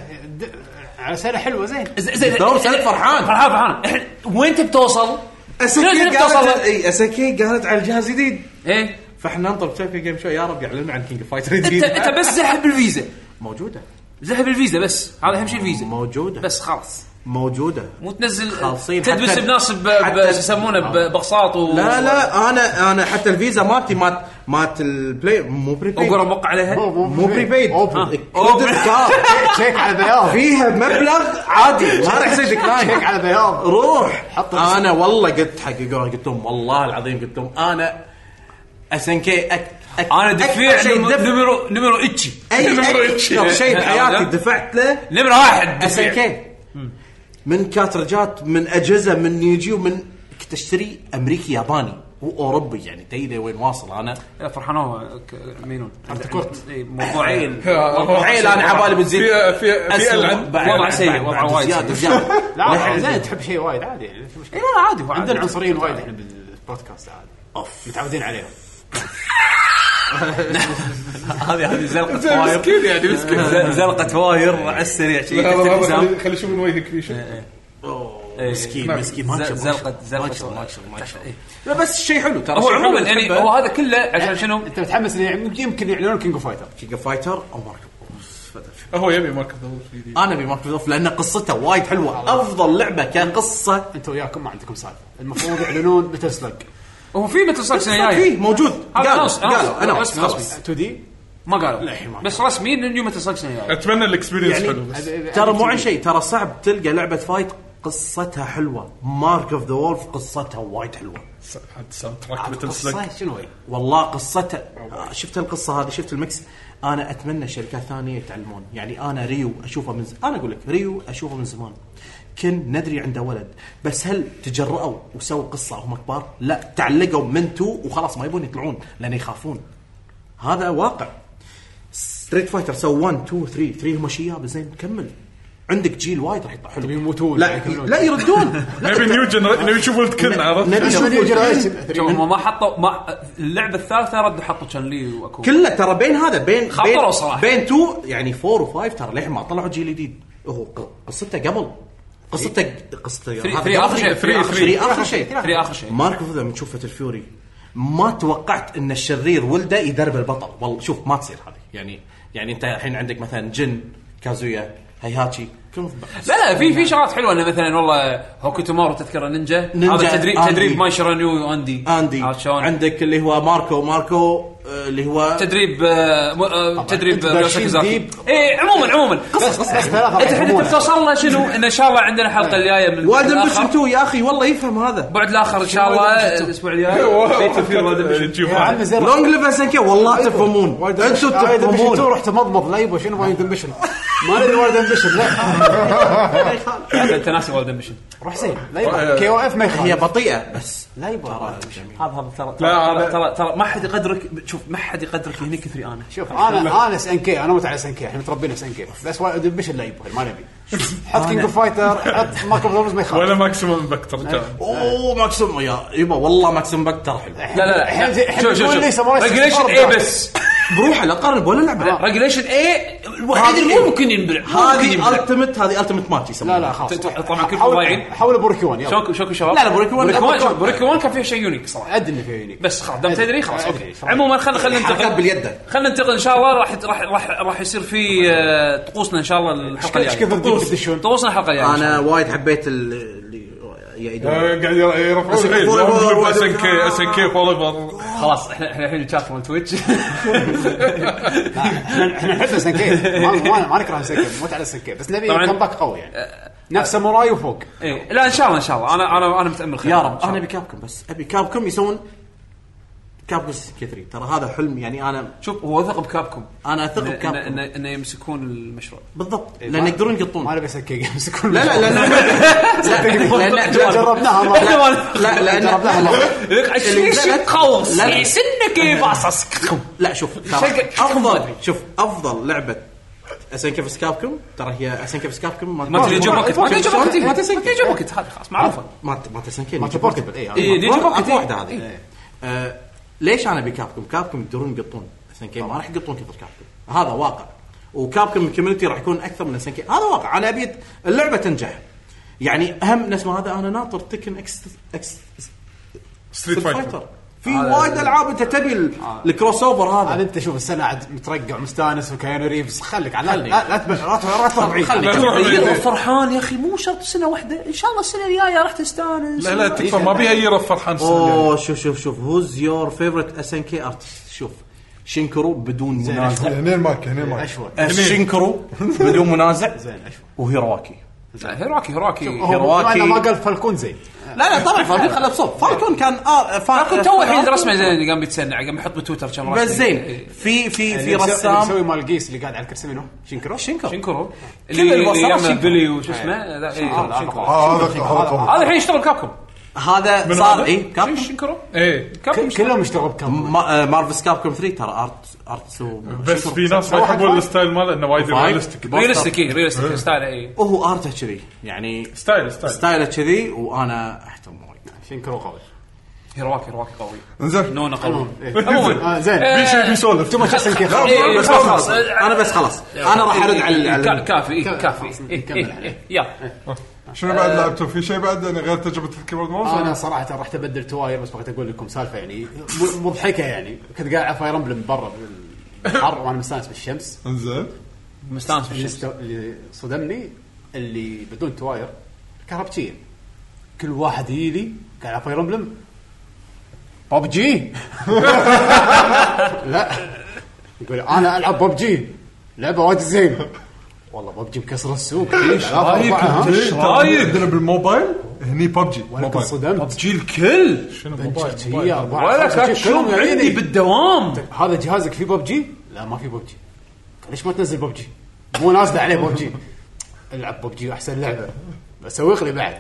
Speaker 6: على سنه حلوه زين
Speaker 1: زين زين
Speaker 4: دوم سعيد فرحان.
Speaker 1: فرحان فرحان إحنا- وين تبي توصل؟
Speaker 4: اسكي
Speaker 1: كيف توصل؟
Speaker 4: قالت اي اسكي قالت على الجهاز جديد
Speaker 1: ايه
Speaker 4: فاحنا ننطر تشامبيون جيم شوي يا رب يعلنوا عن كينج فايتر
Speaker 1: انت
Speaker 4: جديد
Speaker 1: انت بس زحب الفيزا
Speaker 4: موجوده
Speaker 1: زحب الفيزا بس هذا اهم شيء الفيزا
Speaker 4: موجوده
Speaker 1: بس خلاص
Speaker 4: موجوده
Speaker 1: مو تنزل
Speaker 4: خالصين
Speaker 1: تدبس
Speaker 4: حتى-
Speaker 1: بناس ب-
Speaker 4: حتى- آه.
Speaker 1: ب- شو يسمونه ب- بقساط و
Speaker 4: لا لا انا انا حتى الفيزا مالتي مات مات البلاي مو بريبيد
Speaker 1: اقرا موقع عليها
Speaker 4: مو بريبيد
Speaker 1: آه.
Speaker 6: أوبن.
Speaker 4: كريدت كارد
Speaker 6: شيك على بياض
Speaker 4: فيها مبلغ عادي ما راح يصير
Speaker 6: شيك
Speaker 4: ديكلاين
Speaker 6: على بياض
Speaker 4: روح
Speaker 6: حط الاسم.
Speaker 4: انا والله قلت حق إيجور، قلت لهم والله العظيم قلت لهم انا اس ان كي
Speaker 1: انا دفيع نمر-
Speaker 4: اي
Speaker 1: نمرو نمرو اتشي
Speaker 4: أي- أكثر شيء بحياتي
Speaker 1: هذا؟
Speaker 4: دفعت له
Speaker 1: نمرة واحد
Speaker 4: اس ان
Speaker 1: دفيع
Speaker 4: كي من كاترجات من اجهزه من نيجي ومن كنت اشتري امريكي ياباني واوروبي يعني تيلي وين واصل انا
Speaker 1: لا، فرحان هو ك- مينون
Speaker 6: كرت.
Speaker 1: إيه، موضوع عيل
Speaker 4: عيل انا عبالي بتزيد
Speaker 3: في في في
Speaker 4: أسوأ.
Speaker 3: العن
Speaker 4: بعد-
Speaker 1: وضع
Speaker 4: بعد-
Speaker 1: سيء،
Speaker 4: بعد-
Speaker 1: وضع
Speaker 4: بعد
Speaker 1: وايد
Speaker 4: زيادة-
Speaker 1: سيء.
Speaker 4: زيادة.
Speaker 6: لا زين تحب شيء وايد عادي يعني مش مشكله
Speaker 1: اي لا عادي هو عادي.
Speaker 6: عندنا عنصريين وايد احنا بالبودكاست عادي اوف متعودين عليهم
Speaker 1: هذه هذه زلقه
Speaker 3: زين، مسكين يعني مسكين
Speaker 1: ز- زلقه فواير على السريع شي
Speaker 3: هذا-
Speaker 1: تفتح
Speaker 3: هذا
Speaker 1: حزام.
Speaker 3: خلي- خلي اشوف من وجهك في شيء
Speaker 1: إيه.
Speaker 4: مسكين مسكين ما
Speaker 1: ز-
Speaker 4: شاء الله.
Speaker 1: زلقة- زلقة
Speaker 4: ما شاء الله، ما شاء الله ما شاء
Speaker 1: إيه.
Speaker 4: الله لا بس شيء حلو ترى
Speaker 1: هو
Speaker 4: شيء
Speaker 1: عموما
Speaker 4: حلو
Speaker 1: يعني
Speaker 4: نحبه.
Speaker 1: هو هذا كله عشان شنو؟
Speaker 6: انت متحمس إن يعني يمكن يعلنون كينج اوف فايتر
Speaker 4: كينج فايتر او ماركو
Speaker 3: هو يبي ماركت دور جديد
Speaker 4: انا ابي ماركو دوف لان قصته وايد حلوه افضل لعبه كقصه
Speaker 6: انت وياكم ما عندكم سالفه المفروض يعلنون متل سلج
Speaker 1: هو في متل سلك سنه جايه
Speaker 4: فيه موجود
Speaker 1: هذا
Speaker 4: قالوا
Speaker 1: خلاص، خلاص.
Speaker 4: قالوا انا
Speaker 1: رسمي،
Speaker 4: خلاص.
Speaker 1: رسمي.
Speaker 6: 2 دي
Speaker 1: ما
Speaker 6: الحين ما
Speaker 1: قالوا بس رسمي انه نيو متل سلك سنه جايه
Speaker 3: اتمنى الاكسبيرينس
Speaker 4: يعني-
Speaker 3: حلو بس
Speaker 4: ترى مو عن شيء ترى صعب تلقى لعبه فايت قصتها حلوه مارك اوف ذا وولف قصتها وايد حلوه
Speaker 3: س- حد ساوند تراك مثل سلك
Speaker 6: قصة شنو هي؟
Speaker 4: والله قصتها آه، شفت القصه هذه شفت المكس انا اتمنى شركات ثانيه يتعلمون يعني انا ريو اشوفه من ز... انا اقول لك ريو اشوفه من زمان كن ندري عنده ولد بس هل تجرأوا وسووا قصه هم كبار؟ لا تعلقوا من تو وخلاص ما يبون يطلعون لان يخافون هذا واقع ستريت فايتر سووا 1 2 3 3 هم شياب زين كمل عندك جيل وايد راح يطلع حلو
Speaker 6: يموتون.
Speaker 4: لا لا يردون لا
Speaker 3: نبي نيو جنريشن نبي نشوف ولد كن عرفت
Speaker 4: نبي
Speaker 6: شنو
Speaker 4: نشوف
Speaker 6: جنريشن؟
Speaker 1: شوف هم ما حطوا ما اللعبه الثالثه ردوا حطوا تشان لي واكو
Speaker 4: كله ترى بين هذا بين
Speaker 1: خطروا
Speaker 4: بين
Speaker 1: صراحة.
Speaker 4: بين 2 يعني 4 و5 ترى للحين ما طلعوا جيل جديد هو ق- قصته قبل قصته قصته
Speaker 1: ثري-
Speaker 4: هذا
Speaker 1: ثري آخر شيء، ثري آخر
Speaker 4: ثري اخر شيء
Speaker 1: ثري آخر شيء.
Speaker 4: مارك اوف ذا من شوفة الفيوري ما توقعت ان الشرير ولده يدرب البطل والله شوف ما تصير هذه يعني يعني انت الحين عندك مثلا جن كازويا هيهاتشي كلهم
Speaker 1: لا لا في في شغلات حلوه انه مثلا والله هوكوتو مارو تذكره نينجا
Speaker 4: نينجا،
Speaker 1: هذا تدريب
Speaker 4: آندي.
Speaker 1: تدريب ماي شيرانيو واندي
Speaker 4: اندي
Speaker 1: عرفت آه، شلون؟
Speaker 4: عندك اللي هو ماركو ماركو آه، اللي هو
Speaker 1: تدريب آه، مو- آه، تدريب
Speaker 6: أنت
Speaker 1: آه، إيه،
Speaker 6: دارشين
Speaker 1: ميوساكيزاكي
Speaker 6: ديب.
Speaker 1: اي عموما عموما
Speaker 6: بس بس ثلاثة
Speaker 1: انت احنا
Speaker 6: يحبونه.
Speaker 1: توصل لنا شنو ان ان شاء الله عندنا الحلقه الجايه من البعد
Speaker 4: والدن
Speaker 1: الاخر
Speaker 4: بشنتو يا اخي والله يفهم هذا
Speaker 1: البعد الاخر ان شاء الله الاسبوع الجاي بيت في والدن بشنتو.
Speaker 3: نشوف
Speaker 6: يا عم زين
Speaker 4: لونج ليف اس ان كي والله تفهمون
Speaker 6: وايد
Speaker 4: انتم
Speaker 6: آه، وايد أمبشن. تو
Speaker 4: تفهمون
Speaker 6: رحت مضمض ليبو شنو وايد امبشن ما ندري وايد امبشن لا
Speaker 1: انت أنت ناسي والدن بشن
Speaker 6: روح زين
Speaker 1: آه.
Speaker 6: ليبو كي او اف ما
Speaker 4: هي
Speaker 6: يخالف
Speaker 4: بطيئه بس
Speaker 6: ليبو
Speaker 1: هذا هذا ترى
Speaker 3: لا، أنا-
Speaker 1: ترى ترى ترى ما حد يقدرك شوف ما حد يقدرك هني كثري انا
Speaker 6: شوف انا انا اس ان كي انا مت على اس ان كي احنا متربيين اس ان كي بس وايد امبشن ليبو ما نبي حط كينج اوف فايتر حط ماكو بلوز ما يخالف
Speaker 3: ولا ماكسيموم امباكت رجال
Speaker 4: اوه ماكسيم يا يبا والله ماكسيم باك ترى حلو
Speaker 1: لا لا لا
Speaker 6: إحنا- إحنا
Speaker 1: شوف شوف
Speaker 6: نقول لي
Speaker 1: شوف
Speaker 6: ساموراي
Speaker 1: ريجليشن
Speaker 6: 64
Speaker 1: اي
Speaker 6: بعد.
Speaker 1: بس
Speaker 4: بروحه لا تقارن ولا
Speaker 6: آه.
Speaker 4: لعبه
Speaker 1: ريجليشن اي الوحيد
Speaker 4: هذه
Speaker 1: اللي
Speaker 4: إيه؟
Speaker 1: مو ممكن ينبلع ممكن
Speaker 4: هذه
Speaker 1: ينبلع
Speaker 4: التمت هذه التمت ماتش
Speaker 6: لا لا خلاص
Speaker 1: طبعاً كلكم
Speaker 6: حول-
Speaker 1: ضايعين.
Speaker 6: حول بوركي 1 يلا
Speaker 1: شوكو شوكو شباب
Speaker 4: لا لا، بوريكي وان-
Speaker 1: بوريكي وان-
Speaker 4: بوريكي وان-
Speaker 1: بوريكي وان كان فيه شيء يونيك صراحه
Speaker 6: ادري انه في يونيك
Speaker 1: بس خلاص دام تدري خلاص
Speaker 6: أدري،
Speaker 1: اوكي
Speaker 6: صراحة.
Speaker 1: عموما خلينا خلينا
Speaker 4: حركات
Speaker 1: ننتقل
Speaker 4: باليد
Speaker 1: خلينا ننتقل ان شاء الله راح راح راح راح يصير في آه، طقوسنا ان شاء الله الحلقه
Speaker 6: ايش كثر
Speaker 1: الجايه
Speaker 6: ديك تدشون
Speaker 1: طقوسنا الحلقه الجايه
Speaker 4: انا وايد حبيت ال- اللي يا إدارة.
Speaker 3: قاعد يرفعون
Speaker 4: يرفعون-
Speaker 3: اس ان كي اس ان كي فور ايفر
Speaker 1: خلاص احنا احنا الحين الشات مال تويتش
Speaker 6: احنا احنا نحب السنكين ما ما- ما نكره السنكين موت على السنكين بس نبي
Speaker 1: طبعاً. أه،
Speaker 6: كمباك قوي يعني نفس ساموراي وفوق
Speaker 1: إيه. لا ان شاء الله ان شاء الله انا انا انا متامل خير
Speaker 4: يا رب
Speaker 1: إن شاء
Speaker 4: انا
Speaker 1: الله.
Speaker 4: ابي كابكم بس ابي كابكم يسوون كابكم 3 ترى هذا حلم يعني انا
Speaker 1: شوف هو وثق بكابكم
Speaker 4: انا اثق
Speaker 1: إنه- إنه-
Speaker 4: بكابكم
Speaker 1: إنه- انه يمسكون المشروع
Speaker 4: بالضبط
Speaker 6: إيه،
Speaker 4: لان
Speaker 6: ما-
Speaker 4: يقدرون
Speaker 6: ما
Speaker 4: يقطون
Speaker 6: نبي سنكين يمسكون
Speaker 4: لا لا لا لا لا
Speaker 6: جربناها
Speaker 1: إحنا
Speaker 6: مرة.
Speaker 1: ما-
Speaker 4: لا لا
Speaker 6: جربناها
Speaker 4: لا
Speaker 6: مرة.
Speaker 1: لك شيء
Speaker 4: لا، لا.
Speaker 1: شيء قوس
Speaker 4: لا، لا.
Speaker 1: سنك إيه، باصص
Speaker 4: لا شوف ترى
Speaker 1: شقق-
Speaker 4: افضل شوف افضل لعبه اسنكا فيس كابكم ترى هي اسنكا فيس كابكم
Speaker 1: ما تدري جو وقت ما تدري جو وقت ما
Speaker 4: ما
Speaker 1: تدري جو وقت هذه خلاص معروفه
Speaker 4: ما ما تسنكين
Speaker 6: ما تبورتبل اي
Speaker 1: إيه،
Speaker 6: أنا-
Speaker 1: ديجي بوكيت،
Speaker 4: أقوى
Speaker 1: إيه.
Speaker 4: واحده هذه
Speaker 6: إيه.
Speaker 4: آه، ليش انا ابي كابكم؟ كابكم يقدرون يقطون اسنكي ما راح يقطون كثر كابكم هذا واقع وكابكم الكوميونتي راح يكون اكثر من اسنكي هذا واقع انا ابي اللعبه تنجح يعني اهم نفس ما هذا انا ناطر تكن اكس اكس
Speaker 3: ستريت فايتر
Speaker 4: في وايد العاب انت تبي ال- الكروس اوفر
Speaker 6: هذا
Speaker 4: هذا
Speaker 6: انت شوف السنه عاد مترقع مستانس وكيانو ريفز خليك على
Speaker 4: خليك.
Speaker 6: لا لا تبش- لا تروح- لا تروح بعيد
Speaker 4: خليك.
Speaker 1: إيه. فرحان يا اخي مو شرط سنه واحده ان شاء الله السنه الجايه راح تستانس
Speaker 3: لا لا تكفى ما بيها يرى فرحان السنة
Speaker 4: اوه شوف شوف شوف هوز يور فيفرت اس ان كي ارتست شوف شينكرو بدون منازع
Speaker 2: هني المايك هني المايك
Speaker 6: اشوى
Speaker 4: شينكرو بدون منازع
Speaker 6: زين اشوى
Speaker 4: وهيرواكي
Speaker 1: هيراكي هيراكي
Speaker 6: هو
Speaker 4: هيرواكي.
Speaker 6: بما إنه ما قال فالكون زين
Speaker 4: لا لا طبعا فالكون خلاه بصوت فالكون كان اه
Speaker 1: فالكون تو الحين رسمه زين قام بيتسنع قام يحط بتويتر إيه. كم رسمه
Speaker 4: بس زين في في في
Speaker 6: اللي مسوي- اللي
Speaker 4: رسام
Speaker 6: مسوي مال القيس اللي قاعد على الكرسي منه شينكرو
Speaker 4: شينكرو
Speaker 1: شنكرو
Speaker 4: كل
Speaker 1: اللي
Speaker 4: الوصلات
Speaker 1: اللي يمه
Speaker 4: شنكرو.
Speaker 1: بلي وش اسمه ذا- إيه،
Speaker 6: هذا
Speaker 1: شنكرو.
Speaker 6: أقوى.
Speaker 2: آه، هذا هذا قوي.
Speaker 1: هذا الحين يشتغل كابكم
Speaker 4: هذا صار إيه، اي كاب
Speaker 1: شنكرو
Speaker 3: ايه
Speaker 1: كابكم
Speaker 6: كلهم يشتغلوا بكم
Speaker 4: مارفلز كاب كوم 3 ترى ارت ارت
Speaker 3: بس في ناس ما يحبون الستايل ماله انه وايد ريالستيك
Speaker 1: ريالستيك إيه، ريالستيك ستايل اي
Speaker 4: وهو ارته كذي يعني
Speaker 3: ستايل ستايل
Speaker 4: ستايله كذي وانا احترمه وايد
Speaker 6: شينكرو قوي
Speaker 1: هيراكي هيراكي إيه، قوي
Speaker 2: انزين
Speaker 1: نونا قوي
Speaker 6: إيه.
Speaker 1: عموما
Speaker 6: آه، زين
Speaker 1: إيه.
Speaker 2: شيء بيسولف
Speaker 6: تو ماتش سنكي خلاص
Speaker 1: إيه، إيه،
Speaker 4: بس
Speaker 1: خلاص،
Speaker 4: خلاص
Speaker 1: خلاص.
Speaker 4: انا بس خلاص انا راح ارد على
Speaker 1: كا-
Speaker 4: على
Speaker 1: كافي إيه،
Speaker 6: كمل.
Speaker 1: كافي إيه،
Speaker 6: كمل
Speaker 1: إيه،
Speaker 6: عليه.
Speaker 1: إيه، يلا
Speaker 2: شنو بعد لعبتوا في شيء بعد يعني غير تجربه الكيبورد ماوس
Speaker 1: آه.
Speaker 6: انا صراحه رحت ابدل تواير بس بغيت اقول لكم سالفه يعني م- مضحكه يعني كنت قاعد على فاير امبلم برا بالحر وانا مستانس بالشمس
Speaker 2: انزين
Speaker 1: مستانس
Speaker 6: اللي
Speaker 1: بالشمس
Speaker 6: استو- اللي صدمني اللي بدون تواير كهربتين كل واحد يلي قاعد على فاير امبلم ببجي لا يقول انا العب ببجي لعبه وايد زين والله ببجي مكسر السوق ليش آه.
Speaker 2: إيه، ترى
Speaker 1: رايك؟
Speaker 2: عندنا بالموبايل هني ببجي
Speaker 6: ولكن
Speaker 2: موبايل
Speaker 6: صدمت
Speaker 1: ببجي الكل
Speaker 3: شنو موبايل موبايل.
Speaker 6: بنشرتية أربعة
Speaker 1: ولا
Speaker 6: خمسة،
Speaker 1: كاك
Speaker 6: شوف كلهم يعني.
Speaker 1: شوب
Speaker 6: قاعدين
Speaker 1: عندي
Speaker 6: ي-
Speaker 1: بالدوام
Speaker 6: هذا جهازك فيه ببجي؟ لا ما فيه ببجي قال ليش ما تنزل ببجي؟ مو نازله عليه ببجي العب ببجي احسن لعبه بسوق لي بعد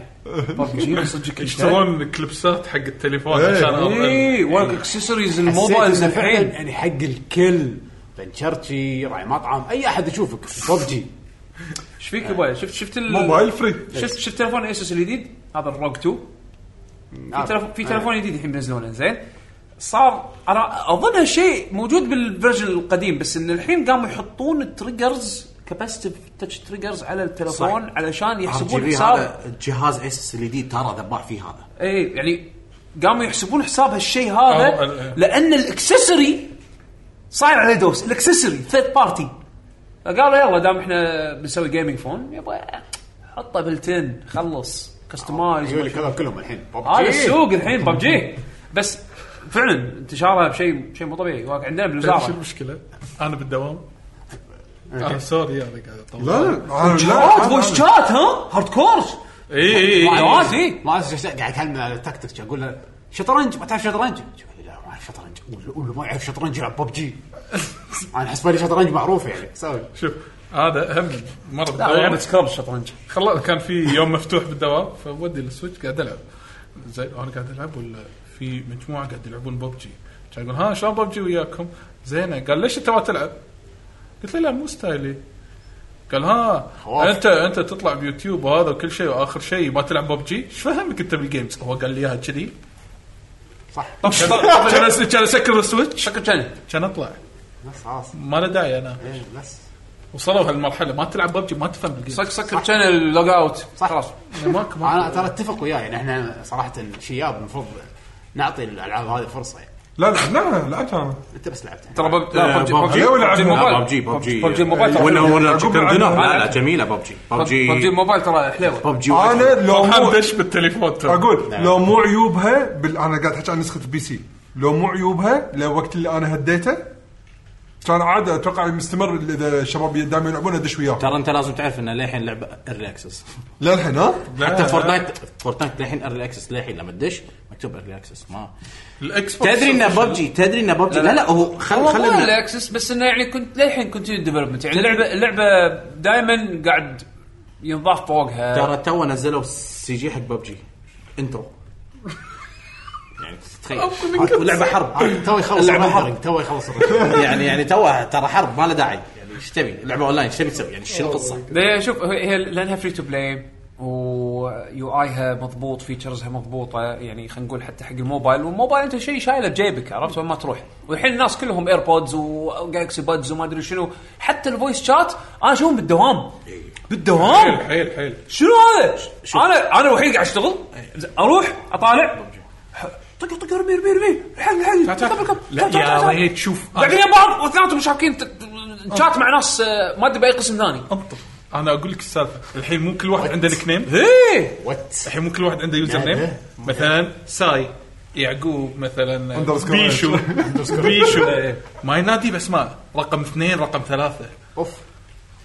Speaker 1: ببجي صدق
Speaker 3: يشترون كلبسات حق التليفون
Speaker 2: إيه.
Speaker 3: عشان
Speaker 1: اي ولا اكسسوارز الموبايل
Speaker 6: حسيت انه فعلا
Speaker 1: الحين
Speaker 6: يعني حق الكل بنشرتشي راعي مطعم اي احد يشوفك ببجي
Speaker 1: ايش فيك يبا شفت شفت ال-
Speaker 2: موبايل فري
Speaker 1: شفت شفت تليفون اسوس الجديد هذا الروج 2 في تلف- في تليفون جديد الحين بينزلونه زين صار انا اظن هالشيء موجود بالفيرجن القديم بس ان الحين قاموا يحطون التريجرز كاباسيتيف تاتش تريجرز على التليفون
Speaker 4: صح.
Speaker 1: علشان يحسبون
Speaker 4: RGB
Speaker 1: حساب
Speaker 4: هذا الجهاز اس اللي دي ترى ذبح فيه هذا
Speaker 1: اي يعني قاموا يحسبون حساب هالشيء هذا
Speaker 3: أو- أه.
Speaker 1: لان الاكسسوري صاير على دوس الاكسسوري ثيرد بارتي فقالوا يلا دام احنا بنسوي جيمنج فون يبا حطه بالتن خلص
Speaker 6: يقول لك
Speaker 1: كستمايز
Speaker 6: هذا أيوة، كلهم الحين
Speaker 1: هذا
Speaker 6: ببجي
Speaker 1: السوق الحين ببجي بس فعلا انتشارها بشيء شيء مو طبيعي واقع عندنا
Speaker 3: شو
Speaker 1: بالوزاره
Speaker 3: المشكله؟ انا بالدوام انا سوري انا قاعد اطول
Speaker 2: لا لا
Speaker 1: شات فويس شات ها هارد كور
Speaker 3: اي اي اي
Speaker 1: ما في
Speaker 6: ما اعرف شو- قاعد اكلمه على التكتكس اقول له شطرنج ما تعرف شطرنج؟ يقول لي لا ما اعرف شطرنج قول له- قول له ما يعرف شطرنج يلعب ببجي انا حسب لي شطرنج معروف يعني سوي
Speaker 3: شوف هذا اهم مره
Speaker 1: لا يعني
Speaker 3: بالدوام
Speaker 1: لعبه سكراب الشطرنج
Speaker 3: خلاص كان في يوم مفتوح بالدوام فودي السويتش قاعد العب زين انا قاعد العب ولا في مجموعه قاعد يلعبون ببجي كان يقول ها شلون ببجي وياكم؟ زينه قال ليش انت ما تلعب؟ قلت له لا مو ستايلي قال ها
Speaker 6: خواف.
Speaker 3: انت انت تطلع بيوتيوب وهذا وكل شيء واخر شيء ما تلعب ببجي ايش فهمك انت بالجيمز؟ هو قال لي اياها كذي
Speaker 6: صح
Speaker 3: طب طب كان كان اسكر السويتش
Speaker 1: شكل كان
Speaker 3: كان اطلع
Speaker 6: بس خلاص
Speaker 3: ما له داعي انا
Speaker 6: إيه، بس
Speaker 3: وصلوا هالمرحله ما تلعب ببجي ما تفهم بالجيمز
Speaker 1: سك سكر كان اللوج اوت
Speaker 6: صح.
Speaker 1: خلاص
Speaker 3: ماكو
Speaker 6: انا
Speaker 3: ماكو
Speaker 6: ترى اتفق وياه يعني احنا صراحه شياب المفروض نعطي الالعاب هذه فرصه يعني
Speaker 2: لا لا لا لعبت انا
Speaker 6: انت بس لعبتها
Speaker 1: ترى بب- لا،
Speaker 4: آه،
Speaker 1: ببجي
Speaker 4: ببجي.
Speaker 1: ببجي
Speaker 2: لا، ولا
Speaker 1: ببجي
Speaker 2: عندنا.
Speaker 1: الموبايل.
Speaker 4: ببجي ببجي
Speaker 1: ببجي الموبايل ترى
Speaker 4: ولا
Speaker 1: حلوة.
Speaker 4: ولا
Speaker 2: عقب
Speaker 4: كم دينار لا لا
Speaker 1: العالم.
Speaker 4: جميله ببجي ببجي
Speaker 1: ببجي الموبايل ترى حلوه
Speaker 4: ببجي
Speaker 2: انا لو مو
Speaker 3: محمد دش بالتليفون ترى
Speaker 2: اقول لو مو عيوبها بال... انا قاعد احكي عن نسخه البي سي لو مو عيوبها لوقت اللي انا هديته كان عاده اتوقع مستمر اذا الشباب دائما يلعبون ادش وياه
Speaker 4: ترى انت لازم تعرف ان للحين لعبه ايرلي اكسس
Speaker 2: للحين ها آه،
Speaker 4: حتى فورتنايت فورتنايت للحين ايرلي اكسس للحين لما تدش مكتوب ايرلي اكسس ما
Speaker 3: الاكس بوكس
Speaker 4: تدري ان ببجي تدري ان ببجي لا لا هو خل
Speaker 1: هو مو
Speaker 4: خل
Speaker 1: الاكسس بس انه يعني كنت للحين كونتينيو ديفلوبمنت يعني اللعبه اللعبه دائما قاعد ينضاف فوقها
Speaker 4: ترى تو نزلوا السي جي حق ببجي انترو يعني تخيل لعبه حرب
Speaker 6: تو يخلص
Speaker 4: اللعبة حرب.
Speaker 6: الرندرنج تو يخلص الرندرنج
Speaker 4: يعني يعني توه ترى حرب ما له داعي يعني ايش تبي لعبه اونلاين ايش تبي تسوي يعني شنو القصه
Speaker 1: لا، شوف هي هي لانها فري تو بلاي ويو ايها مضبوط فيتشرزها مضبوطه يعني خلينا نقول حتى حق الموبايل والموبايل انت شيء شايله بجيبك عرفت وين ما تروح والحين الناس كلهم ايربودز وجالكسي بادز وما ادري شنو حتى الفويس شات انا اشوفهم بالدوام بالدوام
Speaker 3: حيل حيل حيل
Speaker 1: شنو هذا؟ انا انا الوحيد قاعد اشتغل اروح اطالع ح- طق طق ارمي ارمي ارمي الحل الحل
Speaker 3: تعال، تعال.
Speaker 1: كم- كم- كم.
Speaker 3: لا،
Speaker 1: تعال، تعال،
Speaker 3: يا
Speaker 1: تعال.
Speaker 3: ويلي، تشوف.
Speaker 1: قاعدين يا بعض واثنيناتهم مشاركين ت- ت- شات مع ناس آه، ما ادري باي قسم ثاني
Speaker 3: انطر انا اقول لك السالفه الحين مو كل واحد عنده نيك نيم
Speaker 1: ايه
Speaker 6: وات
Speaker 3: الحين مو كل واحد عنده يوزر نيم مثلا ساي يعقوب مثلا
Speaker 2: Underscore
Speaker 3: بيشو بيشو ما ينادي باسماء رقم اثنين رقم ثلاثه
Speaker 6: اوف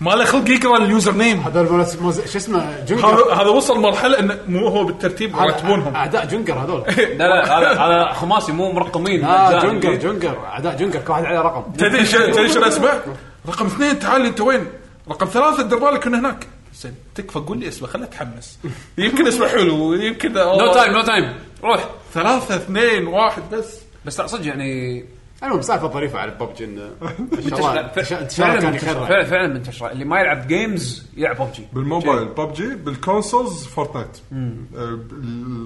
Speaker 3: ما له خلق يقرا اليوزر نيم
Speaker 6: هذول مالت- مالت- شو اسمه جنجر
Speaker 3: هذا هذا وصل مرحله انه مو هو بالترتيب يرتبونهم
Speaker 6: اعداء جنجر هذول
Speaker 1: لا لا هذا هذا خماسي مو مرقمين
Speaker 3: آه،
Speaker 6: اه جنجر جنجر اعداء جنجر كل واحد عليه رقم
Speaker 3: تدري شو تدري شو الاسماء؟ رقم اثنين تعال انت وين؟ رقم ثلاثه دير بالك من هناك زين تكفى قول لي اسمه خليني اتحمس يمكن اسمه حلو يمكن
Speaker 1: نو تايم نو تايم روح
Speaker 3: ثلاثه اثنين واحد بس
Speaker 1: بس لا صدق يعني
Speaker 6: المهم سالفه ظريفه على ببجي انه إن شاء الله-
Speaker 1: فعلا
Speaker 6: إن شاء- إن شاء الله كان
Speaker 1: منتشرة.
Speaker 6: يخرع
Speaker 1: فعلا فعلا منتشره اللي ما يلعب جيمز يلعب ببجي
Speaker 2: بالموبايل ببجي بالكونسولز فورتنايت آه،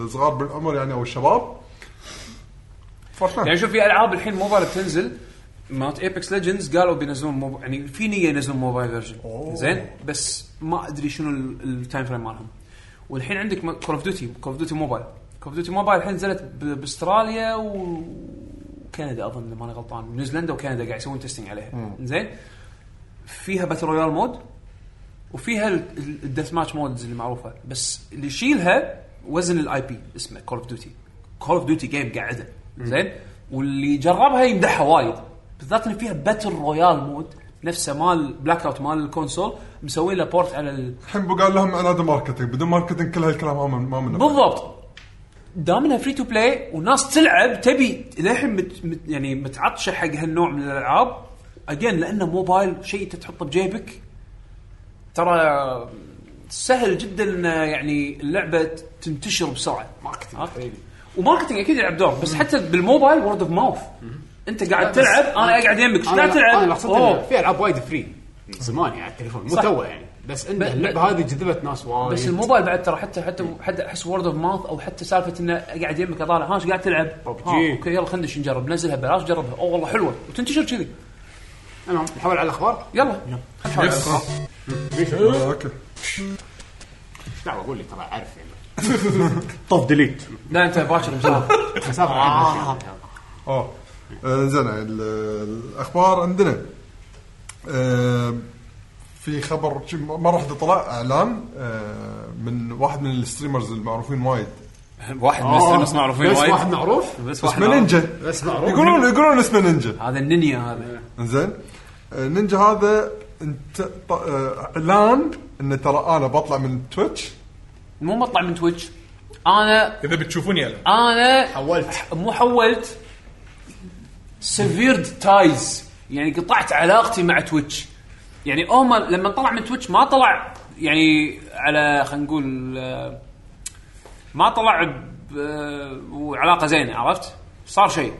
Speaker 2: الصغار بالعمر يعني او الشباب
Speaker 1: يعني
Speaker 2: فورتنايت
Speaker 1: شوف في العاب الحين موبايل بتنزل مالت ايبكس ليجندز قالوا بينزلون موب... يعني في نيه ينزلون موبايل فيرجن زين بس ما ادري شنو ال- التايم فريم مالهم والحين عندك كول اوف ديوتي كول اوف ديوتي موبايل كول اوف ديوتي موبايل الحين نزلت ب- باستراليا وكندا اظن إذا ماني غلطان نيوزيلندا وكندا قاعد يسوون تيستنج عليها زين فيها باتل رويال مود وفيها الديث ماتش مودز المعروفه بس اللي يشيلها وزن الاي بي اسمه كول اوف ديوتي كول اوف ديوتي جيم قاعده زين واللي جربها يمدحها وايد بالذات ان فيها باتل رويال مود نفسه مال بلاك اوت مال الكونسول مسوي له بورت على ال...
Speaker 2: الحين بقول لهم انا هذا ماركتنج بدون ماركتنج كل هالكلام ما من- ما منه
Speaker 1: بالضبط دام انها فري تو بلاي وناس تلعب تبي للحين مت مت يعني متعطشه حق هالنوع من الالعاب اجين لانه موبايل شيء انت تحطه بجيبك ترى سهل جدا ان يعني اللعبه تنتشر بسرعه ماركتنج وماركتنج اكيد يلعب دور بس حتى بالموبايل وورد اوف ماوث انت قاعد
Speaker 6: بس-
Speaker 1: تلعب انا قاعد يمك ايش قاعد
Speaker 6: انا
Speaker 1: تلعب؟
Speaker 6: اللي قصدت
Speaker 1: أوه.
Speaker 6: إنه في العاب وايد فري زمان يعني على التليفون مو
Speaker 1: صح.
Speaker 6: تو يعني بس ان
Speaker 1: بس-
Speaker 6: اللعبه هذه جذبت ناس وايد
Speaker 1: بس الموبايل بعد ترى حتى حتى حتى احس وورد اوف ماوث او حتى سالفه انه قاعد يمك اطالع ها ايش قاعد تلعب؟
Speaker 6: PUBG.
Speaker 1: ها، اوكي يلا خلينا ندش نجرب نزلها ببلاش جربها اوه والله حلوه وتنتشر كذي
Speaker 6: المهم نحول على الاخبار
Speaker 1: يلا
Speaker 3: يس.
Speaker 2: آه، اوكي
Speaker 6: ايش دعوه اقول لي ترى اعرف يعني
Speaker 4: طف ديليت
Speaker 1: لا انت باكر مسافر
Speaker 6: مسافه آه.
Speaker 2: اه آه، زين ال- الاخبار عندنا آه، في خبر شي- مره واحده طلع اعلان آه، من واحد من الستريمرز المعروفين وايد
Speaker 1: واحد من الناس معروفين
Speaker 6: بس
Speaker 1: وايد
Speaker 6: واحد معروف
Speaker 1: بس
Speaker 2: اسمه نينجا
Speaker 6: بس معروف
Speaker 2: يقولون يقولون اسمه نينجا
Speaker 1: هذا النينيا هذا
Speaker 2: زين آه، نينجا هذا انت ط- آه، اعلان ان ترى انا بطلع من تويتش
Speaker 1: مو مطلع من تويتش انا
Speaker 3: اذا بتشوفوني العب
Speaker 1: انا
Speaker 6: حولت
Speaker 1: مو حولت سيفيرد تايز يعني قطعت علاقتي مع تويتش يعني هم لما طلع من تويتش ما طلع يعني على خلينا نقول آه، ما طلع ب- آه، وعلاقه زينه عرفت؟ صار شيء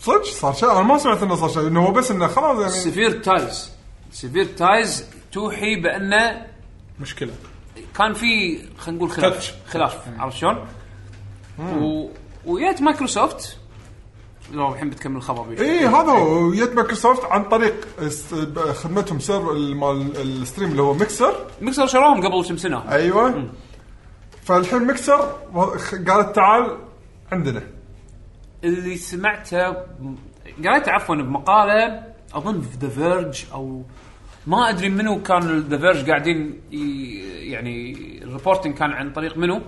Speaker 2: صدق صار شيء انا ما سمعت انه صار شيء انه هو بس انه خلاص يعني
Speaker 1: سيفير تايز سيفير تايز توحي بانه
Speaker 3: مشكله
Speaker 1: كان في خلينا نقول
Speaker 3: Touch.
Speaker 1: خلاف خلاف عرفت شلون؟ و... ويات مايكروسوفت لو الحين بتكمل الخبر بيش.
Speaker 2: اي هذا هو يد مايكروسوفت عن طريق است- ب- خدمتهم سيرفر ال- مال الستريم اللي هو ميكسر
Speaker 1: ميكسر شراهم قبل كم سنه
Speaker 2: ايوه فالحين ميكسر و- خ- قالت تعال عندنا
Speaker 1: اللي سمعته قريته عفوا بمقاله اظن في ذا فيرج او ما ادري منو كان ذا فيرج قاعدين ي- يعني الريبورتنج كان عن طريق منو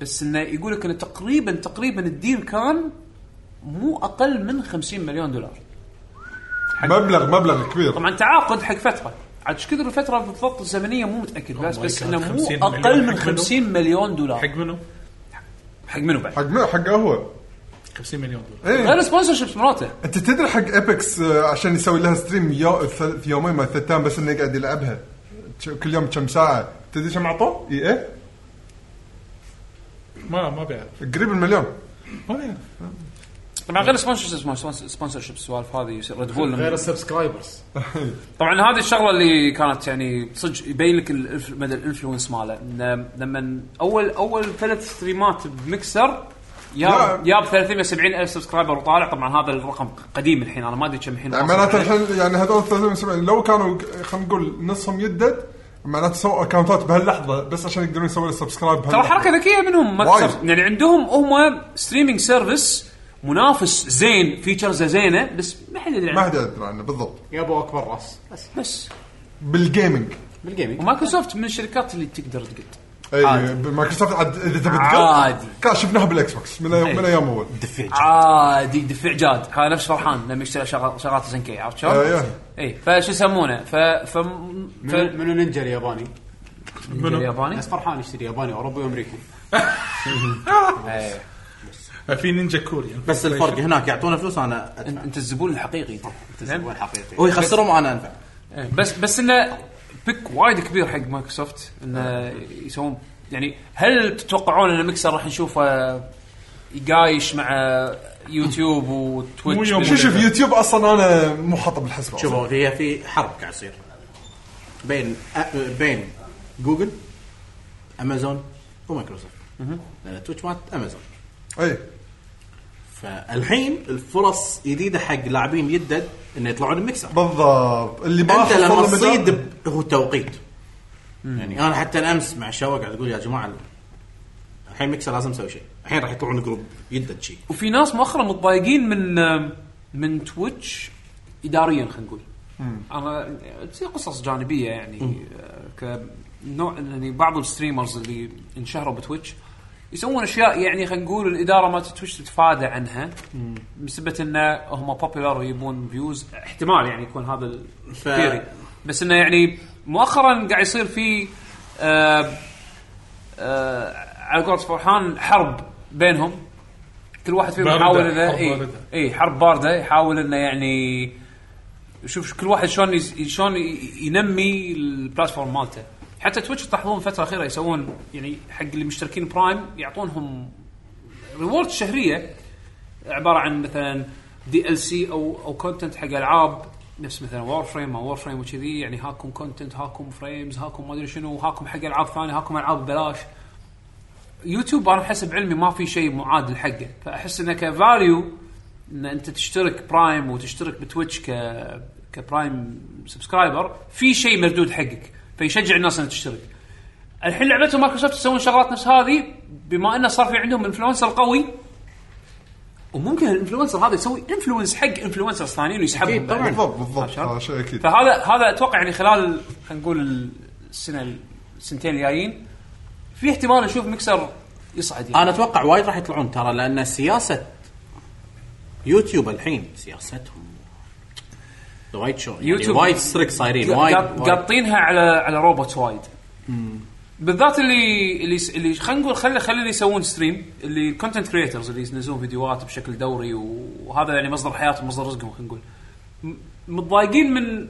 Speaker 1: بس انه يقول لك انه تقريبا تقريبا الديل كان مو اقل من 50 مليون دولار
Speaker 2: مبلغ مبلغ كبير
Speaker 1: طبعا تعاقد حق فتره عاد ايش كثر الفتره بالضبط الزمنيه مو متاكد بس
Speaker 3: Oh my
Speaker 1: بس
Speaker 3: God،
Speaker 1: انه مو
Speaker 3: 50 مليون
Speaker 1: اقل من
Speaker 3: حق
Speaker 1: 50 مليون دولار
Speaker 3: منو؟ حق منو؟
Speaker 1: حق منو بعد؟
Speaker 2: حق ما حق هو
Speaker 3: 50 مليون دولار
Speaker 2: ايه
Speaker 1: غير سبونسر شيبس مراته
Speaker 2: انت تدري حق ابيكس آه، عشان يسوي لها ستريم يو... ثل- في يومين ما ثلاث ايام بس انه يقعد يلعبها ش- كل يوم كم ساعه تدري كم اعطوه؟ اي ايه
Speaker 3: ما ما بيعرف
Speaker 2: قريب المليون
Speaker 3: ما بيعرف
Speaker 1: طبعا غير سبونسر سبونسر شيب السوالف هذه ريد بول لما-
Speaker 4: غير السبسكرايبرز
Speaker 1: طبعا هذه الشغله اللي كانت يعني صدق يبين لك الإنف- مدى الانفلونس ماله إنه لما اول اول ثلاث ستريمات بمكسر
Speaker 2: لا.
Speaker 1: ياب ياب 370 الف سبسكرايبر وطالع طبعا هذا الرقم قديم الحين انا ما ادري كم الحين
Speaker 2: يعني معناته الحين يعني هذول 370 لو كانوا ك- خلينا نقول نصهم يدد معناته سووا اكونتات بهاللحظه بس عشان يقدرون يسوون له سبسكرايب
Speaker 1: ترى حركه ذكيه منهم مايكروسوفت
Speaker 2: وايد.
Speaker 1: يعني عندهم هم ستريمينج سيرفيس منافس زين فيتشرزه زينه بس ما حد يدري
Speaker 2: ما
Speaker 1: عنه
Speaker 2: حد يدري عنه بالضبط
Speaker 6: يابو اكبر راس بس
Speaker 1: بس
Speaker 2: بالجيمنج
Speaker 6: بالجيمنج
Speaker 1: ومايكروسوفت من الشركات اللي تقدر تقد
Speaker 2: اي مايكروسوفت عاد اذا تبي
Speaker 1: عادي.
Speaker 2: كان شفناها بالاكس بوكس من أي- من ايام اول
Speaker 1: عادي دفع جاد هذا نفس فرحان لما يشتري شغ- شغلات زين كي عرفت
Speaker 3: أيوة،
Speaker 1: شلون؟
Speaker 2: أيوه.
Speaker 1: اي فشو يسمونه ف ف ف
Speaker 6: منو منو نينجا الياباني
Speaker 1: الياباني
Speaker 6: بس فرحان يشتري ياباني اوروبي وامريكي
Speaker 3: في نينجا كوري
Speaker 7: بس الفرق هناك يعطونا فلوس انا
Speaker 1: أن-
Speaker 7: أدفع.
Speaker 1: انت الزبون الحقيقي
Speaker 4: نعم.
Speaker 6: هو الحقيقي
Speaker 7: هو يخسرهم انا انفع
Speaker 1: نعم. إيه، بس بس انه بيك وايد كبير حق مايكروسوفت انه يسوون يعني هل تتوقعون ان المكسر راح نشوفه يقايش مع يوتيوب
Speaker 3: مو
Speaker 1: وتويتش
Speaker 3: يوم
Speaker 2: شوف شوف يوتيوب اصلا انا مو حاطه بالحسبه أصلاً.
Speaker 7: شوفوا هي في حرب قاعد تصير بين أ- بين جوجل امازون ومايكروسوفت لان تويتش مات امازون
Speaker 2: اي
Speaker 7: فالحين الفرص جديده حق لاعبين يدد انه يطلعون المكسر
Speaker 2: بالضبط اللي ما
Speaker 7: انت
Speaker 2: حصل
Speaker 7: لما
Speaker 2: له
Speaker 7: تصيد
Speaker 2: مدار-
Speaker 7: ب- هو توقيت يعني انا حتى الامس مع الشباب قاعد اقول يا جماعه الحين مكسر لازم اسوي شيء الحين راح يطلعون جروب يدد شيء
Speaker 1: وفي ناس مؤخرا متضايقين من من تويتش اداريا خلينا نقول انا تصير قصص جانبيه يعني آه، كنوع يعني بعض الستريمرز اللي انشهروا بتويتش يسوون اشياء يعني خلينا نقول الاداره مالت تويتش تتفادى عنها بسبب انه هم بوبيلر ويبون فيوز احتمال يعني يكون هذا
Speaker 7: ف-
Speaker 1: الثيري بس انه يعني مؤخرا قاعد يصير في آه آه على قولة فرحان حرب بينهم كل واحد فيهم
Speaker 3: باردة،
Speaker 1: يحاول انه
Speaker 3: حرب
Speaker 1: اي
Speaker 3: باردة.
Speaker 1: اي حرب بارده يحاول انه يعني شوف كل واحد شلون يز- شلون ي- ينمي البلاتفورم مالته حتى تويتش تلاحظون الفتره الاخيره يسوون يعني حق اللي مشتركين برايم يعطونهم ريورد شهريه عباره عن مثلا دي ال سي او او كونتنت حق العاب نفس مثلا وور فريم او وور فريم وكذي يعني هاكم كونتنت هاكم فريمز هاكم ما ادري شنو هاكم حق العاب ثانيه هاكم العاب ببلاش يوتيوب انا حسب علمي ما في شيء معادل حقه فاحس انه كفاليو ان انت تشترك برايم وتشترك بتويتش ك كبرايم سبسكرايبر في شيء مردود حقك فيشجع الناس انها تشترك الحين لعبتهم مايكروسوفت يسوون شغلات نفس هذه بما انه صار في عندهم انفلونسر قوي وممكن الانفلونسر هذا يسوي انفلونس حق انفلونسرز ثانيين ويسحبهم بعد.
Speaker 2: بالضبط بالضبط
Speaker 1: إيه، عشان-
Speaker 2: هذا شيء اكيد
Speaker 1: فهذا هذا اتوقع يعني خلال خلينا نقول السنه السنتين الجايين في احتمال نشوف مكسر يصعد يعني.
Speaker 7: انا اتوقع وايد راح يطلعون ترى لان سياسه يوتيوب الحين سياستهم وايد شو يعني
Speaker 1: يوتيوب-
Speaker 7: وايد ستريك صايرين
Speaker 1: قا-
Speaker 7: وايد
Speaker 1: قا-
Speaker 7: وايد.
Speaker 1: قاطينها على على روبوت وايد بالذات اللي اللي س- اللي خلينا نقول خلي خلي اللي يسوون ستريم اللي الكونتنت كريترز اللي ينزلون فيديوهات بشكل دوري وهذا يعني مصدر حياتهم مصدر رزقهم خلينا نقول م- متضايقين من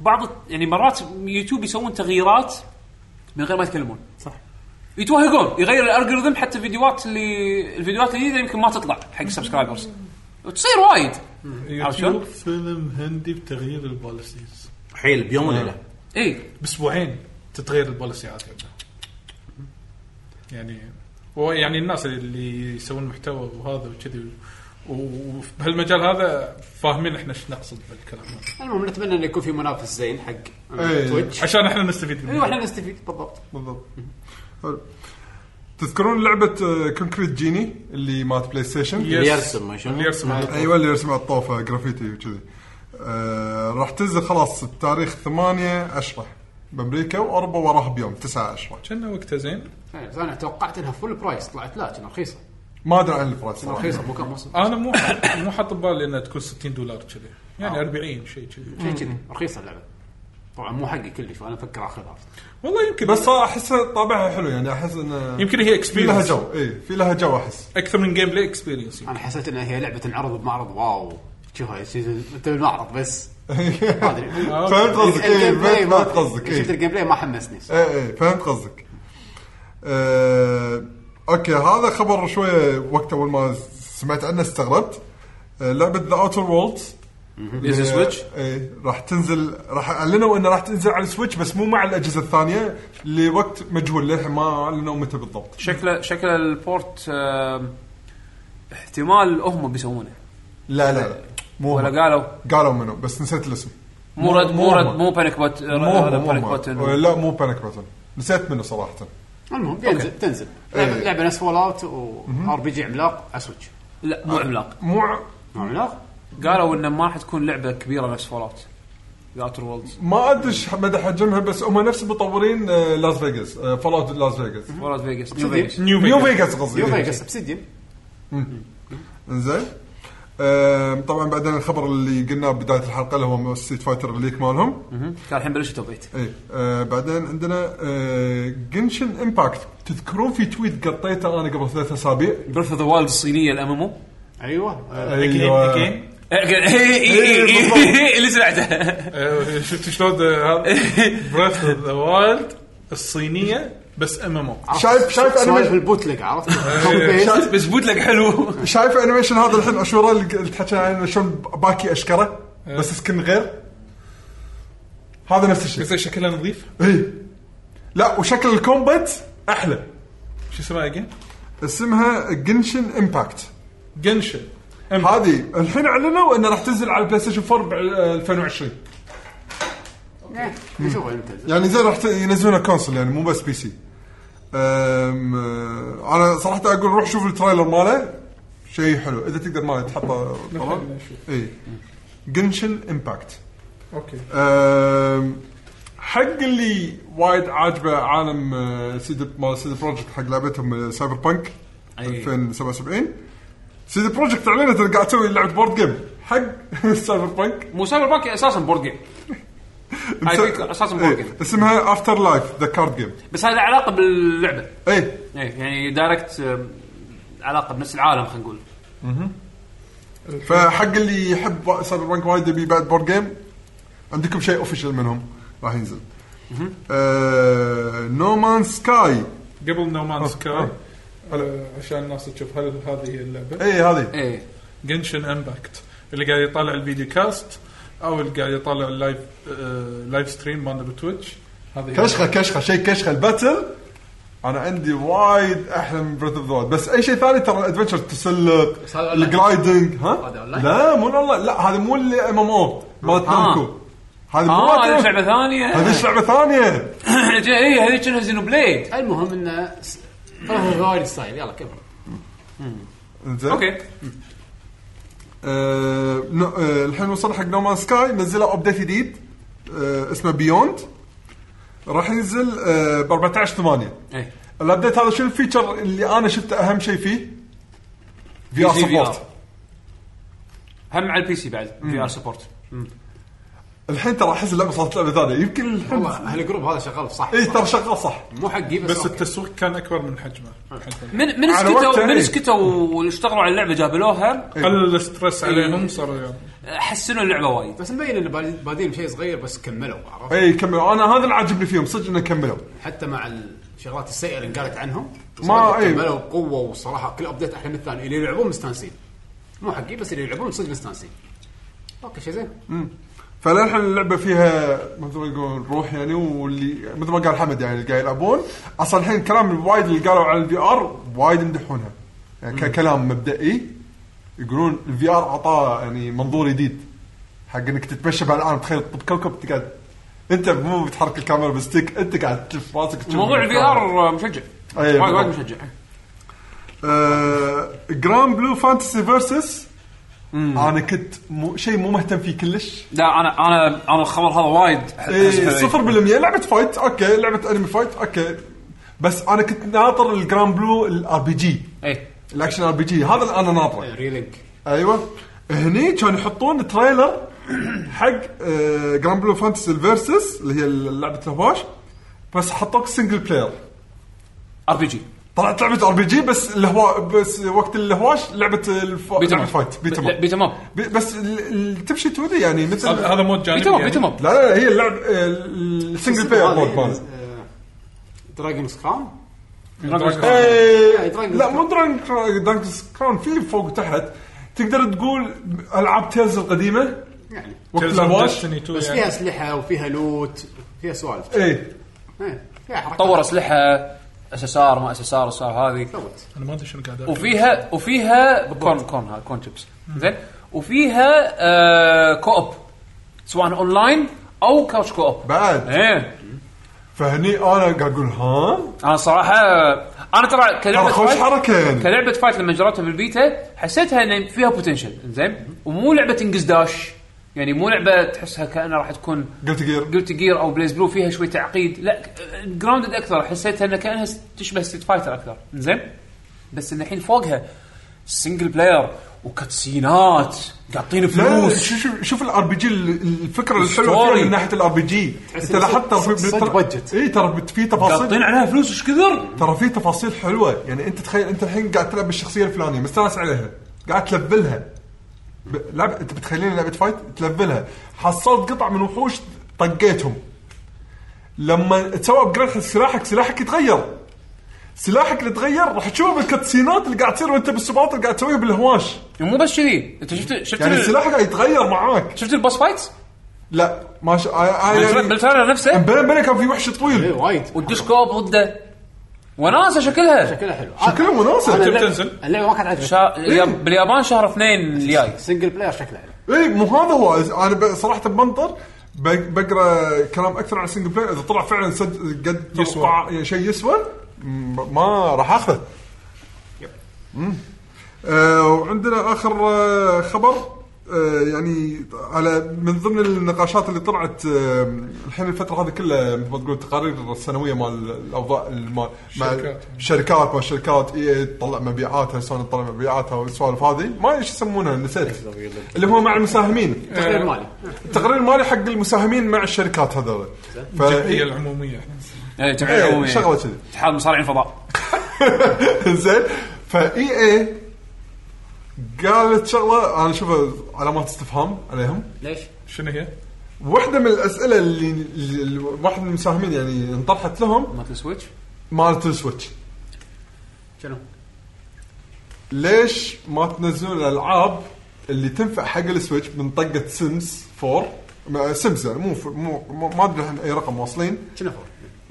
Speaker 1: بعض الت- يعني مرات يوتيوب يسوون تغييرات من غير ما يتكلمون صح يتوهقون يغير الالجوريثم حتى الفيديوهات اللي الفيديوهات الجديده يمكن ما تطلع حق سبسكرايبرز وتصير وايد عرفت شلون؟
Speaker 3: يوتيوب فيلم هندي بتغيير البوليسيز
Speaker 7: حيل بيوم وليله
Speaker 1: اي
Speaker 3: باسبوعين تتغير البوليسي عاد يعني هو يعني الناس اللي يسوون محتوى وهذا وكذي وبهالمجال هذا فاهمين احنا ايش نقصد بالكلام هذا
Speaker 6: المهم نتمنى انه يكون في منافس زين حق
Speaker 2: إيه.
Speaker 6: تويتش
Speaker 3: عشان احنا نستفيد
Speaker 7: إيه.
Speaker 1: إيوه،
Speaker 6: ايوه
Speaker 3: منه
Speaker 6: احنا نستفيد بالضبط
Speaker 2: بالضبط حلو. تذكرون لعبه كونكريت جيني اللي مالت بلاي ستيشن
Speaker 3: يس.
Speaker 7: اللي يرسم ما
Speaker 3: اللي
Speaker 7: شنو
Speaker 3: يرسم
Speaker 2: ايوه اللي يرسم على الطوفه جرافيتي وكذي آه راح تنزل خلاص بتاريخ 8 10 بامريكا واوروبا وراها بيوم 9 10
Speaker 3: كنا وقتها زين
Speaker 6: إيه، بس انا توقعت انها فول برايس طلعت لا كانت رخيصه
Speaker 2: ما ادري عن البرايس صراحه
Speaker 8: رخيصه مو كان موسم
Speaker 3: انا مو مو حاط ببالي انها تكون 60 دولار كذي يعني 40 شيء كذي
Speaker 6: شيء كذي رخيصه اللعبه طبعا مو حقي كلش فانا افكر اخذها
Speaker 3: والله يمكن
Speaker 2: بس احس طابعها حلو يعني احس انه
Speaker 3: يمكن هي
Speaker 2: في لها
Speaker 3: اكسبيرينس
Speaker 2: جو اي في لها جو احس
Speaker 3: اكثر من جيم بلاي اكسبيرينس
Speaker 6: انا حسيت انها هي لعبه تنعرض بمعرض واو شوفها يصير- انت بالمعرض بس ما ادري
Speaker 3: آه،
Speaker 2: فهمت قصدك اي
Speaker 6: الجيم بلاي
Speaker 2: فهمت
Speaker 6: ما-
Speaker 2: فهمت قصدك إيه.
Speaker 6: شفت
Speaker 2: اي
Speaker 6: الجيم بلاي ما حمسني
Speaker 2: اي فهمت قصدك آه، اوكي هذا خبر شويه وقت اول ما سمعت عنه استغربت آه، لعبه ذا اوتر وولدز
Speaker 3: Mm-hmm.
Speaker 8: نزل سويتش
Speaker 2: اي إيه، راح تنزل راح اعلنوا انه راح تنزل على السويتش بس مو مع الاجهزه الثانيه لوقت مجهول للحين ما اعلنوا متى بالضبط
Speaker 1: شكله شكل البورت آم، احتمال هم بيسوونه
Speaker 2: لا لا لا مو هم.
Speaker 1: ولا قالوا
Speaker 2: قالوا منو بس نسيت الاسم
Speaker 1: مو رد مو رد
Speaker 2: هم.
Speaker 1: مو بانيك بوت
Speaker 2: مو هم، مو
Speaker 1: بانيك
Speaker 2: هم.
Speaker 1: بوتن
Speaker 2: لا مو بانيك بوتن نسيت منه صراحه
Speaker 6: المهم تنزل تنزل لعبه
Speaker 2: إيه.
Speaker 6: لعبة نفس فول اوت وار بي جي عملاق على سويتش
Speaker 1: لا مو عملاق
Speaker 2: مو
Speaker 6: مو عملاق
Speaker 1: قالوا انه ما راح تكون لعبه كبيره نفس فول اوت ذا اوتر وولدز
Speaker 2: ما ادري إيش مدى حجمها بس هم نفس مطورين آه، لاس فيغاس آه، فول اوت لاس فيغاس
Speaker 1: فول اوت فيجاس نيو
Speaker 6: صدق؟
Speaker 1: فيجاس
Speaker 3: نيو
Speaker 2: نيو
Speaker 3: فيجاس
Speaker 2: فيغاس قصدي
Speaker 6: يو
Speaker 2: إيه.
Speaker 6: فيجاس ابسيديوم
Speaker 2: انزين آم، طبعا آه، بعدين الخبر اللي قلناه بدايه الحلقه اللي هو ستيت فايتر الليك مالهم
Speaker 1: مهم. كان الحين بلشت توبيت
Speaker 2: اي آه بعدين عندنا آه جنشن امباكت تذكرون في تويت قطيته انا قبل ثلاث اسابيع
Speaker 1: بريث اوف ذا وايلد الصينيه الامامو
Speaker 6: ايوه
Speaker 2: ايوه
Speaker 1: إيه،
Speaker 2: إيه،
Speaker 1: اللي سمعته
Speaker 3: آه، شفت شلون ده- هذا بريث اوف ذا وايلد الصينيه بس ام ام او
Speaker 2: شايف شايف
Speaker 6: سوالف
Speaker 2: انيميشن
Speaker 6: البوتلك عرفت؟ Copy paste.
Speaker 1: بس بوت لك حلو
Speaker 2: شايف انيميشن هذا الحين اشوره اللي تحكي عنه شلون باكي اشكره بس سكن غير هذا نفس الشيء
Speaker 3: إيه. بس شكلها نظيف
Speaker 2: اي لا وشكل الكومبات احلى
Speaker 3: شو اسمها اجين؟
Speaker 2: اسمها جنشن امباكت
Speaker 3: جنشن
Speaker 2: هذه الحين اعلنوا انها راح تنزل على البلاي ستيشن 4 ب آه، 2020
Speaker 6: إيه، نشوفها يمتى.
Speaker 2: يعني زين راح ت- ينزلونها كونسل يعني مو بس بي سي أم آه، انا صراحه اقول روح شوف التريلر ماله شيء حلو اذا تقدر ماله تحطه إيه. طبعا اي جنشن امباكت
Speaker 3: اوكي
Speaker 2: أم، حق اللي وايد عاجبه عالم آه، سيدي مال سيدي بروجكت حق لعبتهم آه، سايبر بانك 2077 سيدي بروجكت اعلنت إنها قاعد تسوي لعبه بورد جيم حق سايبر بانك
Speaker 1: مو سايبر بانك اساسا بورد جيم هاي فكرة، أساساً بورد جيم.
Speaker 2: إيه، اسمها افتر لايف ذا كارد جيم
Speaker 1: بس هاي لها علاقه باللعبه
Speaker 2: اي
Speaker 1: إيه، يعني دايركت آم، علاقه بنفس العالم خلينا نقول
Speaker 2: فحق اللي يحب سايبر بانك وايد يبي بعد بورد جيم عندكم شيء اوفيشال منهم راح ينزل آه، نومان سكاي
Speaker 3: قبل نو مان سكاي
Speaker 2: آه.
Speaker 3: عشان الناس تشوف هل هذه هي اللعبه
Speaker 2: اي إيه، هذه
Speaker 1: ايه
Speaker 3: جنشن امباكت اللي قاعد يطالع الفيديو كاست او اللي قاعد يطالع اللايف آه، لايف ستريم مالنا بتويتش هذه هي.
Speaker 2: كشخه كشخه شيء كشخه الباتل انا عندي وايد احلى من بريث اوف ذا بس اي شيء ثاني ترى الادفنشر تسلق
Speaker 8: هذا أونلاين.
Speaker 2: الجلايدنج ها
Speaker 8: هذا أونلاين.
Speaker 2: لا مو والله لا هذا مو اللي ام ام او مالت
Speaker 1: آه.
Speaker 2: نامكو هذا مو
Speaker 8: آه،
Speaker 1: اه هذه
Speaker 2: مالت
Speaker 1: لعبه
Speaker 2: نامكو.
Speaker 1: ثانيه
Speaker 2: هذه لعبه ثانيه
Speaker 1: اي هذه كانها إيه، زينو بليد
Speaker 6: المهم انه س- بريث وايد ستايل يلا كمل
Speaker 2: إنزين.
Speaker 1: اوكي
Speaker 2: آه، نو- آه، الحين وصل حق نومان سكاي نزلوا ابديت جديد آه، اسمه بيوند راح ينزل آه، ب 14 8
Speaker 8: إيه.
Speaker 1: ايه
Speaker 2: الابديت هذا شنو الفيتشر اللي انا شفته اهم شيء فيه؟ في ار
Speaker 1: PC
Speaker 2: سبورت
Speaker 1: هم على البي سي بعد في ار سبورت
Speaker 2: الحين ترى احس اللعبه صارت لعبه ثانيه يمكن الحين
Speaker 6: والله هالجروب هذا شغال صح
Speaker 2: اي ترى شغال صح
Speaker 6: مو حقي بس
Speaker 3: بس
Speaker 6: أوكي.
Speaker 3: التسويق كان اكبر من حجمه حجمه.
Speaker 1: من من
Speaker 2: على وقت
Speaker 1: سكتوا
Speaker 2: ثاني.
Speaker 1: من سكتوا واشتغلوا على اللعبه جابلوها
Speaker 3: قلل الستريس
Speaker 2: إيه.
Speaker 3: عليهم صاروا يعني
Speaker 1: حسنوا اللعبه وايد
Speaker 6: بس مبين انه بادي- بادين شيء صغير بس كملوا عرفت
Speaker 2: اي كملوا انا هذا اللي عاجبني فيهم صدق انه كملوا
Speaker 6: حتى مع الشغلات السيئه اللي قالت عنهم
Speaker 2: ما- إيه.
Speaker 6: كملوا بقوه وصراحه كل ابديت احلى من الثاني اللي يلعبون مستانسين مو حقي بس اللي يلعبون صدق مستانسين اوكي شيء زين
Speaker 2: فللحين اللعبه فيها مثل ما يقولون روح يعني واللي مثل ما قال حمد يعني اللي قاعد يلعبون اصلا الحين كلام الوايد اللي قالوا على الفي ار وايد يمدحونها يعني ككلام مبدئي يقولون الفي ار اعطاه يعني منظور جديد حق انك تتمشى بالعالم تخيل بكوكب تقعد انت مو بتحرك الكاميرا بستيك انت قاعد تلف راسك تشوف
Speaker 1: موضوع الفي ار مشجع
Speaker 2: أي،
Speaker 1: وايد وايد
Speaker 2: أيوة، بالضبط.
Speaker 1: مشجع
Speaker 2: آه، جراند بلو فانتسي فيرسس انا كنت مو شيء مو مهتم فيه كلش
Speaker 1: لا انا انا انا الخبر هذا وايد أحس-
Speaker 2: إيه،
Speaker 1: أحس-
Speaker 2: صفر بالمية لعبة فايت اوكي لعبة انمي فايت اوكي بس انا كنت ناطر الجراند بلو الار بي جي
Speaker 1: ايه
Speaker 2: الاكشن ار بي جي هذا اللي انا ناطره
Speaker 6: ريلينك
Speaker 2: ايوه هني كانوا يحطون تريلر حق آه جراند بلو فانتسي الفيرسس اللي هي لعبه الهواش بس حطوك سنجل بلاير
Speaker 1: ار بي جي
Speaker 2: طلعت لعبه ار بي جي بس الهوا بس وقت الهواش لعبه الف...
Speaker 1: بيتم
Speaker 2: لعبة
Speaker 1: اب
Speaker 2: فايت بيت 'em up.
Speaker 1: بيتم اب
Speaker 2: بي- بس ال- ال- تمشي تودي يعني مثل
Speaker 3: هذا هذا مود جانبي
Speaker 1: بيتم اب
Speaker 3: يعني.
Speaker 1: بيتم اب
Speaker 2: لا لا لا، هي اللعب ال- السنجل بلاير مود مال
Speaker 6: آه، دراجونز كراون
Speaker 3: دراجون.
Speaker 6: يعني Dragon's
Speaker 2: إيه، لا مو دانكس كراون في فوق وتحت تقدر تقول العاب تيلز القديمه
Speaker 6: يعني
Speaker 2: وقت
Speaker 3: Tales of
Speaker 2: الهواش
Speaker 3: Destiny 2
Speaker 6: بس
Speaker 3: يعني.
Speaker 6: فيها اسلحه وفيها لوت فيها سوالف
Speaker 2: اي
Speaker 6: إيه، فيها حركات
Speaker 1: طور اسلحه اس اس ار ما اس اس ار صار هذه
Speaker 6: سوت
Speaker 3: انا ما ادري شنو قاعد أقول.
Speaker 1: وفيها وفيها كون كون ها كون شيبس زين وفيها آه كو اوب سواء اونلاين او كاوتش كو اوب
Speaker 2: بعد
Speaker 1: ايه
Speaker 2: فهني انا قاعد اقول ها
Speaker 1: انا صراحه انا ترى كلعبه
Speaker 2: ترى خوش
Speaker 1: فايت-
Speaker 2: حركة يعني.
Speaker 1: كلعبه فايت لما جربتها بالبيتا حسيتها ان فيها بوتنشل زين ومو لعبه تنقز داش يعني مو لعبه تحسها كانها راح تكون
Speaker 2: قلت جير
Speaker 1: قلت جير او بليز بلو فيها شوي تعقيد لا جراوندد اكثر حسيتها انها كانها تشبه ستيت فايتر اكثر زين بس ان الحين فوقها سنجل بلاير وكاتسينات قاطين
Speaker 2: لا
Speaker 1: فلوس
Speaker 2: شوف شوف- شوف الار بي جي الفكره الحلوه
Speaker 1: ستوري.
Speaker 2: فيها من ناحيه الار بي جي انت
Speaker 6: إن
Speaker 2: لاحظت ترى في
Speaker 6: صج budget.
Speaker 2: اي ترى بت- في تفاصيل
Speaker 1: قاطين عليها فلوس ايش كثر
Speaker 2: ترى في تفاصيل حلوه يعني انت تخيل انت الحين قاعد تلعب بالشخصيه الفلانيه مستانس عليها قاعد تلفلها ب- لعب انت بتخليني لعبه فايت تلفلها حصلت قطع من وحوش طقيتهم لما تسوي ابجريد حق سلاحك سلاحك يتغير سلاحك اللي تغير راح تشوفه بالكاتسينات اللي قاعد تصير وانت بالسباط اللي قاعد تسويها بالهواش
Speaker 1: ومو بس كذي انت شفت شفت
Speaker 2: يعني
Speaker 1: ال-
Speaker 2: سلاحك قاعد يتغير معاك
Speaker 1: شفت البوس فايتس
Speaker 2: لا ما شاء يعني
Speaker 1: بالتريلر نفسه
Speaker 2: بلا بلا كان في وحش
Speaker 6: إيه،
Speaker 2: طويل
Speaker 6: وايد
Speaker 1: والدش كوب ضده وناسه شكلها
Speaker 6: شكلها حلو
Speaker 2: شكلها
Speaker 6: آه،
Speaker 2: إيه.
Speaker 6: أنا
Speaker 2: وناسه
Speaker 6: اللعبة-
Speaker 3: بتنزل.
Speaker 6: اللعبه ما كانت عجبتني
Speaker 1: شا... الياب- باليابان شهر اثنين الجاي
Speaker 6: سنجل بلاير شكلها حلو
Speaker 2: اي إيه، مو هذا هو انا ب- صراحه بنطر ب- بقرا كلام اكثر عن السنجل بلاير اذا طلع فعلا صد قد يسوى شيء يسوى م- ما راح اخذه مم. آه وعندنا اخر آه خبر آه يعني على من ضمن النقاشات اللي طلعت آه الحين الفتره هذه كلها مثل ما تقول التقارير السنويه مال الاوضاع المال مع
Speaker 3: الشركات.
Speaker 2: الشركات ما الشركات اي إيه، تطلع مبيعاتها سوني تطلع مبيعاتها والسوالف هذه ما أدري ايش يسمونها نسيت اللي هو مع المساهمين
Speaker 6: تقرير مالي
Speaker 2: التقرير المالي حق المساهمين مع الشركات هذول ف...
Speaker 3: هي العموميه
Speaker 1: يعني
Speaker 2: إيه،
Speaker 1: تبع عمومي
Speaker 2: شغله كذي
Speaker 1: اتحاد مصارعين فضاء
Speaker 2: زين فاي اي قالت شغله انا اشوفها علامات استفهام عليهم
Speaker 6: ليش؟
Speaker 3: شنو هي؟
Speaker 2: واحده من الاسئله اللي, اللي واحد من المساهمين يعني انطرحت لهم
Speaker 1: مالت السويتش
Speaker 2: مالت السويتش
Speaker 6: شنو؟
Speaker 2: ليش ما تنزلون الالعاب اللي تنفع حق السويتش من طقه سيمز 4 ما- سيمز يعني مو مو مو- ما ادري الحين اي رقم واصلين
Speaker 6: شنو فور؟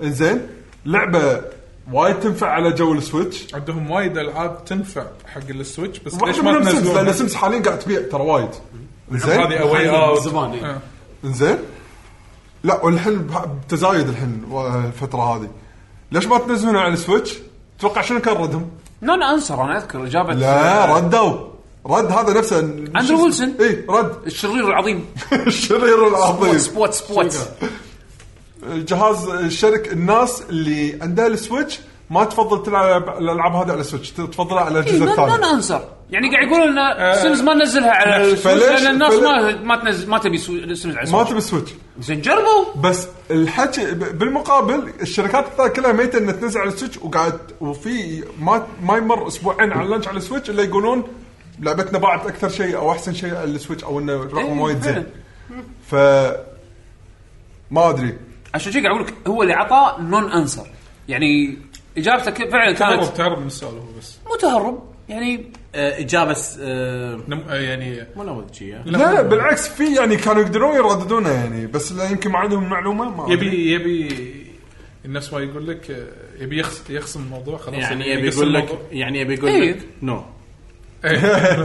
Speaker 2: انزين لعبه وايد تنفع على جو السويتش
Speaker 3: عندهم وايد العاب تنفع حق السويتش بس ليش
Speaker 2: واحده
Speaker 3: ما
Speaker 2: منهم سيمز لان
Speaker 3: تنزلون نعم.
Speaker 2: سيمز حاليا قاعد تبيع ترى وايد
Speaker 3: هذه
Speaker 2: انزين
Speaker 3: اواي
Speaker 6: من
Speaker 3: اوت
Speaker 6: زمان، إيه.
Speaker 3: آه.
Speaker 2: انزين لا والحين بح- بتزايد الحين و- الفتره هذه ليش ما تنزلونها على السويتش؟ تتوقع شنو كان ردهم؟
Speaker 1: نون انسر انا اذكر اجابه آه،
Speaker 2: لا ردوا رد هذا نفسه
Speaker 1: أندرو ويلسون.
Speaker 2: اي رد
Speaker 1: الشرير العظيم
Speaker 2: الشرير
Speaker 1: سبوت
Speaker 2: العظيم
Speaker 1: سبوت سبوت
Speaker 2: جهاز الشرك الناس اللي عندها السويتش ما تفضل تلعب الالعاب هذه على السويتش تفضلها على الجزء
Speaker 1: إيه، نون
Speaker 2: الثاني
Speaker 1: انسر يعني قاعد يقولون
Speaker 2: آه.
Speaker 1: ان سيمز ما ننزلها على
Speaker 2: فليش-
Speaker 1: السويتش لان الناس ما
Speaker 2: فليش-
Speaker 1: ما تنزل ما تبي سو- سيمز على
Speaker 2: ما
Speaker 1: السويتش
Speaker 2: تبي سويتش
Speaker 1: زين جربوا
Speaker 2: بس الحكي ب- بالمقابل الشركات الثانيه كلها ميته انها تنزل على السويتش وقاعد وفي ما ما يمر اسبوعين على اللانش على السويتش الا يقولون لعبتنا باعت اكثر شيء او احسن شيء على السويتش او انه رقم
Speaker 1: إيه،
Speaker 2: وايد زين
Speaker 1: فعلاً.
Speaker 2: ف ما ادري
Speaker 1: عشان شي قاعد اقول لك هو اللي عطاه نون انسر يعني اجابته ك- فعلا كانت
Speaker 3: تهرب تهرب من السؤال هو بس
Speaker 1: مو تهرب يعني
Speaker 4: آه، اجابه س- آه،
Speaker 3: نم- آه، يعني
Speaker 4: مو نموذجيه
Speaker 2: لا, لا بالعكس في يعني كانوا يقدرون يرددونه يعني بس لا يمكن ما عندهم معلومه ما أدري.
Speaker 3: يبي يبي الناس ما يقول لك آه، يبي يخص يخصم الموضوع خلاص
Speaker 4: يعني
Speaker 3: يقص
Speaker 4: يبي يقول لك
Speaker 3: الموضوع. إيه،
Speaker 4: يعني يبي يقول
Speaker 1: إيه.
Speaker 4: لك نو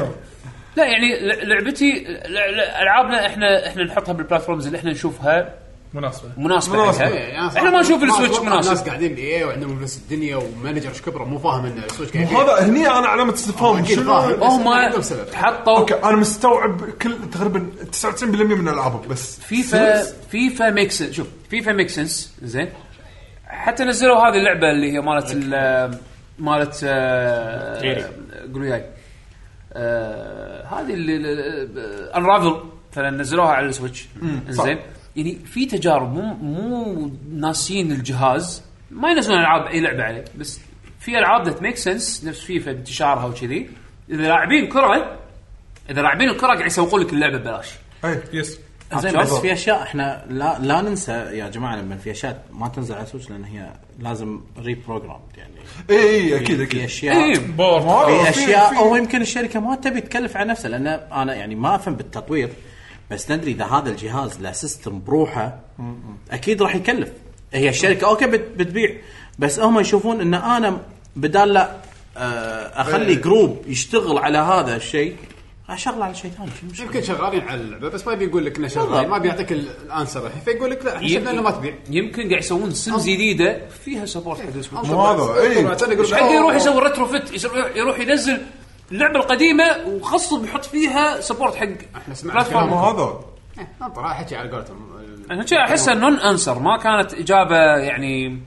Speaker 1: لا يعني ل- لعبتي ل- ل- العابنا احنا احنا نحطها بالبلاتفورمز اللي احنا نشوفها
Speaker 3: مناسبه
Speaker 1: مناسبه
Speaker 2: مناسبة.
Speaker 1: لها.
Speaker 6: إيه، أنا صراحة
Speaker 1: احنا ما نشوف
Speaker 6: أتوقع
Speaker 1: السويتش
Speaker 6: الناس
Speaker 1: مناسب
Speaker 6: قاعدين باي وعندهم فلوس الدنيا ومانجر ايش كبره مو فاهم ان السويتش قاعد يبيع.
Speaker 2: هذا هني انا علامه استفهام
Speaker 6: أكيد
Speaker 2: شنو
Speaker 6: فاهم.
Speaker 1: هم
Speaker 6: عندهم سبب.
Speaker 1: حطوا
Speaker 2: اوكي انا مستوعب كل تقريبا 99% من العابهم بس
Speaker 1: فيفا فيفا ميك سنس شوف فيفا ميك سنس زين حتى نزلوا هذه اللعبه اللي هي مالت ال- مالت آه،
Speaker 4: غيري.
Speaker 9: قول وياي آه، هذه اللي انرافل مثلا نزلوها على السويتش زين يعني في تجارب مو مو ناسين الجهاز ما ينزلون العاب اي لعبه عليه بس في العاب ذات ميك سنس نفس فيفا انتشارها وكذي اذا لاعبين كره اذا لاعبين الكره قاعد يسوقون لك اللعبه ببلاش
Speaker 2: إيه،
Speaker 3: يس
Speaker 9: زين
Speaker 4: زين بس في اشياء احنا لا لا ننسى يا جماعه لما في اشياء ما تنزل على سويتش لان هي لازم ريبروجرام يعني
Speaker 2: اي اي اكيد
Speaker 4: في
Speaker 2: اكيد
Speaker 4: اشياء
Speaker 9: اي
Speaker 3: بورد
Speaker 4: في
Speaker 2: إيه. في-
Speaker 4: اشياء
Speaker 2: في-
Speaker 4: هو يمكن الشركه ما تبي تكلف على نفسها لان انا يعني ما افهم بالتطوير بس ندري اذا هذا الجهاز له سيستم بروحه اكيد راح يكلف هي الشركه اوكي بت- بتبيع بس هم يشوفون ان انا بدال لا آه، اخلي
Speaker 2: إيه.
Speaker 4: جروب يشتغل على هذا الشيء اشغل على شيء ثاني شو المشكلة؟
Speaker 6: يمكن شغالين على اللعبه بس ما يبي يقول لك انه شغال ما بيعطيك ال- الانسر فيقول لك لا احنا شفنا انه ما تبيع
Speaker 9: يمكن قاعد يسوون سيمز جديده فيها سبورت حق السويتش
Speaker 2: مو هذا، إيه. إي.
Speaker 9: ايش حق يروح يسوي ريترو فيت يسوي- يروح ينزل اللعبه القديمه وخصب يحط فيها سبورت حق
Speaker 6: احنا سمعنا
Speaker 9: بلاتفورم.
Speaker 2: مو
Speaker 6: كلام.
Speaker 2: هذا
Speaker 6: إيه، انطر راح احكي على قولتهم ال-
Speaker 9: انا شي احسها نون انسر ما كانت اجابه يعني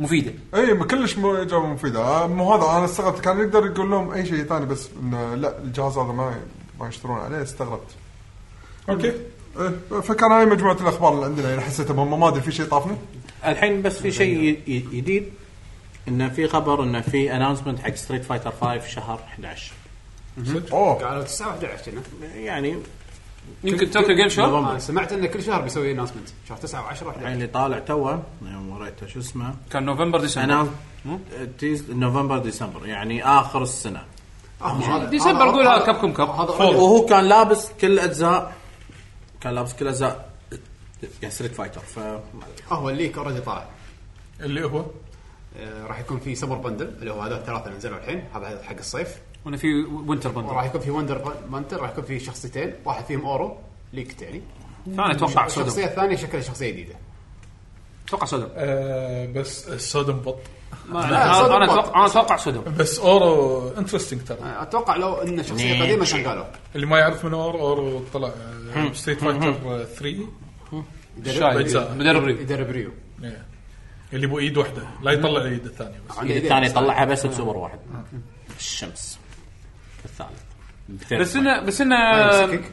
Speaker 9: مفيده
Speaker 2: اي إيه، ما كلش مو اجابه مفيده آه، مو هذا انا استغربت كان يقدر يقول لهم اي شيء ثاني بس انه لا الجهاز هذا ما ما يشترون عليه استغربت
Speaker 3: اوكي
Speaker 2: إيه، فكان هاي مجموعه الاخبار اللي عندنا يعني حسيت مهم، ما ادري في شيء طافني
Speaker 4: الحين بس في شيء ي- ي- جديد انه في خبر انه في اناونسمنت حق ستريت فايتر 5 شهر 11
Speaker 2: اوه
Speaker 6: قالوا 9 و11 كنا
Speaker 4: يعني
Speaker 9: يمكن توكيو جيم شو
Speaker 4: نوفمبر
Speaker 6: انا سمعت انه كل شهر بيسوي اناونسمنت شهر 9 و10
Speaker 4: الحين
Speaker 6: و11
Speaker 4: اللي طالع توه يوم وريته شو اسمه
Speaker 9: كان نوفمبر ديسمبر
Speaker 4: انا تيز نوفمبر ديسمبر يعني اخر السنه
Speaker 9: ديسمبر
Speaker 6: آه،
Speaker 9: قول هذا كابكم كاب.
Speaker 6: هذا
Speaker 4: وهو كان لابس كل اجزاء كان لابس كل اجزاء يعني ستريت فايتر ف
Speaker 6: آه، هو الليك اوريدي طالع
Speaker 3: اللي هو
Speaker 6: آه، راح يكون في سمر بندل اللي هو هذول الثلاثه اللي نزلوا الحين هذا حق الصيف
Speaker 9: وانا في وينتر بندر
Speaker 6: وراح يكون في وندر بانتر راح يكون في شخصيتين واحد فيهم اورو ليك يعني
Speaker 9: فانا اتوقع
Speaker 6: الشخصيه
Speaker 9: سودم
Speaker 6: الثانيه شكلها شخصيه جديده
Speaker 9: اتوقع سودم
Speaker 3: آه بس السود مبط
Speaker 9: ما-
Speaker 6: لا،
Speaker 9: انا
Speaker 6: سودم
Speaker 9: أنا
Speaker 6: ما-
Speaker 9: اتوقع انا اتوقع سودم
Speaker 3: بس اورو انترستنج ترى
Speaker 6: آه، اتوقع لو ان شخصيه قديمه كان قالوا
Speaker 3: اللي ما يعرف من اورو اورو طلع آه، ستريت فايتر آه، 3
Speaker 6: يدرب-
Speaker 9: شاي
Speaker 3: بجزاء.
Speaker 9: مدرب ريو
Speaker 6: يدرب ريو
Speaker 3: إيه. اللي بو ايد واحده لا يطلع الايد الثانيه بس
Speaker 6: عنده
Speaker 4: إذا
Speaker 6: إيدين
Speaker 4: الثاني
Speaker 6: بس.
Speaker 4: طلعها بس بسوبر واحد الشمس الثالث
Speaker 9: بس انه بس انه
Speaker 6: يمسكك.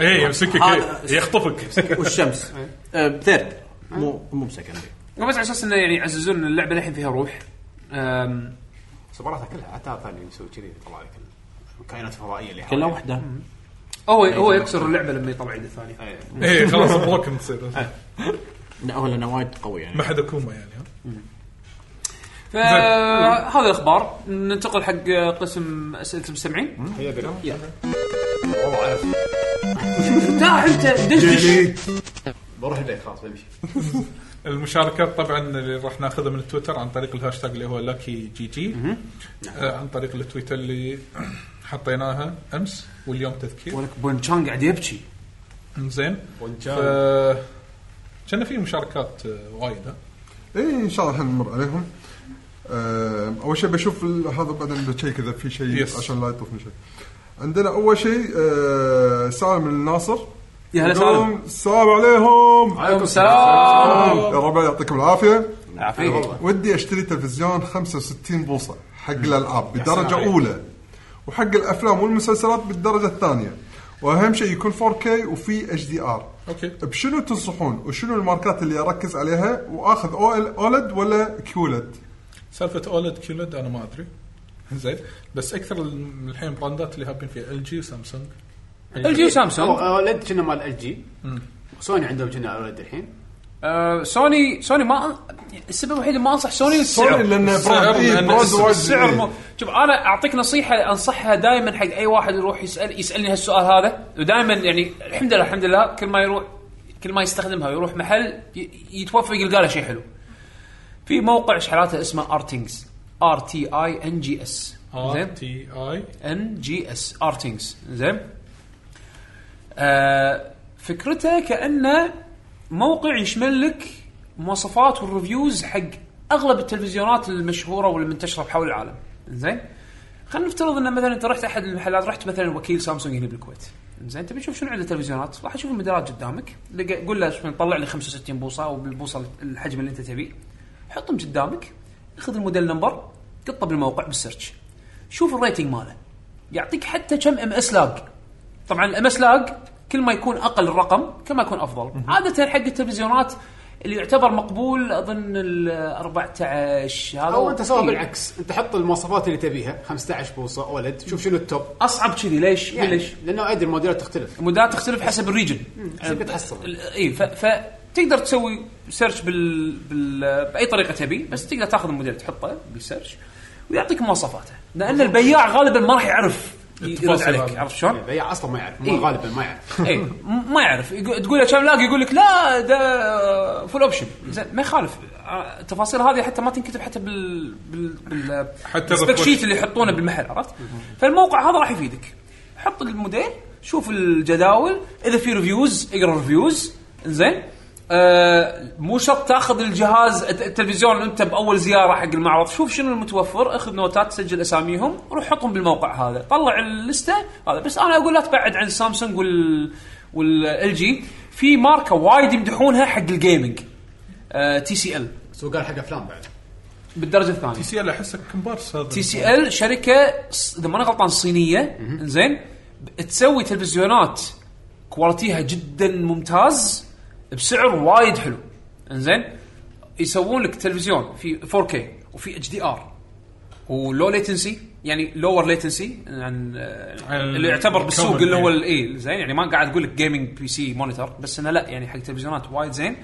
Speaker 3: اي يمسكك
Speaker 4: هذا-
Speaker 3: إيه. يخطفك
Speaker 4: والشمس آه، بثيرد مو مو بسكندري
Speaker 9: بس على اساس انه يعني يعززون إن اللعبه للحين فيها روح أم،
Speaker 6: صبراتها كلها عتاب ثاني يسوي كذي يطلع لك الكائنات الفضائيه اللي
Speaker 4: كلها
Speaker 6: حواليه.
Speaker 4: وحده
Speaker 9: هو هو يكسر اللعبه لما يطلع عيد الثاني
Speaker 6: إيه.
Speaker 3: اي خلاص بلوك تصير
Speaker 4: لا هو لانه وايد قوي يعني
Speaker 3: ما حد كوما يعني ها
Speaker 9: فهذه الاخبار آه، ننتقل حق قسم اسئله المستمعين
Speaker 6: هيا بنا.
Speaker 9: ارتاح انت دشدش
Speaker 6: بروح البيت خلاص بمشي
Speaker 3: المشاركات طبعا اللي راح ناخذها من تويتر عن طريق الهاشتاج اللي هو لاكي جي جي آه عن طريق التويتر اللي حطيناها امس واليوم تذكير
Speaker 9: ولك بونشان قاعد يبكي
Speaker 3: زين
Speaker 6: ونشان.
Speaker 3: ف كان في مشاركات آه، وايد ها؟
Speaker 2: اي ان إيه، شاء الله الحين نمر عليهم آه، اول شيء بشوف ال- هذا بعدين بشيك اذا في شيء
Speaker 3: Yes.
Speaker 2: عشان لا يطوفني شيء عندنا اول شيء آه، سالم الناصر
Speaker 9: يا هلا سالم
Speaker 2: يقولون السلام عليكم
Speaker 9: عليكم السلام
Speaker 2: يا رب يعطيكم العافيه
Speaker 9: عافيك
Speaker 2: ودي اشتري تلفزيون 65 بوصه حق الالعاب بالدرجه الاولى وحق الافلام والمسلسلات بالدرجه الثانيه واهم شيء يكون 4K وفي اتش دي ار
Speaker 3: اوكي
Speaker 2: بشنو تنصحون وشنو الماركات اللي اركز عليها واخذ اولد ولا كيولد؟
Speaker 3: سالفه اولد كيولد انا ما ادري زين بس اكثر الم- الحين براندات اللي هابين فيها ال جي وسامسونج
Speaker 9: الجي وسامسونج
Speaker 6: اولد آه، كنا مال ال جي سوني عندهم كنا اولد الحين
Speaker 9: آه، سوني سوني ما السبب الوحيد اللي ما انصح سوني السعر
Speaker 2: سوري لان براند إيه،
Speaker 3: لأن
Speaker 2: براند
Speaker 3: اسم
Speaker 2: وايد
Speaker 9: السعر
Speaker 2: إيه.
Speaker 9: مو... شوف انا اعطيك نصيحه انصحها دائما حق اي واحد يروح يسال يسالني هالسؤال هذا ودائما يعني الحمد لله الحمد لله كل ما يروح كل ما يستخدمها ويروح محل ي- يتوفق يلقى له شيء حلو. في موقع شحالاته اسمه ارتينجز ار تي اي ان جي اس
Speaker 3: ار تي اي
Speaker 9: ان جي اس ارتينجز زين آه فكرته كانه موقع يشمل لك مواصفات والريفيوز حق اغلب التلفزيونات المشهوره والمنتشره بحول العالم زين خلينا نفترض ان مثلا انت رحت احد المحلات رحت مثلا وكيل سامسونج هنا بالكويت زين تبي تشوف شنو عنده تلفزيونات راح تشوف الموديلات قدامك لقى- قول له شوف طلع لي 65 بوصه او بالبوصه الحجم اللي انت تبيه حطهم قدامك خذ الموديل نمبر قطه بالموقع بالسيرش شوف الريتنج ماله يعطيك حتى كم ام اس لاج طبعا الام اس لاج كل ما يكون اقل الرقم كل ما يكون افضل عاده حق التلفزيونات اللي يعتبر مقبول اظن ال 14 هذا
Speaker 6: او انت سوي
Speaker 9: إيه.
Speaker 6: بالعكس انت حط المواصفات اللي تبيها 15 بوصه اولد شوف شنو التوب
Speaker 9: اصعب كذي ليش؟
Speaker 6: يعني
Speaker 9: ليش؟
Speaker 6: لانه ادري الموديلات تختلف
Speaker 9: المودات تختلف حسب الريجن
Speaker 6: شو بتحصل
Speaker 9: اي إيه، ف... فتقدر تسوي سيرش بال... بال... باي طريقه تبي بس تقدر تاخذ الموديل تحطه بالسيرش ويعطيك مواصفاته لان البياع غالبا ما راح يعرف يرد
Speaker 3: التفاصيل
Speaker 9: عليك
Speaker 3: هذه.
Speaker 9: عرفت شلون؟
Speaker 6: البياع اصلا يعني، ما يعرف
Speaker 9: إيه.
Speaker 6: ما غالبا ما يعرف
Speaker 9: اي م- ما يعرف يقو- تقول له كم لاق يقول لك لا ده فول اوبشن زين ما يخالف آه، التفاصيل هذه حتى ما تنكتب حتى بال بال بال
Speaker 3: حتى
Speaker 9: السبيك
Speaker 3: بالريبورت.
Speaker 9: شيت اللي يحطونه بالمحل عرفت؟ فالموقع هذا راح يفيدك حط الموديل شوف الجداول اذا في ريفيوز اقرا ريفيوز زين آه مو شرط تاخذ الجهاز الت- التلفزيون انت باول زياره حق المعرض شوف شنو المتوفر اخذ نوتات سجل اساميهم روح حطهم بالموقع هذا طلع اللسته هذا بس انا اقول لا تبعد عن سامسونج وال والال جي في ماركه وايد يمدحونها حق آه، الجيمنج تي سي ال
Speaker 6: بس هو قال حق افلام بعد
Speaker 9: بالدرجه الثانيه
Speaker 3: تي سي ال احسه كومبارس هذا
Speaker 9: تي سي ال شركه ص- اذا ماني غلطان صينيه زين تسوي تلفزيونات كواليتيها جدا ممتاز بسعر وايد حلو انزين يسوون لك تلفزيون في 4K وفي اتش دي ار ولو ليتنسي يعني لور ليتنسي عن
Speaker 3: عن
Speaker 9: اللي يعتبر بالسوق
Speaker 3: الكومن،
Speaker 9: اللي هو
Speaker 3: إيه.
Speaker 9: اي زين يعني ما قاعد اقول لك جيمنج بي سي مونيتور بس انه لا يعني حق تلفزيونات وايد زين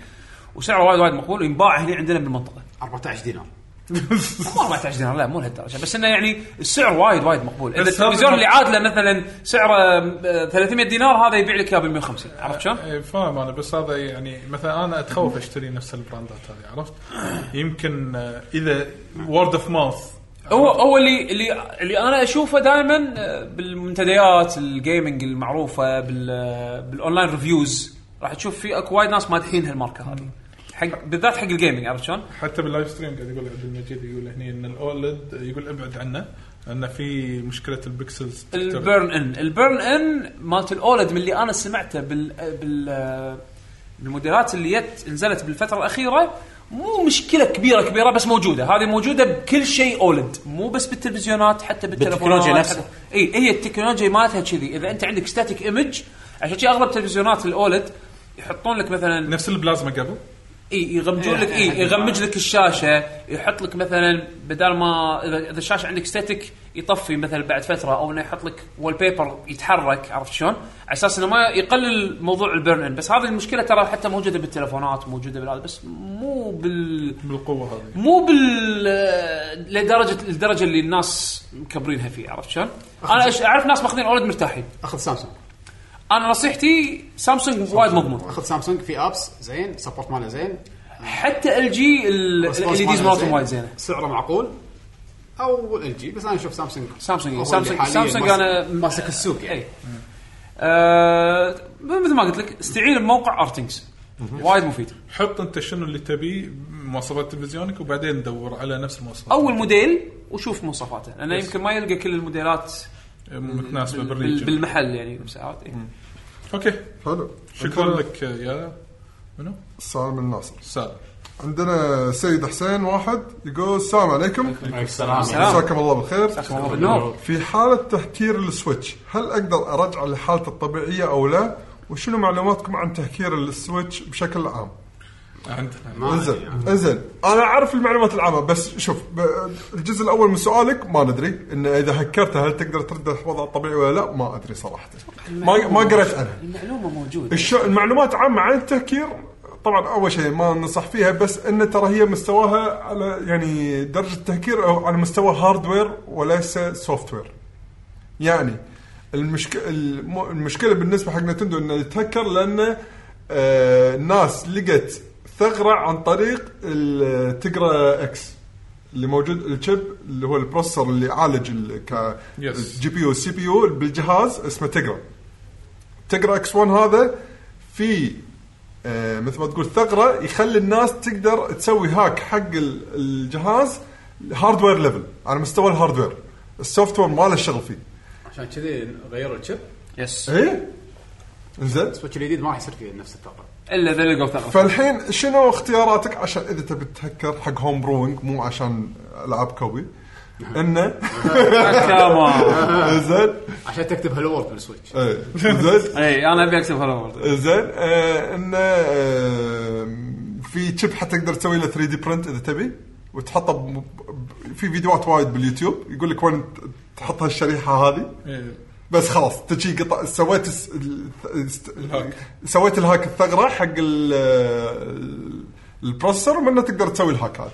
Speaker 9: وسعره وايد وايد مقبول وينباع هنا عندنا بالمنطقه
Speaker 6: 14 دينار
Speaker 9: مو 14 دينار لا مو لهالدرجه بس انه يعني السعر وايد وايد مقبول اذا
Speaker 3: بس
Speaker 9: التلفزيون
Speaker 3: هذا-
Speaker 9: اللي عادله مثلا سعره آه، 300 دينار هذا يبيع لك اياه ب 150 عرفت شلون؟
Speaker 3: إيه، فاهم انا بس هذا يعني مثلا انا اتخوف اشتري نفس البراندات هذه عرفت؟ يمكن آه، اذا وورد اوف ماوث
Speaker 9: هو هو اللي اللي اللي انا اشوفه دائما آه، بالمنتديات الجيمنج المعروفه بال- بالاونلاين ريفيوز راح تشوف في اكو وايد ناس مادحين هالماركه هذه حق بالذات حق الجيمنج عرفت شلون؟
Speaker 3: حتى باللايف ستريم قاعد يقول عبد المجيد يقول هني ان الاولد يقول ابعد عنه لانه في مشكله البكسلز
Speaker 9: البيرن ان البيرن ان مالت الاولد من اللي انا سمعته بال بال بالموديلات اللي يت نزلت بالفتره الاخيره مو مشكله كبيره كبيره بس موجوده هذه موجوده بكل شيء اولد مو بس بالتلفزيونات حتى بالتلفونات
Speaker 1: بالتكنولوجيا نفسها.
Speaker 9: اي هي التكنولوجيا مالتها كذي اذا انت عندك ستاتيك ايمج عشان كذي اغلب تلفزيونات الاولد يحطون لك مثلا
Speaker 3: نفس البلازما قبل
Speaker 9: اي يغمجون لك اي يغمج لك الشاشه يحط لك مثلا بدل ما اذا إذا الشاشه عندك ستاتيك يطفي مثلا بعد فتره او انه يحط لك وول بيبر يتحرك عرفت شلون؟ على اساس انه ما يقلل موضوع البرن ان بس هذه المشكله ترى حتى موجوده بالتلفونات موجوده بالهذا بس مو بال
Speaker 3: بالقوه هذه
Speaker 9: مو بال لدرجه الدرجه اللي الناس مكبرينها فيه عرفت شلون؟ انا أش- اعرف ناس ماخذين اولد مرتاحين
Speaker 6: اخذ سامسونج
Speaker 9: انا نصيحتي سامسونج وايد مضمون
Speaker 6: اخذ سامسونج في ابس زين سبورت ماله زين
Speaker 9: حتى ال جي
Speaker 6: ريسبونس
Speaker 9: ال ديز
Speaker 6: ماله
Speaker 9: مالتهم
Speaker 6: زين،
Speaker 9: وايد زينه
Speaker 6: سعره معقول او ال جي بس انا اشوف سامسونج
Speaker 9: سامسونج،
Speaker 6: هو اللي
Speaker 9: سامسونج-
Speaker 6: حالياً
Speaker 9: سامسونج
Speaker 6: ماسك-
Speaker 9: أنا- إيه.
Speaker 6: ماسك السوق يعني
Speaker 9: اي آه مثل ما قلت لك استعين بموقع ارتنجز وايد مفيد
Speaker 3: حط انت شنو اللي تبيه مواصفات تلفزيونك وبعدين دور على نفس المواصفات
Speaker 9: اول موديل وشوف مواصفاته لانه يمكن ما يلقى كل الموديلات
Speaker 3: متناسبه
Speaker 9: بال-
Speaker 3: إيه، بالريجن
Speaker 9: بال- بالمحل يعني بسعرات إيه.
Speaker 3: اوكي
Speaker 2: حلو
Speaker 3: شكرا لك يا منو؟
Speaker 2: السلام من ناصر
Speaker 3: سال
Speaker 2: عندنا سيد حسين واحد يقول السلام عليكم
Speaker 9: سلام
Speaker 2: مساكم الله بالخير
Speaker 9: مساكم الله بالنور
Speaker 2: في حالة تهكير السويتش هل أقدر أرجع لحالته الطبيعية أو لا وشنو معلوماتكم عن تهكير السويتش بشكل عام
Speaker 3: عندنا
Speaker 2: انزين انزين انا اعرف المعلومات العامه بس شوف ب- الجزء الاول من سؤالك ما ندري ان اذا هكرته هل تقدر ترد الوضع الطبيعي ولا لا ما ادري صراحه ما ما قريت عنها
Speaker 9: المعلومه موجوده
Speaker 2: الش... المعلومات عامة عن التهكير طبعا اول شيء ما ننصح فيها بس ان ترى هي مستواها على يعني درجه تهكير أو على مستوى هاردوير وليس سوفت وير. يعني المشك... الم... المشكله بالنسبه حق نتندو انه يتهكر لان آه... الناس لقت ثغره عن طريق ال- تقرا اكس اللي موجود الشيب اللي هو البروسيسور اللي يعالج ال... ك...
Speaker 3: Yes.
Speaker 2: الجي بي يو والسي بي يو بالجهاز اسمه تقرا. تقرا اكس 1 هذا في آه مثل ما تقول ثغره يخلي الناس تقدر تسوي هاك حق ال- الجهاز هاردوير ليفل على مستوى الهاردوير السوفت وير ما له شغل فيه
Speaker 6: عشان كذي غيروا الشيب
Speaker 9: يس
Speaker 2: ايه زين
Speaker 6: السويتش الجديد ما راح يصير فيه نفس الطاقه
Speaker 9: الا اذا لقوا ثغره
Speaker 2: فالحين شنو اختياراتك عشان اذا تبي تهكر حق هوم بروينج مو عشان العاب كوبي انه
Speaker 1: Ah, كمان
Speaker 2: زين
Speaker 6: عشان تكتب هالو وورد بالسويتش
Speaker 2: إيه، زين
Speaker 1: اي انا ابي اكتب هالورد
Speaker 2: زين آه، انه آه، في تشيب حتى تقدر تسوي له 3 دي برنت اذا تبي وتحطه ب- ب- في فيديوهات وايد باليوتيوب يقول لك وين تحط هالشريحه هذه
Speaker 3: إيه.
Speaker 2: بس خلاص تجي قطع سويت الس- ال- الست- سويت الهاك الثغره حق ال- ال- البروسيسور ومنه تقدر تسوي الهاكات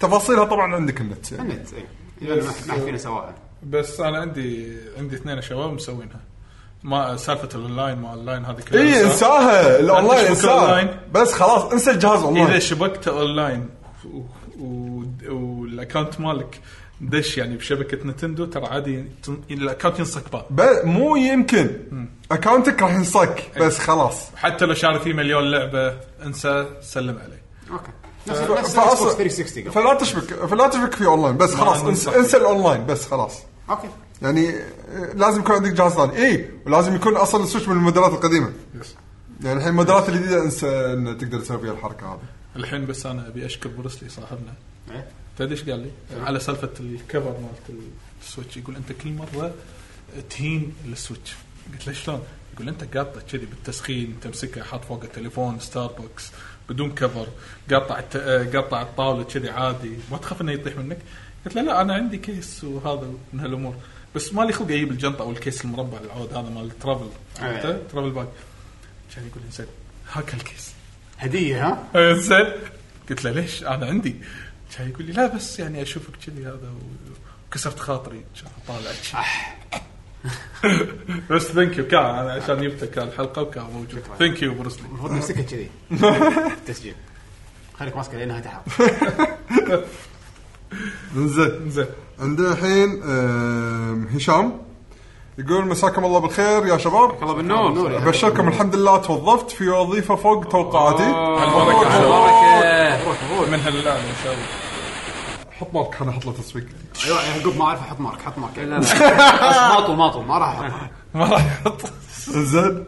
Speaker 2: تفاصيلها طبعا عندك النت يعني
Speaker 6: النت اي ما ما حد فينا سواها
Speaker 3: بس انا عندي عندي اثنين شباب مسوينها ما سالفه الاونلاين ما اونلاين هذه كلها
Speaker 2: اي انساها الاونلاين
Speaker 3: عندك شبكة
Speaker 2: انساها
Speaker 3: أونلاين.
Speaker 2: بس خلاص انسى الجهاز اونلاين
Speaker 3: اذا شبكت اونلاين و- و- والاكونت مالك دش يعني بشبكه نتندو ترى عادي تن- الاكونت ينصك باب
Speaker 2: ب- مو يمكن اكونتك راح ينصك بس خلاص
Speaker 3: حتى لو شاري فيه مليون لعبه انسى سلم عليه
Speaker 6: اوكي نفس
Speaker 2: ف-
Speaker 6: نفس
Speaker 2: فأص-
Speaker 6: اكس بوكس 360 قبل.
Speaker 2: فلا تشبك فلا تشبك في اونلاين بس خلاص
Speaker 3: ما
Speaker 2: انسى,
Speaker 3: ننصح.
Speaker 2: انسى الاونلاين بس خلاص
Speaker 6: اوكي
Speaker 2: يعني آه، لازم يكون عندك جهاز ثاني اي ولازم يكون اصلا السويتش من الموديلات القديمه يعني الحين الموديلات الجديده انسى ان تقدر تسوي فيها الحركه هذه
Speaker 3: الحين بس انا ابي اشكر برسلي صاحبنا
Speaker 6: إيه.
Speaker 3: تدري ايش قال لي؟ على سالفه الكفر مالت السويتش يقول انت كل مره تهين السويتش قلت له شلون؟ يقول انت قاطه كذي بالتسخين تمسكه حاط فوق التليفون ستاربكس بدون كفر قاطع الت- آه، قاطع الطاوله كذي عادي ما تخاف انه يطيح منك؟ قلت له لا انا عندي كيس وهذا من هالامور بس مالي خلق اجيب الجنطه او الكيس المربع العود هذا مال الترافل عرفته؟ ترافل باك كان يقول انزين هاك الكيس
Speaker 6: هديه ها
Speaker 3: زين قلت له ليش انا عندي كان يقول لي لا بس يعني اشوفك كذي هذا وكسرت خاطري كان طالع بس ثانك يو كان انا عشان جبته كان الحلقه وكان موجود ثانك يو بروسلي
Speaker 6: المفروض نمسكها كذي تسجيل خليك ماسكه لانها تحت
Speaker 2: انزين
Speaker 3: زين
Speaker 2: عندنا الحين آم، هشام يقول مساكم الله بالخير يا شباب
Speaker 8: الله بالنور
Speaker 2: ابشركم الحمد لله توظفت في وظيفه فوق توقعاتي
Speaker 3: من هاللعبه ان شاء الله
Speaker 2: حط مارك انا احط له تسويق
Speaker 6: ايوه يعقوب ما اعرف احط مارك حط مارك ما اطول ما اطول ما راح احط مارك.
Speaker 3: ما راح احط
Speaker 2: زين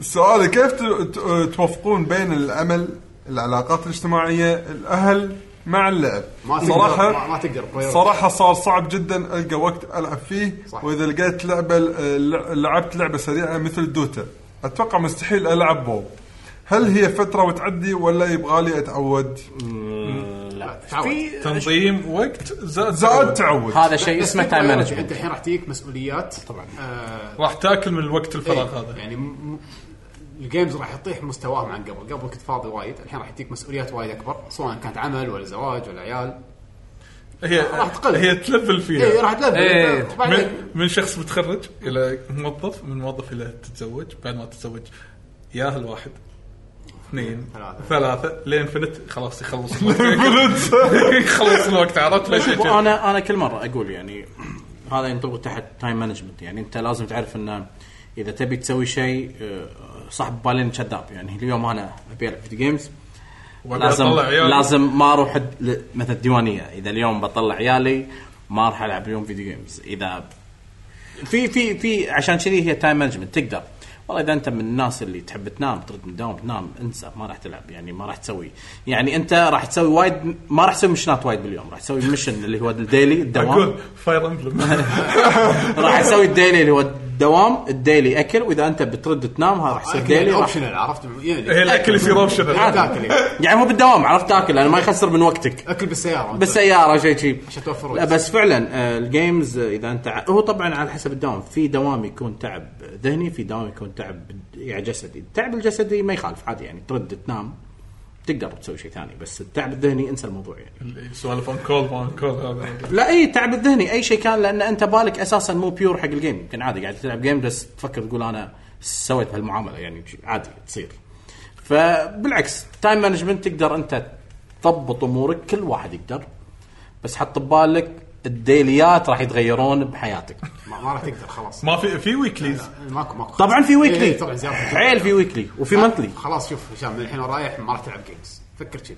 Speaker 2: سؤالي كيف ت- ت- توفقون بين العمل العلاقات الاجتماعيه الاهل مع اللعب
Speaker 6: ما تقدر ما- ما
Speaker 2: صراحه
Speaker 6: تقدر priority.
Speaker 2: صراحه صار صعب جدا القى وقت العب فيه
Speaker 6: صح.
Speaker 2: واذا لقيت لعبه لع- لعبت لعبه سريعه مثل دوتا اتوقع مستحيل العب بو هل هي فتره وتعدي ولا يبغالي اتعود
Speaker 4: لا
Speaker 6: في
Speaker 3: تنظيم وقت زاد
Speaker 2: زاد تعود
Speaker 4: هذا شيء اسمه تايم
Speaker 6: انت
Speaker 4: مانجمنت
Speaker 6: الحين راح تجيك مسؤوليات آه، طبعا
Speaker 3: راح تاكل من الوقت الفراغ هذا
Speaker 6: يعني م- م- الجيمز راح يطيح مستواهم عن قبل قبل كنت فاضي وايد الحين راح يجيك مسؤوليات وايد اكبر سواء كانت عمل ولا زواج ولا عيال
Speaker 3: هي
Speaker 6: راح تقل.
Speaker 3: هي تلفل
Speaker 6: اي
Speaker 3: فيها
Speaker 6: راح تلفل
Speaker 1: إيه.
Speaker 6: وبعدين-
Speaker 3: من, من شخص متخرج الى موظف من موظف الى تتزوج بعد ما تتزوج ياهل واحد اثنين
Speaker 6: ثلاثة.
Speaker 3: ثلاثة لين فنت خلاص يخلص الوقت يخلص الوقت عرفت ليش
Speaker 4: شوف، انا انا كل مره اقول يعني هذا ينطبق تحت تايم مانجمنت يعني انت لازم تعرف انه اذا تبي تسوي شيء آه، صاحب بالين كذاب يعني اليوم انا ابي العب فيديو جيمز لازم لازم ما اروح د- ل- مثلا الديوانيه اذا اليوم بطلع عيالي ما راح العب اليوم فيديو جيمز اذا في في في عشان كذي هي تايم مانجمنت تقدر والله اذا انت من الناس اللي تحب تنام ترد من الدوام تنام انسى ما راح تلعب يعني ما راح تسوي يعني انت راح تسوي وايد ما راح تسوي مشنات وايد باليوم راح تسوي مشن اللي هو الديلي الدوام
Speaker 3: اقول فاير امبلم
Speaker 4: راح تسوي الديلي اللي هو الدوام الديلي اكل واذا انت بترد تنام ها راح يصير
Speaker 6: يعني
Speaker 4: ديلي راح
Speaker 6: اوبشنال عرفت
Speaker 3: هي
Speaker 6: يعني
Speaker 3: الاكل يصير اوبشنال
Speaker 6: تاكل إيه.
Speaker 4: يعني هو بالدوام عرفت تاكل لانه ما يخسر من وقتك
Speaker 6: اكل بالسياره
Speaker 4: بالسياره شيء شيء
Speaker 6: عشان توفر
Speaker 4: لا
Speaker 6: وقت.
Speaker 4: بس فعلا آه، الجيمز آه، اذا انت ع- هو طبعا على حسب الدوام في دوام يكون تعب ذهني في دوام يكون تعب يعني جسدي التعب الجسدي ما يخالف عادي يعني ترد تنام تقدر تسوي شيء ثاني بس التعب الذهني انسى الموضوع يعني
Speaker 3: سوالف اون كول ما اون كول هذا
Speaker 4: لا اي تعب الذهني اي شيء كان لان انت بالك اساسا مو بيور حق الجيم يمكن عادي قاعد تلعب جيم بس تفكر تقول انا سويت هالمعامله يعني شي- عادي تصير فبالعكس تايم مانجمنت تقدر انت تضبط امورك كل واحد يقدر بس حط ببالك الديليات راح يتغيرون بحياتك
Speaker 6: ما ما راح تقدر خلاص
Speaker 3: ما في في ويكليز
Speaker 6: ماكو ماكو
Speaker 4: طبعا في ويكلي
Speaker 6: إيه، طبعا زياده
Speaker 4: عيل في ويكلي وفي منثلي
Speaker 6: خلاص شوف هشام من الحين ورايح ما راح تلعب جيمز فكر كذي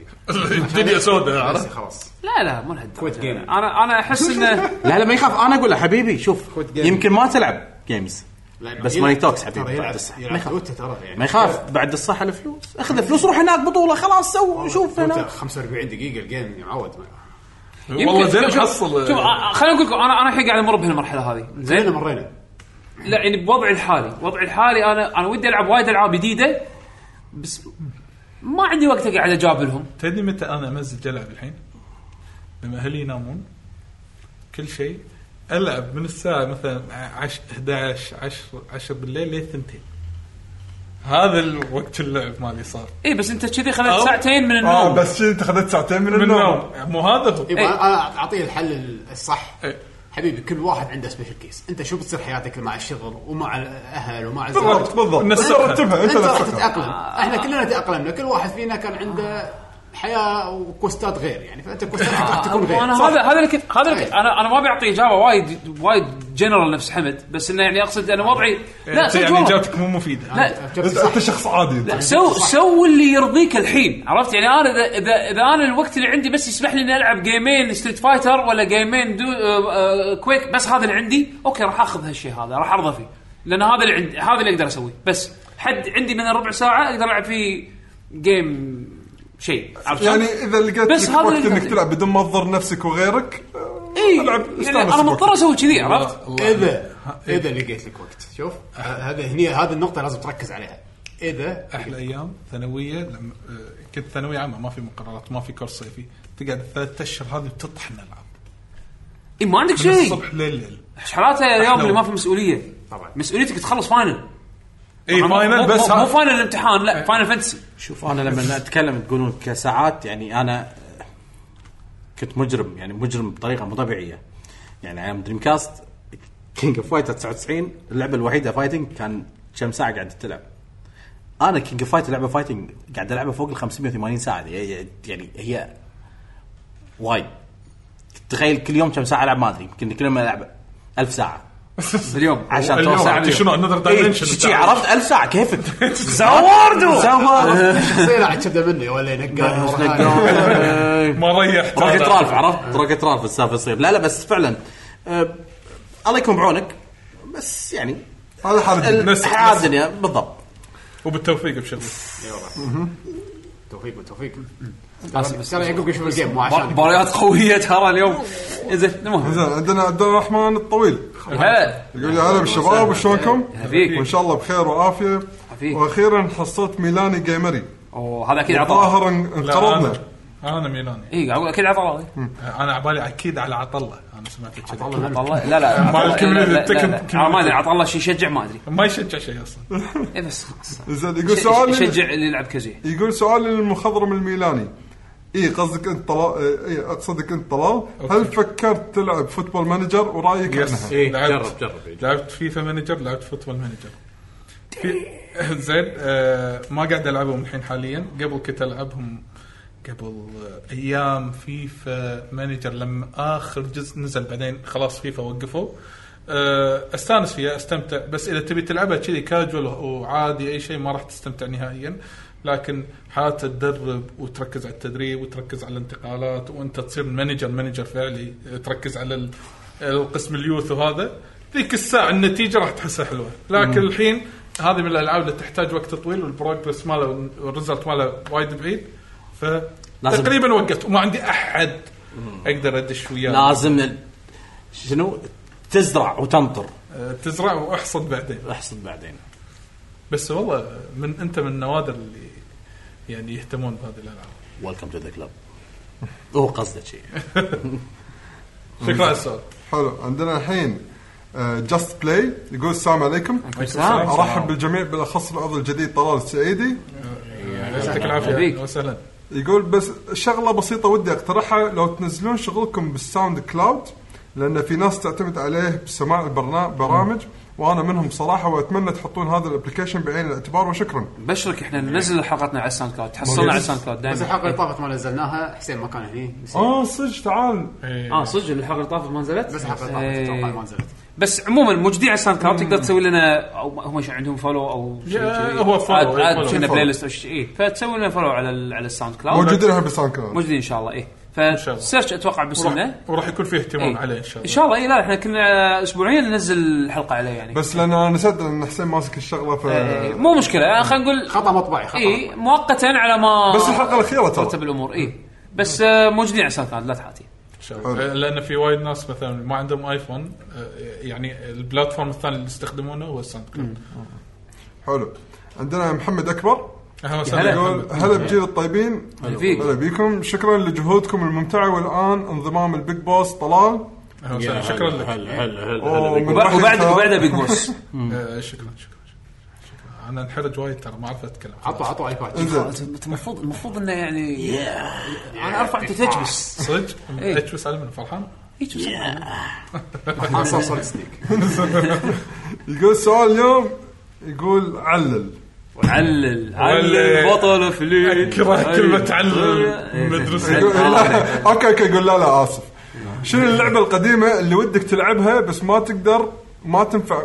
Speaker 3: الدنيا سوداء
Speaker 6: بس
Speaker 3: عرفت
Speaker 6: خلاص
Speaker 1: لا لا مو لهالدرجة.
Speaker 6: كويت جيمنج.
Speaker 4: آه،
Speaker 1: انا انا احس انه
Speaker 4: لا لا ما يخاف انا اقول له حبيبي شوف يمكن ما تلعب جيمز
Speaker 6: لأن
Speaker 4: بس
Speaker 6: يلعب-
Speaker 4: ماني توكس حبيبي
Speaker 6: يعني ترى يلعب
Speaker 4: بعد الصحة. ما
Speaker 6: يلعب
Speaker 4: يخاف.
Speaker 6: تويتر ترى يعني
Speaker 4: ما يخاف بعد الصحه الفلوس اخذ فلوس روح هناك بطوله خلاص سو شوف
Speaker 6: تويتر
Speaker 4: هناك
Speaker 6: 45 دقيقه الجيم يا معود
Speaker 3: والله زين محصل
Speaker 1: شوف آه، خليني اقول لكم انا انا الحين قاعد امر بهالمرحله هذه زين
Speaker 6: مرينا مرينا
Speaker 1: لا يعني بوضعي الحالي وضعي الحالي انا انا ودي العب وايد العاب جديده بس ما عندي وقت اقعد اجابلهم
Speaker 3: تدري متى انا امزج العب الحين؟ لما اهلي ينامون كل شيء العب من الساعه مثلا 10 11 10 10 بالليل للثنتين هذا الوقت اللعب مالي صار
Speaker 1: اي إيه، بس انت كذي خذيت
Speaker 3: أو- آه،
Speaker 1: ساعتين من النوم
Speaker 9: آه،
Speaker 2: اه بس شي انت خذت ساعتين من
Speaker 3: من
Speaker 2: النوم
Speaker 3: النوم مو هذا هو
Speaker 1: إيه.
Speaker 6: يبا انا اعطيه الحل الصح
Speaker 3: إيه.
Speaker 6: حبيبي كل واحد عنده سبيشل كيس انت شو بتصير حياتك مع الشغل ومع الاهل ومع
Speaker 2: بالضبط
Speaker 6: الزواج
Speaker 2: بالضبط انت
Speaker 3: نسقها.
Speaker 2: رتبها انت
Speaker 6: انت راح
Speaker 2: نسقها
Speaker 6: تتاقلم احنا كلنا تاقلمنا كل واحد فينا كان عنده حياه وكوستات غير يعني فانت كوستاتك
Speaker 9: آه.
Speaker 6: راح
Speaker 4: آه،
Speaker 6: تكون غير
Speaker 1: انا هذا هذا اللي كنت هذا اللي كنت- انا انا ما بعطي اجابه وايد وايد جنرال نفس حمد بس انه يعني اقصد انا وضعي لا
Speaker 3: أنت
Speaker 1: صدق
Speaker 3: يعني
Speaker 1: والله.
Speaker 3: اجابتك مو مفيده
Speaker 1: لا
Speaker 2: انت انت شخص عادي انت.
Speaker 1: سو سو اللي يرضيك الحين عرفت يعني انا اذا اذا, إذا انا الوقت اللي عندي بس يسمح لي اني العب جيمين ستريت فايتر ولا جيمين دو آه، آه، كويك بس هذا اللي عندي اوكي راح اخذ هالشيء هذا راح ارضى فيه لان هذا اللي عندي هذا اللي اقدر اسويه بس حد عندي من ربع ساعه اقدر العب فيه جيم شيء عرفت شلون؟
Speaker 2: يعني اذا لقيت
Speaker 1: بس
Speaker 2: لك
Speaker 1: هذا
Speaker 2: وقت
Speaker 1: اللي
Speaker 2: انك
Speaker 1: قصدي.
Speaker 2: تلعب بدون ما تضر نفسك وغيرك آه،
Speaker 1: إيه،
Speaker 2: العب
Speaker 1: يعني
Speaker 2: استانس
Speaker 1: انا مضطر
Speaker 2: بوقتك.
Speaker 1: اسوي كذي عرفت؟
Speaker 6: اذا اذا لقيت لك وقت شوف هذا هني هذه النقطه لازم تركز عليها اذا
Speaker 3: احلى ايام ثانويه لما آه، كنت ثانويه عامه ما في مقررات ما في كورس صيفي تقعد ثلاث اشهر هذه بتطحن العاب
Speaker 1: اي ما عندك
Speaker 3: من
Speaker 1: شيء
Speaker 3: الصبح لليل
Speaker 1: حالاته اليوم
Speaker 3: أحلى
Speaker 1: اللي ما
Speaker 3: وقت.
Speaker 1: في مسؤوليه
Speaker 6: طبعا.
Speaker 1: مسؤوليتك تخلص فاينل
Speaker 3: اي
Speaker 1: طبعاً مو-
Speaker 3: فاينل
Speaker 1: مو-
Speaker 3: إيه، بس
Speaker 1: مو
Speaker 3: ها-
Speaker 1: فاينل الامتحان لا فاينل فانتسي
Speaker 7: شوف انا لما اتكلم تقولون كساعات يعني انا كنت مجرم يعني مجرم بطريقه مو طبيعيه يعني ايام دريم كاست كينج اوف فايتر 99 اللعبه الوحيده فايتنج كان كم ساعه قاعد تلعب انا كينج اوف فايتر لعبه فايتنج قاعد العبها فوق ال 580 ساعه يعني يعني هي وايد تخيل كل يوم كم ساعه العب ما ادري يمكن كل يوم العب 1000 ساعه
Speaker 1: اليوم
Speaker 7: عشان
Speaker 3: اليوم
Speaker 7: توسع
Speaker 3: عرفت
Speaker 7: اليوم.
Speaker 3: شنو؟ Another
Speaker 7: إيه،
Speaker 3: Dimension.
Speaker 7: شي- شي، عرفت 1000 ساعه كيفك زوردو زوردو
Speaker 6: شخصيه قاعد كذا مني ولا ينقل
Speaker 7: راكت
Speaker 3: ما ريحت هذا.
Speaker 7: رالف عرفت راكت رالف السالفه تصير لا لا بس فعلا آه، الله يكون بعونك بس يعني
Speaker 2: على حالتك
Speaker 3: نسخ-
Speaker 7: عادل يعني بالضبط
Speaker 3: وبالتوفيق بشغل
Speaker 6: توفيق بالتوفيق ترى يعقوب يشوف الجيم مو عشان
Speaker 1: مباريات قويه ترى اليوم زين المهم
Speaker 2: زين عندنا عبد الرحمن الطويل
Speaker 1: هلا
Speaker 2: يقول يا هلا بالشباب وشلونكم؟
Speaker 1: فيك.
Speaker 2: وان شاء الله بخير وعافيه
Speaker 1: فيك.
Speaker 2: واخيرا حصلت ميلاني جيمري
Speaker 1: اوه هذا اكيد عطاء
Speaker 2: ظاهرا
Speaker 3: لا
Speaker 2: انقرضنا
Speaker 3: انا انا ميلاني
Speaker 1: اي قاعد اقول اكيد عطاء
Speaker 3: انا عبالي اكيد على عطله انا سمعت كذا
Speaker 1: عطاء لا لا
Speaker 3: مع
Speaker 1: عطاء- لا-
Speaker 3: الكميونيتي،
Speaker 1: لا- لا-
Speaker 3: التكن-
Speaker 1: لا. أنا ما ادري عطاء الله شي يشجع ما ادري
Speaker 3: ما يشجع شيء اصلا
Speaker 1: اي بس خلاص
Speaker 2: زين يقول
Speaker 1: ش-
Speaker 2: سؤالي
Speaker 1: يشجع اللي يلعب كازي
Speaker 2: يقول سؤال للمخضرم الميلاني اي قصدك انت طلال اي اقصدك انت طلال هل فكرت تلعب فوتبول مانجر ورايك عنها؟
Speaker 4: إيه،
Speaker 3: لعبت-
Speaker 4: جرب- جرب، إيه.
Speaker 3: لعبت فيفا مانجر لعبت فوتبول مانجر في- زين آه، ما قاعد العبهم الحين حاليا قبل كنت العبهم قبل آه، ايام فيفا مانجر لما اخر جزء نزل بعدين خلاص فيفا وقفوا آه، استانس فيها استمتع بس اذا تبي تلعبها كذي كاجوال وعادي اي شيء ما راح تستمتع نهائيا لكن حالات تدرب وتركز على التدريب وتركز على الانتقالات وانت تصير مانجر مانجر فعلي آه، تركز على ال- القسم اليوث وهذا ذيك الساعه النتيجه راح تحسها حلوه لكن الحين هذه من الالعاب اللي تحتاج وقت طويل والبروجرس ماله والريزلت ماله وايد بعيد ف
Speaker 7: لازم-
Speaker 3: تقريبا وقفت وما عندي احد اقدر ادش وياه
Speaker 7: لازم ال- شنو تزرع وتمطر
Speaker 3: آه، تزرع واحصد بعدين
Speaker 7: احصد بعدين
Speaker 3: بس والله من انت من النوادر اللي يعني يهتمون بهذه الالعاب
Speaker 7: ويلكم تو ذا كلب هو قصده شيء
Speaker 3: شكرا على السؤال
Speaker 2: حلو عندنا الحين جاست بلاي يقول السلام عليكم ارحب بالجميع بالاخص العضو الجديد طلال السعيدي
Speaker 3: يعطيك
Speaker 1: عليك.
Speaker 3: العافيه وسهلا
Speaker 2: يقول بس شغله بسيطه ودي اقترحها لو تنزلون شغلكم بالساوند كلاود لان في ناس تعتمد عليه بسماع البرامج وانا منهم بصراحه واتمنى تحطون هذا الابلكيشن بعين الاعتبار وشكرا.
Speaker 1: ببشرك
Speaker 7: إيه.
Speaker 1: احنا ننزل حلقتنا على الساوند كلاود تحصلنا على الساوند كلاود
Speaker 6: بس
Speaker 1: دائما
Speaker 6: الحلقه اللي طافت ما نزلناها حسين ما كان هني بس-
Speaker 2: اه صدق تعال
Speaker 1: اه صدق الحلقه اللي طافت ما نزلت
Speaker 6: بس الحلقه اللي
Speaker 1: إيه.
Speaker 6: طافت اتوقع ما نزلت
Speaker 1: بس عموما موجودين على الساوند كلاود تقدر تسوي لنا او هم شي عندهم فولو او شي
Speaker 3: يا،
Speaker 1: كذي.
Speaker 3: هو follow،
Speaker 1: عاد-
Speaker 3: إيه،
Speaker 1: عاد
Speaker 3: follow.
Speaker 1: كنا
Speaker 2: follow.
Speaker 1: بلاي ليست أو شي، اي إيه. فتسوي لنا فولو على ال- على الساوند كلاود
Speaker 2: موجودين لها بالساوند كلاود.
Speaker 1: موجودين ان شاء الله ايه
Speaker 3: شاء الله.
Speaker 1: فسيرش اتوقع باسمنا
Speaker 3: وراح- وراح يكون في
Speaker 7: إيه.
Speaker 3: اهتمام عليه ان شاء الله
Speaker 1: ان شاء الله اي لا احنا كنا اسبوعيا ننزل حلقه عليه يعني
Speaker 2: بس لان انا نسيت ان حسين ماسك الشغله ف
Speaker 1: إيه، مو مشكله خلينا نقول
Speaker 6: خطا مطبعي خطا
Speaker 4: إيه.
Speaker 1: اي مؤقتا على ما
Speaker 2: بس الحلقه الاخيره
Speaker 1: ترتب إيه.
Speaker 2: ترى
Speaker 1: الامور اي بس آه، موجودين على ساوند كلاود لا تحاتي
Speaker 3: شو-
Speaker 2: حلو.
Speaker 3: لان في وايد ناس مثلا ما عندهم ايفون آه، يعني البلاتفورم الثاني اللي يستخدمونه هو الساوند كلاود
Speaker 2: حلو عندنا محمد اكبر
Speaker 3: اهلا وسهلا
Speaker 2: يقول
Speaker 3: محمد.
Speaker 2: هلا بجيل الطيبين
Speaker 9: فيك.
Speaker 2: هلا بيكم شكرا لجهودكم الممتعه والان انضمام البيج بوس طلال
Speaker 3: أهلاً وسهلاً. شكرا لك
Speaker 1: هلا هلا هلا
Speaker 2: ومن
Speaker 9: وبع-
Speaker 2: رحل
Speaker 9: وبعد
Speaker 2: ثار-
Speaker 9: وبعده بيج بوس
Speaker 3: آه، شكرا شكرا شكراً. انا انحرج وايد ترى ما اعرف اتكلم
Speaker 6: عطوا عطوا ايباد
Speaker 2: انزين
Speaker 9: أنت المفروض المفروض انه يعني انا ارفع انت تجبس
Speaker 3: صدق
Speaker 9: إيه.
Speaker 3: اتشوس علي من فرحان
Speaker 9: تجبس.
Speaker 6: ما صار صار سنيك
Speaker 2: يقول سؤال اليوم يقول علل
Speaker 9: علل علل
Speaker 3: علل.
Speaker 9: بطل فلين
Speaker 3: اكره كلمه علم
Speaker 2: يقول-
Speaker 3: مدرسه
Speaker 2: لا، اوكي اوكي يقول لا لا اسف شنو اللعبه القديمه اللي ودك تلعبها بس ما تقدر ما تنفع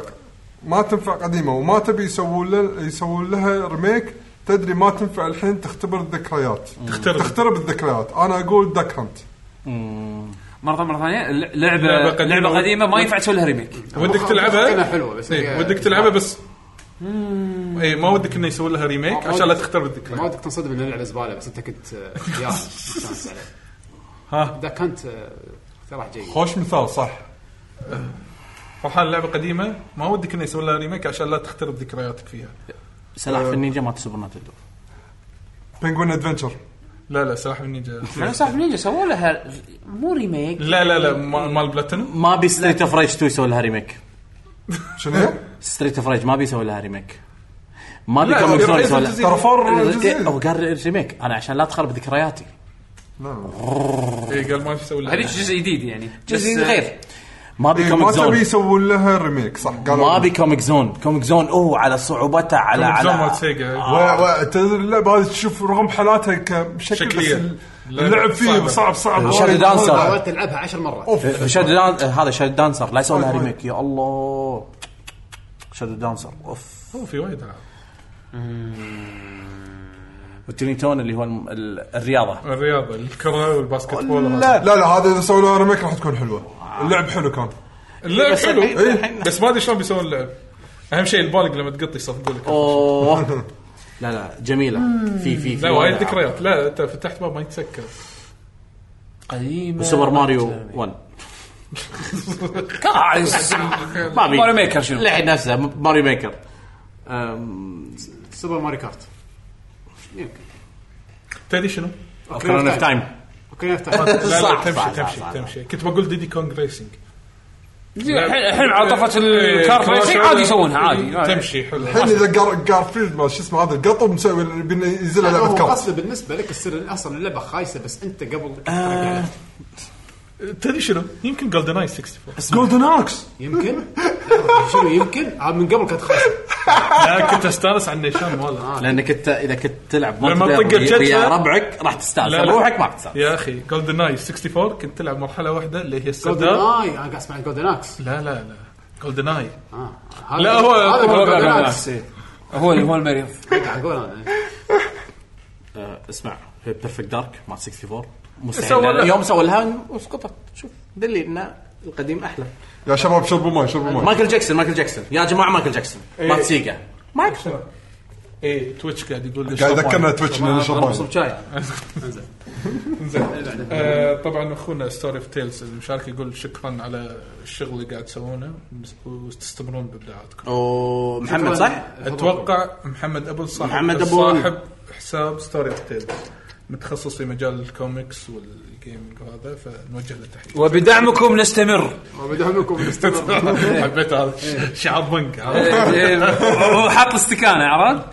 Speaker 2: ما تنفع قديمه وما تبي يسوون له- يسوون لها ريميك تدري ما تنفع الحين تختبر الذكريات
Speaker 3: تخترب.
Speaker 2: تخترب الذكريات انا اقول دك هانت
Speaker 9: مره مره ثانيه ل- لعبه
Speaker 3: لعبة قديمة.
Speaker 9: لعبه قديمه, ما ينفع تسوي لها ريميك
Speaker 3: ودك
Speaker 6: كلها
Speaker 3: تلعبها
Speaker 6: حلوه بس
Speaker 3: إيه،
Speaker 6: هي-
Speaker 3: ودك تلعبها بس اي ما ودك انه يسوي لها ريميك
Speaker 6: ما
Speaker 3: عشان لا
Speaker 6: ودك-
Speaker 3: تختار
Speaker 2: طيب.
Speaker 6: ما
Speaker 3: الذكريات
Speaker 6: ودك تنصدم ان اللعبه زباله بس انت كنت آه، ياها مستانس عليه
Speaker 3: ها
Speaker 6: اذا كنت آه، اقتراح جيد
Speaker 2: خوش مثال صح
Speaker 3: فرحان لعبه قديمه ما ودك انه يسوي لها ريميك عشان لا تخترب ذكرياتك فيها
Speaker 1: سلاح في النينجا مالت سوبر نتندو
Speaker 2: بنجوين ادفنشر
Speaker 3: لا لا سلاح النينجا
Speaker 9: مع انه صاحب نينجا سووا لها مو ريميك
Speaker 3: لا لا لا ما- مال بلاتينوم
Speaker 1: ما بي ستريت اوف ريج 2 يسوي لها ريميك
Speaker 2: شنو هي؟
Speaker 1: ستريت اوف ريج ما بيسوي لها ريميك ما بي
Speaker 3: لا،
Speaker 1: كوميك
Speaker 3: لا،
Speaker 1: زون
Speaker 3: ريزن
Speaker 1: يسوي لها
Speaker 3: جزيرة.
Speaker 2: ترى فور جزئين.
Speaker 1: إيه، هو قال ريميك انا عشان لا تخرب ذكرياتي
Speaker 3: اي إيه، قال ما يسوي لها
Speaker 9: هذيك
Speaker 3: ريميك.
Speaker 9: جزء جديد يعني
Speaker 1: جزء
Speaker 9: بس-
Speaker 1: غير ما بي
Speaker 2: إيه، ما
Speaker 1: كوميك
Speaker 2: تبي
Speaker 1: زون
Speaker 2: يسوون لها ريميك صح
Speaker 1: ما
Speaker 2: قالوا
Speaker 1: بي كوميك زون كوميك زون اوه على صعوبته على
Speaker 3: كوميك زون
Speaker 1: على
Speaker 3: مالت سيجا.
Speaker 1: آه،
Speaker 2: و- و- تدري اللعبه هذه تشوف رغم حالاتها كشكل بس
Speaker 3: شكلية.
Speaker 2: ال-
Speaker 3: لا،
Speaker 2: اللعب فيه
Speaker 3: صعبة.
Speaker 2: صعب صعب
Speaker 1: شادو
Speaker 2: وايد.
Speaker 1: دانسر.
Speaker 6: حاولت العبها عشر مرات
Speaker 2: اوف
Speaker 1: شادو دان... آه، هذا شادو دانسر لا يسوي لها
Speaker 2: وايد.
Speaker 1: ريميك يا الله شادو دانسر اوف
Speaker 3: هو في وايد ألعاب.
Speaker 1: والترينتون اللي هو الم- ال- الرياضه
Speaker 3: الرياضه الكره والباسكت بول وهذا.
Speaker 2: لا لا هذا اذا سووا لها ريميك راح تكون حلوه اللعب حلو كان
Speaker 3: اللعب
Speaker 1: بس
Speaker 3: حلو
Speaker 1: الحين-
Speaker 3: إيه.
Speaker 1: الحين-
Speaker 3: بس ما ادري شلون بيسوون اللعب اهم شيء البالق لما تقط يصفقوا لك
Speaker 1: اوه لا لا جميله في في في
Speaker 3: لا وايد
Speaker 1: ألعاب.
Speaker 3: ذكريات لا انت فتحت باب ما يتسكر
Speaker 9: قديمه
Speaker 1: وسوبر ماريو 1
Speaker 9: كاس.
Speaker 1: ما بي
Speaker 9: ماريو ميكر شنو
Speaker 1: لعب نفسه م- ماريو ميكر أم،
Speaker 6: سوبر ماري كارت يمكن
Speaker 3: تدري شنو؟
Speaker 1: اوكران اوف تايم
Speaker 6: اوكي
Speaker 3: لا
Speaker 6: نفتح
Speaker 3: لا
Speaker 1: صح،
Speaker 3: تمشي
Speaker 1: صح، صح،
Speaker 3: تمشي
Speaker 1: صح.
Speaker 3: تمشي كنت بقول ديدي كونغ ريسنج
Speaker 9: الحين الحين على طفه
Speaker 3: إيه،
Speaker 9: الكار ريسنج عادي يسوونها عادي
Speaker 3: تمشي حلو
Speaker 2: الحين اذا جار- جارفيلد ما شو اسمه هذا القطو مسوي بينا- ينزلها
Speaker 6: هو
Speaker 2: لعبه كارت
Speaker 6: قصده بالنسبه لك السر اصلا اللعبه خايسه بس انت قبل آه
Speaker 3: تدري شنو؟ يمكن جولدن اي 64
Speaker 2: جولدن اكس
Speaker 6: يمكن لحظة، شنو يمكن آه من قبل كانت خايسه
Speaker 3: لا كنت استانس على النيشان ماله
Speaker 1: لانك انت اذا كنت تلعب
Speaker 3: لما
Speaker 1: multiplayer
Speaker 3: تطق
Speaker 1: ويا- ويا
Speaker 3: بجدفة-
Speaker 1: ربعك راح تستانس
Speaker 3: لا، لا.
Speaker 1: روحك ما راح تستانس
Speaker 3: يا اخي جولدن اي 64 كنت تلعب مرحله واحده اللي هي
Speaker 6: جولدن
Speaker 3: السرداب
Speaker 6: اي انا قاعد اسمع جولدن اكس
Speaker 3: لا لا لا جولدن اي
Speaker 6: آه. هذا-
Speaker 3: لا، هو-
Speaker 6: هذا
Speaker 3: هو
Speaker 6: جولدن
Speaker 3: جولدن
Speaker 6: اكس
Speaker 9: هو هو المريض
Speaker 6: قاعد اقول انا
Speaker 1: آه، اسمع بيرفكت دارك مع 64
Speaker 3: سوى
Speaker 1: مستحيل لأن
Speaker 3: لها.
Speaker 1: يوم سوى لها وسقطت شوف دلي ان القديم احلى
Speaker 2: يا شباب شربوا ماي شربوا ماي
Speaker 1: مايكل جاكسون مايكل جاكسون يا جماعه مايكل جاكسون
Speaker 3: إيه.
Speaker 1: ما تسيقه
Speaker 3: اي تويتش إيه، قاعد يقول لي
Speaker 2: قاعد
Speaker 3: شرب
Speaker 2: يذكرنا
Speaker 3: وايد.
Speaker 2: تويتش انه شربان
Speaker 9: صب شاي
Speaker 3: إيه، زين آه، طبعا اخونا ستوري اوف تيلز المشارك يقول شكرا على الشغل اللي قاعد تسوونه وتستمرون بابداعاتكم
Speaker 1: ومحمد صح؟
Speaker 3: اتوقع محمد ابو صاحب
Speaker 1: محمد أبو-
Speaker 3: صاحب حساب ستوري اوف تيلز متخصص في مجال الكوميكس والجيمنج وهذا فنوجه له تحيه
Speaker 9: وبدعمكم نستمر
Speaker 6: بدعمكم
Speaker 3: حبيت هذا شعار بنك
Speaker 9: هو حاط استكانه عرفت؟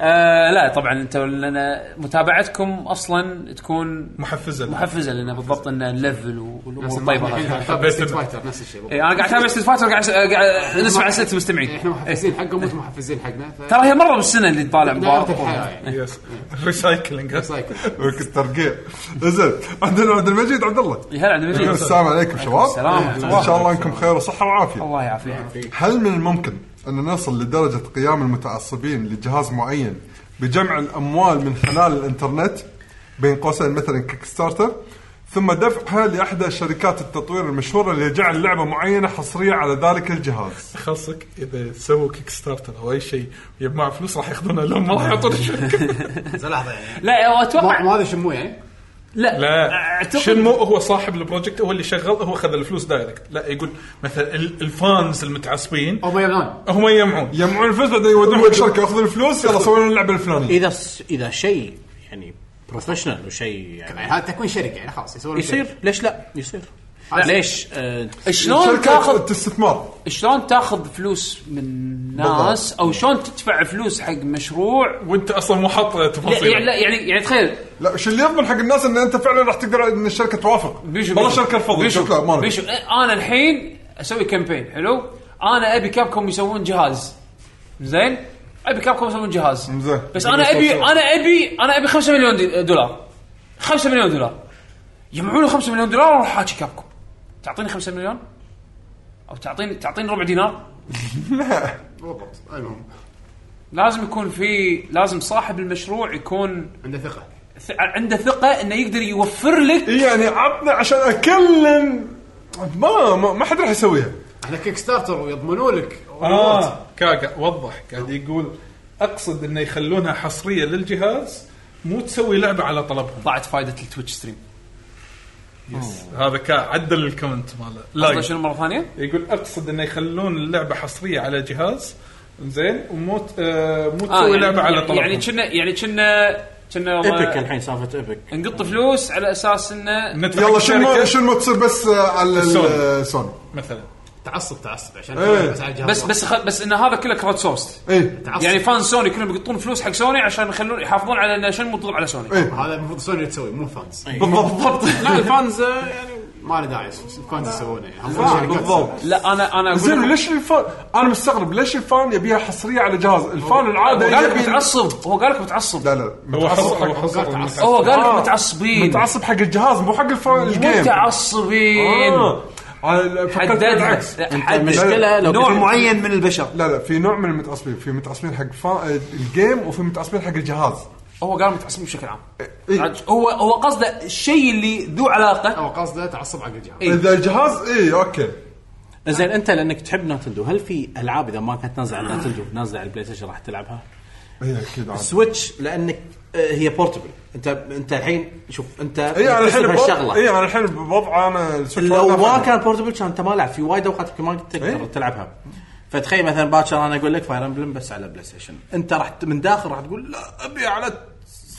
Speaker 9: آه لا طبعا انت لنا متابعتكم اصلا تكون
Speaker 3: محفزه
Speaker 9: محفزه لنا بالضبط ان الليفل والامور الطيبه هذه
Speaker 3: حبيت
Speaker 6: فايتر نفس الشيء
Speaker 9: إيه، انا قاعد اتابع ستريت فايتر قاعد قاعد نسمع اسئله المستمعين
Speaker 3: إيه،
Speaker 6: احنا محفزين حقهم وانتم محفزين حقنا ف-
Speaker 9: ترى هي مره بالسنه اللي تطالع
Speaker 6: دائرة
Speaker 9: مباراه
Speaker 6: الحياه يعني
Speaker 3: يس ريسايكلينج
Speaker 6: سايكل
Speaker 2: ترقيع زين عندنا عبد المجيد عبد الله
Speaker 9: يا هلا عبد
Speaker 2: يقول
Speaker 9: المجيد
Speaker 2: إيه. السلام عليكم شباب
Speaker 9: السلام.
Speaker 2: ان شاء الله انكم بخير وصحه وعافيه
Speaker 9: الله يعافيك
Speaker 2: هل من الممكن ان نصل لدرجه قيام المتعصبين لجهاز معين بجمع الاموال من خلال الانترنت بين قوسين مثلا كيك ستارتر ثم دفعها لاحدى شركات التطوير المشهوره لجعل لعبه معينه حصريه على ذلك الجهاز.
Speaker 3: خاصك اذا سووا كيك ستارتر او اي شيء يجمعوا فلوس راح ياخذونها لهم ما راح يعطون الشركه
Speaker 9: لا
Speaker 6: ما
Speaker 9: اتوقع
Speaker 6: ما هذا شمو يعني
Speaker 9: لا
Speaker 3: لا
Speaker 9: اعتقد
Speaker 3: شنمو هو صاحب البروجكت هو اللي شغل هو خذ الفلوس دايركت لا يقول مثلا ال- الفانز المتعصبين
Speaker 6: هم يبنون
Speaker 3: هم يجمعون
Speaker 2: يجمعون الفلوس بعدين يودون حق الشركه ياخذون الفلوس يلا سوينا اللعبه الفلانيه
Speaker 4: اذا س- اذا شيء يعني بروفيشنال وشيء يعني
Speaker 6: هذا تكوين شركه يعني خلاص يسوون شركة.
Speaker 4: يصير ليش لا يصير
Speaker 6: لا.
Speaker 4: ليش آه،
Speaker 9: شلون
Speaker 2: الشركة
Speaker 9: تاخذ
Speaker 2: استثمار
Speaker 9: شلون تاخذ فلوس من ناس او شلون تدفع فلوس حق مشروع
Speaker 3: وانت اصلا مو حاط
Speaker 9: لا يعني لا
Speaker 3: تفاصيل
Speaker 9: يعني يعني تخيل
Speaker 2: لا شو اللي يضمن حق الناس ان انت فعلا راح تقدر ان الشركه توافق
Speaker 9: بيشو
Speaker 2: والله
Speaker 9: بيشو.
Speaker 2: الشركه الفضي
Speaker 9: بيشو
Speaker 2: شوف لا ما نبي.
Speaker 9: بيشو انا الحين اسوي كامبين حلو انا ابي كابكم يسوون جهاز زين ابي كابكم يسوون جهاز
Speaker 2: زين.
Speaker 9: بس انا ابي انا ابي انا ابي 5 مليون دي- دولار 5 مليون دولار يجمعون لي 5 مليون دولار واروح حاكي كابكم تعطيني 5 مليون او تعطيني تعطيني ربع دينار
Speaker 6: بالضبط المهم
Speaker 9: لازم يكون في لازم صاحب المشروع يكون
Speaker 6: عنده ثقه
Speaker 9: ث- عنده ثقه انه يقدر يوفر لك
Speaker 2: إي يعني عطنا عشان اكلم ما ما, ما حد راح يسويها
Speaker 6: احنا كيك ستارتر ويضمنوا لك
Speaker 3: اه كاكا وضح قاعد يقول اقصد انه يخلونها حصريه للجهاز مو تسوي لعبه على طلبهم
Speaker 9: ضاعت فائده التويتش ستريم
Speaker 3: هذا كا عدل الكومنت ماله
Speaker 9: قصده
Speaker 3: لايك.
Speaker 9: شنو مره ثانيه؟
Speaker 3: يقول اقصد انه يخلون اللعبه حصريه على جهاز زين ومو ت- آه مو
Speaker 9: آه،
Speaker 3: تسوي لعبه على طلبهم
Speaker 9: يعني كنا يعني كنا
Speaker 2: إيه،
Speaker 9: كنا
Speaker 4: ايبك
Speaker 9: والله
Speaker 4: الحين سالفه ايبك
Speaker 9: نقط فلوس على اساس انه
Speaker 3: ندفع
Speaker 2: يلا
Speaker 3: الشركة
Speaker 2: شنو شنو تصير بس آه، على ال-
Speaker 3: السوني.
Speaker 2: آه، سوني
Speaker 3: مثلا
Speaker 6: تعصب تعصب عشان
Speaker 2: إيه.
Speaker 6: بس على الجهاز
Speaker 9: بس بس خ... بس ان هذا كله كراود سورس
Speaker 2: اي
Speaker 6: تعصب
Speaker 9: يعني
Speaker 6: يعني
Speaker 9: فان سوني كلهم يقطون فلوس حق سوني عشان يخلون يحافظون على انه شنو مطلوب على سوني
Speaker 2: إيه.
Speaker 6: هذا المفروض سوني تسوي مو فانز
Speaker 2: بالضبط
Speaker 4: لا الفانز آه، يعني
Speaker 6: ما له داعي الفانز يسوونه يعني هم شركات
Speaker 2: بالضبط
Speaker 9: لا انا انا اقول
Speaker 2: زين
Speaker 9: لك-
Speaker 2: ليش الفان انا مستغرب ليش الفان يبيها حصريه على جهاز الفان
Speaker 9: هو
Speaker 2: العاده
Speaker 9: قال لك
Speaker 2: يبي-
Speaker 9: متعصب هو قال لك متعصب
Speaker 2: لا لا
Speaker 3: هو
Speaker 2: متعصب
Speaker 3: حصر هو
Speaker 2: حق
Speaker 3: حصر
Speaker 6: تعصب.
Speaker 9: هو قال
Speaker 2: آه.
Speaker 9: لك متعصبين
Speaker 2: متعصب حق الجهاز مو حق الفان الجيم
Speaker 9: متعصبين
Speaker 2: آه. على- فكرت
Speaker 9: حددها
Speaker 2: بالعكس.
Speaker 4: المشكله لو
Speaker 9: نوع
Speaker 4: كنت-
Speaker 9: معين من البشر
Speaker 2: لا لا في نوع من المتعصبين في متعصبين حق فا... الجيم وفي متعصبين حق الجهاز
Speaker 9: هو قال متعصبين بشكل عام
Speaker 2: إيه.
Speaker 9: عاد هو هو قصده الشيء اللي ذو علاقه
Speaker 6: هو قصده تعصب على الجهاز
Speaker 9: إيه.
Speaker 2: اذا الجهاز اي اوكي
Speaker 4: زين انت لانك تحب ناتندو هل في العاب اذا ما كانت نازله على ناتندو نازله على البلاي ستيشن راح تلعبها؟
Speaker 2: اي اكيد عاد.
Speaker 4: سويتش لانك آه، هي بورتبل انت انت الحين شوف انت
Speaker 9: إيه،
Speaker 2: اي انا إيه، الحين بوضع-
Speaker 4: الشغله
Speaker 2: اي انا الحين بوضع انا السويتش
Speaker 4: لو
Speaker 2: هذا
Speaker 4: ما
Speaker 2: أفهم.
Speaker 4: كان بورتبل كان انت ما لعب في وايد اوقات ما كنت تقدر
Speaker 2: إيه.
Speaker 4: تلعبها فتخيل مثلا باكر انا اقول لك فاير امبلم بس على بلاي ستيشن انت راح ت- من داخل راح تقول لا ابي على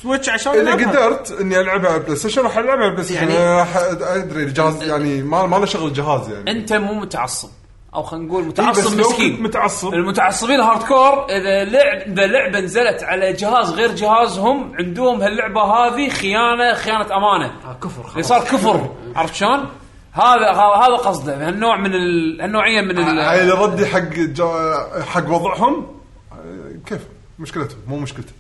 Speaker 4: سويتش عشان
Speaker 2: اذا
Speaker 4: ألعبها.
Speaker 2: قدرت اني العبها على بلاي ستيشن راح العبها على بلاي ستيشن
Speaker 4: يعني-
Speaker 2: يعني ادري الجهاز يعني ما ما له شغل الجهاز يعني
Speaker 9: انت مو متعصب او خلينا نقول
Speaker 2: إيه، بس
Speaker 9: متعصب
Speaker 2: لو كنت
Speaker 9: مسكين
Speaker 2: متعصب
Speaker 9: المتعصبين الهارد كور اذا لعب اذا لعبه نزلت على جهاز غير جهازهم عندهم هاللعبه هذه خيانه خيانه امانه
Speaker 2: آه،
Speaker 6: كفر
Speaker 9: اللي صار كفر عرفت شلون؟ هذا هذا قصده هالنوع من ال... هالنوعيه من ال...
Speaker 2: عيل ردي حق جا- حق وضعهم آه، كيف مشكلتهم مو مشكلتي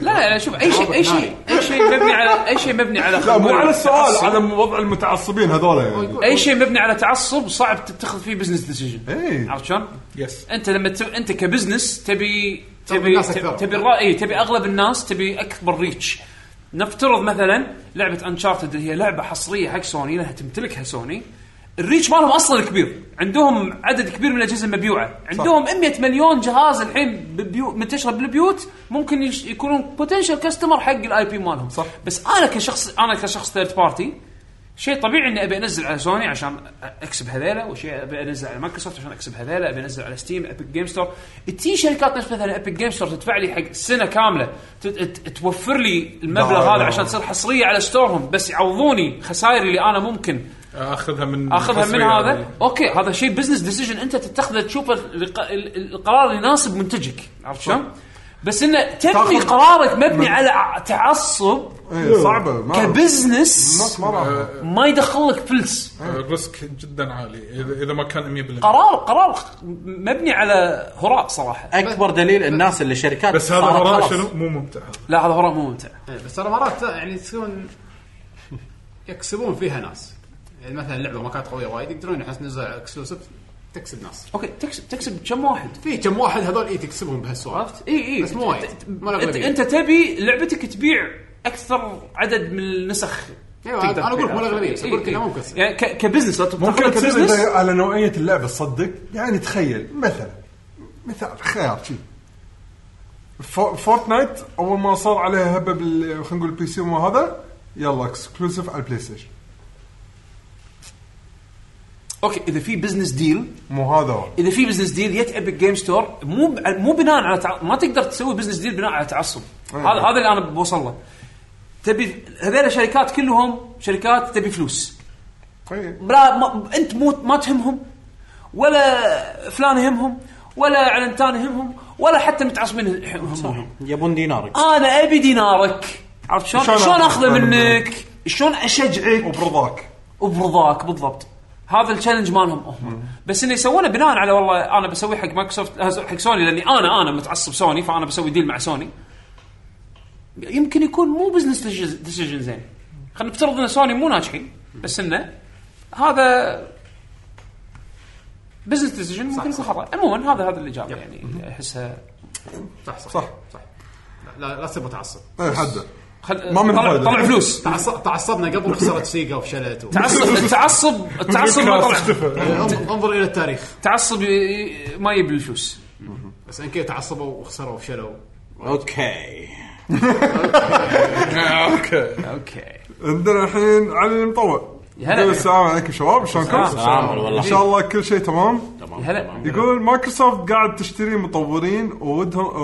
Speaker 9: لا لا شوف اي شيء اي شيء اي شيء مبني على اي شيء مبني على
Speaker 2: آه، لا
Speaker 9: خلينا
Speaker 2: مو
Speaker 9: نقول
Speaker 2: على السؤال
Speaker 9: تعصب.
Speaker 2: على وضع المتعصبين هذول يعني
Speaker 9: اي شيء مبني على تعصب صعب تتخذ فيه بزنس ديسيجن
Speaker 2: إيه.
Speaker 9: عرفت شلون؟
Speaker 3: يس
Speaker 9: انت لما ت... انت كبزنس تبي
Speaker 6: تبي
Speaker 9: تبي
Speaker 6: الناس أكثر.
Speaker 9: تبي, تبي الراي تبي اغلب الناس تبي اكبر ريتش نفترض مثلا لعبه انشارتد اللي هي لعبه حصريه حق سوني لها تمتلكها سوني الريتش مالهم اصلا كبير عندهم عدد كبير من الاجهزه المبيوعه عندهم 100 مليون جهاز الحين ببيو... منتشره بالبيوت ممكن يش... يكونون بوتنشال كاستمر حق الاي بي مالهم
Speaker 2: صح.
Speaker 9: بس انا كشخص انا كشخص ثيرد بارتي شيء طبيعي اني ابي انزل على سوني عشان اكسب هذيلا وشيء ابي انزل على مايكروسوفت عشان اكسب هذيلا ابي انزل على ستيم ابيك جيم ستور تي شركات نفس مثلا ابيك جيم ستور تدفع لي حق سنه كامله ت- ت- توفر لي المبلغ
Speaker 2: لا،
Speaker 9: هذا
Speaker 2: لا.
Speaker 9: عشان تصير حصريه على ستورهم بس يعوضوني خسائري اللي انا ممكن
Speaker 3: اخذها من
Speaker 9: اخذها من
Speaker 3: حصرية
Speaker 9: هذا اوكي هذا شيء بزنس ديسيجن انت تتخذه تشوف ال- الق- ال- القرار اللي يناسب منتجك عرفت شلون؟ بس انه تبني
Speaker 2: تاخذ-
Speaker 9: قرارك مبني على ع- تعصب
Speaker 2: إيه، صعبه ما
Speaker 9: كبزنس
Speaker 2: الناس ما راح
Speaker 9: ما يدخل لك فلس
Speaker 3: آه، ريسك جدا عالي اذا إذا ما كان 100%
Speaker 9: قرار قرار مبني على هراء صراحه
Speaker 4: اكبر دليل الناس اللي شركات
Speaker 3: بس هذا
Speaker 4: صارت
Speaker 3: وراء
Speaker 4: خلاص.
Speaker 3: شنو مو ممتع هذا
Speaker 9: لا هذا هراء مو ممتع
Speaker 6: إيه، بس ترى مرات يعني تكون يكسبون فيها ناس يعني مثلا اللعبه ما كانت قويه وايد يقدرون يحس نزل اكسلوسيف تكسب ناس
Speaker 9: اوكي تكسب تكسب كم واحد
Speaker 6: في كم واحد هذول اي تكسبهم بهالسوالف
Speaker 9: عرفت؟ اي اي
Speaker 6: بس مو وايد. ما له
Speaker 9: انت,
Speaker 6: أغلبية.
Speaker 9: انت تبي لعبتك تبيع اكثر عدد من النسخ
Speaker 6: أيوة،
Speaker 9: تقدر
Speaker 6: أنا أقول لك مو
Speaker 9: تبيعها.
Speaker 6: الأغلبية، بس
Speaker 9: إي،
Speaker 6: أقول لك
Speaker 9: إي.
Speaker 6: إنها ممكن تصير.
Speaker 9: يعني ك- كبزنس لو
Speaker 2: ممكن
Speaker 9: تفكر
Speaker 2: تصير
Speaker 9: كبزنس
Speaker 2: إذا على نوعيه اللعبه تصدق يعني تخيل مثلا مثال خيار شي فو- فورتنايت اول ما صار عليها هبه بال خلينا نقول البي سي وما هذا يلا اكسكلوسيف على البلاي ستيشن
Speaker 9: اوكي اذا في بزنس ديل
Speaker 2: مو هذا هو
Speaker 9: اذا في بزنس ديل يت ابيك جيم ستور مو ب- مو بناء على تع... ما تقدر تسوي بزنس ديل بناء على تعصب هذا
Speaker 2: أيوة.
Speaker 9: هذا اللي انا بوصل له تبي هذول شركات كلهم شركات تبي فلوس
Speaker 2: إيه.
Speaker 9: بلا ما انت مو ما تهمهم ولا فلان يهمهم ولا علنتان يهمهم ولا حتى متعصبين يهمهم
Speaker 4: يبون دينارك
Speaker 9: انا ابي دينارك عرفت شلون؟
Speaker 2: شلون
Speaker 9: شلون
Speaker 2: أخذ
Speaker 9: اخذه
Speaker 2: منك؟
Speaker 9: منك؟ شلون اشجعك
Speaker 2: وبرضاك
Speaker 9: وبرضاك بالضبط هذا التشالنج مالهم هم بس انه يسوونه بناء على والله انا بسوي حق مايكروسوفت حق سوني لاني انا انا متعصب سوني فانا بسوي ديل مع سوني يمكن يكون مو بزنس ديسيجن زين خلينا نفترض ان سوني مو ناجحين بس انه هذا بزنس ديسيجن ممكن يكون خطا عموما هذا هذا الاجابه يعني احسها
Speaker 4: صح صح
Speaker 2: صح.
Speaker 4: صح لا لا تصير متعصب
Speaker 2: اي حده
Speaker 9: خل...
Speaker 2: ما من
Speaker 9: طلع,
Speaker 2: فايدة.
Speaker 9: طلع فلوس
Speaker 7: تعصب تعصبنا قبل خسرت سيجا وفشلت و...
Speaker 9: تعصب التعصب التعصب ما طلع
Speaker 6: إيه،
Speaker 7: انظر انظر الى التاريخ
Speaker 9: التعصب ي- ي- ما يجيب الفلوس
Speaker 7: بس ان كذا تعصبوا وخسروا وفشلوا
Speaker 4: اوكي
Speaker 9: اوكي
Speaker 2: عندنا الحين علي المطوع
Speaker 9: يا هلا
Speaker 2: يقول
Speaker 9: يا.
Speaker 2: السلام عليكم شباب شلونكم؟
Speaker 4: سلام
Speaker 2: ان
Speaker 4: والله
Speaker 2: شاء الله كل شيء تمام
Speaker 4: تمام
Speaker 9: هلا.
Speaker 4: تمام.
Speaker 2: يقول مايكروسوفت قاعد تشتري مطورين وودهم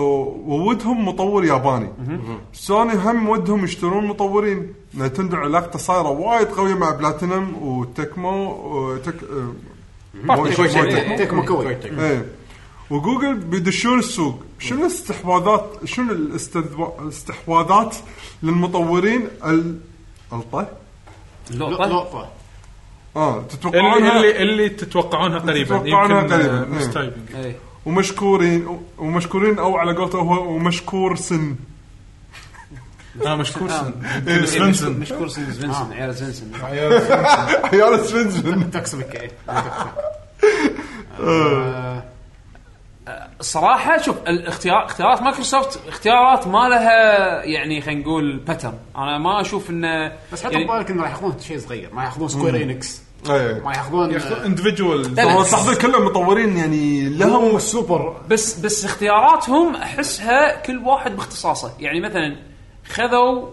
Speaker 2: وودهم مطور ياباني سوني هم ودهم يشترون مطورين نتندو علاقته صايره وايد قويه مع بلاتينم وتكمو وتك آه، مو-
Speaker 7: شوي
Speaker 2: مو تكمو.
Speaker 7: شوي تكمو كوي
Speaker 4: كويتك.
Speaker 2: ايه وجوجل بيدشون السوق شنو الاستحواذات شنو الاستذو- الاستحواذات للمطورين ال الطه
Speaker 9: اللقطه
Speaker 7: نقطة
Speaker 2: اه
Speaker 3: اللي
Speaker 2: تتوقعونها
Speaker 3: اللي, اللي تتوقعونها قريبا
Speaker 2: تتوقعونها
Speaker 3: يمكن
Speaker 2: قريباً.
Speaker 3: آه،
Speaker 2: إيه.
Speaker 3: مستايبنج
Speaker 9: إيه.
Speaker 2: ومشكورين ومشكورين او على قولته هو ومشكور سن
Speaker 3: انا مشكور سن
Speaker 2: إيه،
Speaker 3: سفنسن.
Speaker 9: مشكور سن سفنسن عيال سفنسن
Speaker 2: عيال سفنسن
Speaker 7: تكسبك ايه
Speaker 9: الصراحه شوف الاختيار اختيارات مايكروسوفت اختيارات ما لها يعني خلينا نقول باترن انا ما اشوف انه
Speaker 7: بس حط
Speaker 9: يعني-
Speaker 7: ببالك انه راح ياخذون شيء صغير ما ياخذون سكوير انكس
Speaker 2: إيه.
Speaker 7: ما ياخذون
Speaker 3: اندفجوال
Speaker 2: طبعا صح ذول كلهم مطورين يعني لهم
Speaker 7: سوبر
Speaker 9: بس بس اختياراتهم احسها كل واحد باختصاصه يعني مثلا خذوا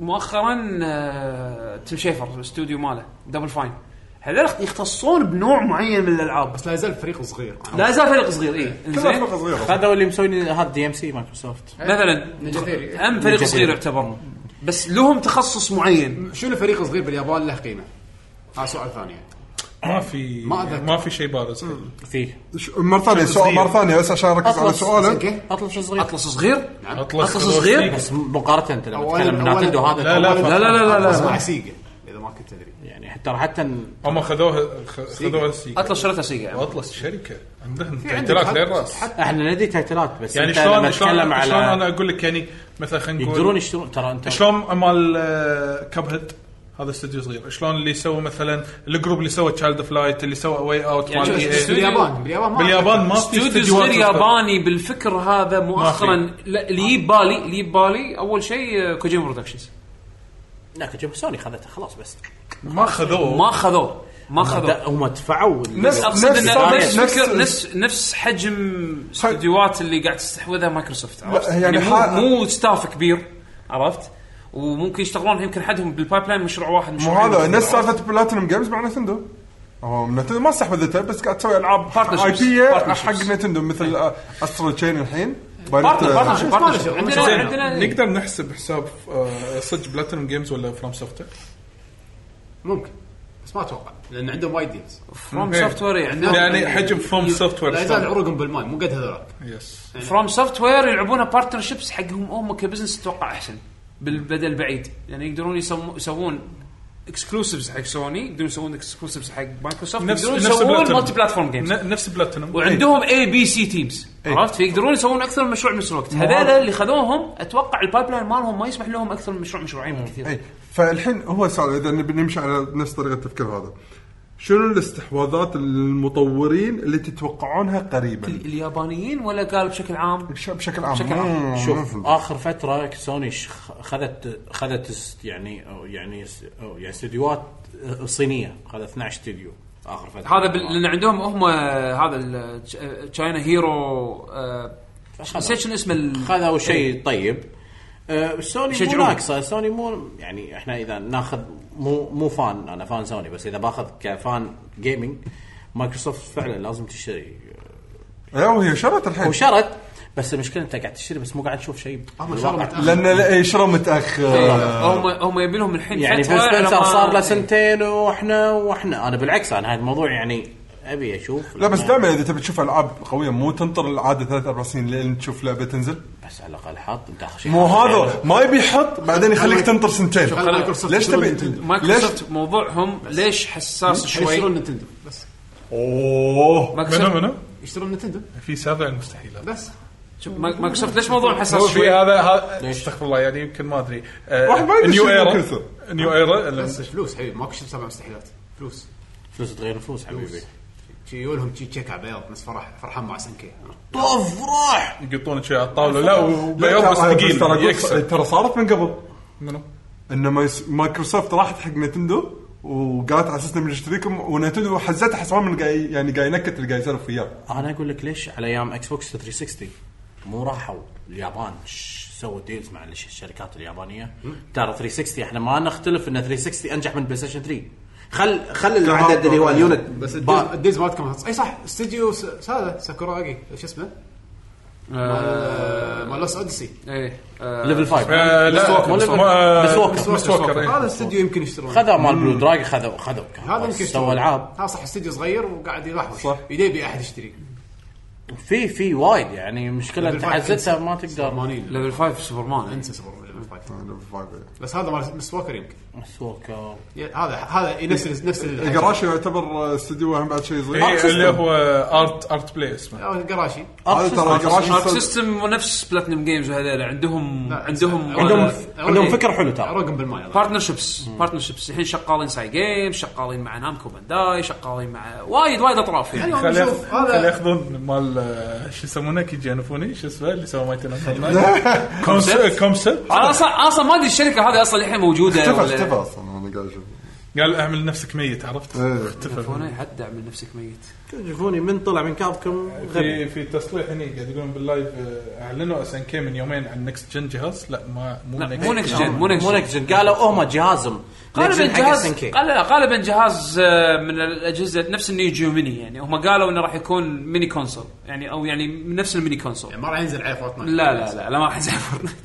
Speaker 9: مؤخرا آه، تيم شيفر الاستوديو ماله دبل فاين هذول يختصون بنوع معين من الالعاب
Speaker 7: بس لا يزال فريق صغير
Speaker 9: لا يزال فريق صغير إيه. اي
Speaker 2: كلها
Speaker 9: انزين
Speaker 2: فرقه صغيره
Speaker 4: هذا اللي مسوي هذا دي ام سي مايكروسوفت
Speaker 9: مثلا
Speaker 7: نينجا ثيري.
Speaker 9: اهم فريق صغير يعتبر بس لهم تخصص معين
Speaker 7: شنو فريق صغير باليابان له قيمه؟ هذا سؤال ثاني
Speaker 3: ما في
Speaker 7: ما أذكر.
Speaker 3: ما في شيء بارز
Speaker 4: فيه
Speaker 2: ش- مره ثانيه سؤال مره ثانيه بس عشان اركز على
Speaker 4: أطلس.
Speaker 2: سؤالك
Speaker 7: اوكي
Speaker 4: اطلس صغير
Speaker 9: اطلس صغير
Speaker 3: اطلس
Speaker 9: أطلس
Speaker 3: إيه.
Speaker 9: صغير؟
Speaker 4: بس مقارنه انت لما
Speaker 7: أولاً-
Speaker 4: تتكلم من ناتندو
Speaker 7: أولاً-
Speaker 4: هذا
Speaker 3: لا لا
Speaker 4: أولاً
Speaker 9: لا لا لا لا,
Speaker 7: بس
Speaker 9: لا.
Speaker 7: مع سيجا اذا ما كنت تدري
Speaker 4: يعني حتى حتى
Speaker 3: هم خذوها خ- خذوها سيجا
Speaker 9: اطلس شريتها سيجا
Speaker 3: واطلس شركه عندهم تعديلات
Speaker 7: حد-
Speaker 3: غير راس
Speaker 7: حد-
Speaker 4: احنا ندري تايتلات بس
Speaker 3: يعني
Speaker 4: انت لما
Speaker 3: شلون شلون
Speaker 4: تتكلم
Speaker 3: على... شلون انا
Speaker 4: على
Speaker 3: اقول لك يعني مثلا خلينا نقول
Speaker 4: يقدرون يشترون ترى انت
Speaker 3: شلون مال كاب هيد هذا استوديو صغير شلون اللي سوى مثلا الجروب اللي سوى تشايلد اوف لايت اللي سوى واي اوت
Speaker 9: يعني شوف
Speaker 3: مال EA.
Speaker 9: استوديو-
Speaker 7: باليابان باليابان ما
Speaker 3: باليابان ما في
Speaker 9: استوديو
Speaker 3: استديوهات
Speaker 9: صغير
Speaker 3: أصغر.
Speaker 9: ياباني بالفكر هذا مؤخرا لا، اللي يجيب بالي اللي يجيب بالي اول شيء آه، كوجيما برودكشنز
Speaker 4: لا كوجيما سوني خذتها خلاص بس
Speaker 3: ما خذوه
Speaker 9: ما خذوه ما خذوه
Speaker 4: ده- هم دفعوا
Speaker 2: نفس-
Speaker 9: اقصد
Speaker 2: نفس-
Speaker 9: انه
Speaker 2: نفس-
Speaker 9: نفس فكر-
Speaker 2: نفس-
Speaker 9: نفس نفس حجم استديوهات اللي قاعد تستحوذها مايكروسوفت عرفت؟
Speaker 2: يعني
Speaker 9: يعني مو,
Speaker 2: حال-
Speaker 9: مو ستاف كبير عرفت وممكن يشتغلون يمكن حدهم بالبايب لاين مشروع واحد
Speaker 2: مو
Speaker 9: مشروع
Speaker 2: هذا نفس سالفه بلاتينم جيمز مع نتندو هو نتندو ما استحوذتها بس قاعد تسوي العاب
Speaker 9: Partnerships.
Speaker 2: اي بي حق
Speaker 9: Partnerships.
Speaker 2: نتندو مثل استرال تشين الحين
Speaker 9: بارتنر بارتنر
Speaker 2: بايونيت-
Speaker 9: بارتنر عندنا
Speaker 3: زين،
Speaker 9: عندنا
Speaker 3: نقدر نحسب حساب آه، صدق بلاتينوم جيمز ولا فروم سوفت
Speaker 7: ممكن بس ما اتوقع لان عندهم وايد ديلز
Speaker 9: فروم
Speaker 3: إيه.
Speaker 9: سوفت وير
Speaker 1: آه،
Speaker 9: عندنا
Speaker 3: يعني حجم فروم سوفت
Speaker 7: لا يزال
Speaker 3: وير
Speaker 7: عروقهم بالماي مو قد هذولاك
Speaker 3: يس
Speaker 9: فروم سوفت وير يلعبونها بارتنر شيبس حقهم هم كبزنس اتوقع احسن بالبدل البعيد يعني يقدرون يسمو- يسوون اكسكلوسيفز حق سوني يقدرون يسوون اكسكلوسيفز حق مايكروسوفت
Speaker 3: نفس-
Speaker 9: يقدرون
Speaker 3: نفس
Speaker 9: يسوون
Speaker 3: Platinum.
Speaker 9: مالتي بلاتفورم جيمز
Speaker 3: ن- نفس بلاتينوم
Speaker 9: وعندهم اي بي سي تيمز
Speaker 2: إيه.
Speaker 9: عرفت فيقدرون يسوون اكثر من مشروع بنفس الوقت هذول اللي خذوهم اتوقع البايب لاين مالهم ما يسمح لهم اكثر من مشروع مشروعين كثير
Speaker 2: اي إيه، فالحين هو سؤال اذا نبي نمشي على نفس طريقه التفكير هذا شنو الاستحواذات للمطورين اللي تتوقعونها قريبا
Speaker 9: اليابانيين ولا قال بشكل عام
Speaker 2: بش- بشكل عام
Speaker 9: بشكل عام.
Speaker 2: مم.
Speaker 4: شوف اخر فتره سوني ش- خذت خذت س- يعني أو يعني س- أو يعني استديوهات صينيه خذت 12 استديو اخر فتره
Speaker 9: هذا بال... لان عندهم هم هذا ال- آه، تش- تشاينا هيرو آه، نسيت شنو اسمه ال-
Speaker 2: إيه.
Speaker 4: خذوا شيء طيب آه، سوني مو
Speaker 9: يشجعون.
Speaker 4: ناقصه سوني مو يعني احنا اذا ناخذ مو مو فان انا فان سوني بس اذا باخذ كفان جيمنج مايكروسوفت فعلا لازم تشتري
Speaker 2: ايوه وهي شرت الحين
Speaker 4: وشرت بس المشكله انت قاعد تشتري بس مو قاعد تشوف شيء بالواقع.
Speaker 2: لان لا- إيه، شروا
Speaker 3: إيه.
Speaker 2: متاخر
Speaker 9: هم هم يبي لهم الحين
Speaker 4: آه، يعني
Speaker 9: فترة
Speaker 4: فيل سبنسر
Speaker 9: لما-
Speaker 4: صار له سنتين واحنا واحنا انا بالعكس انا هذا الموضوع يعني ابي اشوف
Speaker 2: لا بس
Speaker 4: لما-
Speaker 2: دائما اذا تبي تشوف العاب قويه مو تنطر العاده ثلاث اربع سنين لين تشوف لعبه تنزل
Speaker 4: بس على الاقل حاط انت اخر شيء
Speaker 2: مو هذا ما يبي يحط بعدين يخليك تنطر سنتين
Speaker 7: مايكروسوفت
Speaker 2: ليش
Speaker 7: يشترون
Speaker 2: تبي
Speaker 7: نينتندو.
Speaker 2: ليش
Speaker 9: مايكروسوفت موضوعهم ليش حساس
Speaker 7: يشترون
Speaker 9: شوي
Speaker 7: نتندو بس
Speaker 2: اوه
Speaker 3: منو
Speaker 9: مايكروسوفت
Speaker 3: منو؟
Speaker 7: يشترون نتندو
Speaker 3: في سابع المستحيلات
Speaker 7: بس
Speaker 9: شوف، مايكروسوفت ليش موضوعهم حساس
Speaker 3: هو في
Speaker 9: شوي
Speaker 3: هذا هذا استغفر الله يعني يمكن ما ادري
Speaker 2: واحد ما يدري
Speaker 3: نيو
Speaker 2: شنو
Speaker 3: ايرا
Speaker 2: يكسر.
Speaker 3: نيو ايرا
Speaker 7: بس فلوس حبيبي ماكو شيء سبع مستحيلات فلوس
Speaker 4: فلوس تغير فلوس حبيبي
Speaker 7: فلوس شي يولهم شي تشيك على بياض نفس فرح فرحان مع سنكي
Speaker 4: طف راح
Speaker 3: يقطون شيء على الطاوله لا وبيض
Speaker 2: لا،
Speaker 3: بس
Speaker 2: ترى-
Speaker 3: ثقيل
Speaker 2: ترى أقول-
Speaker 3: يكسر
Speaker 2: ترى صارت من قبل
Speaker 3: منو؟
Speaker 2: ان مايس- مايكروسوفت راحت حق نتندو وقالت على اساس بنشتريكم ونتندو حزتها حسبان من قاعد يعني قاعد ينكت اللي قاعد يسولف وياه
Speaker 4: انا اقول لك ليش على ايام اكس بوكس 360 مو راحوا اليابان ش- سووا ديلز مع الش- الشركات اليابانيه ترى 360 احنا ما نختلف ان 360 انجح من بلاي ستيشن 3 خل خل العدد اللي هو اليونت
Speaker 7: بس
Speaker 4: با-
Speaker 7: الديز مالتكم اي صح استديو س- هذا ساكوراغي شو اسمه؟ مال- مال لوس اوديسي
Speaker 9: ايه آه،
Speaker 4: ليفل 5
Speaker 3: آه، لا
Speaker 4: مو ليفل-
Speaker 3: بس
Speaker 4: بس ووكر.
Speaker 3: ووكر بس ووكر
Speaker 7: هذا
Speaker 3: إيه.
Speaker 7: استديو يمكن يشترون
Speaker 4: خذوا مال بلو دراج خذوا خذوا
Speaker 7: هذا يمكن
Speaker 4: سووا
Speaker 7: يشترون
Speaker 4: العاب
Speaker 7: هذا صح استديو صغير وقاعد يلحوش
Speaker 2: صح.
Speaker 7: صح يبي احد يشتري
Speaker 4: في في وايد يعني مشكله انت
Speaker 7: بالفعل
Speaker 4: حزتها
Speaker 7: تنسى.
Speaker 4: ما تقدر
Speaker 7: مانين
Speaker 9: ليفل 5 سوبرمان
Speaker 7: انسى سوبر مان فايت. بس هذا مال مس ووكر يمكن
Speaker 4: بس ووكر.
Speaker 7: يا- هذا هذا نفس نفس الحجم.
Speaker 2: الجراشي يعتبر استديو اهم بعد شيء صغير
Speaker 3: إيه، اللي هو ارت ارت بلاي اسمه
Speaker 7: آه، قراشي
Speaker 2: هذا ترى
Speaker 9: ارك
Speaker 2: الجراشي صار-
Speaker 9: سيستم نفس بلاتنم جيمز وهذول عندهم عندهم
Speaker 4: عندهم- عندهم فكر حلو ترى.
Speaker 7: روقهم بالماي هذا.
Speaker 9: بارتنرشيبس بارتنرشيبس الحين شغالين ساي جيمز شغالين مع نامكو بانداي شغالين مع وايد وايد اطراف يعني
Speaker 7: خلينا
Speaker 3: خلي
Speaker 7: نشوف
Speaker 3: خلي
Speaker 7: هذا
Speaker 3: ياخذون مال آه، شو يسمونه كي جانفوني شو اسمه اللي سوى مايتن أند كونسبت كونسبت
Speaker 9: انا اصلا اصلا ما ادري الشركه هذه اصلا الحين موجوده
Speaker 2: اختفى
Speaker 9: ولا-
Speaker 2: اختفى اصلا انا قاعد اشوف
Speaker 3: قال اعمل نفسك ميت عرفت
Speaker 2: إيه.
Speaker 3: اختفى
Speaker 9: فوني حد من نفسك ميت
Speaker 4: شوفوني من طلع من كابكم
Speaker 3: في في تصريح هني قاعد يقولون باللايف آه، اعلنوا اس ان كي من يومين عن نكست جن جهاز لا ما مو
Speaker 9: لا، مو next gen. مو next gen.
Speaker 4: مو نكست جن قالوا هم جهازهم
Speaker 9: غالبا
Speaker 4: next gen حق
Speaker 9: جهاز
Speaker 4: SNK.
Speaker 9: قال لا غالبا جهاز آه، من الاجهزه نفس النيجيو ميني يعني هم قالوا انه راح يكون ميني كونسول يعني او يعني من نفس الميني كونسول
Speaker 7: يعني ما راح ينزل عليه فورتنايت
Speaker 9: لا لا لا لا ما راح ينزل فورتنايت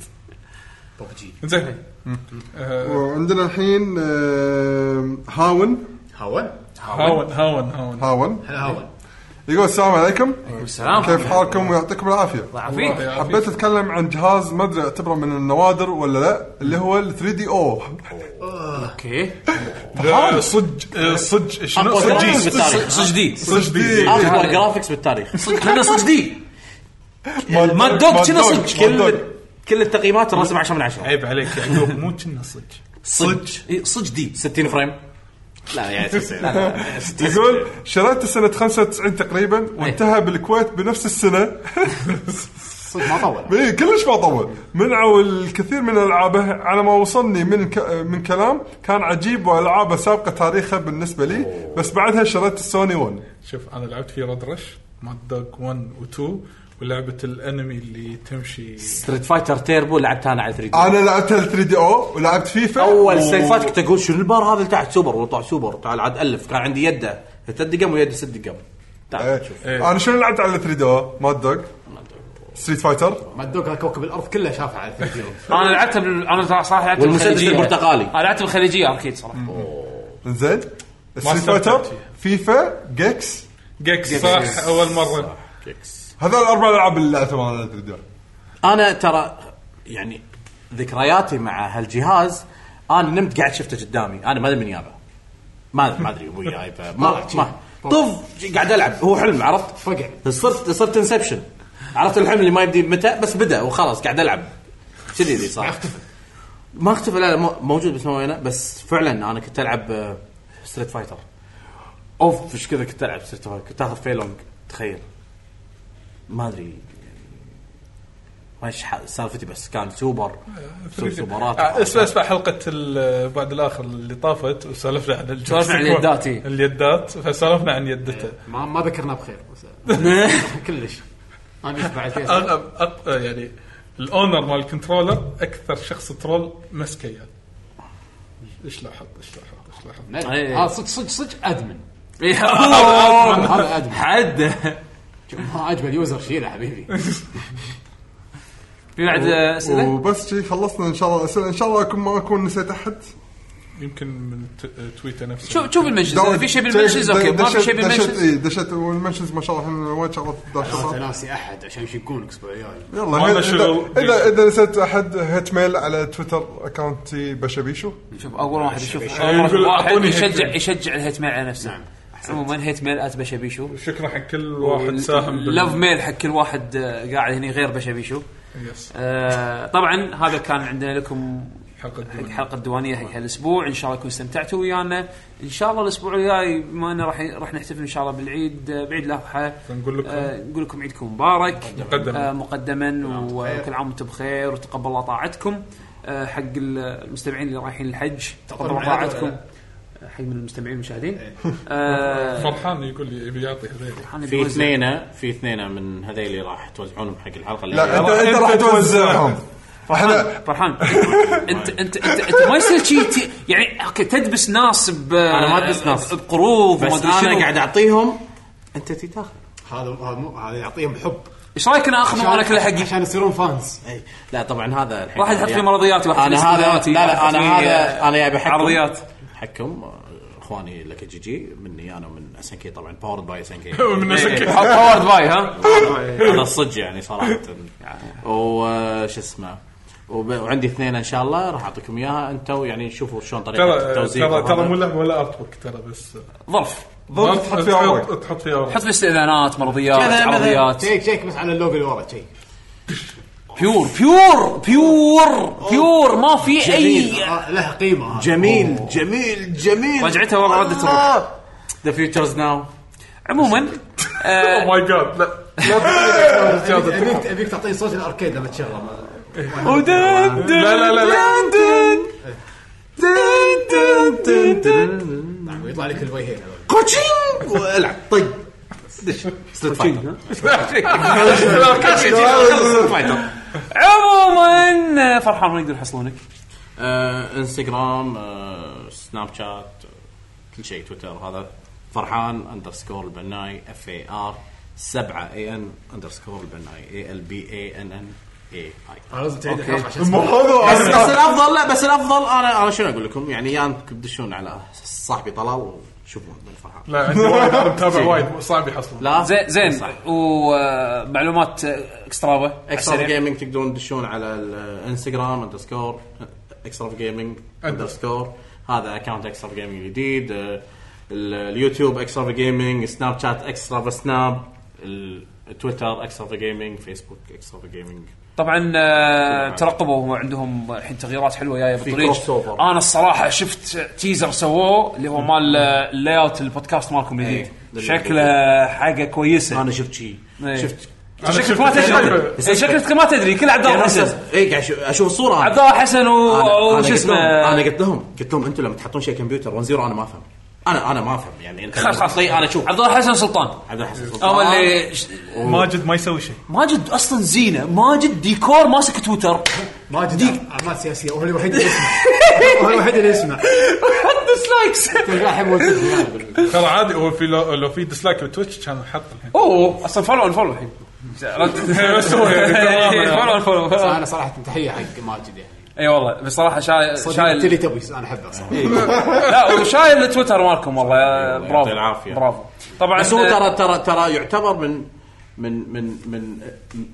Speaker 7: ببجي
Speaker 3: زين آه،
Speaker 2: وعندنا الحين آم، هاون
Speaker 7: هاون
Speaker 3: هاون هاون هاون
Speaker 2: هاون
Speaker 7: هلا هاون
Speaker 2: يقول السلام عليكم
Speaker 9: السلام
Speaker 2: كيف حالكم ويعطيكم العافيه
Speaker 9: عافيك
Speaker 3: يعافيك.
Speaker 2: حبيت اتكلم عن جهاز ما ادري اعتبره من النوادر ولا لا اللي هو ال 3 دي او
Speaker 9: اوكي
Speaker 3: لا، صج آه، صج شنو
Speaker 4: أقوى جهاز
Speaker 3: صجي
Speaker 4: بالتاريخ
Speaker 9: صجدي
Speaker 2: صدق
Speaker 3: آه،
Speaker 4: اكبر جرافكس بالتاريخ
Speaker 9: كنا صجدي مال دوغ كنا صج.
Speaker 4: كل كل التقييمات الرسم 10 من 10
Speaker 3: عيب عليك يعقوب مو كنا صج
Speaker 4: صج
Speaker 9: إيه،
Speaker 4: صج دي 60 فريم لا يعني
Speaker 2: يقول شريته سنه 95 تقريبا
Speaker 4: إيه.
Speaker 2: وانتهى بالكويت بنفس السنه
Speaker 7: صدق ما طول
Speaker 2: إيه، كلش ما طول منعوا الكثير من العابه على ما وصلني من ك... من كلام كان عجيب والعابه سابقه تاريخها بالنسبه لي بس بعدها شريت السوني 1
Speaker 3: شوف انا لعبت في رد رش مال دوغ 1 و2 ولعبه الانمي اللي تمشي
Speaker 4: ستريت فايتر تيربو لعبتها انا على 3 دي
Speaker 2: انا لعبت 3 دي او ولعبت فيفا
Speaker 4: اول
Speaker 2: و-
Speaker 4: ستريت فايتر كنت اقول شنو البار هذا اللي تحت سوبر وطلع سوبر تعال عاد الف كان عندي يده ثلاث دقم ويده ست دقم
Speaker 2: إيه.
Speaker 4: تعال شوف
Speaker 2: انا شنو لعبت على 3 دي او ماد دوغ ستريت فايتر
Speaker 7: ما الدوك هذا كوكب الارض كله شافه على الفيديو
Speaker 9: انا لعبتها بال... انا ترى صراحه لعبتها
Speaker 4: والمسدس
Speaker 9: بالخليجية.
Speaker 4: البرتقالي.
Speaker 9: انا لعبتها بالخليجيه اركيد صراحه
Speaker 2: زين ستريت
Speaker 3: استمتعت
Speaker 2: فايتر
Speaker 3: فيها.
Speaker 2: فيفا جيكس
Speaker 3: جيكس صح اول مره
Speaker 2: هذول الاربع العاب اللي لعبتهم على 3 دي او
Speaker 4: انا ترى يعني ذكرياتي مع هالجهاز انا نمت قاعد شفته قدامي انا ما ادري من يابا ما ادري ما ادري ابوي جايبه ما ما طف قاعد العب هو حلم عرفت
Speaker 7: فقع.
Speaker 4: صرت صرت انسبشن عرفت الحلم اللي ما يبدي متى بس بدا وخلاص قاعد العب كذي اللي صار ما اختفى لا لا مو- موجود بس مو هنا بس فعلا انا كنت آه، العب ستريت فايتر اوف ايش كذا كنت العب ستريت فايتر كنت اخذ فيلونج تخيل ما ادري ما ايش ح- سالفتي بس كان سوبر سوبر سوبرات
Speaker 3: آه، اسمع اسمع حلقه ال- بعد الاخر اللي طافت وسولفنا عن الجويستيك
Speaker 9: سولفنا عن
Speaker 3: و-
Speaker 9: اليدات، إيه.
Speaker 3: اليدات فسولفنا عن يدته
Speaker 1: إيه.
Speaker 7: ما ما ذكرنا بخير بس- كلش ما بيش بعد
Speaker 3: أغ-
Speaker 7: فيصل
Speaker 3: أغ- أغ- يعني الاونر مال الكنترولر اكثر شخص ترول مسكه اياه ايش لاحظ ايش لاحظ ايش لاحظ
Speaker 1: إيه.
Speaker 6: هذا آه، صدق صدق صدق ادمن
Speaker 9: إيه.
Speaker 6: هذا ادمن
Speaker 1: حد
Speaker 6: شوف، ما عجبه اليوزر شيله حبيبي
Speaker 1: في بعد آه، اسئله
Speaker 2: وبس شي خلصنا ان شاء الله الاسئله ان شاء الله اكون ما اكون نسيت احد
Speaker 3: يمكن من ت- تويتر نفسه
Speaker 1: شوف شوف المنشنز إذا في شيء بالمنشنز اوكي ما في شيء
Speaker 2: بالمنشنز
Speaker 1: بالمنشنز
Speaker 2: اي دشت إيه، والمنشنز ما شاء الله الحين وايد شغلات
Speaker 6: انا
Speaker 2: داشة.
Speaker 6: ناسي احد عشان يشقون الاسبوع الجاي
Speaker 2: يلا
Speaker 3: والله
Speaker 2: إذا-
Speaker 3: شغل.
Speaker 2: اذا اذا نسيت احد هيت ميل على تويتر اكونتي بشبيشو
Speaker 1: شوف اول واحد يشوف
Speaker 3: آه،
Speaker 1: أول
Speaker 3: يقول
Speaker 1: واحد
Speaker 3: أعطوني نعم.
Speaker 1: يشجع
Speaker 3: هيت.
Speaker 1: يشجع الهيت ميل على نفسه عموما هيت ميل ات بشبيشو
Speaker 3: شكرا حق كل واحد ساهم بال-
Speaker 1: لف ميل حق كل واحد آه، قاعد هنا غير بشبيشو
Speaker 3: يس
Speaker 1: آه، طبعا هذا كان عندنا لكم
Speaker 3: حلقة
Speaker 1: حق
Speaker 3: الديوانية.
Speaker 1: حلقه الديوانيه حق هالاسبوع ان شاء الله تكونوا استمتعتوا ويانا ان شاء الله الاسبوع الجاي بما انه راح راح نحتفل ان شاء الله بالعيد آه، بعيد الاضحى
Speaker 3: فنقول لكم-
Speaker 1: آه، نقول لكم عيدكم مبارك
Speaker 3: مقدماً.
Speaker 1: آه، مقدما
Speaker 4: نعم.
Speaker 1: وكل عام وانتم بخير وتقبل الله طاعتكم آه، حق المستمعين اللي رايحين الحج تقبل الله
Speaker 6: معايا ولا
Speaker 1: طاعتكم
Speaker 6: لا؟
Speaker 1: آه، حق من المستمعين المشاهدين آه،
Speaker 3: فرحان يقول لي يبي يعطي هذيلي
Speaker 1: أنا
Speaker 4: في
Speaker 1: بوزع.
Speaker 4: اثنين في اثنين من هذيل اللي راح توزعونهم حق الحلقه اللي
Speaker 2: لا انت انت راح توزعهم راح لا
Speaker 1: فرحان انت انت انت, انت ما يصير شيء ت- يعني اوكي تدبس ناس ب
Speaker 4: أنا ما أدبس ناس.
Speaker 1: بقروض وما
Speaker 4: بس
Speaker 1: ادري
Speaker 4: انا
Speaker 1: شنو
Speaker 4: قاعد اعطيهم انت تي تاخذ
Speaker 6: هذا هذا مو- هذا يعطيهم حب
Speaker 1: ايش رايك انا اخذ انا كله حقي
Speaker 6: عشان يصيرون فانز
Speaker 4: اي لا طبعا هذا الحين
Speaker 1: واحد يحط لي مرضيات واحد
Speaker 4: انا
Speaker 1: يحط لي
Speaker 4: هذا
Speaker 1: استداماتي،
Speaker 4: لا
Speaker 1: واحد
Speaker 4: لا
Speaker 1: يحط
Speaker 4: انا
Speaker 1: لي،
Speaker 4: هذا
Speaker 1: آه،
Speaker 4: انا جايب حقكم
Speaker 1: عرضيات.
Speaker 4: حقكم آه، اخواني لك جي جي مني انا ومن اس ان كي طبعا باورد باي اس ان كي
Speaker 3: من
Speaker 1: إيه،
Speaker 3: أسكت.
Speaker 1: حط باورد باي ها
Speaker 4: انا الصج يعني صراحه وش اسمه وب- وعندي اثنين ان شاء الله راح اعطيكم اياها انتم يعني شوفوا شلون طريقه
Speaker 3: ترى
Speaker 4: التوزيع
Speaker 3: ترى ترى
Speaker 4: وهذا.
Speaker 3: مو لعبه ولا ارت بوك ترى بس
Speaker 1: ظرف
Speaker 2: ضبط تحط فيها عمرك
Speaker 3: تحط- تحط فيها
Speaker 1: حط
Speaker 3: ورق
Speaker 1: لي استئذانات مرضيات
Speaker 4: كذا، مثلاً.
Speaker 1: عرضيات
Speaker 6: شيك شيك بس على اللوجو اللي ورا شيك
Speaker 1: بيور بيور بيور بيور ما في
Speaker 6: جميل.
Speaker 1: اي
Speaker 6: آه، له قيمه هذا.
Speaker 4: جميل جميل جميل
Speaker 1: رجعتها ورا ردت الروح
Speaker 4: ذا فيوتشرز ناو
Speaker 1: عموما آه،
Speaker 3: او ماي جاد لا لا
Speaker 6: أبيك-
Speaker 3: تقول
Speaker 6: ابيك ابيك تعطيه صوت الاركيد لما تشغله ما-
Speaker 1: ودن دن
Speaker 3: لا، لا، لا، لا.
Speaker 1: دن دن. دن دن دن دن.
Speaker 6: نعم، ويطلع لك الوجهين هذول.
Speaker 4: كوتشينج والعب طق دش ستريت فايتر ستريت فايتر
Speaker 1: عموما آه، فرحان وين يقدر يحصلونك؟
Speaker 4: آه، انستغرام آه، سناب شات آه، كل شيء تويتر هذا فرحان اندرسكور البناي اف اي ار 7 اي ان اندرسكور البناي اي ال بي اي ان ان اي اي
Speaker 6: أنا لازم تعيد الحلقه عشان
Speaker 2: مو
Speaker 6: اسمع.
Speaker 4: بس بس
Speaker 2: حلو
Speaker 4: الافضل لا بس الافضل انا انا شنو اقول لكم يعني يا انكم تدشون على صاحبي طلال وشوفوا من فرحان
Speaker 3: لا عندي وايد أنا متابع وايد صعب يحصلون
Speaker 4: لا
Speaker 1: زين زين
Speaker 4: صح.
Speaker 1: ومعلومات آه، اكسترافا
Speaker 4: اكسترا جيمنج تقدرون تدشون على الانستغرام اندرسكور اكسترا جيمنج اندرسكور هذا اكونت اكسترا جيمنج جديد آه، ال- اليوتيوب اكسترا جيمنج سناب شات اكسترا سناب التويتر اكسترا جيمنج فيسبوك اكسترا جيمنج
Speaker 1: طبعا آه، ترقبوا عندهم الحين تغييرات حلوه جايه بالطريق
Speaker 4: كروس أوفر.
Speaker 1: انا الصراحه شفت تيزر سووه اللي هو مال آه، اللاي اوت البودكاست مالكم الجديد
Speaker 4: أي.
Speaker 1: شكله حاجه كويسه
Speaker 4: انا شفت شيء
Speaker 1: إيه.
Speaker 4: شفت
Speaker 3: أنا
Speaker 1: شكلك
Speaker 3: شفت-
Speaker 1: ما
Speaker 3: أنا-
Speaker 1: تدري إيه، شكلك ما تدري كل عبد الله حسن
Speaker 4: اي إيه، قاعد أشوف- اشوف صوره
Speaker 1: عبد الله حسن و- وش اسمه
Speaker 4: انا قلت لهم قلت لهم انتم لما تحطون شيء كمبيوتر 1 0 انا ما افهم انا انا ما افهم يعني انت
Speaker 1: خلاص خلاص
Speaker 4: انا اشوف
Speaker 1: عبد الله حسن سلطان
Speaker 4: عبد الله حسن
Speaker 1: هو
Speaker 4: سلطان.
Speaker 1: اللي
Speaker 3: ماجد ما يسوي شيء
Speaker 1: ماجد اصلا زينه ماجد ديكور ماسك تويتر
Speaker 6: ماجد اعمال سياسيه هو الوحيد اللي يسمع هو الوحيد اللي يسمع
Speaker 1: ديسلايكس
Speaker 6: تلقاه الحين موجود
Speaker 3: ترى عادي هو في لو, لو في ديسلايك بتويتش كان حط الحين
Speaker 1: اوه اصلا فولو فولو الحين
Speaker 3: بس هو يعني
Speaker 1: فولو
Speaker 3: تمام.
Speaker 1: فولو
Speaker 6: انا صراحه تحيه حق ماجد يعني
Speaker 1: اي والله بصراحه شايل
Speaker 6: شايل
Speaker 1: شايل
Speaker 6: اللي تبي انا احبه صراحه
Speaker 1: لا وشايل التويتر مالكم والله يا
Speaker 4: يعطيه
Speaker 1: برافو
Speaker 4: العافية.
Speaker 1: برافو طبعا
Speaker 4: بس هو ترى ترى ترى يعتبر من من من من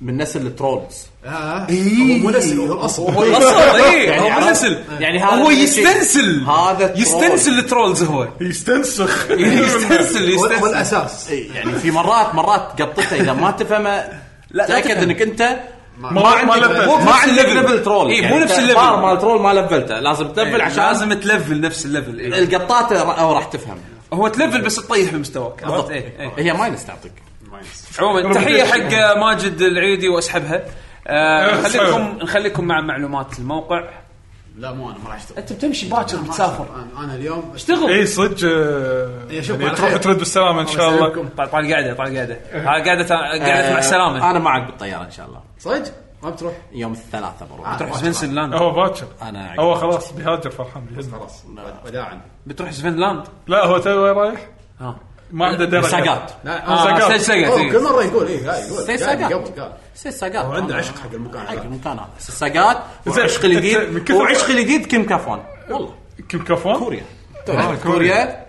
Speaker 4: من نسل الترولز
Speaker 6: آه، هو مو نسل هو
Speaker 1: إيه.
Speaker 6: الاصل
Speaker 1: اصلا اي آه، هو
Speaker 4: عرفت؟
Speaker 1: منسل
Speaker 4: يعني هذا
Speaker 1: هو
Speaker 4: الشيء-
Speaker 1: يستنسل
Speaker 4: هذا ترول.
Speaker 1: يستنسل الترولز هو
Speaker 3: يستنسخ
Speaker 1: يستنسل
Speaker 6: هو هو
Speaker 1: يستنسل
Speaker 6: الاساس
Speaker 4: إيه، يعني في مرات مرات قطته اذا ما تفهمه
Speaker 1: لا
Speaker 4: تاكد
Speaker 1: تفهم.
Speaker 4: انك انت
Speaker 3: ما
Speaker 4: عندك
Speaker 3: لفلت.
Speaker 4: مو
Speaker 1: مو
Speaker 4: ما
Speaker 1: نفس
Speaker 4: عندك
Speaker 1: الليفل.
Speaker 4: ليفل ترول
Speaker 1: إيه،
Speaker 4: يعني
Speaker 1: مو
Speaker 4: أنت
Speaker 1: نفس الليفل.
Speaker 4: البار مال ترول ما لفلته لازم تلفل عشان لازم
Speaker 1: لازم تلفل نفس الليفل إيه.
Speaker 4: القطات را- أو راح تفهم
Speaker 1: هو تلفل بس تطيح من مستواك عرفت؟ إيه، إيه.
Speaker 4: هي ماينس تعطيك
Speaker 1: عموما تحيه حق ماجد العيدي واسحبها آه، نخليكم نخليكم مع معلومات الموقع
Speaker 6: لا مو انا ما راح اشتغل
Speaker 1: انت بتمشي باكر بتسافر
Speaker 6: أنا- انا اليوم
Speaker 1: اشتغل
Speaker 3: اي إيه، صدق آه،
Speaker 6: إيه، شوف،
Speaker 3: يعني
Speaker 6: على
Speaker 3: تروح
Speaker 6: خير.
Speaker 3: ترد بالسلامه ان شاء الله
Speaker 1: طال طال قاعده طال قاعده طال قاعده قاعده مع السلامه
Speaker 4: انا معك بالطياره ان شاء الله
Speaker 6: صدق ما بتروح
Speaker 1: يوم الثلاثاء
Speaker 4: آه،
Speaker 1: بروح
Speaker 9: بتروح سفنسلاند
Speaker 3: هو باكر
Speaker 1: أنا
Speaker 3: هو خلاص بيهاجر فرحان بيهاجر
Speaker 6: خلاص وداعا
Speaker 9: بتروح سفنسلاند
Speaker 3: لا هو تو وين رايح؟
Speaker 9: ها
Speaker 3: ما عنده درجه
Speaker 1: ساقات
Speaker 6: لا
Speaker 9: آه،
Speaker 3: سقط.
Speaker 9: سج- سقط،
Speaker 6: هو
Speaker 9: إيه.
Speaker 6: كل مره يقول اي يقول
Speaker 1: سيد
Speaker 6: قاعد
Speaker 1: ساقات.
Speaker 6: قبل قال
Speaker 1: ست ساقات
Speaker 6: هو عنده عشق حق المكان
Speaker 1: حق
Speaker 6: هذا.
Speaker 1: المكان هذا ست ساقات
Speaker 3: زين.
Speaker 1: وعشق الجديد
Speaker 3: من كثر-
Speaker 1: وعشق الجديد كيم كافون والله
Speaker 3: كم كفون؟
Speaker 1: كوريا
Speaker 3: آه،
Speaker 1: كوريا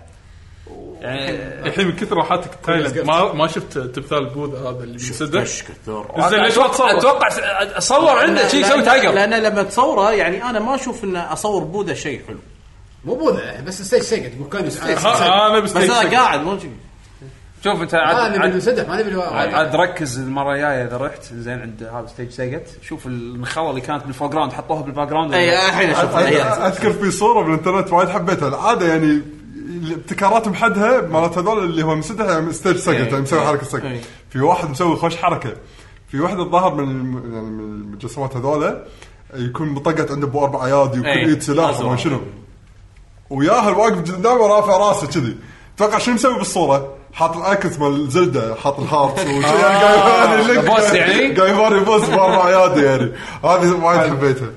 Speaker 9: يعني
Speaker 1: آه.
Speaker 3: الحين من كثر راحتك تايلاند ما ما شفت تمثال بوذا هذا اللي بينسدح
Speaker 1: ايش كثر
Speaker 3: زين ليش ما تصور؟
Speaker 9: اتوقع اتصور عنده شيء يسوي تايجر
Speaker 1: لان لما تصوره يعني انا ما اشوف ان اصور بوذا شيء حلو
Speaker 6: مو بوذا بس السيج سيج تقول كان يسعى
Speaker 3: ها، انا
Speaker 1: بس
Speaker 3: بستيك
Speaker 1: انا قاعد مو شي.
Speaker 9: شوف انت
Speaker 6: انا
Speaker 9: عاد
Speaker 6: من
Speaker 9: عاد-
Speaker 6: المسدح ما نبي
Speaker 9: عاد-
Speaker 6: الوا-
Speaker 9: عاد ركز المره الجايه اذا رحت زين عند هذا ستيج سيجت شوف النخله اللي كانت بالفور جراوند حطوها بالباك جراوند
Speaker 1: اي إيه، الحين اشوف
Speaker 2: أذ- اذكر في صوره بالانترنت وايد حبيتها العاده يعني ال- ابتكاراتهم حدها مالت هذول اللي هو يعني مسدح ستيج
Speaker 9: إيه.
Speaker 2: سكت مسوي حركه سكت في واحد مسوي خوش حركه في واحد الظاهر من الم- يعني من المجسمات هذول يكون مطقت عنده ابو اربع ايادي وكل
Speaker 1: إيه.
Speaker 2: ايد سلاح
Speaker 1: أزرق.
Speaker 2: وما شنو وياها الواقف قدامه رافع راسه كذي تتوقع شنو مسوي بالصوره؟ حاط الايكونز مال زلدة حاط الهارت وشي يعني قاعد يباري لك-
Speaker 9: آه. بوس يعني؟
Speaker 2: قاعد يباري بوس باربع ايادي يعني هذه وايد حبيتها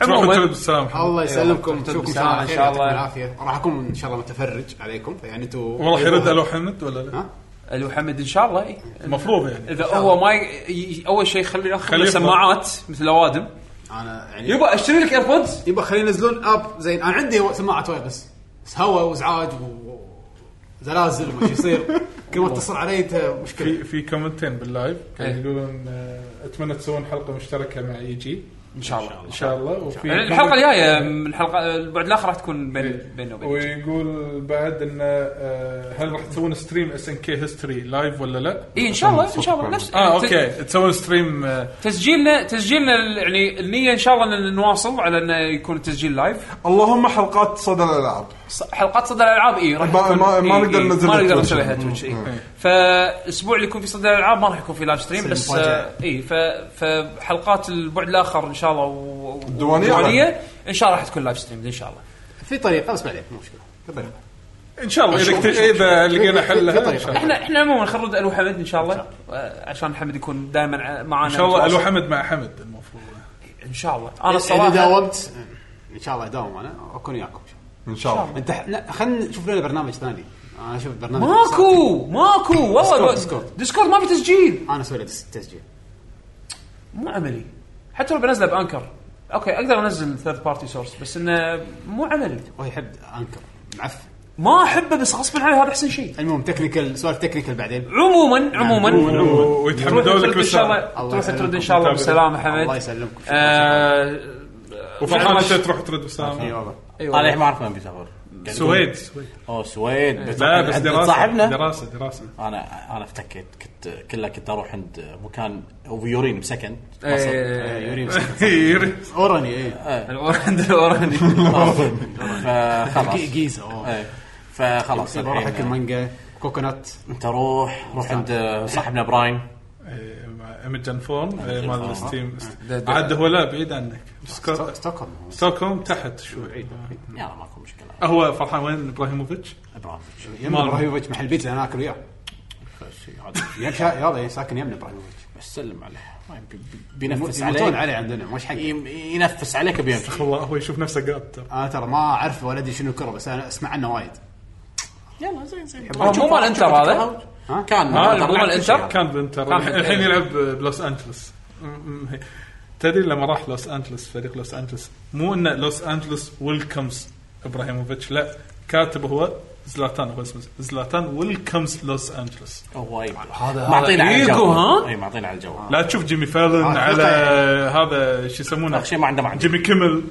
Speaker 3: تروح
Speaker 9: عموماً.
Speaker 3: وتلبس سلام
Speaker 6: الله يسلمكم
Speaker 9: تحت
Speaker 6: نشوفكم
Speaker 9: الساعة إن
Speaker 6: ان
Speaker 9: شاء
Speaker 6: شاء
Speaker 9: الله.
Speaker 6: الله بالعافيه راح اكون ان شاء الله متفرج عليكم يعني فيعني انتم
Speaker 3: والله يرد الو حمد ولا لا؟
Speaker 9: الو حمد ان شاء الله إي.
Speaker 3: المفروض يعني
Speaker 9: اذا هو ما ي... ي- اول شيء خلي ياخذ
Speaker 3: خليه
Speaker 9: له
Speaker 3: يفضل.
Speaker 9: سماعات مثل اوادم
Speaker 6: انا يعني
Speaker 9: يبا اشتري لك ايربودز
Speaker 6: يبا خلينا ينزلون اب زين انا عندي سماعه واير بس بس هواء وازعاج و- وزلازل وما شي يصير كل ما اتصل علي ت- مشكله
Speaker 3: في في كومنتين باللايف كانوا
Speaker 9: إيه.
Speaker 3: يقولون آه، اتمنى تسوون حلقه مشتركه مع اي جي
Speaker 9: ان شاء الله
Speaker 3: ان شاء الله وفي
Speaker 9: يعني الحلقه الجايه من الحلقه البعد الاخر راح تكون بين بيننا وبين
Speaker 3: ويقول بعد انه آه، هل راح تسوون ستريم اس ان كي هيستوري لايف ولا لا؟
Speaker 9: اي ان شاء الله ان شاء الله نفس
Speaker 3: اه اوكي تسوون ستريم آه،
Speaker 9: تسجيلنا تسجيلنا ال- يعني النيه ان شاء الله ان نواصل على انه يكون التسجيل لايف
Speaker 2: اللهم حلقات صدى الالعاب
Speaker 9: ص- حلقات صدى الالعاب اي راح
Speaker 2: ما-
Speaker 9: تكون-
Speaker 2: ما- ما
Speaker 9: إي-
Speaker 2: نقدر
Speaker 9: إي،
Speaker 2: ننزلها
Speaker 9: ما نقدر
Speaker 2: تويتش.
Speaker 9: نسويها
Speaker 2: مم.
Speaker 9: تويتش اي
Speaker 3: إي.
Speaker 9: فالاسبوع اللي يكون في صدى الالعاب ما راح يكون في لايف ستريم
Speaker 6: تصير
Speaker 9: بس
Speaker 6: مفاجأة.
Speaker 9: اي ف- فحلقات البعد الاخر ان شاء الله و- و-
Speaker 2: الديوانية؟
Speaker 9: والديوانية ان شاء الله راح تكون لايف ستريم ان شاء الله
Speaker 6: في طريقه بس بعدين مو مشكله في طريقه
Speaker 3: ان شاء الله اذا اكتش- اذا لقينا حلها ان
Speaker 6: طريقة.
Speaker 3: شاء الله
Speaker 9: احنا احنا عموما خلينا نرد الو حمد ان شاء الله آه، عشان حمد يكون دائما معانا
Speaker 3: ان شاء الله الو
Speaker 9: متواصل.
Speaker 3: حمد مع حمد المفروض
Speaker 9: ان شاء الله
Speaker 2: إيه،
Speaker 9: انا
Speaker 6: اذا
Speaker 9: الصراحه
Speaker 6: داومت ان آه، شاء الله اداوم انا واكون وياكم إن شاء الله.
Speaker 2: ان شاء الله
Speaker 6: انت ح- لا، خلينا نشوف لنا برنامج ثاني انا اشوف برنامج
Speaker 9: ماكو ماكو والله
Speaker 6: ديسكورد.
Speaker 9: ديسكورد ديسكورد ما في تسجيل
Speaker 6: انا اسوي له تس- تسجيل
Speaker 9: مو عملي حتى لو بنزله بانكر اوكي اقدر انزل ثيرد بارتي سورس بس انه مو عملي
Speaker 6: هو يحب انكر معفن
Speaker 9: ما احبه بس غصبا عني هذا احسن شيء
Speaker 6: المهم تكنيكال سوالف تكنيكال بعدين يعني
Speaker 9: عموما عموما تروح
Speaker 3: ويتحمدون لك
Speaker 9: ترد ان شاء
Speaker 3: بالسلامه
Speaker 9: الله
Speaker 6: الله
Speaker 9: تروح ترد ان
Speaker 6: يسلمكم.
Speaker 9: شاء الله بالسلامه حمد
Speaker 6: الله يسلمكم.
Speaker 9: آه،
Speaker 3: وفرحان انت تروح ترد بالسلامه
Speaker 6: يلا
Speaker 9: أيوة،
Speaker 1: انا ما اعرف وين بيسافر
Speaker 3: سويد سويد
Speaker 1: اوه سويد
Speaker 3: لا بس دراسه
Speaker 1: صاحبنا
Speaker 3: دراسه دراسه
Speaker 9: آه،
Speaker 1: انا انا افتكيت كنت كله كنت اروح عند مكان وفيورين بسكن مصر.
Speaker 9: إيه،
Speaker 6: اورني ايه
Speaker 9: الأورنج الأورنج
Speaker 1: فخلاص
Speaker 6: جي- جيزه أوه.
Speaker 1: آه، إيه. فخلاص
Speaker 6: يبا اروح اكل
Speaker 1: الحين
Speaker 6: مانجا كوكونات
Speaker 1: انت روح روح عند صاحبنا براين
Speaker 3: امجن فورم إيه، مال ستيم
Speaker 9: ده- آه، ده-
Speaker 3: عاد هو لا بعيد عنك سكو-
Speaker 6: ستوكهولم
Speaker 3: ستوكهولم تحت شوي
Speaker 1: يلا ماكو مشكله
Speaker 3: هو فرحان وين ابراهيموفيتش؟
Speaker 1: ابراهيم
Speaker 6: يمنا ابراهيموفيتش محل بيتزا انا اكل وياه يم- شا- يلا ساكن يمنا ابراهيموفيتش
Speaker 1: بس سلم عليه ما يبي- بي-
Speaker 6: يموت-
Speaker 1: بينفس
Speaker 6: يموتون
Speaker 1: عليك
Speaker 6: عليه عندنا مش حق
Speaker 1: يم- ينفس عليك بيمشي
Speaker 3: والله هو يشوف نفسه قاعد
Speaker 9: آه،
Speaker 3: ترى.
Speaker 6: انا ترى ما اعرف ولا ادري شنو كره بس انا اسمع عنه وايد
Speaker 1: يلا زين زين
Speaker 9: هو مو مال انتر هذا
Speaker 6: ها؟
Speaker 1: كان
Speaker 9: آه،
Speaker 1: مال
Speaker 9: مو مال انتر؟
Speaker 3: كان بانتر
Speaker 9: كان في-
Speaker 3: الحين يلعب بلوس انجلس م- م- تدري لما راح لوس انجلس فريق لوس انجلس مو انه لوس انجلس ويلكمز ابراهيموفيتش لا كاتب هو زلاتان هو اسمه زلاتان ويلكمز لوس انجلس
Speaker 1: هو اي معطينا على
Speaker 9: إيجو،
Speaker 1: الجو
Speaker 9: ها؟
Speaker 1: اي معطينا على الجو
Speaker 3: لا تشوف جيمي فالن
Speaker 6: آه،
Speaker 3: على
Speaker 6: خطأ.
Speaker 3: هذا شو يسمونه
Speaker 1: شيء ما عنده معنى
Speaker 3: جيمي كيمل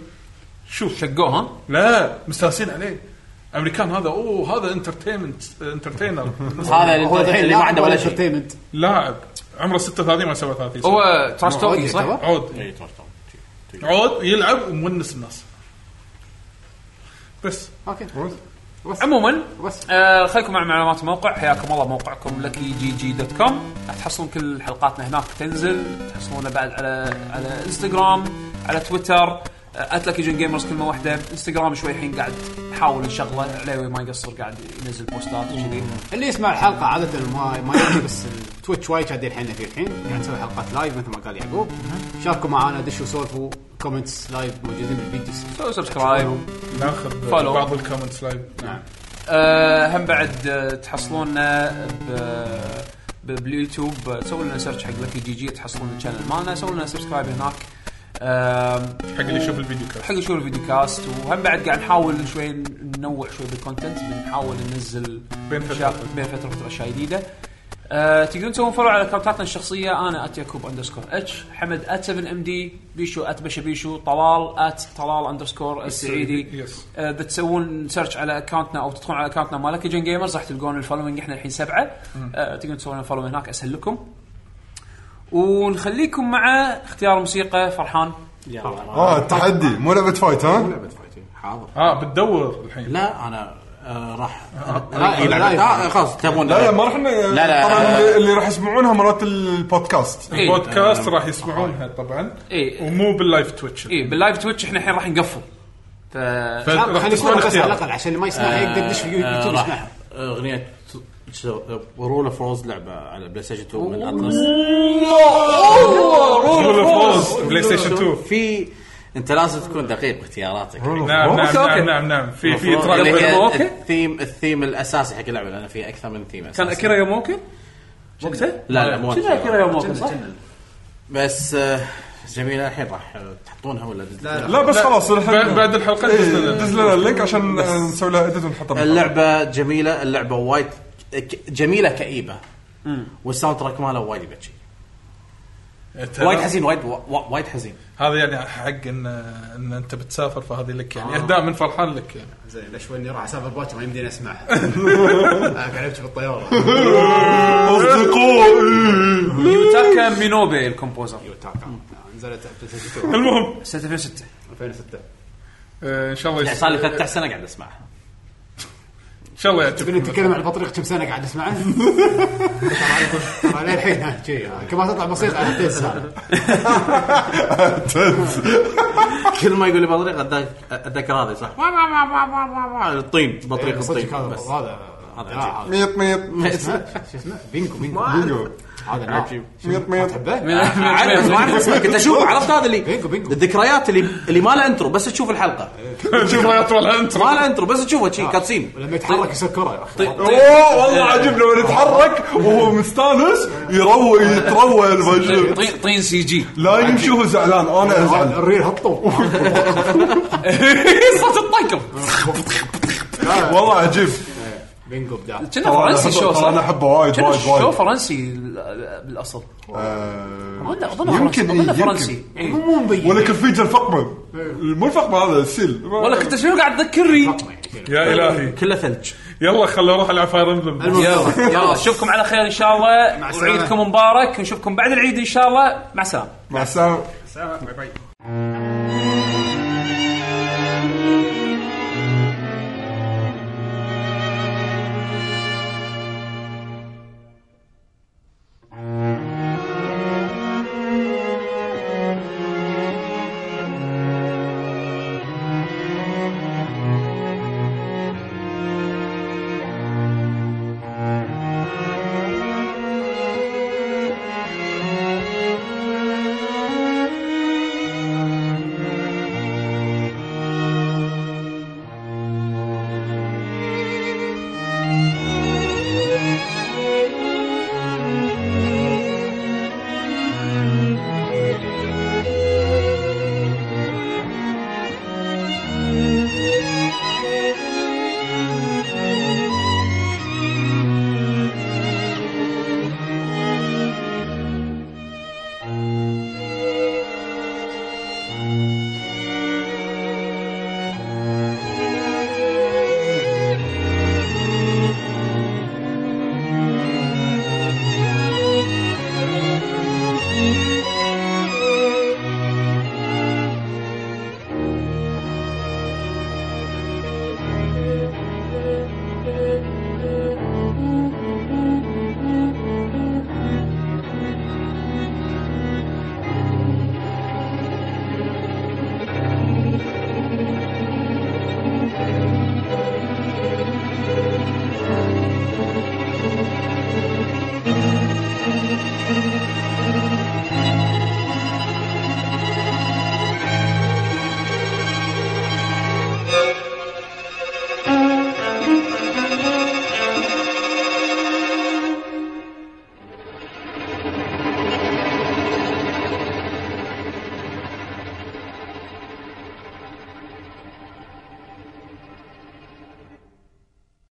Speaker 3: شوف
Speaker 9: شقوه ها
Speaker 3: لا مستانسين عليه امريكان هذا اوه هذا انترتينمنت انترتينر
Speaker 1: هذا
Speaker 6: هو الحين
Speaker 1: اللي ما عنده ولا شيء
Speaker 6: انترتينمنت
Speaker 3: لاعب عمره 36 ما 37 سنة.
Speaker 9: هو تراش توكينج صح؟
Speaker 6: يعتبر؟
Speaker 3: عود
Speaker 1: إي، تروح تروح.
Speaker 3: عود يلعب ومونس الناس بس
Speaker 6: اوكي
Speaker 9: عموما
Speaker 6: بس.
Speaker 9: آه خليكم مع معلومات الموقع حياكم الله موقعكم لكي جي جي دوت كوم راح تحصلون كل حلقاتنا هناك تنزل تحصلونا بعد على على انستغرام على آه، تويتر ات لكي جن جيمرز كلمه واحده انستغرام شوي الحين قاعد نحاول نشغله عليوي ما يقصر قاعد ينزل بوستات وكذي
Speaker 6: اللي يسمع الحلقه عاده ما ما يدري بس
Speaker 7: تويتش وايد قاعدين احنا فيه الحين قاعد نسوي حلقات لايف مثل ما قال يعقوب شاركوا معانا دشوا سولفوا كومنتس لايف موجودين بالفيديوز
Speaker 9: سو سبسكرايب
Speaker 3: ناخذ
Speaker 9: Follow.
Speaker 3: بعض الكومنتس لايف
Speaker 7: نعم
Speaker 9: آه، هم بعد آه، تحصلونا ب- ب- باليوتيوب آه، سووا لنا سيرش حق لكي جي جي تحصلون الشانل مالنا سووا لنا سبسكرايب هناك آم،
Speaker 3: حق اللي يشوف الفيديو كاست
Speaker 9: حق شو الفيديو كاست وهم بعد قاعد نحاول شوي ننوع شوي بالكونتنت بنحاول ننزل
Speaker 3: بين فترة
Speaker 9: أشياء-
Speaker 3: وفترة.
Speaker 9: بين فتره وفتره اشياء جديده أه تقدرون تسوون فولو على اكونتاتنا الشخصيه انا ات يعقوب اندرسكور اتش حمد ات 7 ام دي بيشو ات بشبيشو طلال ات طلال اندرسكور السعيدي
Speaker 3: يس.
Speaker 9: أه E بتسوون سيرش على اكونتنا او تدخلون على اكونتنا مال جن جيمرز راح تلقون الفولوينج احنا الحين سبعه أه تقدرون تسوون فولو هناك اسهل لكم ونخليكم مع اختيار موسيقى فرحان
Speaker 2: اه التحدي مو لعبه فايت ها
Speaker 4: لعبه فايتين حاضر
Speaker 3: اه بتدور الحين
Speaker 4: لا انا آه، راح
Speaker 7: لا،
Speaker 4: إي لعبة.
Speaker 7: لا.
Speaker 4: آه، خلاص تبون
Speaker 2: لا لا ما راح ن-
Speaker 4: لا.
Speaker 2: طبعا اللي- اللي راح يسمعونها مرات البودكاست
Speaker 9: إيه.
Speaker 1: آه،
Speaker 3: البودكاست راح يسمعونها طبعا
Speaker 9: إيه.
Speaker 3: ومو باللايف تويتش
Speaker 9: اي باللايف تويتش احنا الحين راح نقفل ف
Speaker 7: لا،
Speaker 3: راح
Speaker 7: خلي يسمعها
Speaker 3: تسمعون
Speaker 7: بس على
Speaker 3: اختيار
Speaker 7: الاقل عشان اللي ما يسمعها يقدر يدش في
Speaker 4: آه،
Speaker 7: يوتيوب
Speaker 4: راح
Speaker 7: يسمعها
Speaker 4: اغنيه رول فروز لعبه على بلاي ستيشن 2 من اطلس
Speaker 3: رول اوف روز بلاي ستيشن 2
Speaker 4: في انت لازم تكون دقيق باختياراتك يعني
Speaker 3: نعم نعم
Speaker 9: أوكي.
Speaker 3: نعم نعم نعم في في
Speaker 4: المفروض
Speaker 9: تراك
Speaker 4: اللي
Speaker 9: بين
Speaker 4: هي
Speaker 9: أوكي.
Speaker 4: الثيم الثيم الاساسي حق اللعبه لان في اكثر من ثيم
Speaker 9: كان
Speaker 4: اساسي
Speaker 9: اكيرا يوموكي وقته؟
Speaker 4: لا، لا، مو
Speaker 9: كنا
Speaker 4: أكيرا.
Speaker 9: اكيرا يوموكي صح؟
Speaker 4: بس آه، جميله الحين راح آه، تحطونها ولا لا
Speaker 2: لا بس خلاص
Speaker 3: بعد- بعد الحلقة
Speaker 2: إيه.
Speaker 3: دز لنا.
Speaker 2: دز لنا اللينك عشان نسوي لها اديت ونحطها بالحلقة.
Speaker 4: اللعبه جميله اللعبه وايد ك- جميله كئيبه والساوند تراك ماله وايد يبكي وايد حزين وايد وا- وا- وايد حزين
Speaker 3: هذا يعني حق ان ان انت بتسافر فهذه لك يعني اهداء من فرحان لك يعني
Speaker 7: زين ليش واني راح اسافر باكر ما يمديني اسمعها انا قاعد ابكي بالطياره
Speaker 2: اصدقائي
Speaker 9: يوتاكا مينوبي الكومبوزر
Speaker 7: يوتاكا. نزلت بلاي ستيشن 2
Speaker 3: المهم
Speaker 9: سنه 2006
Speaker 7: 2006
Speaker 3: آه، ان شاء الله
Speaker 4: يعني
Speaker 3: يس-
Speaker 4: صار لي 13 سنه قاعد اسمعها
Speaker 3: ان شاء الله
Speaker 7: تبيني
Speaker 3: يعجبك
Speaker 7: تتكلم عن البطريق كم سنه قاعد اسمعه؟ ترى للحين ها، شي، ها، كل ما تطلع موسيقى تنسى هذا.
Speaker 4: كل ما يقول لي بطريق أتذك- اتذكر هذه صح وا- وا- وا- وا- وا- وا- وا- الطين بطريق
Speaker 7: إيه، صدق
Speaker 4: الطين
Speaker 7: هذا
Speaker 4: بس هذا
Speaker 7: هذا لا،
Speaker 2: ميط ميط
Speaker 7: هذا- شو اسمه؟ شو اسمه؟ بينكو بينكو
Speaker 2: بينجو.
Speaker 7: هذا عجيب
Speaker 2: ميط ميط
Speaker 7: تحبه؟
Speaker 4: عارف ما اعرف اسمه كنت اشوف عرفت هذا اللي
Speaker 7: بينكو
Speaker 1: طيب.
Speaker 7: بينكو
Speaker 4: الذكريات اللي اللي ما لها انترو بس تشوف الحلقه
Speaker 3: شوف ما يطول انت
Speaker 4: ما لها انترو بس تشوفه شي كاتسين
Speaker 7: ولما يتحرك يسكره يا اخي
Speaker 2: طيب. اوه والله عجب لما يتحرك وهو مستانس يروي يتروى الوجه.
Speaker 9: طين طين سي جي
Speaker 2: لا يمشي وهو زعلان انا ازعل
Speaker 7: الريل هطوا
Speaker 9: صوت الطقم
Speaker 2: والله عجيب
Speaker 7: بينكو بدا
Speaker 9: كنا
Speaker 2: ترى أنا
Speaker 9: فرنسي
Speaker 2: أحبه-
Speaker 9: شو
Speaker 2: ترى انا
Speaker 9: صح؟
Speaker 2: احبه وايد
Speaker 9: كنا
Speaker 2: وايد
Speaker 9: شو
Speaker 2: وايد
Speaker 9: فرنسي بال- بالاصل
Speaker 2: آه،
Speaker 9: اظن اظن
Speaker 2: يمكن إيه،
Speaker 9: اظن
Speaker 2: يمكن.
Speaker 9: فرنسي إيه.
Speaker 7: مو مبين إيه.
Speaker 2: ولا كفيجه الفقمه مو الفقمه هذا السيل
Speaker 9: والله كنت شنو قاعد تذكرني
Speaker 3: يا الهي
Speaker 4: كله ثلج
Speaker 3: يلا خليني اروح العب فاير امبلم
Speaker 9: يلا يلا اشوفكم على خير ان شاء الله
Speaker 7: مع السلامة.
Speaker 9: وعيدكم مبارك نشوفكم بعد العيد ان شاء الله مع السلامه
Speaker 2: مع السلامه
Speaker 3: باي باي